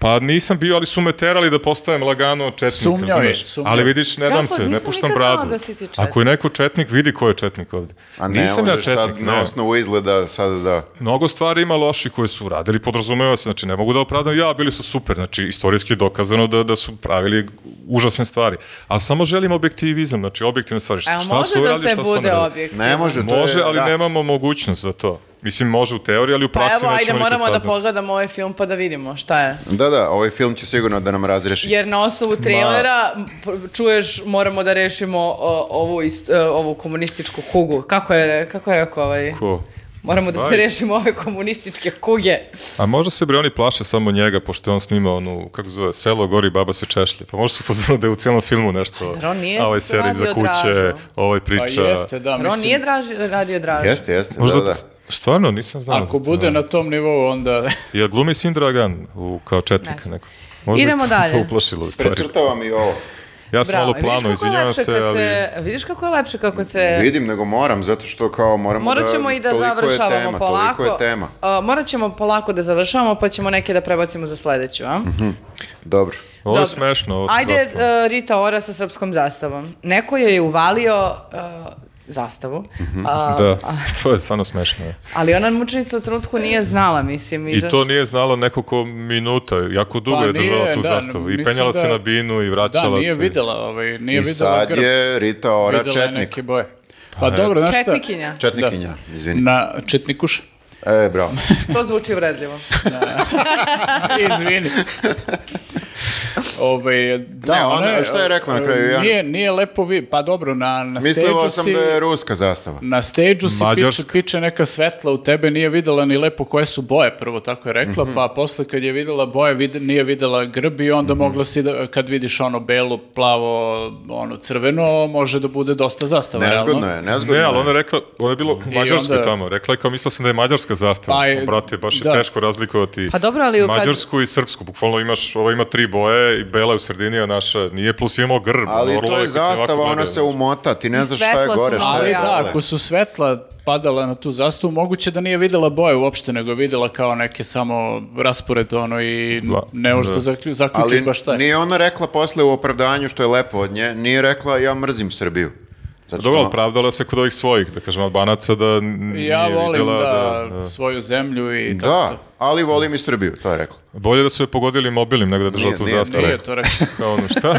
[SPEAKER 4] Pa nisam bio, ali su me terali da postajem lagano četnik,
[SPEAKER 5] Sumnjao je,
[SPEAKER 4] razumeš?
[SPEAKER 5] sumnjao.
[SPEAKER 4] Ali vidiš, ne dam
[SPEAKER 3] Kako,
[SPEAKER 4] se, ne
[SPEAKER 3] nisam
[SPEAKER 4] puštam
[SPEAKER 3] nikad znala
[SPEAKER 4] bradu.
[SPEAKER 3] da si ti četnik.
[SPEAKER 4] Ako je neko četnik, vidi ko je četnik ovde.
[SPEAKER 2] A ne,
[SPEAKER 4] nisam ja
[SPEAKER 2] možeš
[SPEAKER 4] četnik,
[SPEAKER 2] sad na
[SPEAKER 4] ne.
[SPEAKER 2] osnovu izgleda sada da...
[SPEAKER 4] Mnogo stvari ima loših koje su uradili, podrazumeva se, znači ne mogu da opravdam, ja, bili su super, znači istorijski je dokazano da, da su pravili užasne stvari, ali samo želim objektivizam, znači objektivne stvari, šta,
[SPEAKER 3] Evo,
[SPEAKER 4] šta
[SPEAKER 3] može
[SPEAKER 4] su
[SPEAKER 3] da
[SPEAKER 4] uradili,
[SPEAKER 3] se
[SPEAKER 4] šta su
[SPEAKER 3] bude
[SPEAKER 4] ne radili.
[SPEAKER 3] objektivno.
[SPEAKER 2] Ne može, to je
[SPEAKER 4] Može, ali
[SPEAKER 2] rat.
[SPEAKER 4] nemamo mogućnost za to. Mislim, može u teoriji, ali u
[SPEAKER 3] Pa
[SPEAKER 4] praksi
[SPEAKER 3] evo, ajde,
[SPEAKER 4] nećemo nikad
[SPEAKER 3] moramo da
[SPEAKER 4] saznati.
[SPEAKER 3] pogledamo ovaj film pa da vidimo šta je.
[SPEAKER 2] Da, da, ovaj film će sigurno da nam razreši.
[SPEAKER 3] Jer na osnovu trailera m, čuješ moramo da rešimo o, ovu, ist- e, ovu komunističku kugu. Kako je, re- kako je rekao ovaj?
[SPEAKER 4] Ko?
[SPEAKER 3] Moramo da se
[SPEAKER 4] Bajić.
[SPEAKER 3] rešimo ove komunističke kuge.
[SPEAKER 4] A možda se bre oni plaše samo njega, pošto je on snima onu, kako se zove, selo gori, baba se češlje. Pa možda su pozvali da je u cijelom filmu nešto,
[SPEAKER 3] Pa zar on nije
[SPEAKER 4] a ovaj seri
[SPEAKER 3] radio
[SPEAKER 4] za kuće,
[SPEAKER 3] Dražu?
[SPEAKER 4] ovaj
[SPEAKER 5] Pa
[SPEAKER 4] priča.
[SPEAKER 5] jeste, da,
[SPEAKER 3] Jer on nije
[SPEAKER 5] mislim.
[SPEAKER 3] draži, radio draži.
[SPEAKER 2] Jeste, jeste,
[SPEAKER 4] Možda,
[SPEAKER 2] da, da.
[SPEAKER 4] stvarno, nisam znao. za
[SPEAKER 5] Ako
[SPEAKER 4] to, da.
[SPEAKER 5] bude na tom nivou, onda... Da,
[SPEAKER 4] Jel glumi Sin Dragan u, kao
[SPEAKER 3] Ne
[SPEAKER 4] četnik
[SPEAKER 3] znam.
[SPEAKER 4] neko? Možda
[SPEAKER 3] Idemo
[SPEAKER 4] je to,
[SPEAKER 3] dalje.
[SPEAKER 4] to uplašilo u stvari.
[SPEAKER 2] Precrtavam i ovo.
[SPEAKER 4] Ja sam malo plano,
[SPEAKER 3] vidiš kako je
[SPEAKER 4] izvinjavam
[SPEAKER 3] lepše
[SPEAKER 4] se,
[SPEAKER 3] kad
[SPEAKER 4] ali...
[SPEAKER 3] se- Vidiš kako je lepše kako se...
[SPEAKER 2] Vidim, nego moram, zato što kao moramo
[SPEAKER 3] E. Morat ćemo
[SPEAKER 2] da...
[SPEAKER 3] i da
[SPEAKER 2] toliko je
[SPEAKER 3] završavamo
[SPEAKER 2] tema,
[SPEAKER 3] polako.
[SPEAKER 2] Toliko je tema.
[SPEAKER 3] A, morat ćemo polako da završavamo, pa ćemo neke da prebacimo za sledeću, a?
[SPEAKER 2] Dobro.
[SPEAKER 4] Ovo je
[SPEAKER 3] Dobro.
[SPEAKER 4] smešno, ovo se
[SPEAKER 3] Ajde,
[SPEAKER 4] zastavlja.
[SPEAKER 3] e, Rita Ora sa srpskom zastavom. Neko joj je uvalio e, zastavu, a,
[SPEAKER 4] Da, to je stvarno smešno. je.
[SPEAKER 3] ali ona mučenica u trenutku nije znala, mislim.
[SPEAKER 4] I
[SPEAKER 3] izaš-
[SPEAKER 4] to nije znala nekoliko minuta, jako dugo
[SPEAKER 5] Pa
[SPEAKER 4] je držala
[SPEAKER 5] nije,
[SPEAKER 4] tu
[SPEAKER 5] da,
[SPEAKER 4] zastavu. I
[SPEAKER 5] mislim
[SPEAKER 4] penjala se
[SPEAKER 5] da-
[SPEAKER 4] na binu i vraćala
[SPEAKER 5] Da, nije
[SPEAKER 4] se.
[SPEAKER 5] videla, ovaj, nije
[SPEAKER 2] I
[SPEAKER 5] videla
[SPEAKER 2] sad
[SPEAKER 5] grb,
[SPEAKER 2] je Rita Ora
[SPEAKER 5] videla je
[SPEAKER 2] četnik.
[SPEAKER 5] neke boje. Pa dobro, znaš šta?
[SPEAKER 3] Četnikinja.
[SPEAKER 2] Četnikinja,
[SPEAKER 4] Da.
[SPEAKER 2] izvini.
[SPEAKER 5] Na četnikuš.
[SPEAKER 2] E, bravo.
[SPEAKER 3] To zvuči vredljivo.
[SPEAKER 5] Izvini. Ovaj, da,
[SPEAKER 2] Ne,
[SPEAKER 5] ona
[SPEAKER 2] ona- šta je rekla na kraju, ja-
[SPEAKER 5] Nije, nije lepo vi, pa dobro, na, na
[SPEAKER 2] Mislio
[SPEAKER 5] stage-u
[SPEAKER 2] sam
[SPEAKER 5] si...
[SPEAKER 2] da je ruska zastava.
[SPEAKER 5] Na stage-u si piče,
[SPEAKER 4] Mađarska.
[SPEAKER 5] piče neka svetla u tebe, nije videla ni lepo koje su boje, prvo tako je rekla,
[SPEAKER 2] Mhm.
[SPEAKER 5] pa posle kad je videla boje, vid- nije videla grb i
[SPEAKER 2] Mhm.
[SPEAKER 5] onda mogla si, da, kad vidiš ono belo, plavo, ono crveno, može da bude dosta zastava,
[SPEAKER 2] Nezgodno
[SPEAKER 5] realno.
[SPEAKER 2] je, nezgodno
[SPEAKER 4] Ne, ali
[SPEAKER 2] je.
[SPEAKER 4] ona je rekla, ona je bila u Mađarskoj
[SPEAKER 5] onda-
[SPEAKER 4] tamo, rekla je kao mislila sam da je Mađarska zastava.
[SPEAKER 5] Pa je-
[SPEAKER 4] Pa, brate, baš je
[SPEAKER 5] da.
[SPEAKER 4] teško razlikovati
[SPEAKER 3] Pa dobro, ali kad-
[SPEAKER 4] Mađarsku i Srpsku. Bukvalno imaš, ova ima tri boje i bela je u sredini, a naša nije, plus imamo grb.
[SPEAKER 2] Ali to
[SPEAKER 4] orlove
[SPEAKER 2] je
[SPEAKER 4] koji te ovako
[SPEAKER 2] zastava, ona
[SPEAKER 4] gledaju.
[SPEAKER 2] se umota, ti ne
[SPEAKER 3] I
[SPEAKER 2] znaš šta je
[SPEAKER 3] svetla su
[SPEAKER 2] gore, šta
[SPEAKER 5] Ali
[SPEAKER 2] je
[SPEAKER 3] nabrojala.
[SPEAKER 5] da,
[SPEAKER 2] dole.
[SPEAKER 5] ako su svetla padala na tu zastavu, moguće da nije videla boje uopšte, nego je videla kao neke samo raspored ono i
[SPEAKER 4] Da,
[SPEAKER 5] ne može da
[SPEAKER 4] da.
[SPEAKER 5] zaklju- zaključiš
[SPEAKER 2] Ali
[SPEAKER 5] baš šta je.
[SPEAKER 2] nije ona rekla posle u opravdanju što je lepo od nje, nije rekla ja mrzim Srbiju. Zato
[SPEAKER 4] Pa Dobro, ali
[SPEAKER 2] što-
[SPEAKER 4] pravdala se kod ovih svojih, da kažem, albanaca da n- nije
[SPEAKER 5] Ja volim
[SPEAKER 4] videla
[SPEAKER 5] da,
[SPEAKER 4] da- da.
[SPEAKER 5] svoju zemlju i tako
[SPEAKER 2] Da, ali volim i Srbiju, to je rekla.
[SPEAKER 4] Bolje da su je pogodili mobilnim nego da je držala
[SPEAKER 2] Nije,
[SPEAKER 4] tu
[SPEAKER 2] nije,
[SPEAKER 5] to.
[SPEAKER 4] zastavu.
[SPEAKER 5] Nije to rekao.
[SPEAKER 4] Kao ono, šta?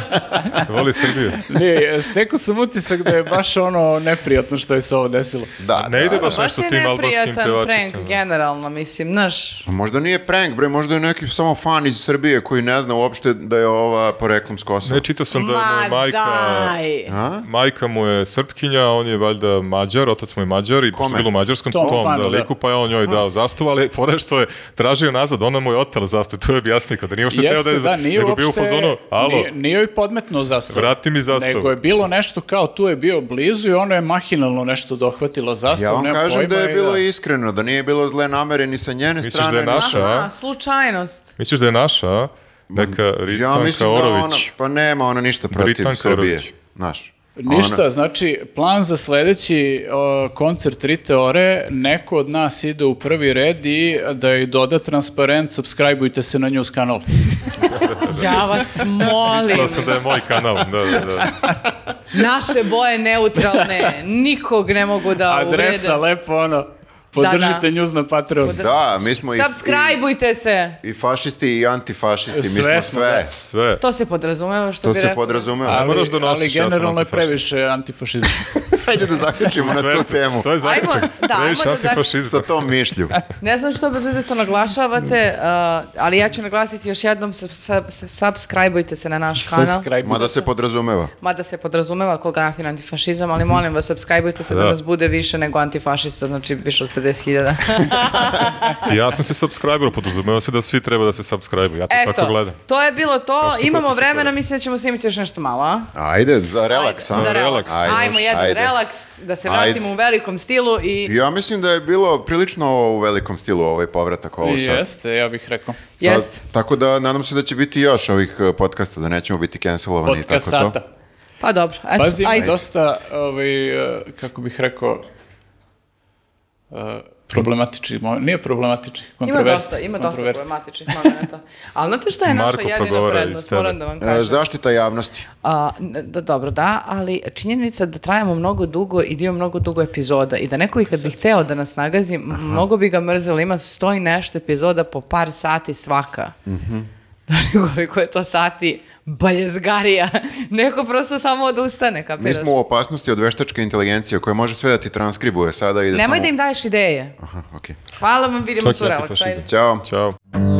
[SPEAKER 4] Voli Srbiju.
[SPEAKER 5] Ne, stekao sam utisak da je baš ono neprijatno što je se ovo desilo.
[SPEAKER 2] Da,
[SPEAKER 4] Ne ide
[SPEAKER 2] da,
[SPEAKER 4] baš
[SPEAKER 2] da.
[SPEAKER 4] nešto
[SPEAKER 3] je
[SPEAKER 4] tim albanskim
[SPEAKER 3] neprijatan prank,
[SPEAKER 4] pevačicama.
[SPEAKER 3] generalno, mislim, znaš.
[SPEAKER 2] A Pa Možda nije prank, bre, možda je neki samo fan iz Srbije koji ne zna uopšte da je ova poreklom s Kosova.
[SPEAKER 4] Ne, čitao sam da je
[SPEAKER 3] Ma
[SPEAKER 4] moja majka...
[SPEAKER 3] daj!
[SPEAKER 2] A?
[SPEAKER 4] Majka mu je srpkinja, on je valjda mađar, otac mu je mađar i pošto je
[SPEAKER 2] Kome?
[SPEAKER 4] bilo u mađarskom
[SPEAKER 5] Tom
[SPEAKER 4] tom,
[SPEAKER 5] Fanu,
[SPEAKER 4] da,
[SPEAKER 5] da.
[SPEAKER 4] liku, pa je on njoj dao zastavu, ali fora je što je tražio nazad, ona mu je otela zastavu, to je objasniko, da nije uopšte teo da
[SPEAKER 5] Jeste,
[SPEAKER 4] je,
[SPEAKER 5] da, nije
[SPEAKER 4] nego bio u
[SPEAKER 5] uopšte,
[SPEAKER 4] fazonu, alo,
[SPEAKER 5] nije, nije joj podmetno zastavu.
[SPEAKER 4] vrati mi zastavu.
[SPEAKER 5] Nego je bilo nešto kao tu je bio blizu i ono je mahinalno nešto dohvatilo
[SPEAKER 2] Ja
[SPEAKER 5] zastavu.
[SPEAKER 2] vam
[SPEAKER 5] nemam
[SPEAKER 2] kažem
[SPEAKER 5] pojma
[SPEAKER 2] da je
[SPEAKER 5] i
[SPEAKER 2] bilo iskreno, da nije bilo zle namere ni sa njene
[SPEAKER 4] Misliš
[SPEAKER 2] strane.
[SPEAKER 4] da je
[SPEAKER 2] ni-
[SPEAKER 4] naša, a?
[SPEAKER 3] Aha, slučajnost.
[SPEAKER 4] Misliš da je naša, a? neka
[SPEAKER 2] Ja
[SPEAKER 4] Ritanka
[SPEAKER 2] mislim da ona,
[SPEAKER 4] Orović?
[SPEAKER 2] pa nema ona ništa protiv
[SPEAKER 4] Britanka
[SPEAKER 2] Srbije.
[SPEAKER 4] Orović.
[SPEAKER 2] Znaš.
[SPEAKER 5] Ništa,
[SPEAKER 2] Ona-
[SPEAKER 5] znači, plan za sledeći o, koncert Rite Ore, neko od nas ide u prvi red i da joj doda transparent, subscribeujte se na news kanal.
[SPEAKER 3] Ja vas molim.
[SPEAKER 4] Da, Mislila sam da je moj kanal, da, da, da.
[SPEAKER 3] Naše boje neutralne. Nikog ne mogu da
[SPEAKER 5] Adresa,
[SPEAKER 3] uvrede.
[SPEAKER 5] lepo ono,
[SPEAKER 3] da.
[SPEAKER 5] podržite news na Patreon.
[SPEAKER 2] Da, mi smo i, i,
[SPEAKER 3] Subscribeujte se.
[SPEAKER 2] i fašisti i antifašisti, mi
[SPEAKER 5] Sve
[SPEAKER 2] smo
[SPEAKER 5] smo,
[SPEAKER 2] sve.
[SPEAKER 5] da.
[SPEAKER 4] Sve.
[SPEAKER 3] To se podrazumeva što
[SPEAKER 2] To
[SPEAKER 3] bi
[SPEAKER 2] se
[SPEAKER 3] rekao.
[SPEAKER 2] podrazumeva.
[SPEAKER 4] Ali- moraš da nosiš,
[SPEAKER 5] ali
[SPEAKER 4] ja sam
[SPEAKER 5] generalno je
[SPEAKER 4] antifašista.
[SPEAKER 5] previše antifašizam.
[SPEAKER 2] Hajde da zaključimo na tu
[SPEAKER 4] Sve,
[SPEAKER 2] temu.
[SPEAKER 4] To je zaključak.
[SPEAKER 3] Ajmo- da, ajmo
[SPEAKER 4] Previše
[SPEAKER 3] da-
[SPEAKER 4] antifašizma.
[SPEAKER 2] Sa tom mišlju.
[SPEAKER 3] Ne znam što bez to naglašavate, uh, ali ja ću naglasiti još jednom, sub, sub, subscribeujte se na naš kanal.
[SPEAKER 5] Subscribe.
[SPEAKER 2] Mada se podrazumeva.
[SPEAKER 3] Mada se podrazumeva ko grafin antifašizam, ali molim vas, subscribeujte se da,
[SPEAKER 4] Da.
[SPEAKER 3] nas bude više nego antifašista, znači više od 50.000.
[SPEAKER 4] Ja sam se subscriber podrazumeo se da svi treba da se subscribe. Ja to tako
[SPEAKER 3] Eto,
[SPEAKER 4] gledam.
[SPEAKER 3] to je bilo to.
[SPEAKER 4] Kako se
[SPEAKER 3] Imamo
[SPEAKER 4] protiv
[SPEAKER 3] vremena,
[SPEAKER 4] toga?
[SPEAKER 3] mislim da ćemo snimiti još nešto malo,
[SPEAKER 2] Ajde, za relaks.
[SPEAKER 3] a?
[SPEAKER 2] a?
[SPEAKER 3] Za relaks.
[SPEAKER 4] relaks.
[SPEAKER 3] Ajmo,
[SPEAKER 2] Ajde,
[SPEAKER 3] jedan
[SPEAKER 2] ajde.
[SPEAKER 3] relaks, da se
[SPEAKER 2] Ajde.
[SPEAKER 3] vratimo u velikom stilu i...
[SPEAKER 2] Ja mislim da je bilo prilično u velikom stilu ovaj povratak ovo sad.
[SPEAKER 5] Jeste, ja bih rekao.
[SPEAKER 2] Ta-
[SPEAKER 3] Jest.
[SPEAKER 2] tako da nadam se da će biti još ovih eh, podcasta, da nećemo biti cancelovani i tako to.
[SPEAKER 5] Podkasata.
[SPEAKER 3] Pa dobro, eto,
[SPEAKER 5] Pazi, ima
[SPEAKER 3] ajde.
[SPEAKER 5] dosta, ovaj, eh, kako bih rekao, eh, problematični, mo- nije problematični,
[SPEAKER 3] Ima
[SPEAKER 5] kontroverzni.
[SPEAKER 3] dosta, ima dosta
[SPEAKER 5] kontroverzni.
[SPEAKER 3] problematičnih momenta. Ali znate šta je naša
[SPEAKER 4] Marko
[SPEAKER 3] jedina
[SPEAKER 4] progovara iz
[SPEAKER 3] prednost,
[SPEAKER 4] tebe.
[SPEAKER 3] moram da vam
[SPEAKER 2] Eh,
[SPEAKER 3] kažem.
[SPEAKER 2] zaštita javnosti.
[SPEAKER 3] A, n- da, dobro, da, ali činjenica da trajamo mnogo dugo i da ima mnogo dugo epizoda i da neko i kad bi hteo da nas nagazi, m- mnogo bi ga mrzelo, ima sto i nešto epizoda po par sati svaka. Znači koliko je to sati baljezgarija. Neko prosto samo odustane,
[SPEAKER 2] Mi
[SPEAKER 3] kapiraš?
[SPEAKER 2] smo u opasnosti od veštačke inteligencije koja može sve da ti transkribuje sada i da
[SPEAKER 3] Nemoj
[SPEAKER 2] samo...
[SPEAKER 3] da im daješ ideje.
[SPEAKER 2] Aha, okej.
[SPEAKER 3] Hvala vam, vidimo
[SPEAKER 4] Čak
[SPEAKER 3] se u
[SPEAKER 4] i
[SPEAKER 3] relaksu,
[SPEAKER 4] antifašizam.
[SPEAKER 3] ajde.
[SPEAKER 2] Ćao.
[SPEAKER 4] Ćao.